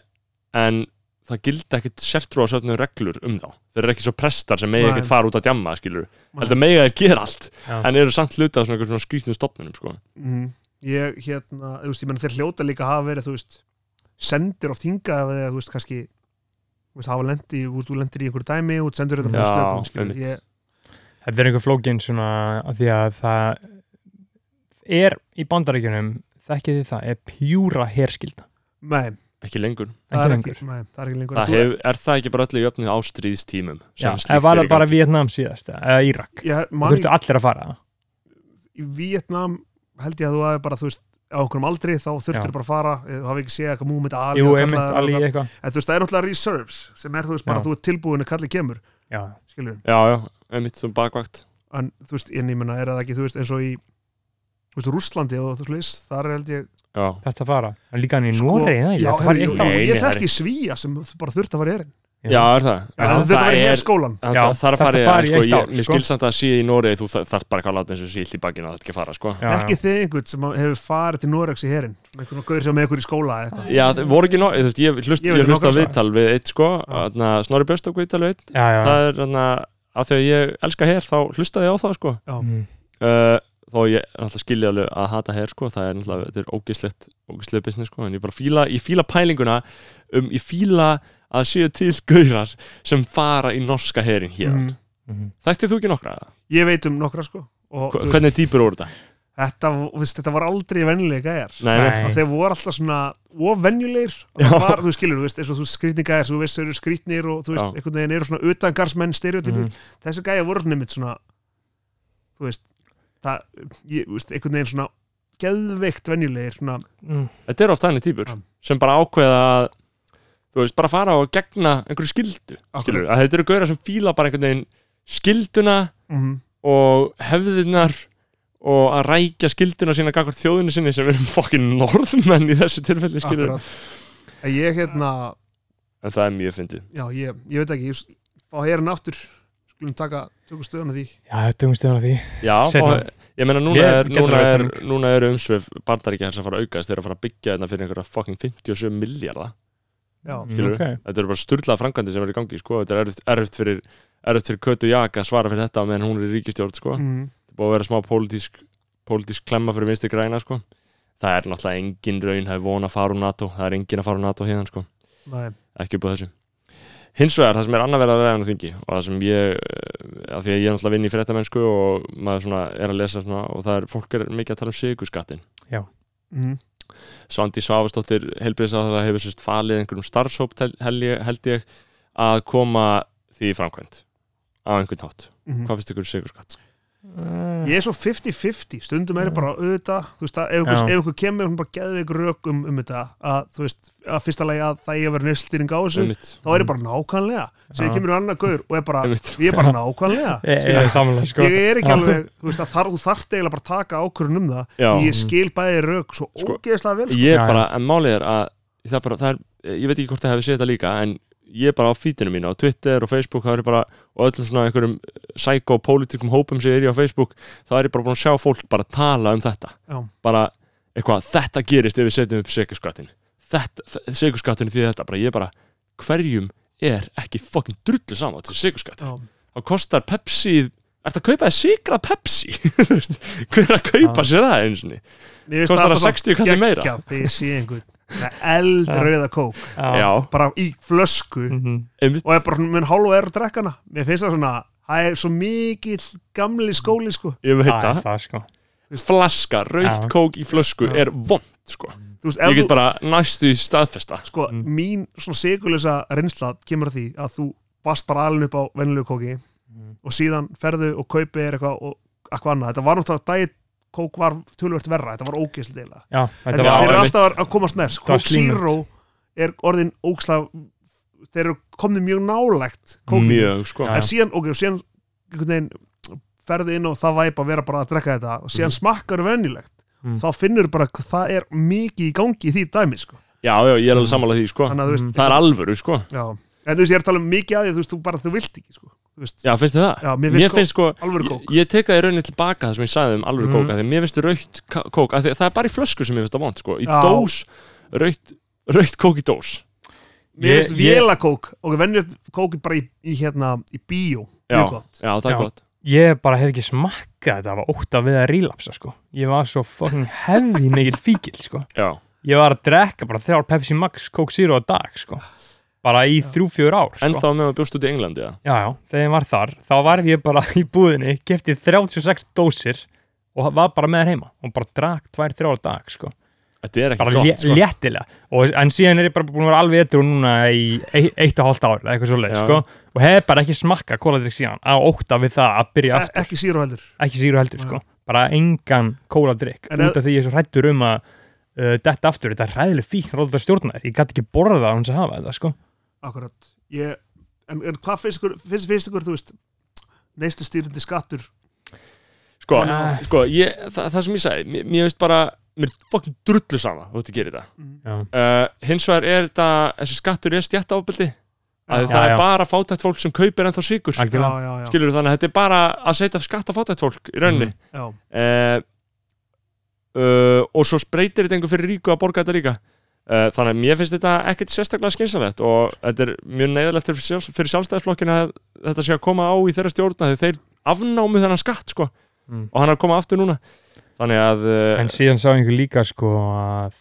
[SPEAKER 1] En það gildi ekkit sértrúasöfni reglur um þá Þeir eru ekki svo prestar sem megi
[SPEAKER 4] Nei.
[SPEAKER 1] ekkit fara út að djamma, skilur
[SPEAKER 4] Nei.
[SPEAKER 1] Heldur megi að gera allt
[SPEAKER 3] Já.
[SPEAKER 1] En eru samt hluta af svona, einhverjum svona skrýtnum stofnunum, sko
[SPEAKER 4] mm, ég hérna, þú veist, ég menn þeir hljóta líka að hafa verið, þú veist, sendir oft hingað eða, þú veist, kannski þú veist, hafa lendi, þú veist, þú lendir í einhverju dæmi og þú sendur þetta
[SPEAKER 1] Já,
[SPEAKER 4] bara slökum,
[SPEAKER 1] einmitt.
[SPEAKER 4] skilur ég,
[SPEAKER 3] þetta er einhver flókin svona af því að það er í bandaríkjunum þekkið þið það, er pjúra herskilda
[SPEAKER 4] nei,
[SPEAKER 1] Ekki lengur
[SPEAKER 4] það
[SPEAKER 3] ekki
[SPEAKER 4] er
[SPEAKER 3] lengur
[SPEAKER 4] ekki, nei, það er ekki lengur
[SPEAKER 1] það
[SPEAKER 4] Þú-
[SPEAKER 1] hef, Er það ekki bara öllu jöfnu á stríðstímum
[SPEAKER 3] Já,
[SPEAKER 1] sem slíkt
[SPEAKER 3] það var
[SPEAKER 1] er í
[SPEAKER 3] það bara
[SPEAKER 1] gangi?
[SPEAKER 3] Vietnam síðast eða Írak,
[SPEAKER 4] ég,
[SPEAKER 3] þú
[SPEAKER 4] man,
[SPEAKER 3] þurftu allir að fara
[SPEAKER 4] í, í Vietnam held ég að þú hafi bara, þú veist, á einhverjum aldri þá þurftur
[SPEAKER 3] Já.
[SPEAKER 4] bara að fara, eh, þú hafi ekki séð eitthvað múmið Ali
[SPEAKER 3] Jú,
[SPEAKER 4] og
[SPEAKER 3] einmitt,
[SPEAKER 4] kallaðar
[SPEAKER 3] allir
[SPEAKER 4] og-
[SPEAKER 3] eitthvað
[SPEAKER 4] en þú veist, það er náttúrulega reserves sem er, þú veist, bara
[SPEAKER 3] Já.
[SPEAKER 4] þú er tilbúin að kallið kemur,
[SPEAKER 3] Já,
[SPEAKER 4] skilur
[SPEAKER 1] Já, já, einmitt svona bakvakt
[SPEAKER 4] en þú veist, en ég menna, er það ekki, þú veist, eins og í þú veist, Rússlandi og þú veist, þar er held ég
[SPEAKER 1] Já,
[SPEAKER 3] þetta fara En líka hann í
[SPEAKER 4] Sko,
[SPEAKER 3] Noregi, það
[SPEAKER 4] já,
[SPEAKER 3] ég
[SPEAKER 4] heyrðu,
[SPEAKER 3] fari eitt
[SPEAKER 4] jú,
[SPEAKER 1] ár.
[SPEAKER 4] ég
[SPEAKER 1] Nei, nei,
[SPEAKER 4] þekki svíja sem bara þurft að fara í erinn
[SPEAKER 3] Já.
[SPEAKER 1] já er það
[SPEAKER 4] ja, þurft að
[SPEAKER 1] það
[SPEAKER 4] fara í
[SPEAKER 1] er
[SPEAKER 4] skólan
[SPEAKER 1] Það já,
[SPEAKER 3] Já,
[SPEAKER 1] þar
[SPEAKER 3] þetta
[SPEAKER 1] farið,
[SPEAKER 3] fari í
[SPEAKER 1] sko,
[SPEAKER 3] eitt ár,
[SPEAKER 1] ég, mér
[SPEAKER 3] sko.
[SPEAKER 1] skilst samt að sé í Noregi þú þar- þarft bara ekki að láta eins og sílt í bakinu að þetta ekki að fara, sko Já,
[SPEAKER 3] á
[SPEAKER 4] ekki þið einhvern sem hefur farið til Noregs í herinn einhvern og gaur sem er með einhvern í skóla eða eitthvað
[SPEAKER 1] það voru ekki nóg, þú veist, ég hlust,
[SPEAKER 4] Ég
[SPEAKER 1] ég,
[SPEAKER 4] veit um
[SPEAKER 1] hlust á
[SPEAKER 4] nokkuð,
[SPEAKER 1] viðtal við eitt, sko þarna, Snorri Björst á viðtal við eitt
[SPEAKER 3] Já, já,
[SPEAKER 1] Það er, þannig að þegar ég elska hér þá hlustaði ég á það, sko
[SPEAKER 3] mm,
[SPEAKER 1] uh, Þó ég náttúrulega skilja alveg að hata hér, sko Það er náttúrulega, þetta er ógislegt, ógislegt business, sko En ég bara fíla, ég fíla pælinguna um, Ég fíla að séu til gaurar sem fara í norska herin hér
[SPEAKER 4] Mm.
[SPEAKER 3] mm,
[SPEAKER 1] Þekktið þú ekki nokkra?
[SPEAKER 4] ég veit um nokkra sko og,
[SPEAKER 1] Hva-
[SPEAKER 4] þú veist,
[SPEAKER 1] Hvernig dýpur voru þetta?
[SPEAKER 4] þetta, viðst, þetta var aldrei vennilega gæjar
[SPEAKER 1] Nei, nei,
[SPEAKER 3] Nei.
[SPEAKER 4] og þeir voru alltaf svona ofennjulegir og
[SPEAKER 1] Já.
[SPEAKER 4] það var, þú skilur, þú veist, eins og þú skrýtni gæjar þú veist, þeir eru skrýtnir og þú veist,
[SPEAKER 1] Já.
[SPEAKER 4] einhvern veginn eru svona utangarsmenn stereotypur
[SPEAKER 3] Mm.
[SPEAKER 4] þessi gæjar voru nefnt svona þú veist, það ég, þú veist, einhvern veginn svona geðveikt venjulegir, svona,
[SPEAKER 3] Mm.
[SPEAKER 1] þetta eru oft þannig týpur
[SPEAKER 4] Já.
[SPEAKER 1] sem bara ákveða að þú veist, bara fara og gegna einhverju skildu skilur, að þetta eru gauðra sem fíla bara einhvern veginn skilduna
[SPEAKER 4] mm
[SPEAKER 1] og hefðinar og að rækja skilduna sína gangvart þjóðinu sinni sem erum fokkin norðmenn í þessu tilfelli skilur
[SPEAKER 4] akkurat en ég, hérna,
[SPEAKER 1] en það er mjög fyndið
[SPEAKER 4] já, ég, ég veit ekki ég, fá herin aftur, skulum taka tökum stöðuna því,
[SPEAKER 3] Já, þetta er um stöðan af því
[SPEAKER 1] já,
[SPEAKER 3] Seinna.
[SPEAKER 1] og, ég meina núna,
[SPEAKER 3] Ég
[SPEAKER 1] er,
[SPEAKER 3] getur
[SPEAKER 1] núna,
[SPEAKER 3] alveg
[SPEAKER 4] um.
[SPEAKER 1] er,
[SPEAKER 3] stemning.
[SPEAKER 1] núna eru umsvef bandaríkja þess að fara að aukast þeir eru að fara að byggja þetta fyrir einhverja fokkin 57 miljardar
[SPEAKER 4] já,
[SPEAKER 1] skilur
[SPEAKER 3] Ok.
[SPEAKER 1] þetta eru bara sturlað framkvæmdi sem eru í gangi sko. þetta er erfitt- erfitt fyrir erfitt fyrir Kötu Jaka að svara fyrir þetta meðan hún er í ríkistjórn sko.
[SPEAKER 4] mm,
[SPEAKER 1] þetta er búið að vera smá pólitísk pólitísk klemma fyrir vinstri græna sko. það er náttúrulega engin raun það er von að fara úr NATO, það er engin að fara úr NATO hérna sko.
[SPEAKER 4] næ,
[SPEAKER 1] ekki upp á þessu hins vegar, það sem er annað verið að ræða á þingi og það sem ég, eh, af því að ég er náttúrulega vinn í fréttamennsku og maður svona er að lesa svona, og það er, fólk er mikið að tala um sigurskattin
[SPEAKER 4] mm,
[SPEAKER 1] Svandi Svavastóttir helbriðsáðara hefur sérst falið einhverjum starfshóp tel- held ég, held ég að koma því í framkvæmt á einhvern hátt
[SPEAKER 4] mm.
[SPEAKER 1] hvað finnst ykkur um sigurskatt? Eh,
[SPEAKER 4] ég er svo 50-50 stundum
[SPEAKER 1] Mm.
[SPEAKER 4] er ég bara auðvitað þú veist að ef
[SPEAKER 3] Já.
[SPEAKER 4] einhver- ef einhver kemur hún bara geði ykkur rök um, um þetta að þú veist að fyrsta lagi að það ég að vera nýstýring á þessu
[SPEAKER 1] Einmitt,
[SPEAKER 4] þá er ég bara nákvæmlega
[SPEAKER 3] Já.
[SPEAKER 4] sem kemur annar gaur og er bara
[SPEAKER 1] einmitt.
[SPEAKER 4] ég er bara nákvæmlega
[SPEAKER 1] (laughs)
[SPEAKER 3] Ég
[SPEAKER 1] eh.
[SPEAKER 4] skilur.
[SPEAKER 3] ég er samanlega sko
[SPEAKER 4] ég er ekki
[SPEAKER 3] Já.
[SPEAKER 4] alveg þú veist að þar, þú þarft eiginlega bara að taka ákvörun um það
[SPEAKER 1] Já.
[SPEAKER 4] ég skil bæði rök svo
[SPEAKER 1] Sko,
[SPEAKER 4] ógeðslega vel
[SPEAKER 1] ég
[SPEAKER 3] Já, já.
[SPEAKER 1] bara, en málið er að það er bara, það er, ég veit ekki hvort það hefur séð þetta líka en ég er bara á feedinu mínu á Twitter og Facebook, það er bara, og öllum svona einhverjum psycho-politikum hópum sem ég er í á Facebook þá er ég bara búin að sjá fólk bara tala um þetta
[SPEAKER 4] Já.
[SPEAKER 1] bara, eitthvað, þetta gerist ef við setjum upp sigurskattin þetta, sigurskattin því þetta, bara ég bara hverjum er ekki fucking drullu saman til sigurskatt,
[SPEAKER 4] Já.
[SPEAKER 1] þá kostar Pepsi Er að kaupa þér sigra Pepsi? (laughs) Þú veist, Hver er að kaupa sér það einu sinni?
[SPEAKER 4] Mér finnst
[SPEAKER 1] Kostar það
[SPEAKER 4] bara
[SPEAKER 1] 60 kallið meira?
[SPEAKER 4] geggjað þegar ég sé einhvern með eldrauða kók
[SPEAKER 1] Já,
[SPEAKER 4] bara í flösku
[SPEAKER 1] Mm.
[SPEAKER 3] Mhm.
[SPEAKER 1] einmitt,
[SPEAKER 4] og er bara svona með hálfa er að drekka hana mér finnst það svona, það er svo mikill gamli skóli sko
[SPEAKER 1] ég veit
[SPEAKER 3] Það
[SPEAKER 1] það.
[SPEAKER 3] er það sko
[SPEAKER 1] flaska, raukt
[SPEAKER 3] Já.
[SPEAKER 1] kók í flösku
[SPEAKER 4] Já.
[SPEAKER 1] er vond, sko
[SPEAKER 4] þú veist,
[SPEAKER 1] ég
[SPEAKER 4] ef
[SPEAKER 1] get
[SPEAKER 4] þú,
[SPEAKER 1] bara Mm. næstu í staðfesta
[SPEAKER 4] sko, mín svona segulösa reynsla kemur að því að þú bast bara alveg upp á venlulegu kóki og síðan ferðu og kaupið er eitthvað og eitthvað annað, þetta var náttúrulega dæt kók var tölvört verra, þetta var ógeðslega deila
[SPEAKER 3] Já,
[SPEAKER 4] þetta
[SPEAKER 1] var-
[SPEAKER 3] þetta
[SPEAKER 4] þeir eru
[SPEAKER 1] einmitt.
[SPEAKER 4] alltaf að- að komast nær
[SPEAKER 3] var
[SPEAKER 4] kók
[SPEAKER 3] slímugt.
[SPEAKER 4] zero er orðin ógeðslega þeir eru komni mjög nálægt kókinu
[SPEAKER 1] mjög, sko
[SPEAKER 3] Já.
[SPEAKER 4] en síðan, ok, og síðan einhvern veginn ferði inn og það væp að vera bara að drekka þetta og
[SPEAKER 3] Mhm.
[SPEAKER 4] síðan smakkar venjulegt
[SPEAKER 3] Mm.
[SPEAKER 4] þá finnur bara hvað það er mikið í gangi í því dæmi, sko
[SPEAKER 1] já, já, ég er alveg sammála því, sko
[SPEAKER 4] þannig að þú
[SPEAKER 3] Mhm,
[SPEAKER 4] veist,
[SPEAKER 1] það er alvöru, sko
[SPEAKER 4] já, en þú veist, ég er að tala um mikið að því, þú veist, þú bara, þú vilt ekki, sko þú veist,
[SPEAKER 1] já, finnst þið það?
[SPEAKER 4] Já, mér finnst kók-
[SPEAKER 1] sko,
[SPEAKER 4] alvöru
[SPEAKER 1] ég,
[SPEAKER 4] kók.
[SPEAKER 1] ég tek það í rauninni tilbaka það sem ég sagði um alvöru
[SPEAKER 3] Mhm.
[SPEAKER 1] kók af því að mér finnst raukt ka- kók af því að það er bara í flösku sem ég finnst það vond, sko í
[SPEAKER 4] Já.
[SPEAKER 1] dós, raukt, raukt kók í dós
[SPEAKER 4] mér
[SPEAKER 3] Ég-
[SPEAKER 4] finnst
[SPEAKER 3] ég-
[SPEAKER 4] vélakók og venjulegt kók er bara í, í hérna, í bíó,
[SPEAKER 1] já,
[SPEAKER 4] mjög gott
[SPEAKER 1] já, það er
[SPEAKER 3] Já.
[SPEAKER 1] gott
[SPEAKER 3] Ég bara hef ekki smakkað þetta af ótta við að relapsa sko Ég var svo fucking hefði mikill fíkil sko
[SPEAKER 1] já,
[SPEAKER 3] Ég var að drekka bara þrjár Pepsi Max Coke Zero á dag sko Bara í þrjú, fjör ár sko
[SPEAKER 1] en þá meðan bjóst út í Englandi, já
[SPEAKER 3] Já, já, þegar ég var þar Þá var ég bara (laughs) í búðinni, kefti 36 dósir Og var bara með þær heima Og bara drakk tvær, þrjár á dag sko
[SPEAKER 1] þetta er ekki
[SPEAKER 3] Bara lé,
[SPEAKER 1] gott, sko
[SPEAKER 3] léttilega og, En síðan er ég bara búin að vera alveg etru núna í ei- eitt og hálft ár eða eitthvað svo
[SPEAKER 1] Já.
[SPEAKER 3] sko Og hef bara ekki smakkað kóladrykk síðan Á ótta við það að byrja aftur
[SPEAKER 4] E ekki síru heldur,
[SPEAKER 3] ekki síru heldur sko bara engan kóladrykk
[SPEAKER 4] En ef-
[SPEAKER 3] út af því ég er svo hrættur um að uh, detta aftur, þetta er ræðileg fíkn ráðið að stjórna þér, ég gæti ekki borða það hans að hafa þetta sko
[SPEAKER 4] akkurat ég, en, en hvað finnst ykkur, finnst, finnst ykkur, þú veist neistu stýrandi skattur
[SPEAKER 1] sko,
[SPEAKER 3] Já.
[SPEAKER 1] sko ég, það, það sem ég sagði, mér, mér finnst bara mér er fokkin drullu sama, þú ert að gera þetta
[SPEAKER 3] já,
[SPEAKER 1] uh, hins vegar er þetta þessi skattur er stjætt ábyldi að
[SPEAKER 4] Já.
[SPEAKER 1] það
[SPEAKER 3] Já,
[SPEAKER 1] er
[SPEAKER 3] já.
[SPEAKER 1] bara fátætt fólk sem kaupir ennþá sigur
[SPEAKER 4] já,
[SPEAKER 3] algjörlega
[SPEAKER 4] já, já,
[SPEAKER 1] skilur þannig að þetta er bara að setja skatt á fátætt fólk í
[SPEAKER 3] Mhm.
[SPEAKER 1] rauninni
[SPEAKER 4] já,
[SPEAKER 1] mm. uh, og svo spreytir þetta einhver fyrir ríku að borga þetta líka uh, þannig að mér finnst þetta ekkert sérstaklega skynsalegt og þetta er mjög neyðalegt fyrir, sjálfs, fyrir sjálfstæðisflokkina að þetta sé að koma á í þeirra stjórna þegar þeir afnámu þennan skatt sko
[SPEAKER 3] Mm.
[SPEAKER 1] og hann er að koma aftur núna þannig að uh,
[SPEAKER 3] en síðan sá einhver líka sko að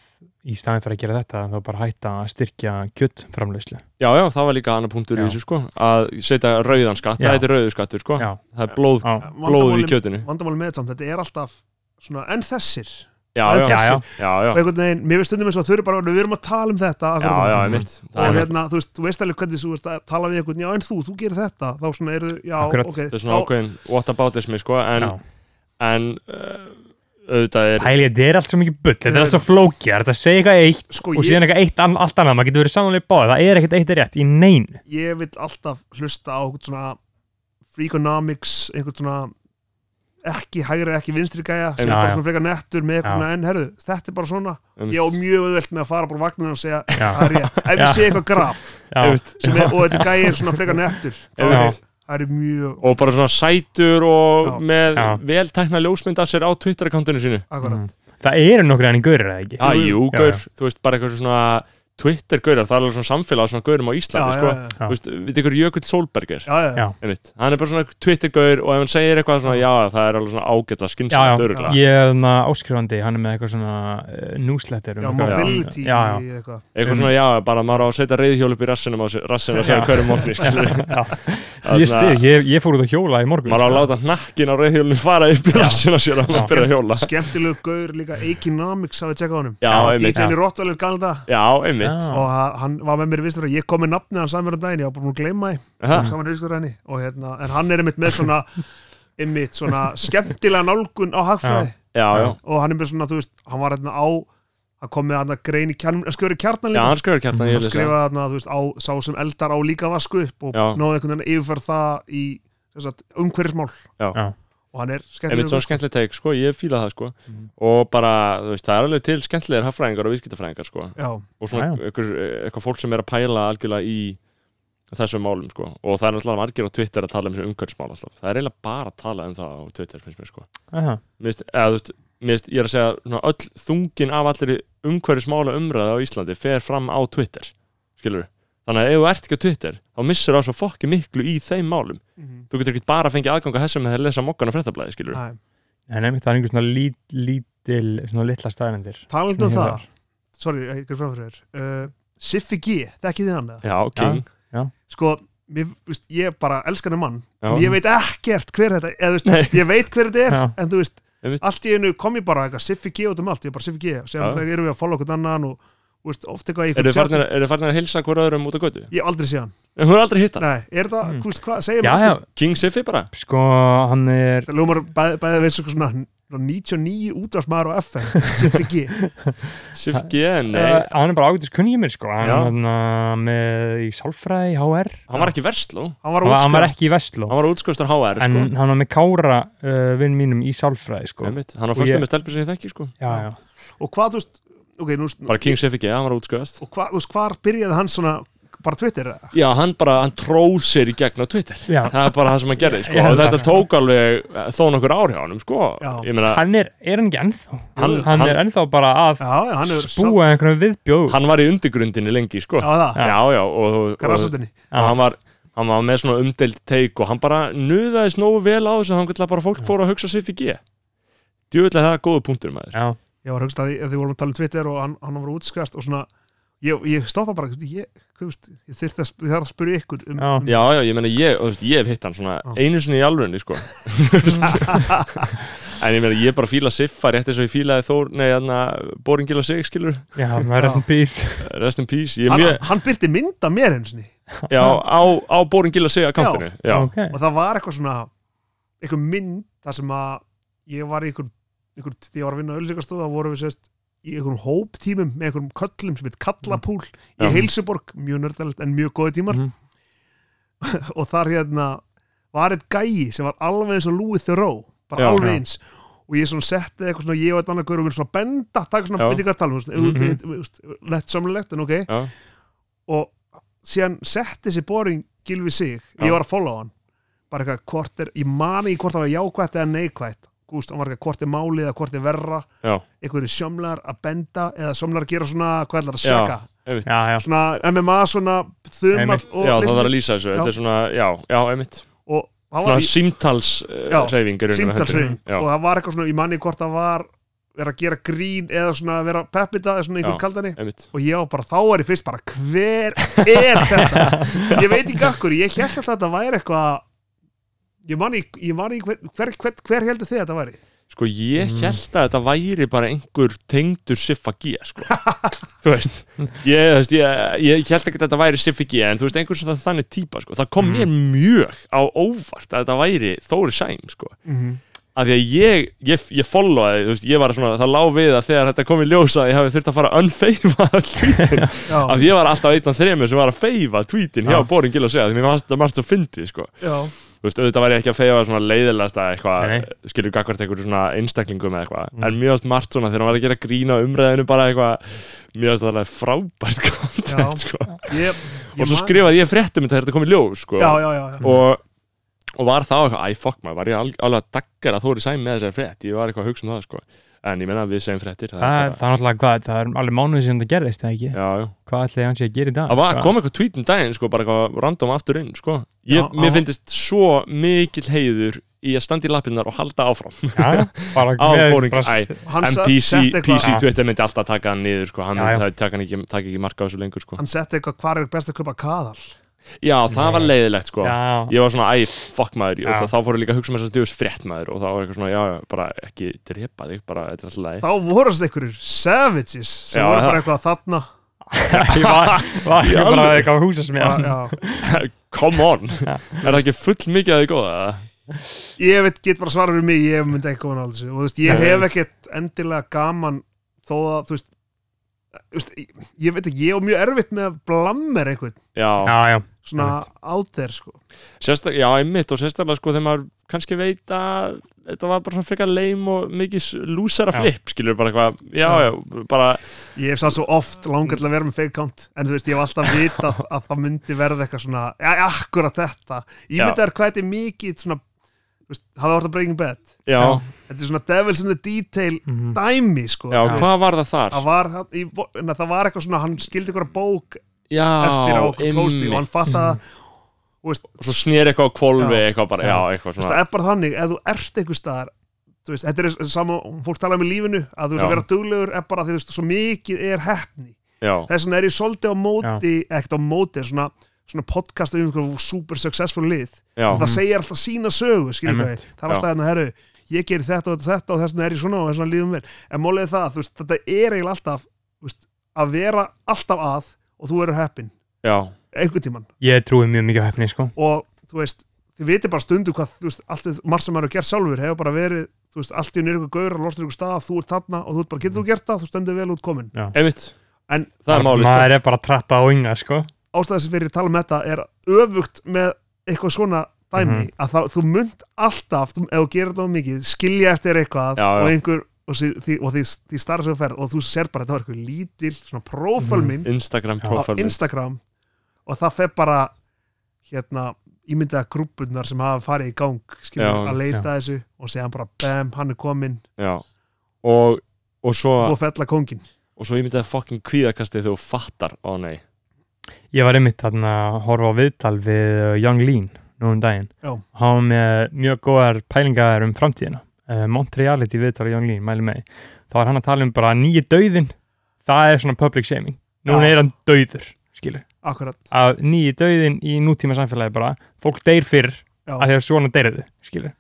[SPEAKER 3] í staðin fyrir að gera þetta þá bara hætta að styrkja kjöttframleyslu
[SPEAKER 1] já já það var líka annar punktur í
[SPEAKER 3] Já.
[SPEAKER 1] þessu sko að setja rauðan skatt,
[SPEAKER 3] Já.
[SPEAKER 1] það heitir rauðu skattur sko
[SPEAKER 3] Já,
[SPEAKER 1] það er blóð
[SPEAKER 3] á,
[SPEAKER 1] blóðið í
[SPEAKER 4] vandamálið
[SPEAKER 1] kjötinu
[SPEAKER 4] vandamálið með þetta samt, þetta er alltaf svona, en þessir
[SPEAKER 1] já,
[SPEAKER 4] Það
[SPEAKER 1] já,
[SPEAKER 4] er
[SPEAKER 1] já, já,
[SPEAKER 4] þessi.
[SPEAKER 1] já,
[SPEAKER 4] og einhvern veginn, mér finnst stundum eins og þau eru bara við erum að tala um þetta
[SPEAKER 1] já,
[SPEAKER 4] akkurat
[SPEAKER 1] já,
[SPEAKER 4] núna.
[SPEAKER 1] einmitt
[SPEAKER 4] og
[SPEAKER 1] það er
[SPEAKER 4] hérna, þú veist, þú veist alveg hvernig þú veist að tala við einhvern, já en þú, þú gerir þetta þá svona eru, já,
[SPEAKER 3] Akkurat.
[SPEAKER 4] ok
[SPEAKER 1] það er svona
[SPEAKER 4] þá,
[SPEAKER 1] ákveðin whataboutismi, sko, en,
[SPEAKER 3] Já.
[SPEAKER 1] en uh, auðvitað er
[SPEAKER 3] Pæli, þetta er allt svo mikið bull, þetta er allt svo flókið, það er þetta að segja eitthvað eitt
[SPEAKER 4] sko,
[SPEAKER 3] og
[SPEAKER 4] ég,
[SPEAKER 3] síðan eitthvað eitt an, allt annað, maður getur verið samanlega báðið, það er ekkert eitt rétt í neinu.
[SPEAKER 4] ég vil alltaf hlusta á einhvern svona freakonomics, einhvern svona ekki hægri, ekki vinstri gæja
[SPEAKER 3] Já,
[SPEAKER 4] sem er
[SPEAKER 3] já.
[SPEAKER 4] alltaf svona frekar nettur með eitthvað
[SPEAKER 3] Já.
[SPEAKER 4] svona, en herðu, þetta er bara svona
[SPEAKER 1] um,
[SPEAKER 4] ég á mjög auðvelt með að fara bara á vagninu og segja
[SPEAKER 3] Já.
[SPEAKER 4] það er rétt, ef
[SPEAKER 3] Já.
[SPEAKER 4] ég sé eitthvað graf
[SPEAKER 3] Já,
[SPEAKER 1] einmitt,
[SPEAKER 4] sem er, og þetta gæja er svona frekar nettur þá
[SPEAKER 1] Já.
[SPEAKER 4] er það- það er mjög,
[SPEAKER 1] og bara svona sætur og
[SPEAKER 4] Já.
[SPEAKER 1] með
[SPEAKER 3] Já.
[SPEAKER 1] veltækna ljósmynd af sér á Twitter-akkantinu sínu
[SPEAKER 4] akkurat
[SPEAKER 3] Mm. það eru nokkur hann í gaurið, eða ekki?
[SPEAKER 1] Já,
[SPEAKER 4] Jú,
[SPEAKER 1] jú,
[SPEAKER 3] já,
[SPEAKER 1] gaur,
[SPEAKER 3] já.
[SPEAKER 1] þú veist, bara eitthvað svona Twitter-gaurar, það er alveg svona samfélag á svona gaurum á
[SPEAKER 4] já,
[SPEAKER 1] Íslandi,
[SPEAKER 4] já,
[SPEAKER 1] sko
[SPEAKER 4] já, já,
[SPEAKER 1] Þú veist, við ykkur Jökull Sólberger
[SPEAKER 4] já, já,
[SPEAKER 3] Já.
[SPEAKER 1] einmitt. hann er bara svona Twitter-gaur og ef hann segir eitthvað svona, já, það er alveg svona ágætla
[SPEAKER 3] Já, já,
[SPEAKER 1] skynsamt örugla
[SPEAKER 3] ég er þarna áskrifandi, hann er með eitthvað svona uh, newsletter um
[SPEAKER 4] já,
[SPEAKER 3] eitthvað-
[SPEAKER 4] mobility
[SPEAKER 3] Já, já,
[SPEAKER 4] eitthvað
[SPEAKER 1] eitthvað svona, já, bara maður á að setja reyðhjól upp í rassinum á sér, rassinum á sér
[SPEAKER 3] Já.
[SPEAKER 1] hverjum morgni skilur.
[SPEAKER 3] já. Ég stið, ég, ég fór út að hjóla í morgun
[SPEAKER 1] maður á að
[SPEAKER 3] sko.
[SPEAKER 1] láta hnakkin á reyðhjólinu fara upp í rassinum á sér að
[SPEAKER 3] Já.
[SPEAKER 1] byrja að hjóla
[SPEAKER 4] skemmtilegu gaur líka Economics hafið tjekkað á honum
[SPEAKER 1] Já, einmitt.
[SPEAKER 4] DJ Rottweiler galda
[SPEAKER 1] já, einmitt,
[SPEAKER 3] Já.
[SPEAKER 4] og ha- hann var með mér í vistur að ég kom með nafnið hans samverðan daginn, ég var bara múin að gleyma því
[SPEAKER 1] Aha.
[SPEAKER 4] saman í vistur henni og hérna, en hann er einmitt með svona (laughs) einmitt svona skemmtilega nálgun á hagfræði
[SPEAKER 1] já, já
[SPEAKER 4] og hann er með svona, þú veist, hann var hérna á hann kom með hann að grein í kjarn, að skrifa í kjarnan
[SPEAKER 1] já,
[SPEAKER 4] líka
[SPEAKER 1] hann skrifur kjartan í
[SPEAKER 4] hann
[SPEAKER 1] Elisa
[SPEAKER 4] skrifaði hérna, þú veist, á sá sem eldar á líka vasku upp og
[SPEAKER 1] Já.
[SPEAKER 4] náði einhvern veginn að yfirfæra það í sem sagt, umhverfismál
[SPEAKER 1] Já.
[SPEAKER 4] og hann er
[SPEAKER 1] einmitt
[SPEAKER 4] skemmtilega
[SPEAKER 1] svona skemmtileg teik, sko, ég fíla það, sko
[SPEAKER 3] Mhm.
[SPEAKER 1] og bara, þú veist, það er alveg til skemmtilegir haffræðingar og viðskiptafræðingar, sko
[SPEAKER 4] já,
[SPEAKER 1] og svona
[SPEAKER 3] Já,
[SPEAKER 1] eitthvað, eitthvað fólk sem er að pæla algjörlega í þessum málum sko. og það er alltaf margir á Twitter að tala um þessu umhverfsmál alltaf, það er eiginlega bara að tala um það á Twitter finnst mér sko
[SPEAKER 3] Aha.
[SPEAKER 1] Mist, eða, þú veist, mist, ég er að segja, svona, öll þungin af allir umhverfismála umræða á Íslandi fer fram á Twitter skilur þannig að ef þú ert ekki á Twitter þá missur það svo fokki miklu í þeim málum
[SPEAKER 4] Mhm.
[SPEAKER 1] þú getur ekki bara að fengja aðganga þessum með að lesa mokkan á fréttablaði skilur
[SPEAKER 4] Æ,
[SPEAKER 3] En einmitt, það er einhver svona lít, lítil, svona litla staðarendir
[SPEAKER 4] talandi um
[SPEAKER 3] Ég
[SPEAKER 4] það sorry, ég er framfyrir þér uh, Siffi G, þekkið þið hann eða?
[SPEAKER 1] já, king
[SPEAKER 4] sko, mér, veist, ég bara elskan um mann
[SPEAKER 1] já,
[SPEAKER 4] ég veit ekkert hver þetta eða, þú
[SPEAKER 1] Nei.
[SPEAKER 4] veist, ég veit hver þetta er
[SPEAKER 3] Já.
[SPEAKER 4] en þú veist,
[SPEAKER 1] Einmitt.
[SPEAKER 4] allt í einu kom ég bara eitthvað, Siffi G út um allt, ég er bara Siffi G og sem
[SPEAKER 1] Já.
[SPEAKER 4] erum við að follow okkur annan og þú veist, oft eitthvað í
[SPEAKER 1] eru
[SPEAKER 4] einhverjum
[SPEAKER 1] þið farnir,
[SPEAKER 4] tjöldum.
[SPEAKER 1] eru þið farnir að hilsa hver öðrum út á götu?
[SPEAKER 4] ég hef aldrei sé hann
[SPEAKER 1] en hún er aldrei hitt hann,
[SPEAKER 4] Nei, er það,
[SPEAKER 3] Mm.
[SPEAKER 4] þú veist hvað, segja
[SPEAKER 3] Já, já,
[SPEAKER 1] King Siffi bara
[SPEAKER 3] sko, hann er
[SPEAKER 4] það lúmar bæði bæði veist svona svona 99 útvarsmaður á FM Siffi G,
[SPEAKER 1] Sif G, nei,
[SPEAKER 3] Uh, hann er bara ágætis kunningið mér sko hann,
[SPEAKER 1] Já.
[SPEAKER 3] hann uh, með í sálfræði HR
[SPEAKER 1] hann var ekki versló
[SPEAKER 4] hann var
[SPEAKER 3] hann, var- (laughs) hann var ekki í
[SPEAKER 4] útskjöld
[SPEAKER 3] Vestló
[SPEAKER 1] hann var útskostur HR
[SPEAKER 3] en
[SPEAKER 1] sko.
[SPEAKER 3] hann var með Kára uh, vinn mínum í sálfræði sko
[SPEAKER 1] Einmitt, hann var
[SPEAKER 3] Og
[SPEAKER 1] fyrstu
[SPEAKER 3] ég-
[SPEAKER 1] með stelpur sem ég þekki sko.
[SPEAKER 3] já, já.
[SPEAKER 4] og hvað, þú veist, ok, nú
[SPEAKER 1] bara King Sif G, hann var útskost
[SPEAKER 4] og hvað, þú veist, hvar byrjaði hann svona bara Twitter, eða?
[SPEAKER 1] já, hann bara, hann tróð sér í gegn á Twitter
[SPEAKER 3] Já.
[SPEAKER 1] það er bara það sem hann gerði sko.
[SPEAKER 3] Já.
[SPEAKER 1] og þetta tók alveg eh, þó nokkur ár hjá hann sko.
[SPEAKER 4] Já.
[SPEAKER 1] ég meina,
[SPEAKER 3] hann er, er hann ekki ennþá hann,
[SPEAKER 1] Hann-
[SPEAKER 3] er ennþá bara að
[SPEAKER 4] já, já, hann er
[SPEAKER 3] búa einhverjum viðbjóð
[SPEAKER 1] hann var í undirgrundinni lengi sko.
[SPEAKER 4] já, það,
[SPEAKER 1] já, já, og, og, og,
[SPEAKER 4] græsutinni
[SPEAKER 1] og hann var hann var með svona umdeild teik og hann bara nuðaðist nógu vel á þessu þannig að bara fólk fór að hugsa Sif G djúvilega það er góðu punktur maður
[SPEAKER 3] já,
[SPEAKER 4] ég var að hugsa að því að þið vorum að tala um Twitter og hann, hann var útskast og svona ég, ég stoppa bara, ég, hvað veist ég þyrfti að, þarf að spyrja ykkur um,
[SPEAKER 3] Já.
[SPEAKER 4] um
[SPEAKER 1] Já, já, ég meina ég, þú veist, ég hef hitt hann svona einu sinni í alvörinni,
[SPEAKER 4] (laughs)
[SPEAKER 1] sko Þú veist. En ég meina, ég bara fíla Siffa rétt eins og ég fílaði Þór, nei, hann Boringil og sig, skilur,
[SPEAKER 3] já, hann var rest in peace
[SPEAKER 1] rest in peace Ég er
[SPEAKER 4] hann,
[SPEAKER 1] mjög,
[SPEAKER 4] hann byrti mynda mér eins og
[SPEAKER 1] já, á, á Boringil og sig að kantinu Já,
[SPEAKER 3] ok,
[SPEAKER 4] og það var eitthvað svona eitthvað mynd þar sem að ég var í einhver, einhver því ég var að vinna ölsíkastóð þá vorum við sérst í einhverjum hóptímum með einhverjum köllum sem heit Kallapúl í
[SPEAKER 1] Já.
[SPEAKER 4] Heilsuborg, mjög nördalegt en mjög góði tímar
[SPEAKER 3] Mhm.
[SPEAKER 4] (laughs) og þar hérna var eitt gæi sem var alveg eins og Louis Theroux bara
[SPEAKER 1] Já.
[SPEAKER 4] alveg
[SPEAKER 3] Já.
[SPEAKER 4] eins og ég svona setti eitthvað svona ég og eitt annað gaur og við svona benda taka svona,
[SPEAKER 1] Já.
[SPEAKER 4] veit ekki hvað talum
[SPEAKER 3] Mhm.
[SPEAKER 4] lett samlegt en ok
[SPEAKER 1] já,
[SPEAKER 4] og síðan setti sér boring gilfi sig,
[SPEAKER 1] Já.
[SPEAKER 4] ég var að follow hann bara eitthvað hvort er, ég mani í hvort það var jákvætt eða neikvætt, gúst, hann var eitthvað hvort er málið eða hvort er verra,
[SPEAKER 1] já,
[SPEAKER 4] eitthvað er sjömlar að benda eða sjömlar að gera svona hvað ætlar að sjaka,
[SPEAKER 1] einmitt
[SPEAKER 3] já, já,
[SPEAKER 4] svona MMA svona þumall
[SPEAKER 3] Einmitt.
[SPEAKER 4] og
[SPEAKER 1] Já, það
[SPEAKER 4] litlu-
[SPEAKER 1] þarf að lýsa þessu,
[SPEAKER 4] Já.
[SPEAKER 1] þetta er svona, já, já, einmitt
[SPEAKER 4] og það
[SPEAKER 1] Svona
[SPEAKER 4] var
[SPEAKER 1] símtals eh,
[SPEAKER 4] Já,
[SPEAKER 1] reyfingur
[SPEAKER 4] símtalsreifing og
[SPEAKER 1] Já,
[SPEAKER 4] það var eitthvað svona, ég mani hvort það var vera að gera grín eða svona vera peppita eða svona einhvern
[SPEAKER 1] Já.
[SPEAKER 4] kaldani
[SPEAKER 1] einmitt
[SPEAKER 4] og ég á bara, þá er ég fyrst bara hver er
[SPEAKER 1] (laughs)
[SPEAKER 4] þetta ég veit ekki akkur, ég held að þetta væri eitthvað ég man í, ég man í hver, hver, hver, hver heldur þið að þetta væri
[SPEAKER 1] Sko, sko, ég
[SPEAKER 3] Mm.
[SPEAKER 1] held að þetta væri bara einhver tengdur Siffa G sko. (laughs) þú veist ég, þú veist, ég, ég held ekki að þetta væri Siffa G en þú veist, einhver sem það þannig típa sko. það kom
[SPEAKER 3] Mm.
[SPEAKER 1] mér
[SPEAKER 4] Mhm.
[SPEAKER 1] mjög á óvart að þetta væri Þóri Sæm sko.
[SPEAKER 4] Mhm.
[SPEAKER 1] af því að ég, ég, ég followaði, þú veist, ég var svona, það lá við að þegar þetta kom í ljósa ég hafi þurft að fara að unfeifa (laughs) tweetin,
[SPEAKER 4] Já,
[SPEAKER 1] af því ég var alltaf einn af þremur sem var að feifa tweetin hjá
[SPEAKER 3] Já.
[SPEAKER 1] Bóring Gil að segja, því mér fannst þetta margt svo fyndið, sko
[SPEAKER 4] já,
[SPEAKER 1] þú veist, auðvitað væri ég ekki að feifa svona leiðilegasta eitthvað,
[SPEAKER 3] Nei,
[SPEAKER 1] skilur gagvart einhverju svona einstaklingum eða eitthvað,
[SPEAKER 3] Mm.
[SPEAKER 1] en mjög oft margt svona þegar hann var að gera grína umræðinu bara eitthvað mjög oft alveg frábært (laughs)
[SPEAKER 4] Já.
[SPEAKER 1] content, sko.
[SPEAKER 4] ég, ég
[SPEAKER 1] og svo
[SPEAKER 4] man-
[SPEAKER 1] skrifaði ég fréttum um þetta þegar þetta kom í ljós, sko
[SPEAKER 4] Já, já, já, já.
[SPEAKER 1] og, og var þá eitthvað, æ, fuck maður var ég al- alveg að daggara Þóri Sæm með þessari frétt ég var eitthvað að hugsa um það, sko en ég menna við segjum fréttir það
[SPEAKER 3] það,
[SPEAKER 1] er
[SPEAKER 3] er- það er náttúrulega hvað, það er alveg mánuði sem það gerðist, eða ekki?
[SPEAKER 1] bara- já, já.
[SPEAKER 3] Hvað ætlaði hann sé að gera í dag?
[SPEAKER 1] Það var,
[SPEAKER 3] Hvað-
[SPEAKER 1] kom eitthvað tweet um daginn sko, bara eitthvað random aftur inn sko. ég,
[SPEAKER 4] Já,
[SPEAKER 1] mér
[SPEAKER 4] já.
[SPEAKER 1] finnist svo mikill heiður í að standa í lappinnar og halda áfram
[SPEAKER 3] Já, bara
[SPEAKER 1] á
[SPEAKER 3] með-
[SPEAKER 1] Boring
[SPEAKER 3] bara-
[SPEAKER 1] Æ,
[SPEAKER 4] Hann
[SPEAKER 1] en
[SPEAKER 4] sa-
[SPEAKER 1] PC,
[SPEAKER 4] setti eitthvað-
[SPEAKER 1] PC Twitter myndi alltaf taka hann niður sko. hann
[SPEAKER 3] Já, já.
[SPEAKER 1] myndi taka hann ekki, taka ekki marka á þessu lengur sko.
[SPEAKER 4] hann setti eitthvað hvar er best að kaupa kaðal
[SPEAKER 1] já, það var leiðilegt sko.
[SPEAKER 3] Já,
[SPEAKER 1] ég var svona, æ, fuck maður og
[SPEAKER 3] Já.
[SPEAKER 1] það, þá fóru líka að hugsa um þess að djöfus frétt maður og þá var eitthvað svona, já, já, bara ekki drepa þig bara, þetta er alltaf leið
[SPEAKER 4] þá vorast einhverjir savages sem
[SPEAKER 1] Já,
[SPEAKER 4] voru
[SPEAKER 1] það-
[SPEAKER 4] bara eitthvað þarna (laughs)
[SPEAKER 3] ég var, var
[SPEAKER 1] Í
[SPEAKER 3] ég bara
[SPEAKER 1] alvöru?
[SPEAKER 3] eitthvað að húsa sem
[SPEAKER 4] bara,
[SPEAKER 3] ég
[SPEAKER 4] já.
[SPEAKER 1] come on, er það ekki full mikið að þið góða eða?
[SPEAKER 4] ég veit, get bara svarað um mig ég myndi eitthvað annað þessu. og þú veist, ég
[SPEAKER 3] Nei.
[SPEAKER 4] hef ekkert endilega gaman þó að, þú veist, þú veist ég, ég veit ekki, ég er mjög erfitt með að blammer einhvern,
[SPEAKER 1] já,
[SPEAKER 3] Já, já,
[SPEAKER 4] svona out there sko.
[SPEAKER 1] Sérstak, já, einmitt og sérstaklega sko þegar maður kannski veit að þetta var bara svona frekar leim og mikið s- lúsera
[SPEAKER 3] Já.
[SPEAKER 1] flip, skilur bara eitthvað, já, já, bara
[SPEAKER 4] ég hef sann svo oft langað til að vera með fake count en þú veist, ég hef alltaf
[SPEAKER 3] (laughs)
[SPEAKER 4] vitað að það myndi verða eitthvað svona, ja, akkurat þetta ég myndi að hvað þetta er mikið svona, þú veist, hafa orðið að breaking bad
[SPEAKER 1] já, já,
[SPEAKER 4] þetta er svona devils in the detail
[SPEAKER 3] Mhm.
[SPEAKER 4] dæmi sko Þú veist,
[SPEAKER 1] hvað var það þar?
[SPEAKER 4] það var, það- í, vo- en það var eitthvað svona hann skildi eitthvað bók
[SPEAKER 1] Já,
[SPEAKER 4] eftir á okkur klósti og hann
[SPEAKER 1] einmitt
[SPEAKER 4] fatt að þú veist,
[SPEAKER 1] og svo snýr eitthvað á kvolfi
[SPEAKER 4] Já.
[SPEAKER 1] eitthvað bara,
[SPEAKER 3] Já.
[SPEAKER 1] já, eitthvað
[SPEAKER 4] þú veist,
[SPEAKER 1] svona
[SPEAKER 4] það er bara þannig ef þú ert einhver staðar þú veist, þetta er sama, fólk tala um í lífinu að þú veist
[SPEAKER 1] Já.
[SPEAKER 4] að vera duglegur er bara því þú veist, svo mikið er hefni
[SPEAKER 1] já,
[SPEAKER 4] þess vegna er ég svolítið á móti ekkert á móti, svona, svona podcast um einhver super successful lið
[SPEAKER 1] já,
[SPEAKER 4] það segir alltaf sína sögu, skilur
[SPEAKER 3] Einmitt.
[SPEAKER 4] hvað ég það er alltaf hérna, herru, ég gerir þetta og þetta og þess vegna er ég svona og þess vegna líðum vel en málið er það, þú veist, þetta er eiginlega alltaf þú veist, að vera alltaf að og þú eru heppin,
[SPEAKER 1] já,
[SPEAKER 4] einhvern tíman
[SPEAKER 3] ég trúi mjög mikið á hefni, sko
[SPEAKER 4] og þú veist, þið viti bara stundu hvað, þú veist, allt þið- margt sem maður hefur gert sjálfur hefur bara verið, þú veist, allt í unni ykkur gaur og lostur ykkur stað, þú ert þarna og þú ert bara, getur þú gert það, þú stendur vel út komin
[SPEAKER 1] einmitt
[SPEAKER 4] En-
[SPEAKER 1] það er málið, sko
[SPEAKER 3] Maður er bara að trappa á ynga, sko
[SPEAKER 4] ástæðis fyrir að tala um þetta er öfugt með eitthvað svona dæmi
[SPEAKER 3] Mhm.
[SPEAKER 4] að það, þú munt alltaf þú, ef þú gerir það of mikið, skilja eftir eitthvað
[SPEAKER 1] Já, já.
[SPEAKER 4] og einhver og því, því, og því, því starra sem þú ferð og þú sér bara þetta var eitthvað lítil svona prófál
[SPEAKER 3] Mhm.
[SPEAKER 4] minn
[SPEAKER 1] Instagram
[SPEAKER 3] Já.
[SPEAKER 4] á
[SPEAKER 1] profile mynd.
[SPEAKER 4] Instagram og það fer bara hérna ímyndaða grúpurnar sem hafa farið í gang skiljum,
[SPEAKER 1] Já,
[SPEAKER 4] að leita þessu og segja hann bara bam, hann er komin,
[SPEAKER 1] já, og og svo,
[SPEAKER 4] búið að fella kóngin
[SPEAKER 1] og svo ég myndi að fucking kvíðakasti þegar þú fattar, ó nei
[SPEAKER 3] Ég var einmitt þarna að horfa á viðtal við uh, Young Lean nú um daginn
[SPEAKER 4] Já.
[SPEAKER 3] Hann var með mjög góðar pælingar um framtíðina uh, Montreality viðtal við Young Lean, mæli með því. Þá var hann að tala um bara nýju dauðin Það er svona public shaming Núna
[SPEAKER 4] Já.
[SPEAKER 3] er hann dauður, skilur
[SPEAKER 4] akkurat,
[SPEAKER 3] að nýju dauðin í nútíma samfélagi bara Fólk deyr fyrr
[SPEAKER 4] já,
[SPEAKER 3] að þegar svona deyriðu, skilur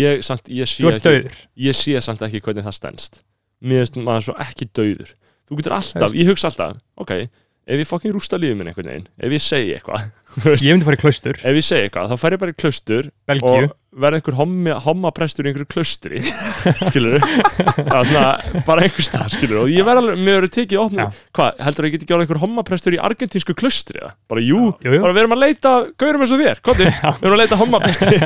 [SPEAKER 1] ég, samt, ég sé
[SPEAKER 3] Þú ert
[SPEAKER 1] ekki
[SPEAKER 3] dauður
[SPEAKER 1] ég sé samt ekki hvernig það stendst mér finnst maður svo ekki dauður þú getur alltaf,
[SPEAKER 3] Veist.
[SPEAKER 1] ég hugsa alltaf ok, ef ég fokkin rústa lífið minn einhvern veginn ef ég segi eitthvað
[SPEAKER 3] Ég myndi fara í klaustur,
[SPEAKER 1] ef ég segi eitthvað, þá fer ég bara í klaustur
[SPEAKER 3] Belgíu
[SPEAKER 1] og verða einhver hommi, hommaprestur í einhverju klaustri (laughs) skilur Þarna, bara einhver starf, skilur og ég verð alveg, mér verður tekið opnum
[SPEAKER 3] Já.
[SPEAKER 1] hvað, heldur að ég geti gjörð einhver hommaprestur í argentínsku klaustri eða? bara jú,
[SPEAKER 3] Jú, jú.
[SPEAKER 1] bara við erum að leita gaurum eins og þér,
[SPEAKER 3] (laughs)
[SPEAKER 1] komdu, við erum að leita hommapresti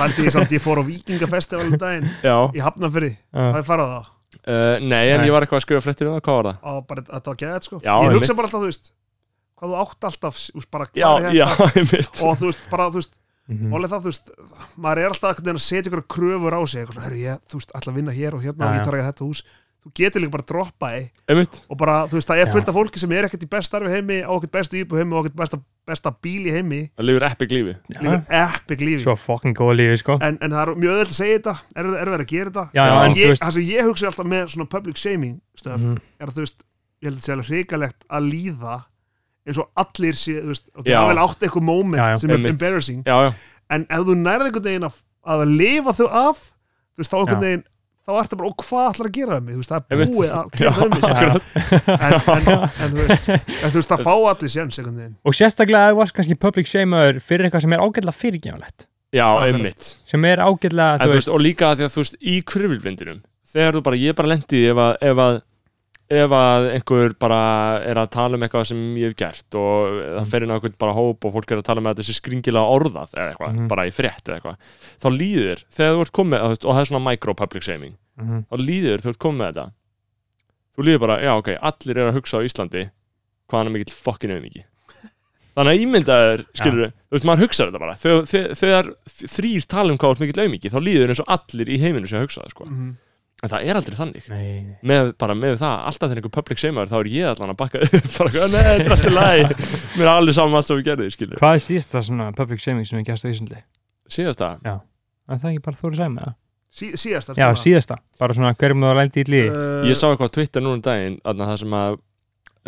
[SPEAKER 4] haldið ég samt ég fór á vikingafestivalum daginn
[SPEAKER 1] já,
[SPEAKER 4] í Hafnafyrri,
[SPEAKER 3] Já.
[SPEAKER 4] það er farað á það
[SPEAKER 1] uh, nei, en
[SPEAKER 3] Nei.
[SPEAKER 1] ég var eitthvað að skrifa fréttir um það, hvað var það?
[SPEAKER 4] á bara að það geða þetta sko
[SPEAKER 1] Já,
[SPEAKER 4] ég
[SPEAKER 1] einmitt.
[SPEAKER 4] hugsa bara alltaf, þú veist hvað þú átt alltaf, þú veist, bara
[SPEAKER 1] já,
[SPEAKER 4] hvað er
[SPEAKER 1] já, Mm. (laughs)
[SPEAKER 4] þetta
[SPEAKER 1] einmitt
[SPEAKER 4] og þú veist, bara, þú veist,
[SPEAKER 3] Mhm.
[SPEAKER 4] málega það, þú veist maður er alltaf einhvern veginn að setja ykkur kröfur á sig eitthvað, svona, herru, ég, þú veist, alltaf vinna hér og hérna og
[SPEAKER 3] Já,
[SPEAKER 4] ég
[SPEAKER 3] já.
[SPEAKER 4] þarf ekki þetta hús þú getur líka bara að droppa í
[SPEAKER 1] einmitt
[SPEAKER 4] og bara, þú veist, það er
[SPEAKER 3] Já.
[SPEAKER 4] fullt af fólki sem er ekkert í best starfi heimi, á ekkert bestu íbú heimi og ekkert besta, besta bíl í heimi
[SPEAKER 1] Það lifir epic lífi
[SPEAKER 3] Já.
[SPEAKER 4] líka epic lífi
[SPEAKER 3] Svo fucking góða lífi, sko
[SPEAKER 4] en, en það er mjög öðvöld að segja þetta er, er verið að gera þetta
[SPEAKER 3] Já, já,
[SPEAKER 1] Já.
[SPEAKER 3] en þú
[SPEAKER 4] ég,
[SPEAKER 3] veist
[SPEAKER 4] það sem ég hugsa alltaf með svona public shaming stöf
[SPEAKER 3] Mhm.
[SPEAKER 4] er að þú veist, ég held að það sé alveg hrikalegt að líða eins og allir sé, þú veist, og
[SPEAKER 1] Já.
[SPEAKER 4] það er vel átt eitthvað moment
[SPEAKER 3] Já, já.
[SPEAKER 4] sem er
[SPEAKER 1] Einmitt.
[SPEAKER 4] embarrassing
[SPEAKER 1] Já, já,
[SPEAKER 4] en ef þú nærði einhvern veginn að, að lifa þau af þú veist, þá einhvern
[SPEAKER 3] Já.
[SPEAKER 4] veginn þá ertu bara, og hvað ætlar að gera um mig þú veist, það er
[SPEAKER 1] Einmitt.
[SPEAKER 4] búið að gera um mig sko.
[SPEAKER 3] Já.
[SPEAKER 4] en, en, en, þú veist, en þú veist, það fá allir séns einhvern veginn
[SPEAKER 3] og sérstaklega að þú varst kannski public shamer fyrir eitthvað sem er ágætlega fyrirgefanlegt
[SPEAKER 1] já,
[SPEAKER 4] Akkurat.
[SPEAKER 1] einmitt
[SPEAKER 3] sem er ágætlega,
[SPEAKER 1] en, þú
[SPEAKER 3] þú veist,
[SPEAKER 1] veist, og líka að því að þú veist í kröfulvindinum þegar þú bara, ég bara lendi í því ef að, ef að ef að einhver bara er að tala um eitthvað sem ég hef gert og það fer inn á einhvern bara hóp og fólk er að tala um að þessi skringilega orðað eða eitthvað,
[SPEAKER 3] Mhm.
[SPEAKER 1] bara í frétt eða eitthvað þá líður, þegar þú ert komið og það er svona micro-public shaming
[SPEAKER 3] Mhm.
[SPEAKER 1] þá líður þú ert komið með þetta þú líður bara, já ok, allir er að hugsa á Íslandi hvað hann er mikill fokkin auðmiki þannig að ímyndaður, skilur þú veist, maður hugsaður þetta bara þegar, þegar, þegar þrýr tala um hvað er mikill auðmiki þá líður þér eins og allir í heiminu sem hugsa það sko.
[SPEAKER 4] Mhm.
[SPEAKER 1] en það er aldrei þannig
[SPEAKER 3] Nei, nei.
[SPEAKER 1] með, bara með það, alltaf þegar einhver public shamar þá er ég allan að bakka upp (laughs) bara, eitthvað, nei, þetta er alltaf læg, mér er alveg saman um allt sem við gerðum, skilur
[SPEAKER 3] hvað er síðasta svona public shaming sem við gæst á Íslandi?
[SPEAKER 1] síðast það,
[SPEAKER 3] Er það ekki bara Þóri Sæmi? eða?
[SPEAKER 4] Sí, síðast
[SPEAKER 3] Já, síðasta, bara svona hverjum þú að lendi í liði
[SPEAKER 4] uh,
[SPEAKER 1] ég sá eitthvað á Twitter núna um daginn, þarna það sem að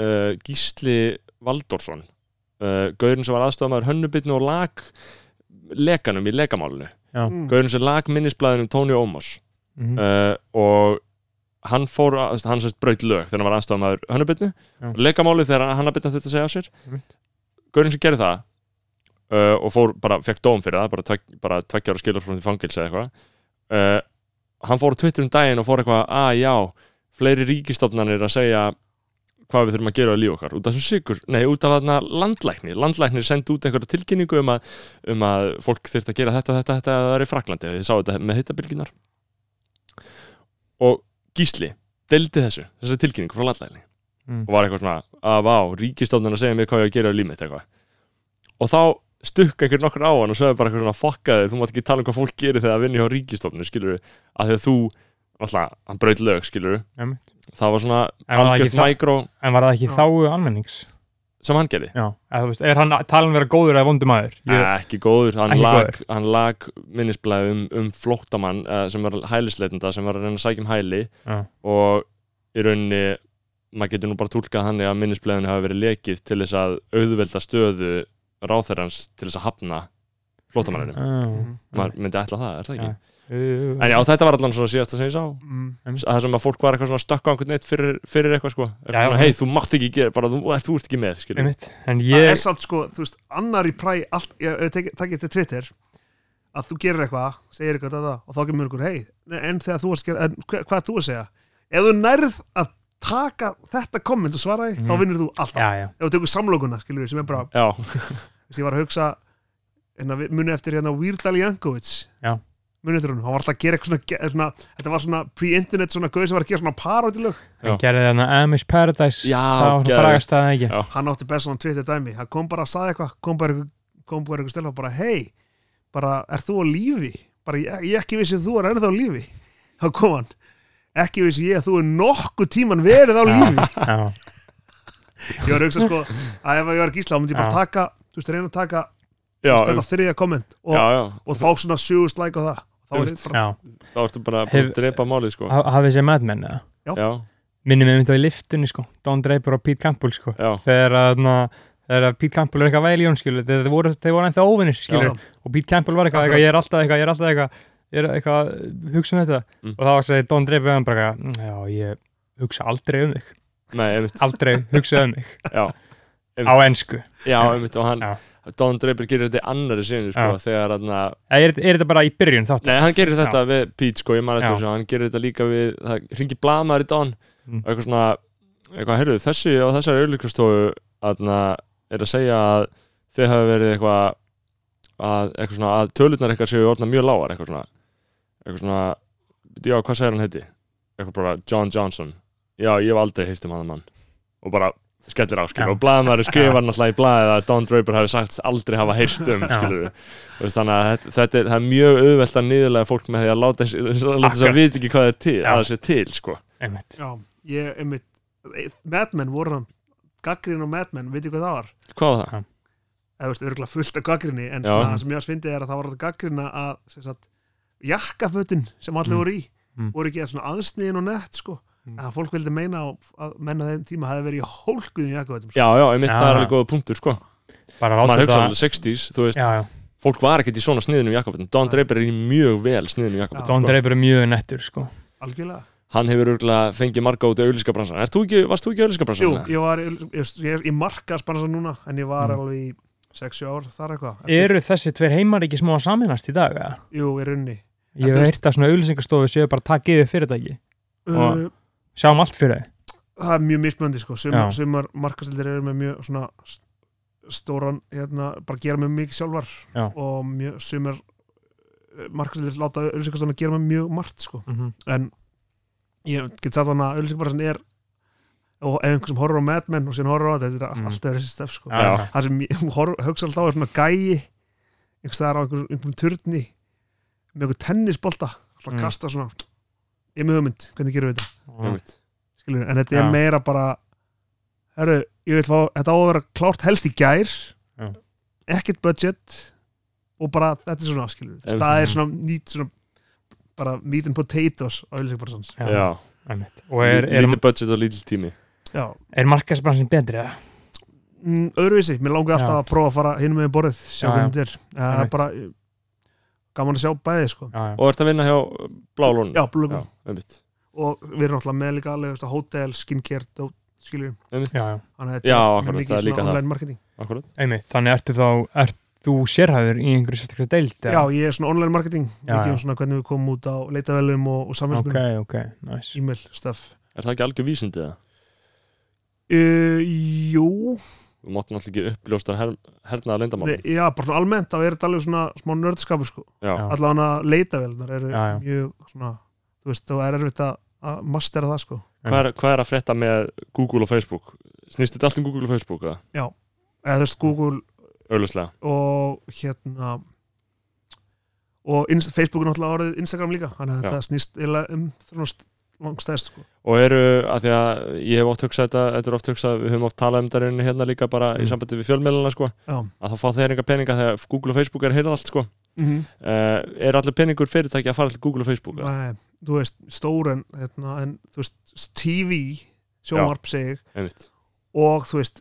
[SPEAKER 1] uh, Gísli Valdorsson uh, gaurinn sem var aðstofamæður hönnubitnu og lag lekanum í lekamálinu,
[SPEAKER 4] mm,
[SPEAKER 1] gaurinn sem lag minnisblæðinum Tóni Ómars
[SPEAKER 3] Mhm.
[SPEAKER 1] uh, og hann fór, að- hann sérst braut lög þegar hann var aðstofamæður hönnubitnu
[SPEAKER 3] Já.
[SPEAKER 1] og lekamálið þegar hannabitna þurfti að segja af sér gaurinn sem gerði það uh, og fór bara, fekk dóm fyrir það bara, tvek, bara tveggja ára skilur frá því fangils eða eitthvað uh, hann fór á Twitter um daginn og fór eitthvað að já, fleiri ríkistofnarnir að segja hvað við þurfum að gera á líf okkar út af þessum sigur, nei, út af þarna landlækni landlæknir sendi út einhverja tilkynningu um að, um að fólk þurft að gera þetta, þetta, þetta eða það er í Fraklandi, þið sá þetta með hittabilginar og Gísli deldi þessu, þessari tilkynningu frá landlækni
[SPEAKER 3] Mm.
[SPEAKER 1] og var eitthvað svona að vá, ríkistofnarnir að segja mér hvað ég á að gera á líf mitt eitthvað og þá stukk einhver nokkur á hann og sagði bara eitthvað svona fokkaði, þú mátt ekki tala um hvað fólk gerir þegar það vinni hjá ríkistofnun, skilur af því að þú, alltaf, hann braut lög, skilur
[SPEAKER 3] Einmitt.
[SPEAKER 1] það var svona
[SPEAKER 3] En var það ekki
[SPEAKER 1] algjört
[SPEAKER 3] það-
[SPEAKER 1] mækró
[SPEAKER 3] En var það ekki
[SPEAKER 4] Já.
[SPEAKER 3] þáu almennings?
[SPEAKER 1] sem hann gerði
[SPEAKER 3] Já, Ah. eða, þú veist, er hann talan vera góður eða vondur maður? Ég,
[SPEAKER 1] Ah, ekki góður, hann
[SPEAKER 3] Ekki
[SPEAKER 1] lag, hann lag minnisblæði um, um flóttamann uh, sem var hælisleitenda, sem var að reyna að sækja um hæli
[SPEAKER 3] Já.
[SPEAKER 1] og í rauninni maður getur nú bara tólkað hann að minnisblæðinu hafi verið lekið til þess að auðvelda stöðu ráþerrans til þess að hafna flóttamanninu,
[SPEAKER 3] uh,
[SPEAKER 1] maður myndi ætla það, er það ekki?
[SPEAKER 3] Já. uh,
[SPEAKER 1] En já, þetta var allan svona síðasta sem ég sá
[SPEAKER 4] mm,
[SPEAKER 1] S- að Það sem að fólk var eitthvað svona að stökka á einhvern neitt fyrir, fyrir eitthvað sko eitthvað
[SPEAKER 3] Já, já,
[SPEAKER 1] svona,
[SPEAKER 3] já.
[SPEAKER 1] Hei, þú mátt ekki gera, bara þú, þú ert ekki með skilur.
[SPEAKER 3] einmitt, en
[SPEAKER 4] það er
[SPEAKER 3] ég
[SPEAKER 4] samt sko, þú veist, annar í præ allt, ég, ég tek, takk ég til Twitter að þú gerir eitthvað, segir eitthvað þetta og þá kemur ykkur, hei, nei, en þegar þú varst að gera, en hva, hvað ert þú að segja ef þú nærð að taka þetta komment og svara því,
[SPEAKER 3] Mhm.
[SPEAKER 4] þá vinnur þú alltaf
[SPEAKER 3] Já, já,
[SPEAKER 4] ef þú tekur samlokuna, skilur við, sem er bara
[SPEAKER 1] Já,
[SPEAKER 4] Þess, ég var að hugsa hérna, við- muni eftir hérna Weird Al Jankovic
[SPEAKER 3] Já.
[SPEAKER 4] muni eftir honum, hann var alltaf að gera eitthvað svona, ge- svona þetta var svona pre-internet svona gauð sem var að gera svona parótilög
[SPEAKER 3] hann gerði þarna Amish Paradise
[SPEAKER 1] já,
[SPEAKER 3] Það var svona
[SPEAKER 1] geðveikt.
[SPEAKER 3] frægast að ekki
[SPEAKER 1] Já.
[SPEAKER 4] hann átti best svona tvittir dæmi hann kom bara að saði eitthvað, kom bara eitthvað kom bara eitthvað stelfa bara, hei bara, er þú á lífi? bara, ég, ég ekki vissi að þú er ennþá á lífi þá kom hann, ekki vissi ég að þú er nokkuð tíman verið á lífi
[SPEAKER 3] Já,
[SPEAKER 4] ég var að hugsa sko, að ef ég var gísla þá myndi ég bara
[SPEAKER 3] Já.
[SPEAKER 4] taka, þú veist, reyna að taka
[SPEAKER 1] já,
[SPEAKER 4] þetta þriðja komment og,
[SPEAKER 1] já, já,
[SPEAKER 4] og fá svona sjúust læk á það þá er
[SPEAKER 1] Einmitt.
[SPEAKER 4] þetta bara,
[SPEAKER 3] já,
[SPEAKER 1] þá ertu bara búin
[SPEAKER 3] Hef-
[SPEAKER 1] að drepa málið sko
[SPEAKER 3] Ha- hafið sér madmenn eða?
[SPEAKER 1] Já,
[SPEAKER 3] Minnum ég myndi á í liftunni sko, Don Draper og Pete Campbell sko
[SPEAKER 1] já,
[SPEAKER 3] Þegar að, na, þegar að Pete Campbell er eitthvað væl í hún skilur Þeir voru, þeir voru ennþá óvinnir skilur
[SPEAKER 4] Já.
[SPEAKER 3] Og Pete Campbell var eitthvað,
[SPEAKER 4] Akkurat.
[SPEAKER 3] eitthvað, ég er alltaf eitthvað, ég er alltaf eitthvað Ég er eitthvað, að hugsa um þetta
[SPEAKER 1] Mm.
[SPEAKER 3] Og þá segi Don Draper við hann bara eitthvað, "Mm, Já, ég hugsa aldrei um þig
[SPEAKER 1] nei, einmitt
[SPEAKER 3] Aldrei hugsa um þig
[SPEAKER 1] (laughs) Já,
[SPEAKER 3] Á ensku
[SPEAKER 1] já, einmitt og hann,
[SPEAKER 3] Já.
[SPEAKER 1] Don Draper gerir þetta í annari sinni sko,
[SPEAKER 3] Já.
[SPEAKER 1] þegar hann að
[SPEAKER 3] Eða Er, er þetta bara í byrjun þátt?
[SPEAKER 1] Nei, hann gerir þetta við Pete sko, ég man
[SPEAKER 3] Já.
[SPEAKER 1] eftir þessu hann gerir þetta líka við, það ringi blamaður í Don
[SPEAKER 3] Mm.
[SPEAKER 1] og eitthvað svona eitthvað, heyrðu, þessi og þessari auðlíkastofu aðna, er að segja að þið hafi verið eitthvað að, eitthvað svona, að tölurnar eitthvað séu orðna mjög lágar, eitthvað svona eitthvað svona, já, hvað segir hann heiti? eitthvað bara, John Johnson já, ég hef aldrei heyrt um hann mann og bara skellir á, skilur,
[SPEAKER 3] (laughs) Já.
[SPEAKER 1] og blaðmaður skrifar náttúrulega í blaðið að Don Draper hafi sagt aldrei hafa heyrt um,
[SPEAKER 3] Já.
[SPEAKER 1] skilur Þú veist, þannig að þetta, þetta er, það er mjög auðvelt að niðurlega fólk með því að láta þess að láta þess að
[SPEAKER 3] Akkurat.
[SPEAKER 1] vita ekki hvað það er til,
[SPEAKER 3] Já.
[SPEAKER 1] að það sé til sko.
[SPEAKER 3] Einmitt.
[SPEAKER 4] já, ég, einmitt e, Mad Men voru hann, gaggrín og Mad Men veit ég hvað það var,
[SPEAKER 1] hvað var það?
[SPEAKER 4] eða veist, örgulega fullt af gaggrinni en
[SPEAKER 1] Já.
[SPEAKER 4] svona, það sem ég að svindið er að það var þetta gaggrina að, sem sagt, jakkafötin sem allir
[SPEAKER 3] Mm.
[SPEAKER 4] voru í,
[SPEAKER 3] Mm.
[SPEAKER 4] voru ekki svona aðsniðin og nett, sko
[SPEAKER 3] Mm.
[SPEAKER 4] að fólk vildi meina á- að menna þeim tíma hafi verið í hólkuðin jakkafötum, sko.
[SPEAKER 1] Já, já, einmitt
[SPEAKER 3] Já.
[SPEAKER 1] það er alveg góða punktur sko.
[SPEAKER 3] Bara
[SPEAKER 1] maður hugsa
[SPEAKER 3] láta
[SPEAKER 1] um
[SPEAKER 3] þetta
[SPEAKER 1] alveg 60s, þú veist,
[SPEAKER 3] Já, já
[SPEAKER 1] fólk var ekkert í svona sniðinum jakkafutum Don Draper er í mjög vel sniðinum
[SPEAKER 4] Já.
[SPEAKER 1] jakkafutum
[SPEAKER 3] Don Draper er mjög nettur sko
[SPEAKER 4] algjörlega
[SPEAKER 1] hann hefur örgulega fengið marga út af auðlýskabransan Ert þú ekki, varst þú ekki
[SPEAKER 4] Jú,
[SPEAKER 1] auðlýskabransan?
[SPEAKER 4] ég var, ég, ég er í markaðsbransa núna en ég var
[SPEAKER 3] Mm.
[SPEAKER 4] alveg í 6 ár þar eitthvað Eftir-
[SPEAKER 3] Eru þessi tveir heimar ekki smá að saminast í dag? eða?
[SPEAKER 4] Jú, í runni
[SPEAKER 3] Ég hef
[SPEAKER 4] þú veist-
[SPEAKER 3] heyrt að svona auðlýsingastofu séu bara að taka yfir fyrirtæki
[SPEAKER 4] uh,
[SPEAKER 3] Og- Sjáum allt fyrir þau
[SPEAKER 4] Það er mjög mismöndi sko
[SPEAKER 3] Já.
[SPEAKER 4] Sumar, sumar markaðstildir eru með mjög svona st- stóran, hérna, bara gera með mikið sjálfar
[SPEAKER 3] Já.
[SPEAKER 4] og mjög, sumar markaðstildir láta auðlýsingastóna gera með mjög margt sko
[SPEAKER 3] mm -hmm.
[SPEAKER 4] en ég get sagt þannig að auðlýsingabarsin er og ef einhver sem horfir á Mad Men og síðan horfir á þetta þetta er
[SPEAKER 3] Mm.
[SPEAKER 4] alltaf þessi stef sko
[SPEAKER 1] Já.
[SPEAKER 4] það sem ég (laughs) horf, hugsa alltaf á er svona gæi einhvers staðar á einhverjum, einhverjum turni með einhver tennisbolta alltaf
[SPEAKER 3] Mm.
[SPEAKER 4] kasta svona ég er með hugmynd, hvernig gerum við þetta
[SPEAKER 1] Einmitt.
[SPEAKER 4] Skilur, en þetta er
[SPEAKER 3] Já.
[SPEAKER 4] meira bara heru, ég vil fá, þetta á að vera klárt helst í gær
[SPEAKER 3] Já.
[SPEAKER 4] ekkert budget og bara þetta er svona skilur,
[SPEAKER 1] Einmitt.
[SPEAKER 4] staðir svona nýtt svona bara meat and potatoes á auðlýsingabarsins
[SPEAKER 1] Já,
[SPEAKER 3] einmitt. Og er, er,
[SPEAKER 1] lítið budget og lítið tími
[SPEAKER 4] Já,
[SPEAKER 3] er markasbransin betri? eða?
[SPEAKER 4] mm, öðruvísi, mér langar alltaf
[SPEAKER 3] Já.
[SPEAKER 4] að prófa að fara hinn með borðið, sjá
[SPEAKER 3] Já, já.
[SPEAKER 4] hvernig þetta er það er
[SPEAKER 3] Einmitt.
[SPEAKER 4] bara eh, gaman að sjá bæði sko.
[SPEAKER 3] Já, já.
[SPEAKER 1] Og ert að vinna hjá Blálónu?
[SPEAKER 4] já, blöggum,
[SPEAKER 1] einmitt
[SPEAKER 4] og við erum alltaf með líka alveg, veist, hótel, skincare, dót, skiljum
[SPEAKER 1] Einmitt,
[SPEAKER 3] Já, já.
[SPEAKER 4] þannig að
[SPEAKER 1] Já,
[SPEAKER 4] þetta
[SPEAKER 1] akkurat, það
[SPEAKER 4] mikið
[SPEAKER 1] er
[SPEAKER 4] svona
[SPEAKER 1] líka það.
[SPEAKER 4] online marketing
[SPEAKER 1] akkurat
[SPEAKER 3] Einmitt, þannig ertu þá ert þú sérhæður í einhverju sérstaklega deild?
[SPEAKER 4] já,
[SPEAKER 3] eða?
[SPEAKER 4] ég er svona online marketing
[SPEAKER 3] Já,
[SPEAKER 4] mikið
[SPEAKER 3] já.
[SPEAKER 4] um svona hvernig við komum út á leitavelum og, og
[SPEAKER 3] Ok,
[SPEAKER 4] samverðum,
[SPEAKER 3] ok, nice
[SPEAKER 4] e-mail, stuff
[SPEAKER 1] Er það ekki algjör vísindi það?
[SPEAKER 4] uh, Jú,
[SPEAKER 1] Þú mátt náttúrulega ekki uppljósta her, hernaða
[SPEAKER 4] nei,
[SPEAKER 1] leyndamál
[SPEAKER 4] já, bara svona almennt þá er þetta alveg svona smá nördskapur sko.
[SPEAKER 1] Já,
[SPEAKER 3] Já.
[SPEAKER 4] allan að leitavelnar eru
[SPEAKER 3] Já, já.
[SPEAKER 4] mjög svona, þú veist, þá er erfitt að, að mastera það sko
[SPEAKER 1] hvað er, hvað er að frétta með Google og Facebook? Snýst þetta allt um Google og Facebook? eða?
[SPEAKER 4] eða þú veist, Google
[SPEAKER 1] Auðlýslega
[SPEAKER 4] og hérna og Inst- Facebook er náttúrulega orðið Instagram líka þannig að
[SPEAKER 1] Já.
[SPEAKER 4] þetta snýst eiginlega um þrjónast langstæðst sko.
[SPEAKER 1] Og eru, af því að ég hef oft hugsað þetta, þetta er oft hugsað, við höfum oft talað um þetta í rauninni hérna líka bara í
[SPEAKER 3] Mm.
[SPEAKER 1] sambandi við fjölmiðlana sko,
[SPEAKER 4] Já.
[SPEAKER 1] að þá fá þeir enga peninga þegar Google og Facebook er heyrðallt sko.
[SPEAKER 3] Mhm.
[SPEAKER 1] Uh, er allir peningur fyrirtæki að fara til Google og Facebook? eða?
[SPEAKER 4] Nei, þú veist, stór en, hérna, en þú veist, TV sjónvarp segir
[SPEAKER 1] Einmitt.
[SPEAKER 4] og þú veist,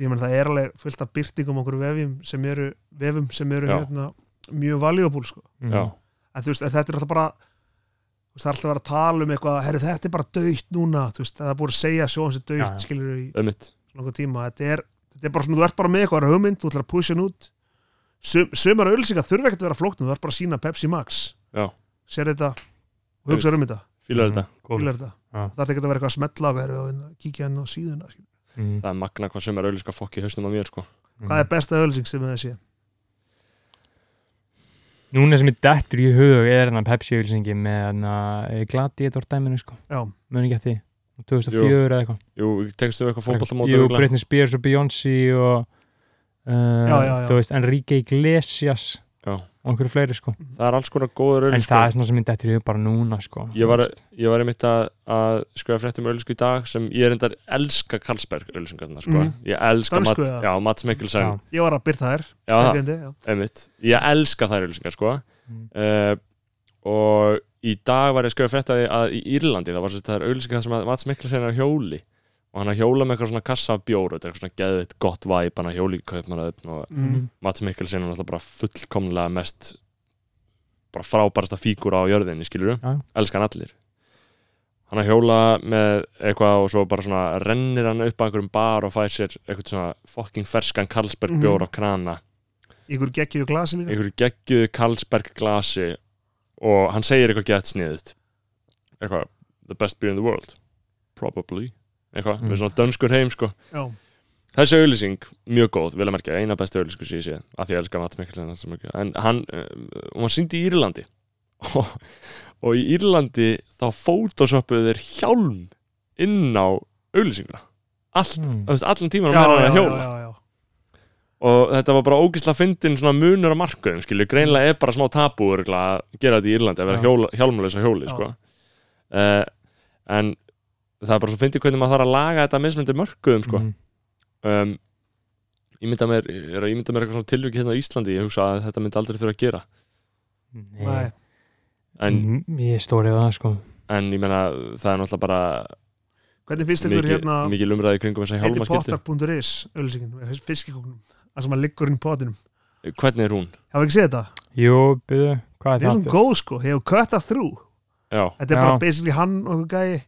[SPEAKER 4] ég menn það er alveg fullt af byrtingum okkur vefjum sem eru vefum sem eru
[SPEAKER 1] Já.
[SPEAKER 4] hérna, mjög valuable sko.
[SPEAKER 3] Mm.
[SPEAKER 1] Já.
[SPEAKER 4] en þú veist, en þetta er alltaf bara þú veist, það er alltaf að vera að tala um eitthvað herri, þetta er bara döitt núna, þú veist, það er búið að segja sjóðan sem
[SPEAKER 3] Já,
[SPEAKER 4] döitt,
[SPEAKER 3] já.
[SPEAKER 4] skilur í
[SPEAKER 1] Einmitt.
[SPEAKER 4] langan tíma þetta er, þetta er bara svona, þú ert bara með eitthvað hugmynd, þú ætlar að pusha hann út Sum, sumar auðlýsingar þurfa ekkert að vera flóknum þú ert bara að sína Pepsi Max
[SPEAKER 1] Já.
[SPEAKER 4] sér þetta og hugsa um þetta,
[SPEAKER 1] Fýlar
[SPEAKER 3] Mhm.
[SPEAKER 1] þetta.
[SPEAKER 4] fílar
[SPEAKER 3] Góð.
[SPEAKER 4] þetta
[SPEAKER 3] Já.
[SPEAKER 4] það þarf ekkert að vera eitthvað að smetla og vera og kíkja hann á síðuna skilur.
[SPEAKER 3] Mm.
[SPEAKER 1] Það er magna hvað sem er auðlýska fokk í hausnum á mér sko.
[SPEAKER 4] hvað er besta auðlýsing sem það sé
[SPEAKER 3] Núna sem ég dettur í hug er þarna Pepsi-auðlýsingi með gladiðor dæminu sko,
[SPEAKER 4] já,
[SPEAKER 3] muni ekki að því 2004 eða eitthvað
[SPEAKER 1] Jú, tengstu við eitthvað fótballtamóti?
[SPEAKER 3] Jú, Britney Spears og Beyoncé og uh,
[SPEAKER 4] Já, já, já.
[SPEAKER 3] þú veist, Enrique Iglesias
[SPEAKER 1] Já.
[SPEAKER 3] og einhverju fleiri sko
[SPEAKER 1] Það er alls konar góður
[SPEAKER 3] en
[SPEAKER 1] auðlýska.
[SPEAKER 3] það er svona sem ég dettur í hug bara núna sko
[SPEAKER 1] sko. Ég var, ég var einmitt að, að skoja fréttum auðlýsku í dag sem ég er endar elska Karlsberg auðlýsingarna sko.
[SPEAKER 4] Mhm.
[SPEAKER 1] Ég elska
[SPEAKER 4] Dansku,
[SPEAKER 1] Mats-
[SPEAKER 4] eða?
[SPEAKER 1] já, Mats Mikkelsen.
[SPEAKER 3] Já.
[SPEAKER 4] ég var að byrta þær
[SPEAKER 1] Já, það.
[SPEAKER 4] Helgindi, já.
[SPEAKER 1] einmitt, ég elska þær auðlýsingar sko
[SPEAKER 3] Mm.
[SPEAKER 4] Mhm.
[SPEAKER 1] uh, og í dag var ég að skjóða frétta því að í Írlandi það var sérst þær auðlýsingar sem að Mats Mikkelsen er á hjóli og hann er að hjóla með eitthvað svona kassa af bjóru þetta er eitthvað svona geðvitt gott væp hann er að hjóli í kaupmannaðöfn og
[SPEAKER 4] Mm.
[SPEAKER 1] Mats Mikkelsen er náttúrulega bara fullkomlega mest bara frábærasta fígúra á jörðinni skilur
[SPEAKER 3] Já.
[SPEAKER 1] elska hann allir hann er að hjóla með eitthvað og svo bara svona rennir hann upp að einhverjum bar og fær sér eitthvað svona fucking ferskan Karlsberg
[SPEAKER 3] Mhm.
[SPEAKER 1] bjór af krana
[SPEAKER 4] ykkur geggið og glasi líka
[SPEAKER 1] einhverju geggjuðu Karlsberg glasi og hann segir eitthvað gett sniðut eitthvað, the best beer in the world probably, eitthvað,
[SPEAKER 3] Mm.
[SPEAKER 1] með svona dönskur heim sko.
[SPEAKER 4] já,
[SPEAKER 1] þessi auðlýsing, mjög góð, vil að merkja eina besta auðlýsingu sem ég sé, af því ég elska Mats Mikkelsen svo mikið. en hann, um, hún var sýnd í Írlandi (laughs) og, og í Írlandi þá fótosoppuðu þeir hjálm inn á auðlýsinguna, allt
[SPEAKER 3] Mm.
[SPEAKER 1] þú veist, allan tíman á
[SPEAKER 4] já,
[SPEAKER 1] meðan hann
[SPEAKER 4] já,
[SPEAKER 1] er að
[SPEAKER 4] já,
[SPEAKER 1] hjóla
[SPEAKER 4] já, já.
[SPEAKER 1] og þetta var bara ógisla fyndin svona munur á markaðum, skilju, greinlega er bara smá tabú örugglega að gera þetta í Írlandi að vera
[SPEAKER 3] Já.
[SPEAKER 1] hjóla, hjálmulegs á hjóli,
[SPEAKER 4] Já.
[SPEAKER 1] sko uh, en það er bara svo fyndið hvernig maður þarf að laga þetta mismundir mörkuðum, sko
[SPEAKER 3] Mm.
[SPEAKER 1] um, ég mynda mér, ég er að ímynda mér eitthvað svona tilviki hérna á Íslandi, ég hugsa að þetta myndi aldrei þurfa að gera,
[SPEAKER 4] Nei,
[SPEAKER 1] en,
[SPEAKER 4] Mhm.
[SPEAKER 3] Mm, ég stórið það sko
[SPEAKER 1] en ég meina það er náttúrulega bara
[SPEAKER 4] hvernig finnst ykkur
[SPEAKER 1] mikil,
[SPEAKER 4] hérna
[SPEAKER 1] mikil umræði í kringum þess að
[SPEAKER 4] heiti
[SPEAKER 1] hjálma skildi,
[SPEAKER 4] potar.is auðlýsingin, fiskikóknum það sem að liggur inn í potinum
[SPEAKER 1] hvernig er hún?
[SPEAKER 4] hafa ekki séð þetta?
[SPEAKER 3] Jú, byrðu, hvað
[SPEAKER 4] Við
[SPEAKER 3] er
[SPEAKER 4] erum
[SPEAKER 3] það?
[SPEAKER 4] góð sko, hefur cut að þrú
[SPEAKER 1] já,
[SPEAKER 4] þetta er
[SPEAKER 3] Já.
[SPEAKER 4] bara basically hann og einhver gæi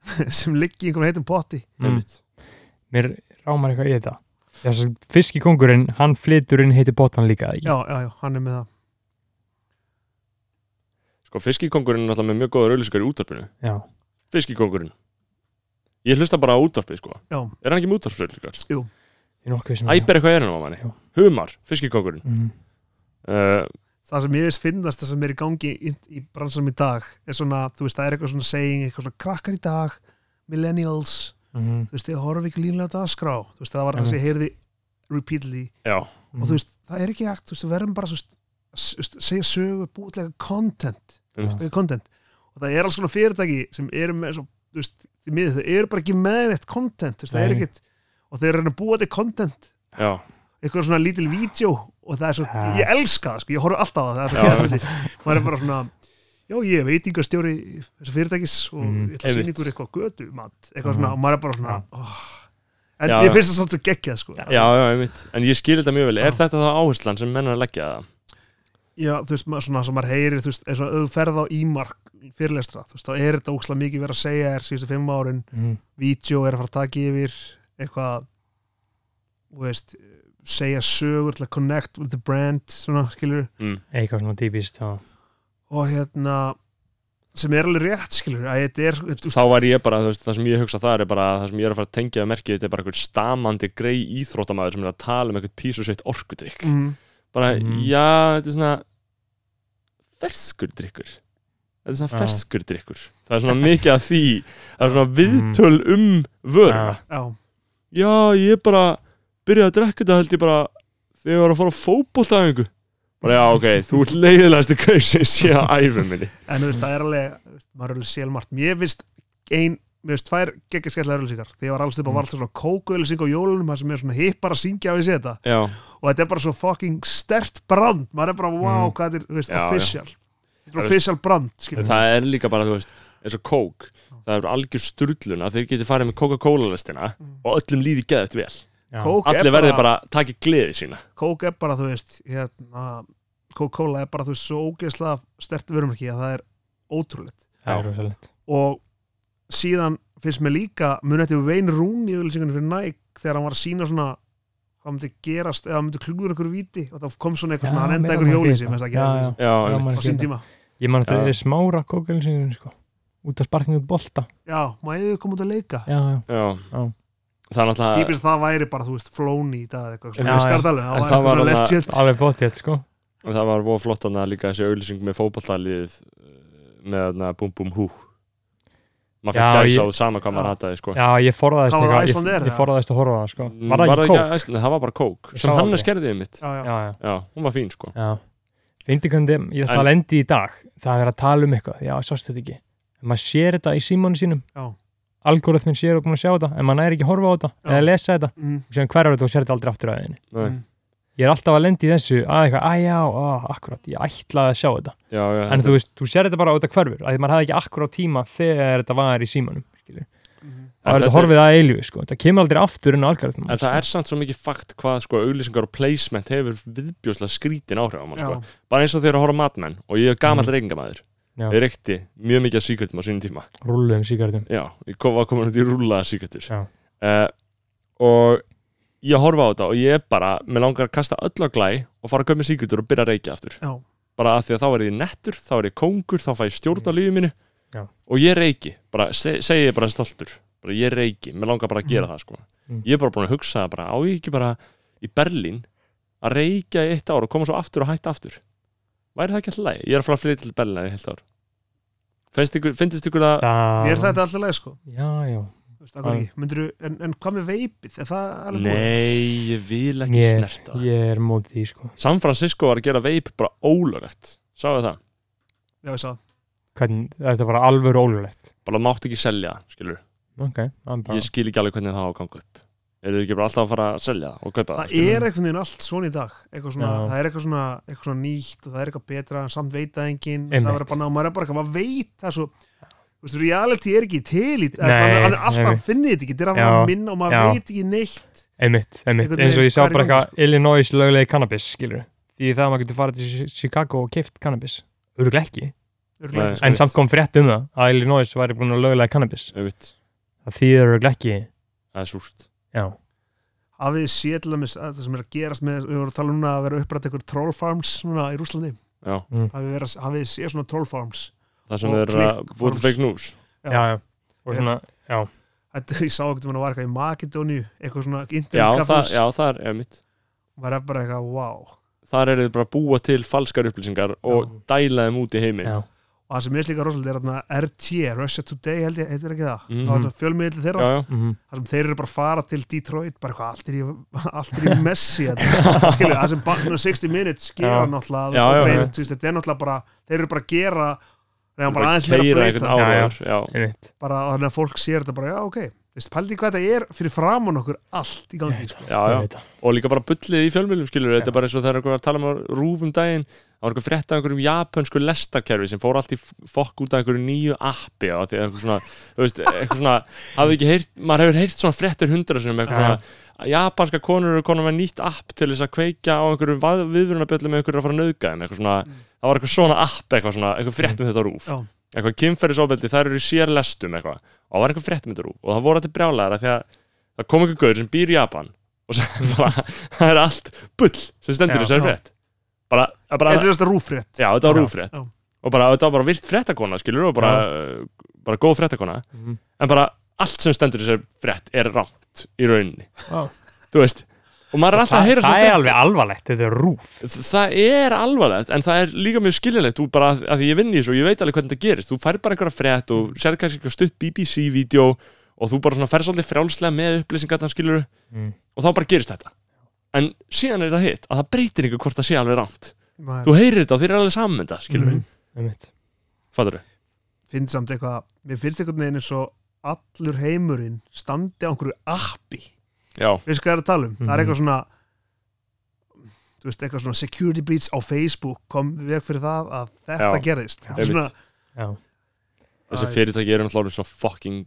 [SPEAKER 4] (laughs) sem liggi í einhverjum heitum potti
[SPEAKER 3] Mm.
[SPEAKER 1] einmitt
[SPEAKER 3] mér rámar eitthvað í þetta þess að fiskikongurinn, hann flyturinn heitir botan líka eða ekki?
[SPEAKER 4] já, já, já, hann er með það
[SPEAKER 1] Sko, fiskikongurinn er náttúrulega með mjög góða rauðlýsingar í útarpinu
[SPEAKER 3] já,
[SPEAKER 1] Fiskikongurinn Ég hlusta bara á útarpið, sko
[SPEAKER 4] Já.
[SPEAKER 1] Er hann ekki með útarpsrauðlýsingar?
[SPEAKER 3] ég er nokkuð sem
[SPEAKER 1] Æber eitthvað er hann á manni
[SPEAKER 3] Já.
[SPEAKER 1] Humar, fiskikongurinn
[SPEAKER 3] mm,
[SPEAKER 1] uh,
[SPEAKER 4] það sem ég veist finnast það sem er í gangi í, í bransanum í dag er svona, þú veist, það er eitthvað svona saying eitthvað svona krakkar í dag, millennials
[SPEAKER 3] mm,
[SPEAKER 4] þú veist, ég horf ekki línlega dagskrá þú veist, það var
[SPEAKER 3] Mhm.
[SPEAKER 4] það sem ég heyrði repeatedly
[SPEAKER 1] Já,
[SPEAKER 4] og þú veist, það er ekki hægt, þú veist, við verðum bara þú veist, s- þú veist, segja sögur, búiðlega content,
[SPEAKER 1] einmitt.
[SPEAKER 4] eh, content og það er alls konar fyrirtæki sem eru með svo, þú veist, því miður, þau eru bara ekki með neitt content, þú veist, það er
[SPEAKER 3] Nei.
[SPEAKER 4] ekkit og þau eru að reyna að búa þetta content
[SPEAKER 1] já,
[SPEAKER 4] (laughs) eitthvað svona lítil vídeo og það er svo,
[SPEAKER 3] Ha.
[SPEAKER 4] ég elska það, sko, ég horf alltaf á það, það
[SPEAKER 1] Já,
[SPEAKER 4] er svo geðveikt. maður er bara svona já, ég er veitingastjóri þessu fyrirtækis og
[SPEAKER 3] Mm,
[SPEAKER 4] ég ætla að
[SPEAKER 1] einmitt.
[SPEAKER 4] sýna ykkur eitthvað götu um mat, eitthvað
[SPEAKER 3] Mhm.
[SPEAKER 4] svona, og maður er bara svona
[SPEAKER 3] Já.
[SPEAKER 4] oh. en
[SPEAKER 1] Já,
[SPEAKER 4] ég
[SPEAKER 1] já.
[SPEAKER 4] finnst það svolítið geggjað, sko
[SPEAKER 1] já, já, einmitt En ég skil þetta mjög vel, er
[SPEAKER 4] Já.
[SPEAKER 1] þetta þá áherslan sem menn er að leggja það?
[SPEAKER 4] Já, þú veist, maður, svona sem maður heyrir, þú veist, eins og ef þú ferð á ímark fyrirlestra, þú veist, þá er þetta ókslega mikið verið að segja þér síðustu fimm árin,
[SPEAKER 3] mm,
[SPEAKER 4] vídeo er að fara að taka yfir, eitthvað, þú veist, segja sögur til að connect with the brand, svona, skilur,
[SPEAKER 3] eitthvað svona típist já,
[SPEAKER 4] og hérna, sem er alveg rétt, skilur, að þetta er, þú veist,
[SPEAKER 1] Þá var ég bara, þú veist, það sem ég hugsa það er bara það sem ég er að fara að tengja að merkið, þetta er bara einhver stamandi grei íþrótamaður sem er að tala um einhvern písu sitt orkudrykk
[SPEAKER 4] mm,
[SPEAKER 1] bara,
[SPEAKER 3] Mm.
[SPEAKER 1] já, þetta er svona ferskur drikkur þetta er svona
[SPEAKER 3] Já.
[SPEAKER 1] ferskur drikkur það er svona mikið af því það er svona viðtöl um vöruna
[SPEAKER 4] já,
[SPEAKER 1] já, ég bara byrjaði að drekka þetta held ég bara þegar ég var að fara á fótboltaæfingu bara, já, ok, þú ert leiðilegasti kaus sem ég sé á æfum minni
[SPEAKER 4] en þú veist, það er alveg, þú veist, maður er alveg sélmart, mér finnst ein, mér finnst tvær geggjaskallar öllisíkar, þegar ég var alls upp á
[SPEAKER 1] Mm.
[SPEAKER 4] valda svona kókuöllisík á jólunum, það sem er svona hippar að syngja á í seta,
[SPEAKER 1] já,
[SPEAKER 4] og þetta er bara svo fucking stert brand maður er bara, wow,
[SPEAKER 3] Mm.
[SPEAKER 4] hvað þetta er, þú veist,
[SPEAKER 1] Já, já.
[SPEAKER 4] official þetta
[SPEAKER 1] Það
[SPEAKER 4] er
[SPEAKER 1] er-
[SPEAKER 4] official brand, skilur
[SPEAKER 1] en það er líka bara, þú veist eins og kók, það er algjör sturlun að þeir geti farið með Coca-Cola listina
[SPEAKER 3] Mm.
[SPEAKER 1] og öllum líði geðið vel
[SPEAKER 3] já,
[SPEAKER 4] kók er,
[SPEAKER 1] allir
[SPEAKER 4] bara,
[SPEAKER 1] verði bara taki gleði sína
[SPEAKER 4] kók er bara, þú veist hérna, Coca-Cola er bara, þú veist, svo ógeðslega stert vörumörki að það er ótrúlegt
[SPEAKER 3] það er rosalegt
[SPEAKER 4] og síðan finnst mér líka mun þetta Wayne Rooney í öllisingunum fyrir Nike þegar hann var að sína svona hvað myndi gerast, eða hann myndi klúður einhverju viti og þá kom svona
[SPEAKER 3] Já,
[SPEAKER 4] eitthvað svona, hann enda
[SPEAKER 3] meira
[SPEAKER 4] einhverju
[SPEAKER 3] maður
[SPEAKER 4] hjóli
[SPEAKER 3] vita.
[SPEAKER 4] sem, veist
[SPEAKER 3] Já,
[SPEAKER 4] það
[SPEAKER 3] já.
[SPEAKER 4] ekki,
[SPEAKER 1] já,
[SPEAKER 3] Já,
[SPEAKER 1] einmitt.
[SPEAKER 3] maður-
[SPEAKER 4] á sín tíma
[SPEAKER 3] ég man
[SPEAKER 1] Já.
[SPEAKER 3] þetta við smára kókölsinu sko, út af sparkinu út bolta
[SPEAKER 4] já, maður hefur komið út að leika
[SPEAKER 3] já, já,
[SPEAKER 1] já,
[SPEAKER 3] Já.
[SPEAKER 1] það er náttúrulega
[SPEAKER 4] típist að það væri bara, þú veist, flóni í dag eða eitthvað,
[SPEAKER 1] Já,
[SPEAKER 4] svona
[SPEAKER 3] já.
[SPEAKER 4] skarðalega,
[SPEAKER 1] En
[SPEAKER 4] það
[SPEAKER 1] það
[SPEAKER 4] væri
[SPEAKER 1] var
[SPEAKER 4] eitthvað
[SPEAKER 1] þarna-
[SPEAKER 4] legit
[SPEAKER 3] alveg bóttið sko
[SPEAKER 1] og það var voða flott hann líka þessi auðlýsing með fótballalið með hann að búm búm hú maður
[SPEAKER 3] Já,
[SPEAKER 1] fekk gæsa á
[SPEAKER 3] ég-
[SPEAKER 1] það sama hvað maður
[SPEAKER 4] Já.
[SPEAKER 1] hættaði sko. Mm,
[SPEAKER 3] já, ég forðaðist
[SPEAKER 4] Hvað var það,
[SPEAKER 3] eitthvað- ég-
[SPEAKER 4] Icelandair,
[SPEAKER 3] ég
[SPEAKER 4] eða?
[SPEAKER 3] forðaðist að horfa á það sko var
[SPEAKER 1] Var
[SPEAKER 3] það ekki kók?
[SPEAKER 1] æsni, það var bara kók
[SPEAKER 3] Ég
[SPEAKER 1] sem
[SPEAKER 3] sá
[SPEAKER 1] hann er
[SPEAKER 3] aldrei.
[SPEAKER 1] skerðið mitt
[SPEAKER 4] já, já.
[SPEAKER 3] já, já
[SPEAKER 1] já, hún var fín sko
[SPEAKER 3] Já, fyndi hvernig ég ætla að lendi í dag það er verið að tala um eitthvað, já, sástu þetta ekki en maður sér þetta í símónu sínum
[SPEAKER 4] Já.
[SPEAKER 3] algoritminn sér og búin að sjá þetta en maður næri ekki að horfa á þetta
[SPEAKER 4] Já.
[SPEAKER 3] eða lesa þetta
[SPEAKER 4] Mm,
[SPEAKER 3] og séðan hverjar þetta og sér þetta aldrei aftur aðeins
[SPEAKER 1] Nei,
[SPEAKER 4] Mm.
[SPEAKER 3] ég er alltaf að lendi í þessu að eitthvað, að já, að, akkurat, ég ætlaði að sjá þetta
[SPEAKER 1] já, já,
[SPEAKER 3] en þú veist, þú sér þetta bara á þetta hverfur að því maður hafði ekki akkurát tíma þegar þetta var í símónum það
[SPEAKER 4] Mhm.
[SPEAKER 1] en
[SPEAKER 3] er þetta
[SPEAKER 1] þetta er-
[SPEAKER 3] horfið að eilju, sko, það kemur aldrei aftur inn á sko. algoritmum
[SPEAKER 1] en það er samt svo mikið fakt hvað sko auðlýsingar og placement hefur viðbjóðslega skrítin áhrif á mann
[SPEAKER 4] já,
[SPEAKER 1] sko. bara eins og þegar að horfa á matmenn og ég er gamall mm. reykingamæður
[SPEAKER 3] Já.
[SPEAKER 1] ég reykti mjög mikið af síkvöldum á sínum tíma
[SPEAKER 3] rulluðum síkartum
[SPEAKER 1] já, ég kom, var komin út í rúlaða síkvöldur
[SPEAKER 3] Já.
[SPEAKER 1] uh, og ég horfa á þetta og ég er bara mér langar að kasta öll á glæ og fara að köpa mér síkvöldur og byrja að reykja aftur
[SPEAKER 4] já,
[SPEAKER 1] bara að því að þá er ég nettur, þá er ég kóngur þá fæ ég stjórn á lífið mínu
[SPEAKER 3] Mm. Já.
[SPEAKER 1] og ég reyki, bara se, segi ég bara stoltur bara ég reyki, mér langar bara að gera það sko.
[SPEAKER 3] Mm.
[SPEAKER 1] ég er bara búin að hugsa það bara á ég ekki bara í Berlín að reykja í eitt ár og koma svo aftur og hætta aftur væri það ekki alltaf læg? Ég er að fara að flytja til Berlín í heilt ár Finnst ykkur, finnst ykkur að
[SPEAKER 4] mér er
[SPEAKER 3] það...
[SPEAKER 4] þetta alltaf leið sko
[SPEAKER 3] já, já,
[SPEAKER 4] Þú veist, af hverju ekki? Myndirðu, en, en hvað með veipið, er það alveg búið?
[SPEAKER 1] Nei, ég vil ekki
[SPEAKER 3] um Ég-
[SPEAKER 1] snerta það
[SPEAKER 3] ég er mótið því, sko
[SPEAKER 1] San Francisco var að gera veip bara ólögætt Sáðu það?
[SPEAKER 4] Já, ég sá, það.
[SPEAKER 3] hvernig, þetta er bara alvöru ólulegt
[SPEAKER 1] Bara mátt ekki selja, skilur
[SPEAKER 3] ok, það er bara
[SPEAKER 1] Ég skil ekki alveg hvernig það á að ganga upp Eru þið ekki bara alltaf að fara að selja og kaupa
[SPEAKER 4] það
[SPEAKER 1] skilurðu?
[SPEAKER 4] er einhvern veginn allt svona í dag eitthvað svona,
[SPEAKER 3] Já.
[SPEAKER 4] það er eitthvað svona, eitthvað svona nýtt og það er eitthvað betra, en samt veit það enginn og
[SPEAKER 3] Einmitt.
[SPEAKER 4] það verður bara, ná, maður er bara eitthvað, maður veit það svo þú veist, reality er ekki til í
[SPEAKER 3] Nei,
[SPEAKER 4] dag hann hann er alltaf,
[SPEAKER 3] nei.
[SPEAKER 4] finnið þetta ekki, þetta er að
[SPEAKER 3] Já,
[SPEAKER 4] vera minna og maður
[SPEAKER 3] já.
[SPEAKER 4] veit ekki neitt
[SPEAKER 3] einmitt, einmitt,
[SPEAKER 4] Einhvern
[SPEAKER 3] eins og
[SPEAKER 4] veginn,
[SPEAKER 3] ég sá
[SPEAKER 4] hvað er í
[SPEAKER 3] bara
[SPEAKER 4] gangi,
[SPEAKER 3] eitthvað Illinois löglega cannabis, skilur því það að maður getur farið til Chi- Chicago og keift cannabis öruglega ekki,
[SPEAKER 4] Örugglega
[SPEAKER 1] Nei.
[SPEAKER 4] ekki, sko.
[SPEAKER 3] en samt kom frétt um það að Illinois væri búin að lögulega cannabis
[SPEAKER 1] auðvitt,
[SPEAKER 3] það þýðir örugglega ekki
[SPEAKER 1] það er súrt
[SPEAKER 3] já,
[SPEAKER 4] hafið þið séð til dæmis að það sem er að gerast með, við vorum að tala um núna að vera upprætt einhver troll farms núna í Rúslandi
[SPEAKER 1] Já,
[SPEAKER 4] hafið vera- hafið þið séð svona troll farms
[SPEAKER 1] það sem
[SPEAKER 4] Og
[SPEAKER 1] er að
[SPEAKER 4] click
[SPEAKER 1] búið
[SPEAKER 4] farms.
[SPEAKER 1] til fake news
[SPEAKER 4] Já.
[SPEAKER 3] já, já, og svona já,
[SPEAKER 4] þetta ég sá ekkert um hann að var eitthvað í Makedóni eitthvað svona
[SPEAKER 1] Já, það,
[SPEAKER 4] internetkaffins
[SPEAKER 1] já, það er emitt
[SPEAKER 4] var það bara eitthvað, wow
[SPEAKER 1] Þar er þið bara að búa til falskar upplýsingar og dæla þeim út í heimi
[SPEAKER 3] já,
[SPEAKER 4] og það sem er líka rosalega er þarna RT, Russia Today held ég, heitir ekki það
[SPEAKER 1] Mhm.
[SPEAKER 4] mm -hmm. fjölmiðli þeirra,
[SPEAKER 1] já, já.
[SPEAKER 3] mhm,
[SPEAKER 4] þar sem þeir eru bara að fara til Detroit, bara eitthvað, allt er í allt
[SPEAKER 1] (laughs)
[SPEAKER 4] er í messi þetta. Skilju, það sem bara- 60 minutes gera
[SPEAKER 3] Já.
[SPEAKER 4] náttúrulega
[SPEAKER 1] Já,
[SPEAKER 4] já,
[SPEAKER 1] já,
[SPEAKER 4] bein,
[SPEAKER 3] já.
[SPEAKER 4] þú veist, þetta er náttúrulega bara þeir eru bara að gera þegar bara
[SPEAKER 1] Bara
[SPEAKER 4] aðeins meira
[SPEAKER 1] keyra
[SPEAKER 4] að
[SPEAKER 1] einhvern
[SPEAKER 4] breyta
[SPEAKER 3] Já, já.
[SPEAKER 1] áður Já,
[SPEAKER 3] einmitt
[SPEAKER 4] bara þannig að fólk sér þetta bara, já, ok Þess, pældi í hvað þetta er fyrir framann okkur allt í gangi, sko.
[SPEAKER 1] já, já
[SPEAKER 3] Ég veit það.
[SPEAKER 1] og líka bara bullið í fjölmjölum skilur þetta er bara eins og það er einhver að tala um rúfum daginn það var einhver frétt af einhverjum japansku lestarkerfi sem fór allt í f- fokk út af einhverju nýju appi og því að eitthvað svona, þú veist, eitthvað svona hafði ekki heyrt, maður hefur heyrt svona fréttir hundra sem eitthvað
[SPEAKER 3] Já.
[SPEAKER 1] svona að japanska konur eru konum með nýtt app til þess að kveikja á einhverjum viðvörunabjöllum með einhverju að fara að nauðga þeim eitthvað svona, það var eitthvað svona app eitthvað svona, eitthvað frétt um þetta rúf
[SPEAKER 4] Já.
[SPEAKER 1] eitthvað kynferðisofbeldi, þær eru í sér lestum eitthvað og það var einhver frétt um þetta rúf og það voru þetta brjálæðara því að það kom einhver gaur sem býr í Japan og sem (laughs) bara, það er allt bull sem stendur í
[SPEAKER 3] Já.
[SPEAKER 1] þessari
[SPEAKER 4] Já.
[SPEAKER 1] frétt bara, að bara
[SPEAKER 4] Þetta er þetta rúfrétt.
[SPEAKER 1] já, þetta var
[SPEAKER 3] Já.
[SPEAKER 1] rúfrétt
[SPEAKER 4] Já.
[SPEAKER 1] og bara, þetta var bara virt fréttakona, skilur og bara, uh, bara góð fréttakona
[SPEAKER 3] Mhm.
[SPEAKER 1] en bara allt sem stendur í þessari frétt er rámt í rauninni,
[SPEAKER 3] Vá.
[SPEAKER 1] þú veist og maður er alltaf að
[SPEAKER 3] það
[SPEAKER 1] heyra svona
[SPEAKER 3] það er
[SPEAKER 1] fréttir.
[SPEAKER 3] alveg alvarlegt, þetta er rúf
[SPEAKER 1] Þ- það er alvarlegt en það er líka mjög skiljulegt þú bara, að því ég vinn í þessu og ég veit alveg hvernig það gerist þú fær bara einhverja frétt og sér kannski eitthvað stutt BBC-vídeó og þú bara svona fer svolítið frjálslega með upplýsingar þann skilur
[SPEAKER 3] Mm.
[SPEAKER 1] og þá bara gerist þetta en síðan er það hitt að það breytir ykkur hvort það sé alveg rámt
[SPEAKER 4] Maður-
[SPEAKER 1] þú heyrir þetta og þeir eru alveg saman með þetta skilur mm.
[SPEAKER 3] einmitt.
[SPEAKER 1] fattur þau?
[SPEAKER 4] finnst samt eitthvað, mér finnst eitthvað neginn eins og allur heimurinn standi á einhverju appi
[SPEAKER 1] Já,
[SPEAKER 4] veistu hvað ég er að tala um, það er
[SPEAKER 3] Mhm.
[SPEAKER 4] eitthvað svona þú veist, eitthvað svona security breach á Facebook kom veg fyrir það að þetta
[SPEAKER 1] Já.
[SPEAKER 4] gerðist Þetta er
[SPEAKER 1] einmitt.
[SPEAKER 4] svona,
[SPEAKER 3] já,
[SPEAKER 1] þessi
[SPEAKER 4] Æ.
[SPEAKER 1] fyrirtæki eru náttúrulega orðin svo fucking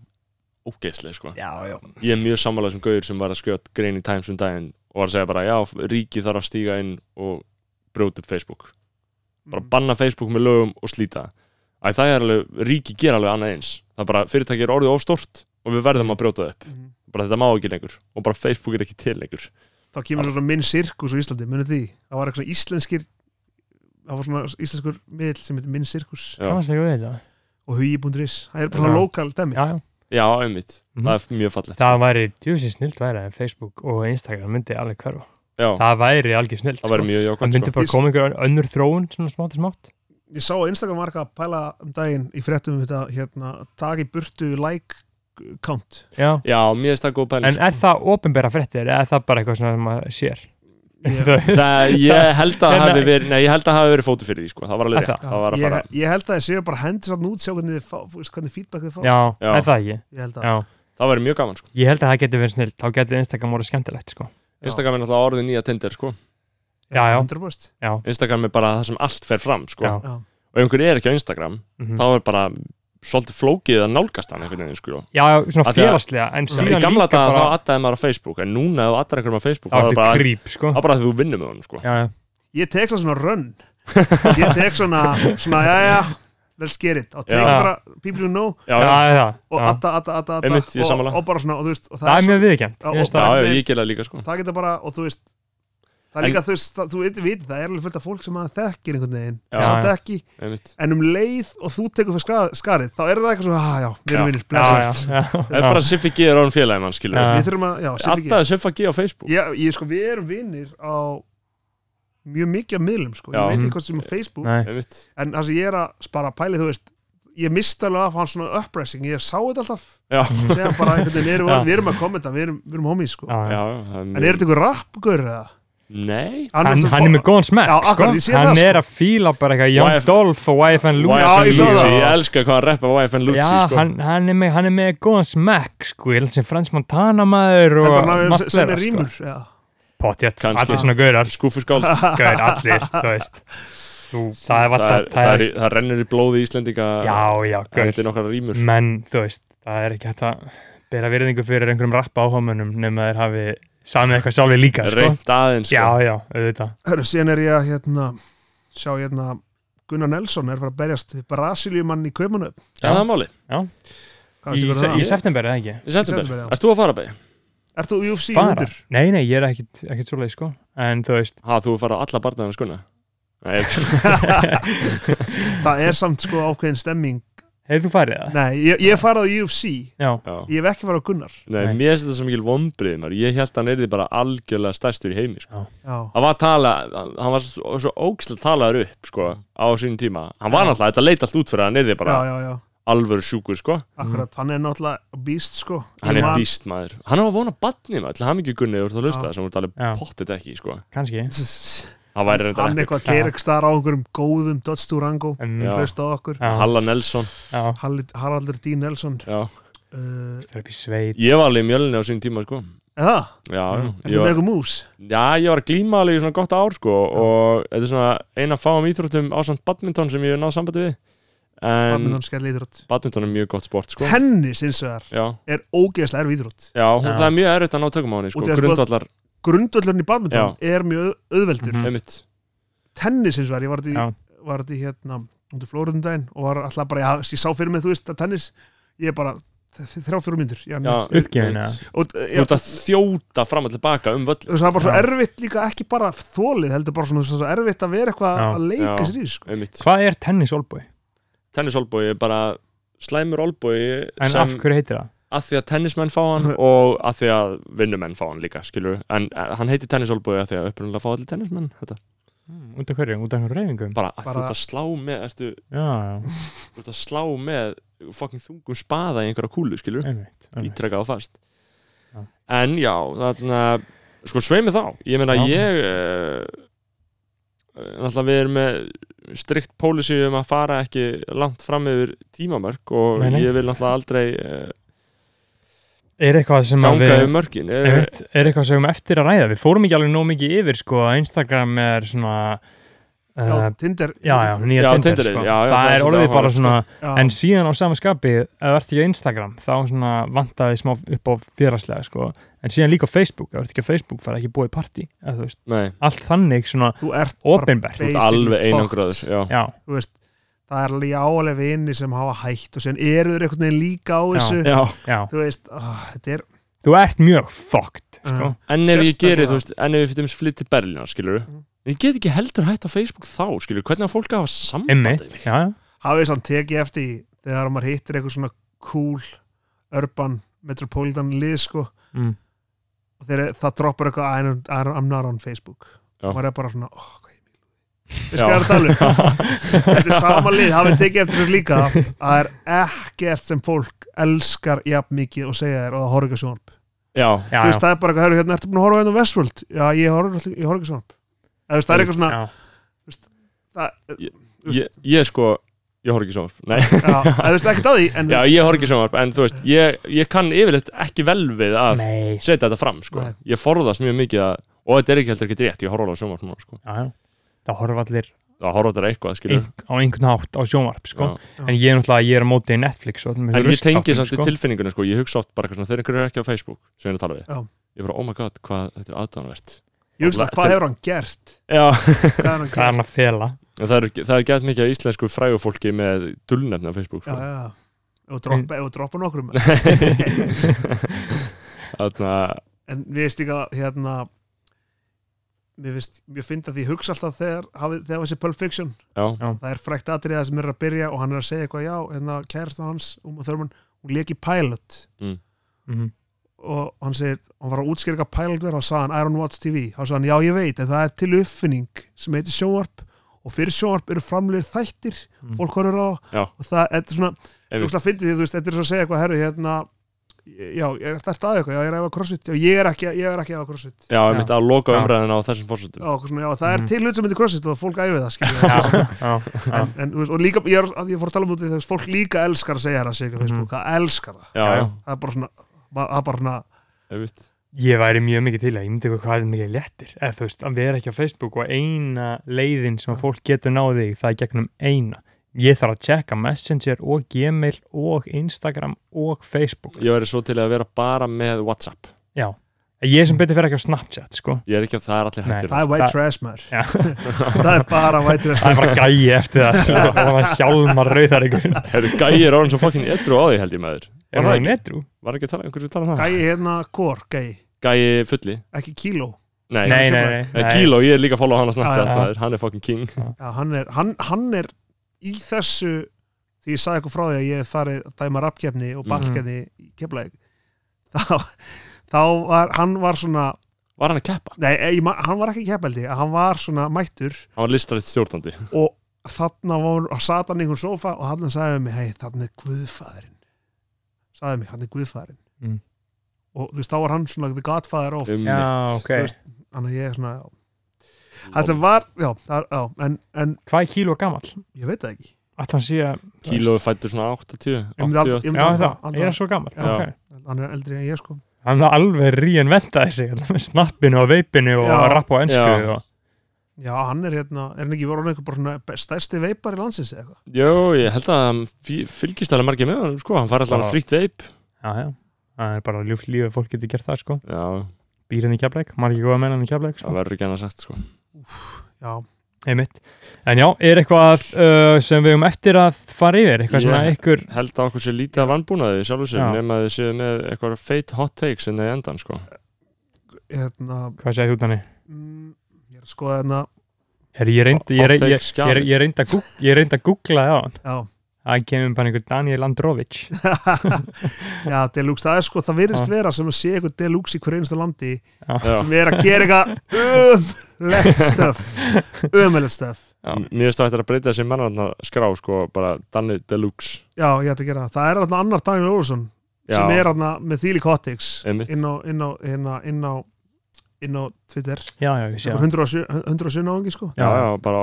[SPEAKER 1] ógeðslega sko.
[SPEAKER 3] já, já
[SPEAKER 1] ég er mjög sammálaðið sem gauður sem var að skjóta grein í Times um daginn og var að segja bara já, ríkið þarf að stíga inn og brjóta upp Facebook
[SPEAKER 4] mm,
[SPEAKER 1] bara banna Facebook með lögum og slíta Æ, það er alveg, ríki ger alveg annað eins það er bara, fyrirtæki er orðið ofstort og við verðum að brjóta það upp,
[SPEAKER 4] Mhm.
[SPEAKER 1] bara þetta má ekki lengur og bara Facebook er ekki til lengur
[SPEAKER 4] þá kemur svona minn sirkus á Íslandi, munið því það var eitthvað svona íslenskir það var svona íslenskur miðl sem heitir minn sirkus
[SPEAKER 1] Já.
[SPEAKER 3] kannast ekki við þetta
[SPEAKER 4] og hugi.is, það er bara svona
[SPEAKER 3] Já.
[SPEAKER 4] lokal dæmi
[SPEAKER 3] já, já.
[SPEAKER 1] já, einmitt,
[SPEAKER 3] Mhm.
[SPEAKER 1] það er mjög fallegt
[SPEAKER 3] það væri djúsi snilt væri að Facebook og Instagram myndi alveg hverfa
[SPEAKER 1] já,
[SPEAKER 3] það væri algjör snilt
[SPEAKER 1] það væri mjög
[SPEAKER 3] það
[SPEAKER 1] jákvæmt
[SPEAKER 3] myndi
[SPEAKER 1] sko.
[SPEAKER 3] bara koma einhver önnur þróun svona smátt og smátt
[SPEAKER 4] ég sá að Instagram var eitthvað að pæla um daginn í fréttum um þetta, hérna, taki burtu like count
[SPEAKER 3] já.
[SPEAKER 1] já, mér er það góð pæling sko.
[SPEAKER 3] en er það ofinbæra fréttir eða er það bara eitthvað svona sem maður sér
[SPEAKER 4] ég,
[SPEAKER 3] Þú veist?
[SPEAKER 1] (laughs) það,
[SPEAKER 3] (laughs)
[SPEAKER 1] ég held að
[SPEAKER 3] Nei,
[SPEAKER 1] hafi
[SPEAKER 3] nei.
[SPEAKER 1] verið nei, ég held að hafi verið fótu fyrir því, sko, það var
[SPEAKER 3] Er
[SPEAKER 1] alveg
[SPEAKER 3] það?
[SPEAKER 1] rétt það var að
[SPEAKER 4] ég,
[SPEAKER 1] fara,
[SPEAKER 4] ég held að þið séu bara hendur sann út sjá hvernig þið fá, þú veist, hvernig feedback þið fá
[SPEAKER 3] já,
[SPEAKER 1] Já.
[SPEAKER 3] er það ekki
[SPEAKER 4] ég held að
[SPEAKER 3] já.
[SPEAKER 1] það væri mjög gaman, sko
[SPEAKER 3] ég held að það getur verið snilt þá getur Instagram voru skemmtilegt sko.
[SPEAKER 1] Instagram er náttúrulega orðið nýja Tinder, sko
[SPEAKER 3] já, já.
[SPEAKER 4] 100%
[SPEAKER 3] já,
[SPEAKER 1] Instagram er bara það sem allt fer fram, sko
[SPEAKER 3] já,
[SPEAKER 4] já.
[SPEAKER 1] og ef einhver er ekki á Instagram,
[SPEAKER 3] mhm.
[SPEAKER 1] þá er bara svolítið flókið að nálgast hann einhvern veginn, sko
[SPEAKER 3] já, já svona
[SPEAKER 1] Af því að-
[SPEAKER 3] félagslega en
[SPEAKER 1] í
[SPEAKER 3] síðan
[SPEAKER 1] gamla
[SPEAKER 3] líka
[SPEAKER 1] daga
[SPEAKER 3] bara
[SPEAKER 1] þá addaði maður á Facebook en núna ef þú addar einhverjum á Facebook
[SPEAKER 3] þá
[SPEAKER 1] þá er
[SPEAKER 3] ertu
[SPEAKER 1] það bara,
[SPEAKER 3] creep, sko
[SPEAKER 1] það er bara að þú vinnur með honum sko.
[SPEAKER 3] já, já.
[SPEAKER 4] ég tek svona run
[SPEAKER 1] (laughs)
[SPEAKER 4] ég tek svona, svona já, já, let's get it og tek
[SPEAKER 1] Já.
[SPEAKER 4] bara people you know
[SPEAKER 1] já,
[SPEAKER 3] Já,
[SPEAKER 1] já,
[SPEAKER 3] já, já.
[SPEAKER 4] og atta, atta, atta, atta
[SPEAKER 1] Einmitt, ég er
[SPEAKER 4] og,
[SPEAKER 1] sammála.
[SPEAKER 4] og bara svona, og þú veist og
[SPEAKER 3] það er
[SPEAKER 4] svo-
[SPEAKER 3] mjög viðkjönd
[SPEAKER 4] Já,
[SPEAKER 1] já,
[SPEAKER 4] og-
[SPEAKER 3] það
[SPEAKER 1] já, ég gera það líka sko.
[SPEAKER 4] það geta bara, og þú veist það er
[SPEAKER 1] En-
[SPEAKER 4] líka, þú veist, það, þú veit, veit, það er alveg fullt af fólk sem að þekkir einhvern veginn
[SPEAKER 1] Já.
[SPEAKER 4] samt ekki,
[SPEAKER 1] Einmitt.
[SPEAKER 4] en um leið og þú tekur fyrir skra- skarið, þá er það eitthvað svona, ah, já, við
[SPEAKER 1] Já.
[SPEAKER 4] erum vinnir,
[SPEAKER 3] já,
[SPEAKER 4] blessast
[SPEAKER 3] já,
[SPEAKER 1] það er bara
[SPEAKER 3] já.
[SPEAKER 1] að Siffi G er án félagi mann skilur
[SPEAKER 3] Já.
[SPEAKER 1] við.
[SPEAKER 4] við þurfum að, já, sem ekki
[SPEAKER 1] addaði Siffa G á Facebook
[SPEAKER 4] Já, ég sko, við erum vinnir á mjög mikið af miðlum, sko,
[SPEAKER 1] Já.
[SPEAKER 4] ég veit
[SPEAKER 3] Mhm.
[SPEAKER 4] ekki hvað sem er Facebook,
[SPEAKER 3] Nei.
[SPEAKER 1] Einmitt.
[SPEAKER 4] en það sem ég er að spara pæli, þú veist, ég misti alveg af hans svona uppressing, ég sá þetta alltaf
[SPEAKER 1] já,
[SPEAKER 4] segja bara einhvern veginn, erum,
[SPEAKER 3] Já.
[SPEAKER 4] við erum að kommenta, við erum, við erum homies, sko
[SPEAKER 3] Já, já.
[SPEAKER 1] já, það er
[SPEAKER 4] en er þetta
[SPEAKER 1] mjög-
[SPEAKER 4] einhver rappgur eða?
[SPEAKER 1] nei
[SPEAKER 3] hann, hann er með góðan smekk
[SPEAKER 4] Já,
[SPEAKER 3] sko.
[SPEAKER 4] akkurat, ég sé
[SPEAKER 3] hann
[SPEAKER 4] það, sko.
[SPEAKER 3] er að fíla bara eitthvað Young
[SPEAKER 1] YF
[SPEAKER 3] Dolph og YFN Lucy
[SPEAKER 4] Já, ég
[SPEAKER 1] YFN
[SPEAKER 4] sá
[SPEAKER 1] Lutsi,
[SPEAKER 4] það.
[SPEAKER 1] ég elska hvað hann reppa YFN Lutsi
[SPEAKER 3] já,
[SPEAKER 1] sko.
[SPEAKER 3] hann, hann, er með, hann er með góðan smekk sko, ég held sem Frans Montana maður og
[SPEAKER 4] þetta er
[SPEAKER 3] margt
[SPEAKER 4] náttúrulega sem
[SPEAKER 3] fleira,
[SPEAKER 4] er rýmur já,
[SPEAKER 3] sko. potjett,
[SPEAKER 1] Kannski.
[SPEAKER 3] allir svona gaurar
[SPEAKER 4] (laughs)
[SPEAKER 1] skúfuskáld það,
[SPEAKER 3] gaur, allir, þú veist þú, það er
[SPEAKER 1] það,
[SPEAKER 3] alltaf,
[SPEAKER 1] er- það, er í- það rennur í blóði Íslendinga
[SPEAKER 3] já, já, gaur,
[SPEAKER 1] þetta er nokkara rýmur
[SPEAKER 3] menn, þú veist það er ekki hægt að bera virðingu fyrir einhverjum rappa áhómanum nema þeir hafi samið eitthvað sjálfi líka, sko
[SPEAKER 1] reynd aðeins
[SPEAKER 3] já,
[SPEAKER 1] sko.
[SPEAKER 3] já, auðvitað
[SPEAKER 4] hörru, síðan er ég að hérna, sjá hérna Gunnar Nelson er að fara að berjast við Brasilíumann í Kaupanöf
[SPEAKER 1] Já, það er máli,
[SPEAKER 3] í,
[SPEAKER 4] Hvað veistu
[SPEAKER 3] se,
[SPEAKER 4] hvernig
[SPEAKER 3] í
[SPEAKER 4] það?
[SPEAKER 3] september eða ekki
[SPEAKER 1] í september
[SPEAKER 4] september, já.
[SPEAKER 1] Ert þú að fara beig?
[SPEAKER 4] Ert þú UFC
[SPEAKER 3] bara,
[SPEAKER 4] hundur?
[SPEAKER 3] nei nei ég er ekkit, ekkit svoleið sko en þú veist,
[SPEAKER 1] Ha, þú fara á alla barnaðum skunna Nei, ég- (laughs)
[SPEAKER 4] Það er samt sko ákveðin stemming
[SPEAKER 3] hefur þú farið það?
[SPEAKER 4] Nei, ég, ég farið á UFC
[SPEAKER 3] já,
[SPEAKER 1] já.
[SPEAKER 4] Ég hef ekki farið á Gunnar
[SPEAKER 1] Nei,
[SPEAKER 3] Nei.
[SPEAKER 1] mér finnst þetta sem mikil vonbrið maður. Ég held að hann er bara algjörlega stærstur í heimi sko.
[SPEAKER 4] Já,
[SPEAKER 1] Hann var, tala, hann var svo, svo ógstlega talaður upp sko, á sínum tíma Hann var
[SPEAKER 4] Já.
[SPEAKER 1] náttúrulega, þetta leit allt út fyrir að hann er
[SPEAKER 4] já,
[SPEAKER 1] bara
[SPEAKER 4] já, já
[SPEAKER 1] alvöru sjúkur sko.
[SPEAKER 4] Akkurat, hann er náttúrulega býst sko
[SPEAKER 1] Hann
[SPEAKER 4] Ég
[SPEAKER 1] er
[SPEAKER 4] man-
[SPEAKER 1] býst maður Hann á að vona batni maður, til hann ekki gunni Það
[SPEAKER 4] Já.
[SPEAKER 1] sem voru
[SPEAKER 3] Já.
[SPEAKER 1] talið pottet ekki sko.
[SPEAKER 3] kannski
[SPEAKER 1] Hann væri reynda
[SPEAKER 4] Hann eitthvað kerek starf á einhverjum góðum Dodge Durango
[SPEAKER 3] en,
[SPEAKER 1] Já.
[SPEAKER 4] Hlusta á okkur
[SPEAKER 3] já,
[SPEAKER 1] Halla Nelson
[SPEAKER 3] já,
[SPEAKER 4] Halli- Haraldur D. Nelson
[SPEAKER 1] já.
[SPEAKER 4] uh,
[SPEAKER 3] það er upp í sveit
[SPEAKER 1] Ég var alveg í mjölni á sínum tíma sko.
[SPEAKER 4] Eða,
[SPEAKER 1] já,
[SPEAKER 3] Mm.
[SPEAKER 1] já. Ég
[SPEAKER 4] ertu með
[SPEAKER 1] var,
[SPEAKER 4] eitthvað mús?
[SPEAKER 1] já, ég var að glíma alveg í svona gott ár sko, og þetta er svona eina fáum íþróttum ásamt badminton sem ég hef náð sambandi við en
[SPEAKER 4] Badminton skell íþrótt
[SPEAKER 1] badminton er mjög gott sport sko.
[SPEAKER 4] Tennis eins og
[SPEAKER 1] já,
[SPEAKER 4] er ógeðslega erf íþrótt
[SPEAKER 1] já, hún,
[SPEAKER 3] Já.
[SPEAKER 1] það er mjög erfitt að ná tökum á henni sko.
[SPEAKER 4] Út í að sko-
[SPEAKER 1] grundvallar,
[SPEAKER 4] Grundvöllurinn í badminton er mjög auð- auðveldur
[SPEAKER 3] Mhm.
[SPEAKER 1] einmitt
[SPEAKER 4] Tennis eins og er, ég var þetta í
[SPEAKER 3] já,
[SPEAKER 4] var þetta í hérna út í Flórundaginn og var alltaf bara, já, ég sá fyrir mig, þú veist, að tennis ég er bara, þ- þrjá fjórum myndir já,
[SPEAKER 1] já,
[SPEAKER 4] nú-
[SPEAKER 3] Uppgefin,
[SPEAKER 1] einmitt.
[SPEAKER 4] og eh,
[SPEAKER 1] þú
[SPEAKER 4] já,
[SPEAKER 1] ert að þjóta fram og tilbaka um völl
[SPEAKER 4] þú veist, það er bara svo
[SPEAKER 3] Já.
[SPEAKER 4] erfitt líka ekki bara þólið, heldur bara svona svo erfitt að vera eitthvað
[SPEAKER 3] Já.
[SPEAKER 4] að leika
[SPEAKER 1] Já.
[SPEAKER 4] sér í, sko
[SPEAKER 1] einmitt,
[SPEAKER 3] hvað er tennis olbúi?
[SPEAKER 1] tennisolbói er bara slæmur olbói
[SPEAKER 3] en af
[SPEAKER 1] sem
[SPEAKER 3] hverju heitir það?
[SPEAKER 1] að því að tennismenn fá
[SPEAKER 4] (laughs)
[SPEAKER 1] hann og að því að vinnumenn fá hann líka skilur, en eh, hann heitir tennisolbói að því að upprunnilega fá allir tennismenn þetta.
[SPEAKER 3] Mm, út af hverju, út af hverju reyfingum
[SPEAKER 1] bara að þú
[SPEAKER 4] Bara-
[SPEAKER 1] ert að slá með ertu,
[SPEAKER 3] já, já,
[SPEAKER 1] þú ert að slá með fucking þungum spaða í einhverja kúlu skilur,
[SPEAKER 3] einmitt, einmitt.
[SPEAKER 1] ítrekka á fast
[SPEAKER 3] Já.
[SPEAKER 1] en já, þarna sko sveimi þá, ég meina
[SPEAKER 3] Já.
[SPEAKER 1] ég uh, náttúrulega við erum með strikt pólisí um að fara ekki langt fram yfir tímamörk og
[SPEAKER 3] Nei, nei.
[SPEAKER 1] ég vil náttúrulega aldrei uh,
[SPEAKER 3] er eitthvað sem að
[SPEAKER 1] ganga
[SPEAKER 3] við
[SPEAKER 1] yfir mörkin Eh,
[SPEAKER 3] Einmitt, er eitthvað sem við eigum eftir að ræða við fórum ekki alveg nóg mikið yfir sko að Instagram er svona
[SPEAKER 4] já,
[SPEAKER 3] uh,
[SPEAKER 4] Tinder,
[SPEAKER 3] já, já, nýja
[SPEAKER 1] Já,
[SPEAKER 3] Tinder,
[SPEAKER 1] Tinderið,
[SPEAKER 3] sko.
[SPEAKER 1] já, já,
[SPEAKER 3] það,
[SPEAKER 1] það er
[SPEAKER 3] er
[SPEAKER 1] svolítið
[SPEAKER 3] orðið bara
[SPEAKER 1] áhugavert,
[SPEAKER 3] svona
[SPEAKER 4] já,
[SPEAKER 3] en síðan á sama skapi ef þú ert ekki á Instagram þá svona vantaði smá upp á félagslega sko en síðan líka á Facebook, ef þú ert ekki á Facebook fara ekki búið í partí, eða þú veist,
[SPEAKER 1] nei,
[SPEAKER 3] allt þannig svona
[SPEAKER 4] þú ert bara,
[SPEAKER 3] opinbert,
[SPEAKER 1] þú ert
[SPEAKER 4] Basically
[SPEAKER 1] alveg einangraður
[SPEAKER 4] fucked.
[SPEAKER 1] já,
[SPEAKER 3] já,
[SPEAKER 4] þú veist það er alveg álega vini sem hafa hætt og sen eru þeir einhvern veginn líka á
[SPEAKER 3] Já.
[SPEAKER 4] þessu
[SPEAKER 1] já
[SPEAKER 3] já,
[SPEAKER 4] þú veist, oh, þetta er
[SPEAKER 3] þú ert mjög fucked, sko,
[SPEAKER 1] en ef ég
[SPEAKER 4] Sérstaklega.
[SPEAKER 1] geri, þú veist, en ef ég fyrir dæmis flytt til Berlínar, skilur
[SPEAKER 4] Mm.
[SPEAKER 1] ég get ekki heldur hægt á Facebook þá, skilur hvernig að fólk að hafa samband
[SPEAKER 3] einmitt,
[SPEAKER 1] við mig?
[SPEAKER 3] já, já,
[SPEAKER 4] hafið samt tekið eftir í þegar maður hittir eitthvað svona cool urban metropolitan lið sko (laughs)
[SPEAKER 3] mm,
[SPEAKER 4] og þegar það droppar eitthvað "I don't- I don't- I'm not on Facebook
[SPEAKER 1] Já.
[SPEAKER 4] og maður er bara svona oh, hvað ég vil
[SPEAKER 1] Já.
[SPEAKER 4] við er að tala
[SPEAKER 3] (laughs)
[SPEAKER 4] um þetta er sama lið, hafið tekið eftir þessu líka að það er ekkert sem fólk elskar jafn mikið og segja þér og það horf ekki á sjónarp
[SPEAKER 1] já,
[SPEAKER 3] já,
[SPEAKER 4] þú veist
[SPEAKER 3] já,
[SPEAKER 4] það er bara eitthvað, "Heyrðu, hérna ertu búin að horfa hérna á Westworld já ég horf, alltaf- ég horf ekki á sjónarp eða þú veist það er eitthvað svona
[SPEAKER 3] já,
[SPEAKER 4] það,
[SPEAKER 1] ég, ég sko ég horf ekki sjónvarp, nei
[SPEAKER 4] já, eða þú veist ekkert að því en
[SPEAKER 1] já, ég horf ekki sjónvarp, en þú veist ég, ég kann yfirleitt ekki vel við að
[SPEAKER 3] nei,
[SPEAKER 1] setja þetta fram, sko,
[SPEAKER 4] Nei.
[SPEAKER 1] ég forðast mjög mikið að, og þetta er ekki heldur ekki rétt, ég horf alveg á sjónvarp núna, sko,
[SPEAKER 3] já, já, það horfa allir
[SPEAKER 1] það horf þetta eitthvað, skilur
[SPEAKER 3] ein, á einhvern hátt á sjónvarp sko.
[SPEAKER 1] Já.
[SPEAKER 3] en ég er náttúrulega, ég er á móti Netflix og öllum
[SPEAKER 1] en
[SPEAKER 3] þessum
[SPEAKER 1] ég
[SPEAKER 3] ruslþáttum,
[SPEAKER 1] tengi samt í
[SPEAKER 3] sko.
[SPEAKER 1] tilfinninguna, sko, ég hugsa oft bara eitthvað svona, þegar einhverju er ekki á Facebook, sem ég er að tala við
[SPEAKER 4] Já.
[SPEAKER 1] ég bara, oh my god, hvað þetta er aðdánavert
[SPEAKER 4] ég hugsa það, hvað hefur hann gert
[SPEAKER 1] já,
[SPEAKER 4] hvað hefur hann
[SPEAKER 3] hvað er
[SPEAKER 4] gert
[SPEAKER 3] hann að fela
[SPEAKER 1] En það er, það er gett mikið af íslensku frægufólki með dulnefni á Facebook
[SPEAKER 4] já,
[SPEAKER 1] sko.
[SPEAKER 4] já, já. Ef þú droppa, ef þú droppa nokkrum
[SPEAKER 1] (laughs) Þarna,
[SPEAKER 4] en mér finnst líka hérna mér finnst, mér finnst að því ég hugsa alltaf þegar, hafið, þegar þessi Pulp Fiction
[SPEAKER 1] já,
[SPEAKER 4] það er frækt atriða sem er að byrja og hann er að segja eitthvað já, hérna kærasta hans um að þörman, hún leki pilot
[SPEAKER 3] mm.
[SPEAKER 1] Mhm.
[SPEAKER 4] og hann segir, hann var að útskýra hvað pilot verð og sagði hann, I don't watch TV, hann sagði hann, já ég veit en það er til uppfinning sem heitir sjónvarp og fyrir sjónvarp eru framlegir þættir
[SPEAKER 3] Mm.
[SPEAKER 4] fólk horfir á
[SPEAKER 1] Já.
[SPEAKER 4] og það, þetta er svona,
[SPEAKER 1] Einmitt.
[SPEAKER 4] þú finnst því, þú veist, þetta er svo að segja eitthvað, herru, hérna já, er þetta að eitthvað, já, ég er að efa crossfit já, ég er ekki, ég er ekki að efa crossfit
[SPEAKER 1] já, ég mitt að loka
[SPEAKER 3] Já.
[SPEAKER 1] umræðina á þessum fórsöndum
[SPEAKER 4] já, okkur svona, já, það er
[SPEAKER 3] Mhm.
[SPEAKER 4] til hlut sem heitir crossfit og fólk æfið það, skilja
[SPEAKER 3] já,
[SPEAKER 4] (laughs)
[SPEAKER 3] já, já,
[SPEAKER 4] en, en, þú veist, og líka, ég, er, að ég fór að tala um út í þess fólk líka elskar að segja það, segja
[SPEAKER 3] Mhm.
[SPEAKER 4] Facebook, það elskar það
[SPEAKER 1] Já,
[SPEAKER 3] Já,
[SPEAKER 1] já,
[SPEAKER 3] já.
[SPEAKER 4] það er bara svona, ma- það er bara svona
[SPEAKER 1] ég veit
[SPEAKER 3] ég væri mjög mikið til að ég myndi eitthvað hvað er mikið léttir eða þú veist, að vera ekki á Facebook og eina leiðin sem að fólk getur náði það er gegnum eina ég þarf að checka Messenger og Gmail og Instagram og Facebook
[SPEAKER 1] Ég væri svo til að vera bara með Whatsapp
[SPEAKER 3] já, Ég sem betur fyrir ekki á Snapchat, sko
[SPEAKER 1] Ég er ekki að það er allir
[SPEAKER 3] Nei.
[SPEAKER 1] hættir
[SPEAKER 4] það er white
[SPEAKER 3] Það-
[SPEAKER 4] trash maður
[SPEAKER 3] Já.
[SPEAKER 4] (laughs) það er bara white trash
[SPEAKER 3] Það er bara gæi eftir það, sko Það var hjálmar rauðar ykkur
[SPEAKER 1] Herru, gæi er orðin svo fucking edru á því held ég maður
[SPEAKER 3] Er
[SPEAKER 1] Var það
[SPEAKER 3] það í
[SPEAKER 1] ekki?
[SPEAKER 3] netru?
[SPEAKER 1] Var ekki að tala, einhverju tala um það?
[SPEAKER 4] gæi hérna kór, gæi,
[SPEAKER 1] Gæi fulli
[SPEAKER 4] ekki kíló
[SPEAKER 1] Nei,
[SPEAKER 3] Nei, nei,
[SPEAKER 4] Keflavík.
[SPEAKER 3] nei,
[SPEAKER 1] Eh,
[SPEAKER 3] nei. Ah,
[SPEAKER 1] Kíló, ég er líka að follow hann að snapta
[SPEAKER 4] Já,
[SPEAKER 3] já.
[SPEAKER 1] maður Hann er fucking king
[SPEAKER 4] Já, hann, er, hann, hann er í þessu því ég sagði eitthvað frá því að ég hef farið að dæma rappkefni
[SPEAKER 3] Mhm.
[SPEAKER 4] og ballkefni í keflaðið þá, þá var hann var svona
[SPEAKER 1] Var hann að keppa?
[SPEAKER 4] nei, eh, ég, man- hann var ekki keppeldi, hann var svona mættur
[SPEAKER 1] Hann var listrætt stjórnandi
[SPEAKER 4] og þarna var, sat hann í einhvern sofa og hann sagði við mig, hei, þarna er guðfæðurinn sagði við mig, hann er guðfæðurinn
[SPEAKER 3] Mm.
[SPEAKER 4] og þú veist, þá var hann svona the godfather of
[SPEAKER 1] Um,
[SPEAKER 3] Já,
[SPEAKER 1] mitt.
[SPEAKER 3] ok
[SPEAKER 4] Þú veist, þannig að ég er svona, já, þetta var já, það, já, en, en
[SPEAKER 3] Hvað er kíló gamall?
[SPEAKER 4] ég veit það ekki
[SPEAKER 3] Ætla hann sé að
[SPEAKER 1] Kíló er fættur svona 80
[SPEAKER 4] ég myndi aldrei,
[SPEAKER 1] 80
[SPEAKER 4] ég
[SPEAKER 3] Já,
[SPEAKER 4] myndi
[SPEAKER 3] er
[SPEAKER 4] aldrei,
[SPEAKER 3] það,
[SPEAKER 4] aldrei,
[SPEAKER 3] er hann svo gamall?
[SPEAKER 4] Já.
[SPEAKER 3] Ok.
[SPEAKER 4] hann er eldri en ég sko
[SPEAKER 3] Hann er alveg reinventaði sig þarna með snappinu og veipinu og
[SPEAKER 4] Já.
[SPEAKER 3] að rappa á ensku
[SPEAKER 1] Já.
[SPEAKER 3] og...
[SPEAKER 4] já, hann er hérna, er hann ekki voru hann eitthvað bara svona stærsti veipar í landsins eða eitthvað
[SPEAKER 1] Jó, ég held að hann fí- fylgist alveg margir með hann sko, hann fær alltaf
[SPEAKER 3] Já.
[SPEAKER 1] frítt veip
[SPEAKER 3] Já, já Það er bara ljúft lífið, fólk getur gert það, sko
[SPEAKER 1] Já,
[SPEAKER 3] Býr hann í kefleik, maður er ekki góð að menna hann í kefleik, sko
[SPEAKER 1] það verður ekki annað sagt sko
[SPEAKER 4] já,
[SPEAKER 3] einmitt. En já, er eitthvað uh, sem við um eftir að fara yfir eitthvað sem
[SPEAKER 1] Ég-
[SPEAKER 3] að ykkur
[SPEAKER 1] Held að okkur sé lítið að vannbúnaði sjálfur sér,
[SPEAKER 3] Já.
[SPEAKER 1] nema að þið séu með eitthvað feit hot takes inn í endan sko
[SPEAKER 3] (laughs)
[SPEAKER 4] hérna
[SPEAKER 3] hvað segir þú Dani?
[SPEAKER 4] mm, ég er að skoða hérna
[SPEAKER 3] Herri, ég reyndi ég, reyndi- ég, ég,
[SPEAKER 1] skjalið.
[SPEAKER 3] ég reyndi að gúg- ég reyndi að googla já,
[SPEAKER 4] já, (laughs)
[SPEAKER 3] það kemur bara einhver Daniel Androvic
[SPEAKER 4] já, deluxe, það er sko það virðist vera sem að sé eitthvað deluxe í hverju einasta landi
[SPEAKER 1] Já.
[SPEAKER 4] sem er að gera eitthvað ömlegt stöf ömlegt stöf
[SPEAKER 3] Já.
[SPEAKER 1] M- Mér finnst það eftir að breyta þessi mannarna skrá sko, bara Danny Deluxe
[SPEAKER 4] já, ég ætti að gera það, það er hérna annar Daniel Olsson sem er hérna með þýli Kotiks
[SPEAKER 1] Einmitt.
[SPEAKER 4] inn á, inn á, hérna, inn á inn á Twitter
[SPEAKER 3] Já, já, ég sé það
[SPEAKER 4] 107 107 áhengi sko
[SPEAKER 1] Já, já, bara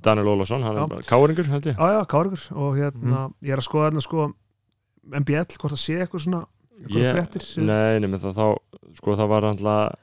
[SPEAKER 1] Daniel Ólafsson, hann
[SPEAKER 4] Já.
[SPEAKER 1] er bara káringur held ég
[SPEAKER 4] Já, já, Káringur og
[SPEAKER 1] Mhm.
[SPEAKER 4] hérna, ég er að skoða hérna sko MBL, hvort það sé eitthvað svona eitthvað
[SPEAKER 1] Ég-
[SPEAKER 4] fréttir
[SPEAKER 1] Nei, nema það þá, sko það var alltaf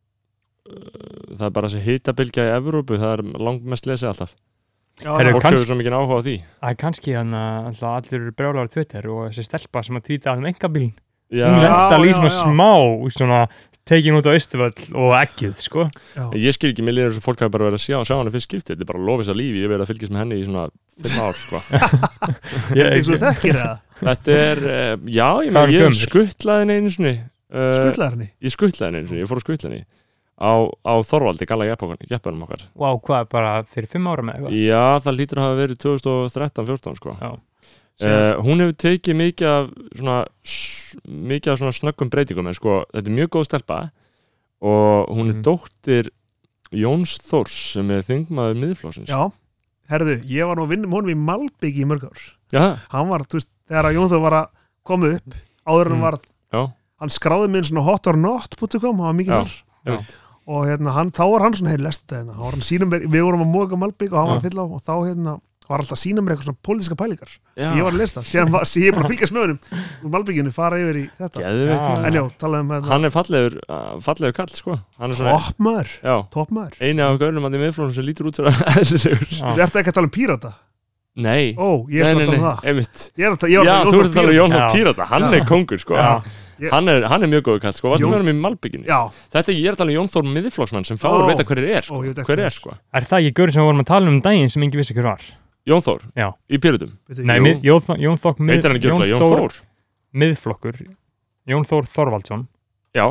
[SPEAKER 1] uh, það er bara þessi hitabilgja í Evrópu það er langmest lesið alltaf
[SPEAKER 4] já,
[SPEAKER 3] Herru,
[SPEAKER 4] já,
[SPEAKER 1] Fólk
[SPEAKER 3] kanns-
[SPEAKER 1] hefur svo mikið áhuga á því
[SPEAKER 3] Það er kannski hann að alltaf allir eru brjálar á Twitter og þessi stelpa sem að tvíta að þeim engabílin
[SPEAKER 1] Já,
[SPEAKER 3] hún lenda
[SPEAKER 4] Mm, Já,
[SPEAKER 3] líf
[SPEAKER 4] já,
[SPEAKER 3] svona
[SPEAKER 4] já.
[SPEAKER 3] smá svona tekin út á Östuvöll og ekkið, sko
[SPEAKER 1] (laughs)
[SPEAKER 4] já,
[SPEAKER 1] ég skil ekki, mér líður eins og fólk hefur bara verið að sjá, sjá hann fyrst skipti, þetta er bara lofis að lífi, ég hef verið að fylgjast með henni í svona fimm ár, sko
[SPEAKER 4] (laughs) þetta er svona þekkir eða
[SPEAKER 1] Þetta er, eh, já, ég
[SPEAKER 3] Hvað er
[SPEAKER 1] meina, ég
[SPEAKER 3] gömul?
[SPEAKER 1] skuttlaði henni einu sinni eh,
[SPEAKER 4] skullar henni
[SPEAKER 1] Ég skuttlaði henni einu sinni, ég fór að skuttla henni á, á Þorvaldi, galla jeppanum okkar
[SPEAKER 3] Vá, hvað, bara fyrir fimm ára með eitthvað
[SPEAKER 1] Já, það lítur að hafa verið 2013-14 sko.
[SPEAKER 3] Já.
[SPEAKER 1] Eh, hún hefur tekið mikið af svona, s- mikið af svona snöggum breytingum en sko, þetta er mjög góð stelpa og hún er
[SPEAKER 3] Mm.
[SPEAKER 1] dóttir Jóns Þórs sem er þingmaður miðflósins
[SPEAKER 4] já, herðu, ég var nú að vinna með honum í Malbygg í mörg ár
[SPEAKER 1] Já,
[SPEAKER 4] hann var, þú veist, þegar að Jón Þór var að koma upp áður
[SPEAKER 3] Mm.
[SPEAKER 4] en mm. var
[SPEAKER 1] já,
[SPEAKER 4] hann skráði minn svona hotornot.com hann var mikið
[SPEAKER 1] Já,
[SPEAKER 4] þar
[SPEAKER 1] einmitt.
[SPEAKER 4] og hérna, hann, þá var hann svona, hei, lestu þetta hérna þá var hann sínum, við vorum að móka Malbygg og hann var
[SPEAKER 1] Já.
[SPEAKER 4] að fylla á og þá hérna var alltaf að sýna mér eitthvað svona pólitíska pælingar
[SPEAKER 1] já.
[SPEAKER 4] ég var að lista, síðan var, síðan ég er bara að fylgjast með honum úr Malbygginu, fara yfir í þetta
[SPEAKER 1] Geðveikt,
[SPEAKER 3] Já.
[SPEAKER 1] maður.
[SPEAKER 4] en já, talaðu um hérna
[SPEAKER 1] Hann er fallegur, uh, fallegur kall sko. Hann er svona,
[SPEAKER 4] toppmaður,
[SPEAKER 1] já,
[SPEAKER 4] toppmaður
[SPEAKER 1] eini af gaunum að því miðflónum sem lítur út fyrir að eðlilegur
[SPEAKER 3] Já.
[SPEAKER 4] Þú ert ekki að tala um pírata
[SPEAKER 1] Nei,
[SPEAKER 4] Ó, ég er
[SPEAKER 1] nei,
[SPEAKER 4] að
[SPEAKER 1] nei,
[SPEAKER 4] tala um
[SPEAKER 1] nei,
[SPEAKER 4] það
[SPEAKER 1] einmitt
[SPEAKER 4] Ég er að tala ég
[SPEAKER 1] Já,
[SPEAKER 4] var að tala
[SPEAKER 1] þú ert að tala um Jón Þór
[SPEAKER 3] Já.
[SPEAKER 1] Pírata, hann
[SPEAKER 4] Já.
[SPEAKER 1] er kongur sko
[SPEAKER 4] Já. Ég-
[SPEAKER 1] Hann er, hann er mjög góður kall, sko, varstu
[SPEAKER 4] Jón-
[SPEAKER 1] með hann í Malbygginu?
[SPEAKER 4] Já,
[SPEAKER 1] Þetta ég er talað um Jón Þór miðflóksmann sem fáur
[SPEAKER 4] Ó.
[SPEAKER 1] veit að hverjir er,
[SPEAKER 4] ó,
[SPEAKER 1] sko.
[SPEAKER 4] ég veit ekki
[SPEAKER 1] hver
[SPEAKER 4] það.
[SPEAKER 1] er sko
[SPEAKER 3] Er það ekki görið sem við vorum að tala um um daginn sem engin vissi hver var?
[SPEAKER 1] Jón Þór
[SPEAKER 3] Já.
[SPEAKER 1] í Pyrrhundum
[SPEAKER 4] Veitu,
[SPEAKER 3] Nei,
[SPEAKER 4] jú.
[SPEAKER 3] mið, Jón, Þó- Jón, Þór, mið,
[SPEAKER 1] Heitir hann ekki
[SPEAKER 3] Jón,
[SPEAKER 1] öll að Jón
[SPEAKER 3] Þór,
[SPEAKER 1] Þór?
[SPEAKER 3] miðflokkur Jón Þór Þorvaldsson
[SPEAKER 1] Já,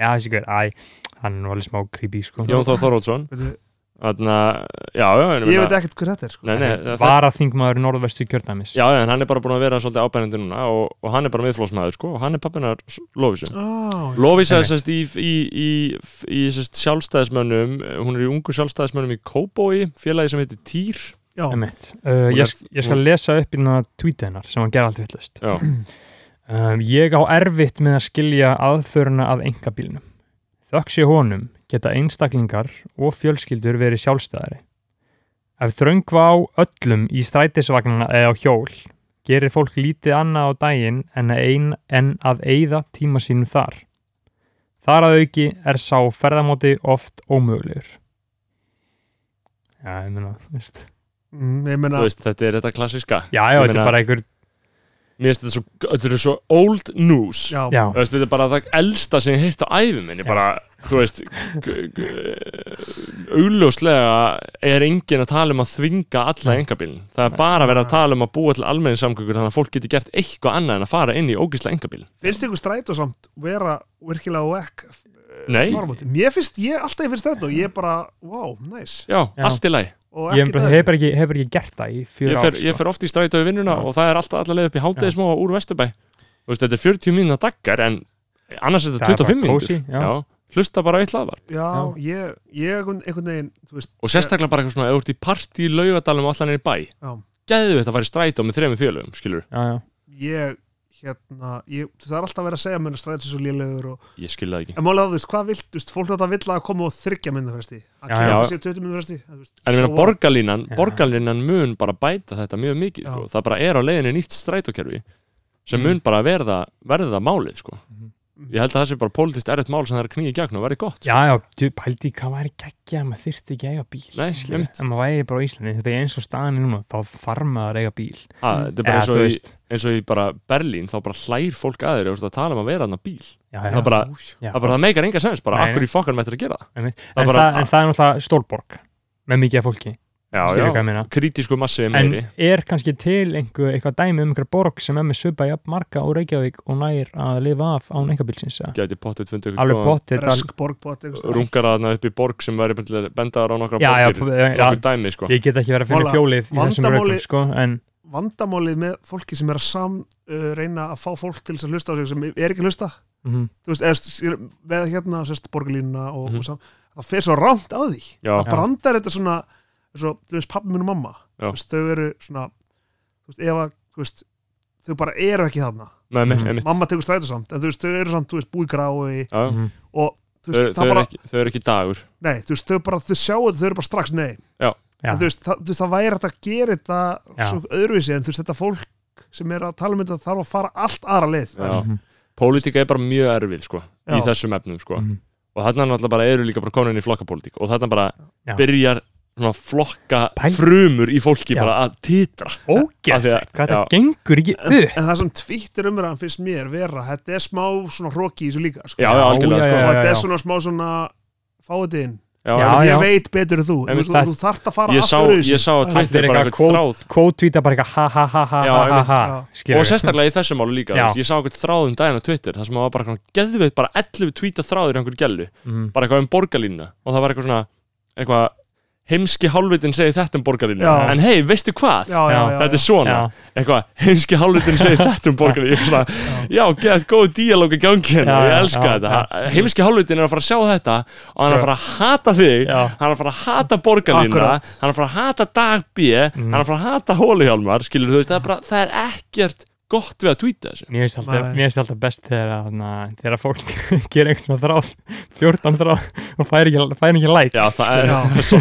[SPEAKER 3] Já, þessi hver, æ, hann var alveg smá creepy sko.
[SPEAKER 1] Jón Þór Þorvaldsson
[SPEAKER 4] Veitu,
[SPEAKER 1] Þannig að, já, já en
[SPEAKER 4] Ég
[SPEAKER 1] meina-
[SPEAKER 4] veit ekkert hver þetta er sko.
[SPEAKER 1] Nei, nei, það-
[SPEAKER 3] Var að þingmaður norðvestu kjördæmis
[SPEAKER 1] Já, já, en hann er bara búin að vera svolítið ábærandi núna og, og hann er bara miðflóksmaður, sko og hann er pappinar Lóvísu
[SPEAKER 4] Ó,
[SPEAKER 1] Lóvísa er
[SPEAKER 3] Einmitt.
[SPEAKER 1] sérst í, í, í, í sérst sjálfstæðismönnum hún er í ungu sjálfstæðismönnum í Kóbói félagi sem heitir Týr
[SPEAKER 4] Já,
[SPEAKER 3] Einmitt. Uh,
[SPEAKER 1] Hún
[SPEAKER 3] ég,
[SPEAKER 1] er-
[SPEAKER 3] sk- ég skal lesa upp innan að tweetið hennar sem hann gerði alltaf villust
[SPEAKER 1] Já.
[SPEAKER 3] (clears throat) um, Ég á erfitt með að skilja aðföruna að engabílnum Þökk sé honum geta einstaklingar og fjölskyldur verið sjálfstæðari Ef þröngva á öllum í strætisvagnana eða á hjól gerir fólk lítið annað á daginn en að, ein, en að eyða tíma sínum þar Þar að auki er sá ferðamóti oft ómögulegur Já, ég meina, veist
[SPEAKER 4] mm, ég meina
[SPEAKER 1] Þú veist, þetta er þetta klassiska
[SPEAKER 3] Já, já,
[SPEAKER 1] Ég
[SPEAKER 3] þetta
[SPEAKER 1] meina-
[SPEAKER 3] er bara einhver
[SPEAKER 1] mér finnst þetta svo, þetta eru svo old news
[SPEAKER 4] já,
[SPEAKER 3] já,
[SPEAKER 1] Þú veist, þetta er bara það elsta sem ég heilt á æfum minni bara, þú veist g- g- augljóslega er enginn að tala um að þvinga alla engabílin, það er bara að vera að tala um að búa til almenni samgöngur þannig að fólk getur gert eitthvað annað en að fara inn í ógisla engabíl
[SPEAKER 4] finnst ykkur strætó samt vera virkilega whack
[SPEAKER 1] Nei,
[SPEAKER 4] fármóti, mér finnst, ég alltaf ég finnst þetta og ég bara, wow, nice
[SPEAKER 1] já,
[SPEAKER 3] Já.
[SPEAKER 1] allt í lagi
[SPEAKER 4] og
[SPEAKER 3] ég
[SPEAKER 4] ekki
[SPEAKER 3] bara- hefur bara ekki, hef ekki gert það í
[SPEAKER 1] ég
[SPEAKER 3] fjöra
[SPEAKER 1] fer,
[SPEAKER 3] ár sko.
[SPEAKER 1] ég fer oft í strætó í vinnuna
[SPEAKER 3] Já.
[SPEAKER 1] og það er alltaf allaveg upp í hátegismóa úr Vesturbæ Þú veist, þetta er 40 mínuna daggar en annars er
[SPEAKER 3] Það er
[SPEAKER 1] þetta
[SPEAKER 3] bara
[SPEAKER 1] 25
[SPEAKER 3] kósí,
[SPEAKER 1] mínútur
[SPEAKER 3] já.
[SPEAKER 1] Já, hlusta bara á eitt laðvar
[SPEAKER 4] já, ég, ég einhvern einhvern veginn, þú veist
[SPEAKER 1] og sérstaklega bara eitthvað svona, ef þú ert í partí í laugadalum og allan er í bæ
[SPEAKER 4] Já.
[SPEAKER 1] geðveitt að fara í strætó með þremur fjölum skilur,
[SPEAKER 3] já, já,
[SPEAKER 4] ég, hérna, ég, það er alltaf verið að segja mér að strætó svo lélegur og,
[SPEAKER 1] ég skil það ekki
[SPEAKER 4] en málega, þú veist, hvað vilt, þú veist, fólk þetta vill að koma og þryggja minna fresti, að
[SPEAKER 3] Já,
[SPEAKER 4] kemur
[SPEAKER 1] já.
[SPEAKER 4] að sé 20 minna fresti, þú veist,
[SPEAKER 1] en ég meina
[SPEAKER 4] so what?
[SPEAKER 1] borgarlínan,
[SPEAKER 3] Já.
[SPEAKER 1] borgarlínan mun bara bæta þetta mjög mikið,
[SPEAKER 4] Já.
[SPEAKER 1] sko. það bara er á leiðinni nýtt strætókerfi sem
[SPEAKER 3] Mm.
[SPEAKER 1] mun bara verða, verða málið, sko
[SPEAKER 3] Mhm.
[SPEAKER 1] ég held að það sé bara pólitist erfitt mál sem það er að knýja í gegn og verði gott, sko.
[SPEAKER 3] já, já djú, pældi í hvað væri geggja að maður þyrfti ekki að eiga bíl
[SPEAKER 1] Nei, einmitt.
[SPEAKER 3] en maður væri bara á Íslandi, þetta er eins og staðan er núna þá þarf maður að eiga bíl
[SPEAKER 1] að, þetta er bara
[SPEAKER 3] Eða,
[SPEAKER 1] eins
[SPEAKER 3] þú
[SPEAKER 1] og í
[SPEAKER 3] veist,
[SPEAKER 1] eins og í bara Berlín þá bara hlær fólk að þér og þú ert að tala um að vera hann á bíl
[SPEAKER 3] já,
[SPEAKER 1] það bara-
[SPEAKER 3] já,
[SPEAKER 1] það bara það meikar enga sens, bara
[SPEAKER 3] Nei, nei.
[SPEAKER 1] akkur í fokkan með þetta að gera það
[SPEAKER 3] einmitt.
[SPEAKER 1] það
[SPEAKER 3] en,
[SPEAKER 1] bara-
[SPEAKER 3] það, en það er náttúrulega stórborg með mikið af fólki,
[SPEAKER 1] já,
[SPEAKER 3] skilur
[SPEAKER 1] já,
[SPEAKER 3] hvað ég meina
[SPEAKER 1] krítísku massi er
[SPEAKER 3] en
[SPEAKER 1] meiri
[SPEAKER 3] er kannski til einhver, eitthvað dæmi um einhver borg sem er með söpa jafn marga og Reykjavík og nær að lifa af án einkabilsins eða?
[SPEAKER 1] gæti pottet fundið ykkur
[SPEAKER 3] alveg
[SPEAKER 1] góðan
[SPEAKER 3] potið
[SPEAKER 4] Bresk borgbót, einhvers
[SPEAKER 1] rungaraðna upp í borg sem væri bara bendaðar á nokkra
[SPEAKER 3] Já, já,
[SPEAKER 1] borgir
[SPEAKER 3] já, já.
[SPEAKER 1] nokkur dæmi sko
[SPEAKER 3] ég get ekki verið að finna
[SPEAKER 4] Mála-
[SPEAKER 3] hjólið í þessum
[SPEAKER 4] vandamáli-
[SPEAKER 3] rökum sko, en
[SPEAKER 4] vandamálið með fólki sem er að sam uh, reyna að fá fólk til þess að hlusta á sig sem er ekki að hlusta
[SPEAKER 3] mhm,
[SPEAKER 4] þú veist, eða st- með hérna sérst, borgarlínuna og,
[SPEAKER 1] Mhm.
[SPEAKER 4] og sam, það fer svo rámt að því
[SPEAKER 1] já,
[SPEAKER 4] það brandar þetta svona svo, þú veist, pappi minn og mamma
[SPEAKER 1] Já.
[SPEAKER 4] þú veist, þau eru svona þú veist, ef að, þú veist, þau bara eru ekki þarna
[SPEAKER 1] með mig,
[SPEAKER 3] Mhm.
[SPEAKER 1] einmitt
[SPEAKER 4] mamma tekur strætó samt, en þú veist, þau eru samt þú veist, búi grái
[SPEAKER 1] Já, já.
[SPEAKER 3] mhm.
[SPEAKER 4] og
[SPEAKER 1] Þau
[SPEAKER 4] þú
[SPEAKER 1] þau
[SPEAKER 4] veist, það
[SPEAKER 1] eru
[SPEAKER 4] bara,
[SPEAKER 1] ekki- þau eru ekki dagur
[SPEAKER 4] nei, þú veist, þau bara þau sjáu þetta, þau eru bara strax nei
[SPEAKER 1] Já.
[SPEAKER 4] En, þú veist, það, þú veist, það væri þetta að gera þetta
[SPEAKER 3] Já.
[SPEAKER 4] svo öðruvísi, en þú veist, þetta fólk sem er að tala um þetta þarf að fara allt aðra leið
[SPEAKER 1] Já. pólitíka er bara mjög erfið sko í
[SPEAKER 4] Já.
[SPEAKER 1] þessum efnum sko
[SPEAKER 3] Mhm.
[SPEAKER 1] og þarna náttúrulega bara eru líka bara konin í flokkapólitík og þarna bara
[SPEAKER 3] Já.
[SPEAKER 1] byrjar svona flokka
[SPEAKER 3] Pæl-
[SPEAKER 1] frumur í fólki
[SPEAKER 3] Já.
[SPEAKER 1] bara að titra Af því að-
[SPEAKER 3] ógeðslegt, hvað
[SPEAKER 1] já.
[SPEAKER 3] það gengur ekki upp
[SPEAKER 4] en það sem tvittir umræðan finnst mér vera þetta er smá svona roki í þessu líka sko.
[SPEAKER 1] já, já, algjörlega
[SPEAKER 3] já,
[SPEAKER 1] sko
[SPEAKER 4] og
[SPEAKER 3] já,
[SPEAKER 4] þetta
[SPEAKER 3] já.
[SPEAKER 4] er svona smá svona fáiðin,
[SPEAKER 1] Já,
[SPEAKER 3] Já,
[SPEAKER 1] já,
[SPEAKER 4] ég veit betur en þú,
[SPEAKER 1] Einmitt,
[SPEAKER 4] þú, þú,
[SPEAKER 3] það-
[SPEAKER 4] þú þarft að fara
[SPEAKER 1] ég, sá,
[SPEAKER 4] allt öðruvísi.
[SPEAKER 1] ég sá að
[SPEAKER 3] Allir
[SPEAKER 1] Twitter bara
[SPEAKER 3] eitthvað
[SPEAKER 1] eitthvað þráð
[SPEAKER 3] kvótvíta bara eitthvað ha ha ha
[SPEAKER 1] Já,
[SPEAKER 3] ha ha ha
[SPEAKER 1] einmitt,
[SPEAKER 3] ha
[SPEAKER 4] já.
[SPEAKER 3] skilur
[SPEAKER 1] og sérstaklega í þessu málu líka
[SPEAKER 3] Já.
[SPEAKER 1] þess, ég sá eitthvað þráð um daginn á Twitter þar sem það var bara eitthvað geðveitt bara 11 tweeta þráður í einhver gælu,
[SPEAKER 3] Mhm.
[SPEAKER 1] bara eitthvað um borgarlínuna og það var eitthvað svona eitthvað heimski hálfitin segi þetta um borgarlínuna
[SPEAKER 4] Já.
[SPEAKER 1] en hei, veistu hvað?
[SPEAKER 4] já, já, já,
[SPEAKER 1] þetta er svona,
[SPEAKER 3] Já.
[SPEAKER 1] eitthvað heimski hálfitin segi þetta um borgarlínu ég er svona, já, geðað góð díalóg í gangi hérna,
[SPEAKER 3] Já,
[SPEAKER 1] ég
[SPEAKER 3] já,
[SPEAKER 1] elska
[SPEAKER 3] já,
[SPEAKER 1] þetta
[SPEAKER 3] já.
[SPEAKER 1] Ha- heimski hálfitin er að fara að sjá þetta og hann er að
[SPEAKER 3] Já.
[SPEAKER 1] fara að hata þig
[SPEAKER 3] Já.
[SPEAKER 1] hann er að fara að hata borgarlínu
[SPEAKER 4] Akkurat.
[SPEAKER 1] hann er að fara að hata dag B
[SPEAKER 3] Mm.
[SPEAKER 1] hann er að fara að hata hóluhjálmar skilur þú veist, það er, bara, það er ekkert gott við að tweeta þessu
[SPEAKER 3] Mér finnst alltaf,
[SPEAKER 4] Nei.
[SPEAKER 3] mér finnst alltaf best þegar, að, na, þegar að fólk (laughs) gera einhvern svona þráð, 14 þráð og fær ekki, fær ekki læk.
[SPEAKER 1] já, það er,
[SPEAKER 4] Já.
[SPEAKER 1] það er svo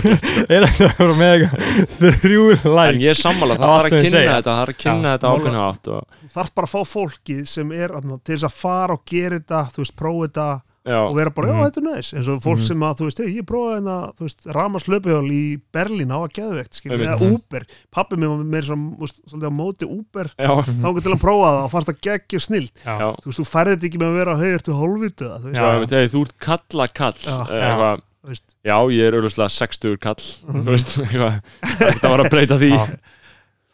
[SPEAKER 3] Er þetta bara með eitthvað þrjú
[SPEAKER 1] (laughs) en
[SPEAKER 3] læk?
[SPEAKER 1] ég er sammála,
[SPEAKER 3] Það
[SPEAKER 1] það
[SPEAKER 3] var
[SPEAKER 1] þarf
[SPEAKER 3] allt
[SPEAKER 1] að
[SPEAKER 3] sem ég
[SPEAKER 1] kynna
[SPEAKER 3] segja.
[SPEAKER 1] þetta það þarf að kynna þetta
[SPEAKER 4] Mála-
[SPEAKER 1] ákveðna átt og,
[SPEAKER 4] þú þarft bara að fá fólkið sem er atna, til þess að fara og gera þetta þú veist, prófa þetta
[SPEAKER 1] já,
[SPEAKER 4] og vera bara,
[SPEAKER 3] Mhm.
[SPEAKER 4] já, þetta er næs eins og fólk sem að, þú veist, hey, ég prófaði hérna þú veist, ramaslöpuhjól í Berlín á að geðveikt, skiljum,
[SPEAKER 1] Einmitt.
[SPEAKER 4] eða Uber pappi mér var meira svona, þú veist, svolítið á móti Uber
[SPEAKER 1] já,
[SPEAKER 4] þá hann til að prófa það og fannst það geggju snild
[SPEAKER 1] já.
[SPEAKER 4] þú veist, þú færði þetta ekki með að vera að högja til hólvita, þú veist,
[SPEAKER 1] Já, ég veit, hey, þú ert kalla kall
[SPEAKER 4] Já.
[SPEAKER 1] eh, eitthvað,
[SPEAKER 4] þú veist
[SPEAKER 1] já, ég er auðvitað 60 kall þú veist, (laughs) eitthvað, það var að breyta því
[SPEAKER 3] Já.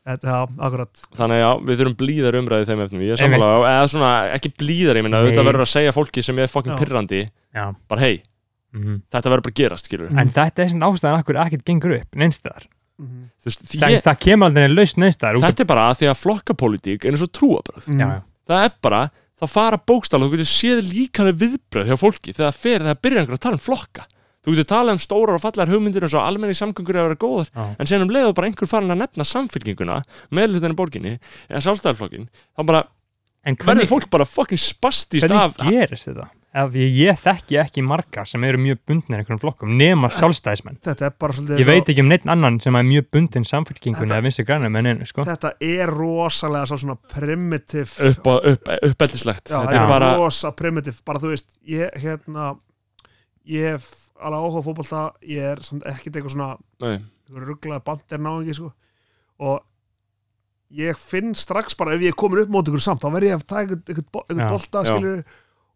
[SPEAKER 4] Þetta, já, akkurat.
[SPEAKER 1] þannig að já, við þurfum blíðar umræði í þeim efnum ég er
[SPEAKER 3] Einmitt.
[SPEAKER 1] sammála, á- eða svona, ekki blíðar ég minna,
[SPEAKER 3] Nei.
[SPEAKER 1] auðvitað verður að segja fólki sem er fucking
[SPEAKER 4] Já.
[SPEAKER 1] pirrandi,
[SPEAKER 3] Já.
[SPEAKER 1] bara hei
[SPEAKER 3] Mm.
[SPEAKER 1] þetta verður bara að gerast, skilur
[SPEAKER 3] En þetta er svona ástæðan akkur ekkert gengur upp, neinstar.
[SPEAKER 4] Mhm.
[SPEAKER 1] þú veist,
[SPEAKER 3] Það,
[SPEAKER 1] ég,
[SPEAKER 3] það kemur aldrei neinn lausn neinstar.
[SPEAKER 1] þetta er bara að því að flokkapolítík er eins og trúabröð,
[SPEAKER 3] Já,
[SPEAKER 4] Mhm.
[SPEAKER 3] já.
[SPEAKER 1] það er bara það fara bókstala, þú getur séð líkanlega viðbröð hjá fólki þegar það fer, þegar byrjar einhver að tala um flokka þú getur talað um stórar og fallar hugmyndir eins og almenni samgöngur að vera góðar
[SPEAKER 3] Já.
[SPEAKER 1] en síðan um leiðu bara einhver farin að nefna samfylkinguna meðlutinni borginni, eða sjálfstæðarflokkin þá bara
[SPEAKER 3] En
[SPEAKER 1] verður
[SPEAKER 3] hvernig,
[SPEAKER 1] fólk bara fucking spastist af
[SPEAKER 3] hvernig gerist þetta? Ef ég, ég þekki ekki marga sem eru mjög bundnir einhverjum flokkum, nema sjálfstæðismenn.
[SPEAKER 4] Þetta er bara svolítið...
[SPEAKER 3] Ég
[SPEAKER 4] svo-
[SPEAKER 3] veit ekki um neitt annan sem er mjög bundin samfélkingunni eða vinstri grænum en einu, sko.
[SPEAKER 4] Þetta er rosalega sá svona primitive...
[SPEAKER 1] upp, upp, uppeldislegt
[SPEAKER 4] já,
[SPEAKER 1] þetta er bara
[SPEAKER 4] rosa primitive. Bara þú veist, ég, hérna, ég hef alveg áhuga á fótbolta, ég er samt ekkert eitthvað svona
[SPEAKER 1] nei,
[SPEAKER 4] rugglaði bandir náingi, sko. Og ég finn strax bara ef ég er komin upp mót ykkur samt þá verð ég að taka einhvern- einhvern bo- einhvern
[SPEAKER 3] Já,
[SPEAKER 4] bolta
[SPEAKER 1] já.
[SPEAKER 4] skilur,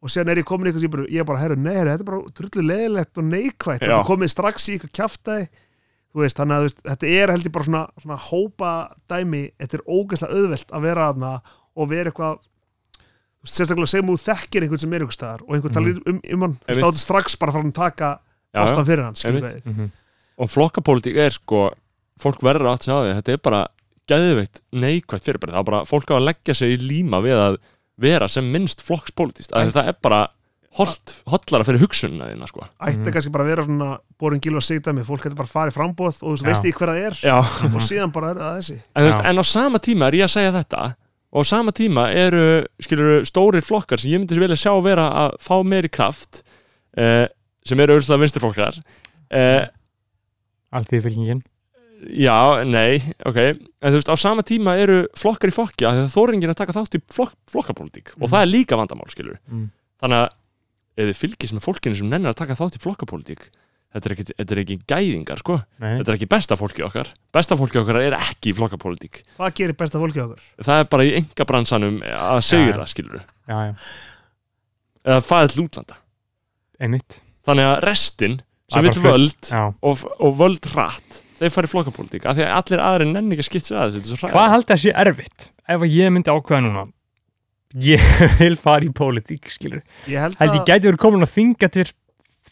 [SPEAKER 4] og séðan er ég komin ykkur ég, bara- ég er bara, herru, nei, herru, þetta er bara drullu leðilegt og neikvætt,
[SPEAKER 1] Já.
[SPEAKER 4] þetta er komið strax í ykkur kjaftaði þú veist, þannig að þú veist, þetta er heldur bara svona, svona hópa dæmi, þetta er ógeðslega auðvelt að vera þarna og vera eitthvað þú veist, sérstaklega segjum þú þekkir einhvern sem er ykkur staðar og einhvern talir um, um hann,
[SPEAKER 1] Mhm.
[SPEAKER 4] þú
[SPEAKER 1] Einmitt.
[SPEAKER 4] veist, þá er strax bara frá hann taka
[SPEAKER 1] Já, já.
[SPEAKER 4] alltaf fyrir hann, skilur
[SPEAKER 1] Einmitt.
[SPEAKER 4] við
[SPEAKER 1] og flokkapólitík er sko fólk verður átt sem á því, þetta er bara geðveikt neikvægt fyrir bara, það er bara fólk á að leggja sig í líma við að vera sem minnst flokkspólitíst, að það er bara holt, hotlara fyrir hugsunna þína sko.
[SPEAKER 4] ætti kannski bara að vera svona borin gilva sigdæmi, fólk getur bara farið frambóð og þú veist,
[SPEAKER 3] Já.
[SPEAKER 4] veist ég hver það er
[SPEAKER 1] Já,
[SPEAKER 4] og síðan bara er það þessi
[SPEAKER 1] en, þú veist,
[SPEAKER 3] Já.
[SPEAKER 1] en á sama tíma er ég að segja þetta og á sama tíma eru skilur, stórir flokkar sem ég myndi vilja sjá vera að fá meiri kraft eh, sem eru auðvitað vinsturflokkar eh,
[SPEAKER 3] allt því fylkingin
[SPEAKER 1] já, nei, ok en þú veist, á sama tíma eru flokkar í fokki af því að þóringin að taka þátt í flok, flokkapólitík og
[SPEAKER 3] Mm.
[SPEAKER 1] það er líka vandamál, skilur
[SPEAKER 3] Mm.
[SPEAKER 1] þannig að ef þið fylgist með fólkinu sem nennir að taka þátt í flokkapólitík þetta er ekki, þetta er ekki gæðingar, sko
[SPEAKER 3] Nei,
[SPEAKER 1] þetta er ekki besta fólki okkar besta fólki okkar er ekki í flokkapólitík
[SPEAKER 4] hvað gerir besta fólkið okkur?
[SPEAKER 1] það er bara í enga bransanum að segja það skilur
[SPEAKER 3] já, já,
[SPEAKER 1] eða fæðið til útlanda
[SPEAKER 3] einmitt
[SPEAKER 1] þannig að restin
[SPEAKER 3] Það er
[SPEAKER 1] sem vil
[SPEAKER 3] bara
[SPEAKER 1] völd
[SPEAKER 3] já.
[SPEAKER 1] og, og völd rætt þeir fari flokkapólitík af því að allir aðri nenni ekki að skipta sig að þessu þetta er svo
[SPEAKER 3] Hvað
[SPEAKER 1] hræðilegt.
[SPEAKER 3] haldið að sé erfitt ef að ég myndi ákveða núna ég (laughs) vil fara í pólitík skilur,
[SPEAKER 4] ég held
[SPEAKER 3] held ég
[SPEAKER 4] að
[SPEAKER 3] gæti verið komin að þinga til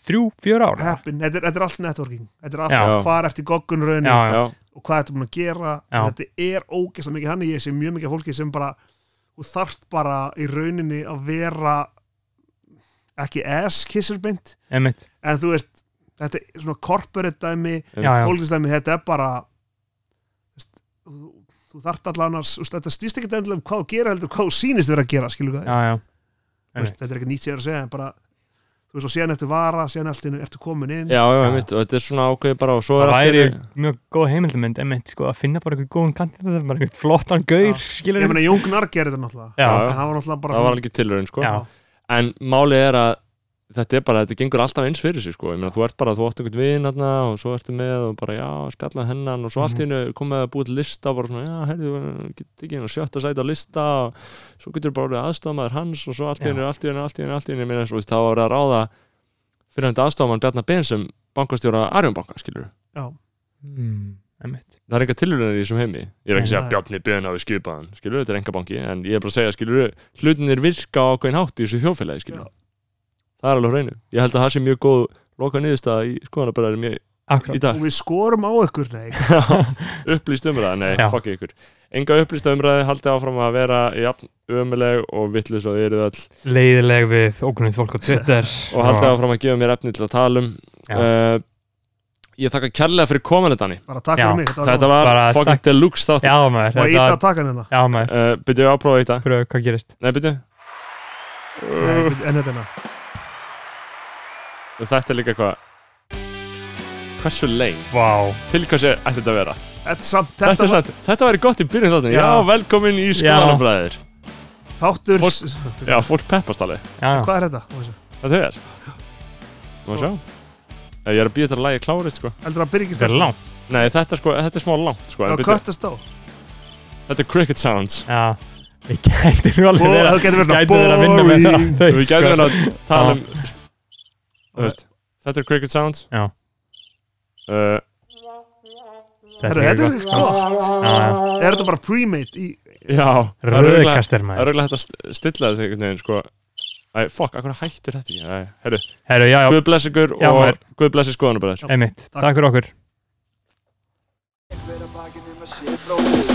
[SPEAKER 3] þrjú, fjör ára
[SPEAKER 4] happen, þetta, er, þetta er allt networking þetta er
[SPEAKER 1] Já.
[SPEAKER 4] allt hvað ert í goggunrauninu
[SPEAKER 3] Já,
[SPEAKER 1] já,
[SPEAKER 4] og hvað þetta er búin að gera
[SPEAKER 3] Já.
[SPEAKER 4] þetta er ógeðslega mikið hann ég sé mjög mikið af fólki sem bara þú þarft bara í rauninni að vera ekki ass kisser beint
[SPEAKER 3] einmitt,
[SPEAKER 4] en þú veist, þetta er svona corporate dæmi
[SPEAKER 3] já, já,
[SPEAKER 4] pólitísdæmi, þetta er bara þú veist, þú, þú þarft allan annars þú veist, þetta stýst ekki endilega um hvað þú gera heldur hvað þú sýnist þér að gera, skilur hvað
[SPEAKER 3] já, já
[SPEAKER 4] Þú veist, þetta er ekki nýtt sér að segja en bara, þú veist, og síðan ertu vara síðan allt innu, ertu komin inn
[SPEAKER 1] já, já, einmitt, og þetta er svona ákveði bara og svo
[SPEAKER 3] það
[SPEAKER 1] er allt
[SPEAKER 3] væri
[SPEAKER 1] í einu-
[SPEAKER 3] mjög góð heimildamönd einmitt, sko, að finna bara einhvern góðan kandidat það er bara einhvern flottan gaur, skilur
[SPEAKER 4] ég meina, Jóngnar gerir þetta náttúrulega
[SPEAKER 3] já,
[SPEAKER 4] en það var náttúrulega bara
[SPEAKER 1] það var
[SPEAKER 4] svona,
[SPEAKER 1] alveg tilurinn sko.
[SPEAKER 3] já,
[SPEAKER 1] en málið er að þetta er bara, þetta gengur alltaf eins fyrir sig sko. Ég meina, þú ert bara, þú átt einhvern vin þarna, og svo ertu með og bara, já, spjalla við hennan og svo allt í einu komið að búið til lista bara svona, já, heyrðu, getur ekki einu sjötta sæti á lista og svo getur bara orðið aðstofmaður hans og svo allt í
[SPEAKER 3] Já.
[SPEAKER 1] einu, allt í einu, allt í einu, allt í einu, ég meina, svo veist, þá var að ráða fyrir hann aðstofmann Bjarnar Ben sem bankastjóra Arjónbanka, skilur
[SPEAKER 3] Mm, einmitt
[SPEAKER 1] það er enga tilhörðan í þessum heimi ég er ekki að segja
[SPEAKER 4] Nei.
[SPEAKER 1] að Bjarni Ben hafi skipað hann skilur, þetta er enga banki, en ég er bara að segja skilur, hlutinir virka á ákveðin hátt í þessu þjófélagi skilur, það er alveg á hreinu ég held að það sé mjög góð loka niðurstaða í skoðanabæðarum í, í
[SPEAKER 3] akkurat,
[SPEAKER 1] dag
[SPEAKER 4] og við skorum á ykkur nei,
[SPEAKER 1] (laughs) upplýst umræða, nei,
[SPEAKER 3] Já.
[SPEAKER 1] fuck ykkur enga upplýst umræði haldið áfram að vera jafn ömuleg og vittlis og eruð all
[SPEAKER 3] leiðileg við ókunnið fólk á Twitter
[SPEAKER 1] (laughs) og haldið áfram að gefa mér efni til að tala um
[SPEAKER 3] Já.
[SPEAKER 1] uh, ég þakka kærlega fyrir kominu Dani
[SPEAKER 4] bara takk
[SPEAKER 3] Já.
[SPEAKER 4] fyrir mig þetta var
[SPEAKER 1] þetta
[SPEAKER 4] gaman.
[SPEAKER 1] var
[SPEAKER 3] Bara
[SPEAKER 1] fucking
[SPEAKER 3] takk.
[SPEAKER 1] deluxe þáttur
[SPEAKER 3] já, maður,
[SPEAKER 4] og íta
[SPEAKER 3] þetta,
[SPEAKER 4] að taka hann hérna
[SPEAKER 3] já, maður
[SPEAKER 1] uh, byrjuðu að prófa þetta,
[SPEAKER 3] Hvað hvað gerist?
[SPEAKER 1] nei byrjuðu
[SPEAKER 4] Nei, en þetta hérna
[SPEAKER 1] Og þetta er líka hvað Hversu leið?
[SPEAKER 3] Vá,
[SPEAKER 1] Til hvers er ætti þetta að vera?
[SPEAKER 4] Þetta samt-
[SPEAKER 1] Þetta,
[SPEAKER 4] þetta var
[SPEAKER 1] þetta, þetta væri gott í byrjun þáttin Já,
[SPEAKER 4] Já.
[SPEAKER 1] velkomin í skoðanabræðir
[SPEAKER 4] þáttur
[SPEAKER 1] Fólk- Já, fólk peppast alveg
[SPEAKER 3] já, já.
[SPEAKER 4] hvað er þetta?
[SPEAKER 1] Þetta er Má sjá Ef Ég er að býja þetta að lægi klárið sko
[SPEAKER 4] heldur að byrja ekki
[SPEAKER 3] þetta er langt
[SPEAKER 1] Nei, þetta er sko, þetta er smá langt sko en
[SPEAKER 4] það
[SPEAKER 1] byrju,
[SPEAKER 4] köttast á
[SPEAKER 1] Þetta er cricket sounds
[SPEAKER 3] Já, við gætum alveg
[SPEAKER 4] Bo-
[SPEAKER 3] verið
[SPEAKER 4] það getur verið
[SPEAKER 3] gætum verið að vinna
[SPEAKER 4] boring.
[SPEAKER 3] með það
[SPEAKER 1] hérna, Við gætum hérna að tala um Þú veist Þetta er cricket sounds
[SPEAKER 3] Já.
[SPEAKER 1] uh,
[SPEAKER 4] Herra, þetta er gott.
[SPEAKER 3] gott
[SPEAKER 4] er þetta bara pre-made í
[SPEAKER 1] Já það er örugglega- Það
[SPEAKER 3] Röðkastir
[SPEAKER 1] er
[SPEAKER 3] maður
[SPEAKER 1] auðvitað hægt að st- stilla þetta einhvern veginn sko Æ, fuck, akkur hættir þetta ekki Æ, herru,
[SPEAKER 3] Herru, já, já,
[SPEAKER 1] Guð bless ykkur
[SPEAKER 3] Já, maður.
[SPEAKER 1] og Guð bless í skoðanum bara
[SPEAKER 3] einmitt, takk fyrir okkur
[SPEAKER 2] Hver að bakið um að sé bróðir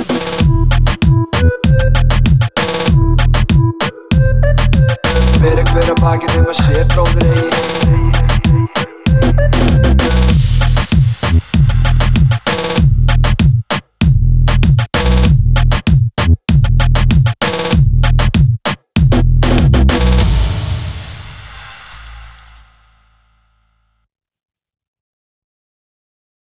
[SPEAKER 2] Hver að hver að bakið um að sé bróðir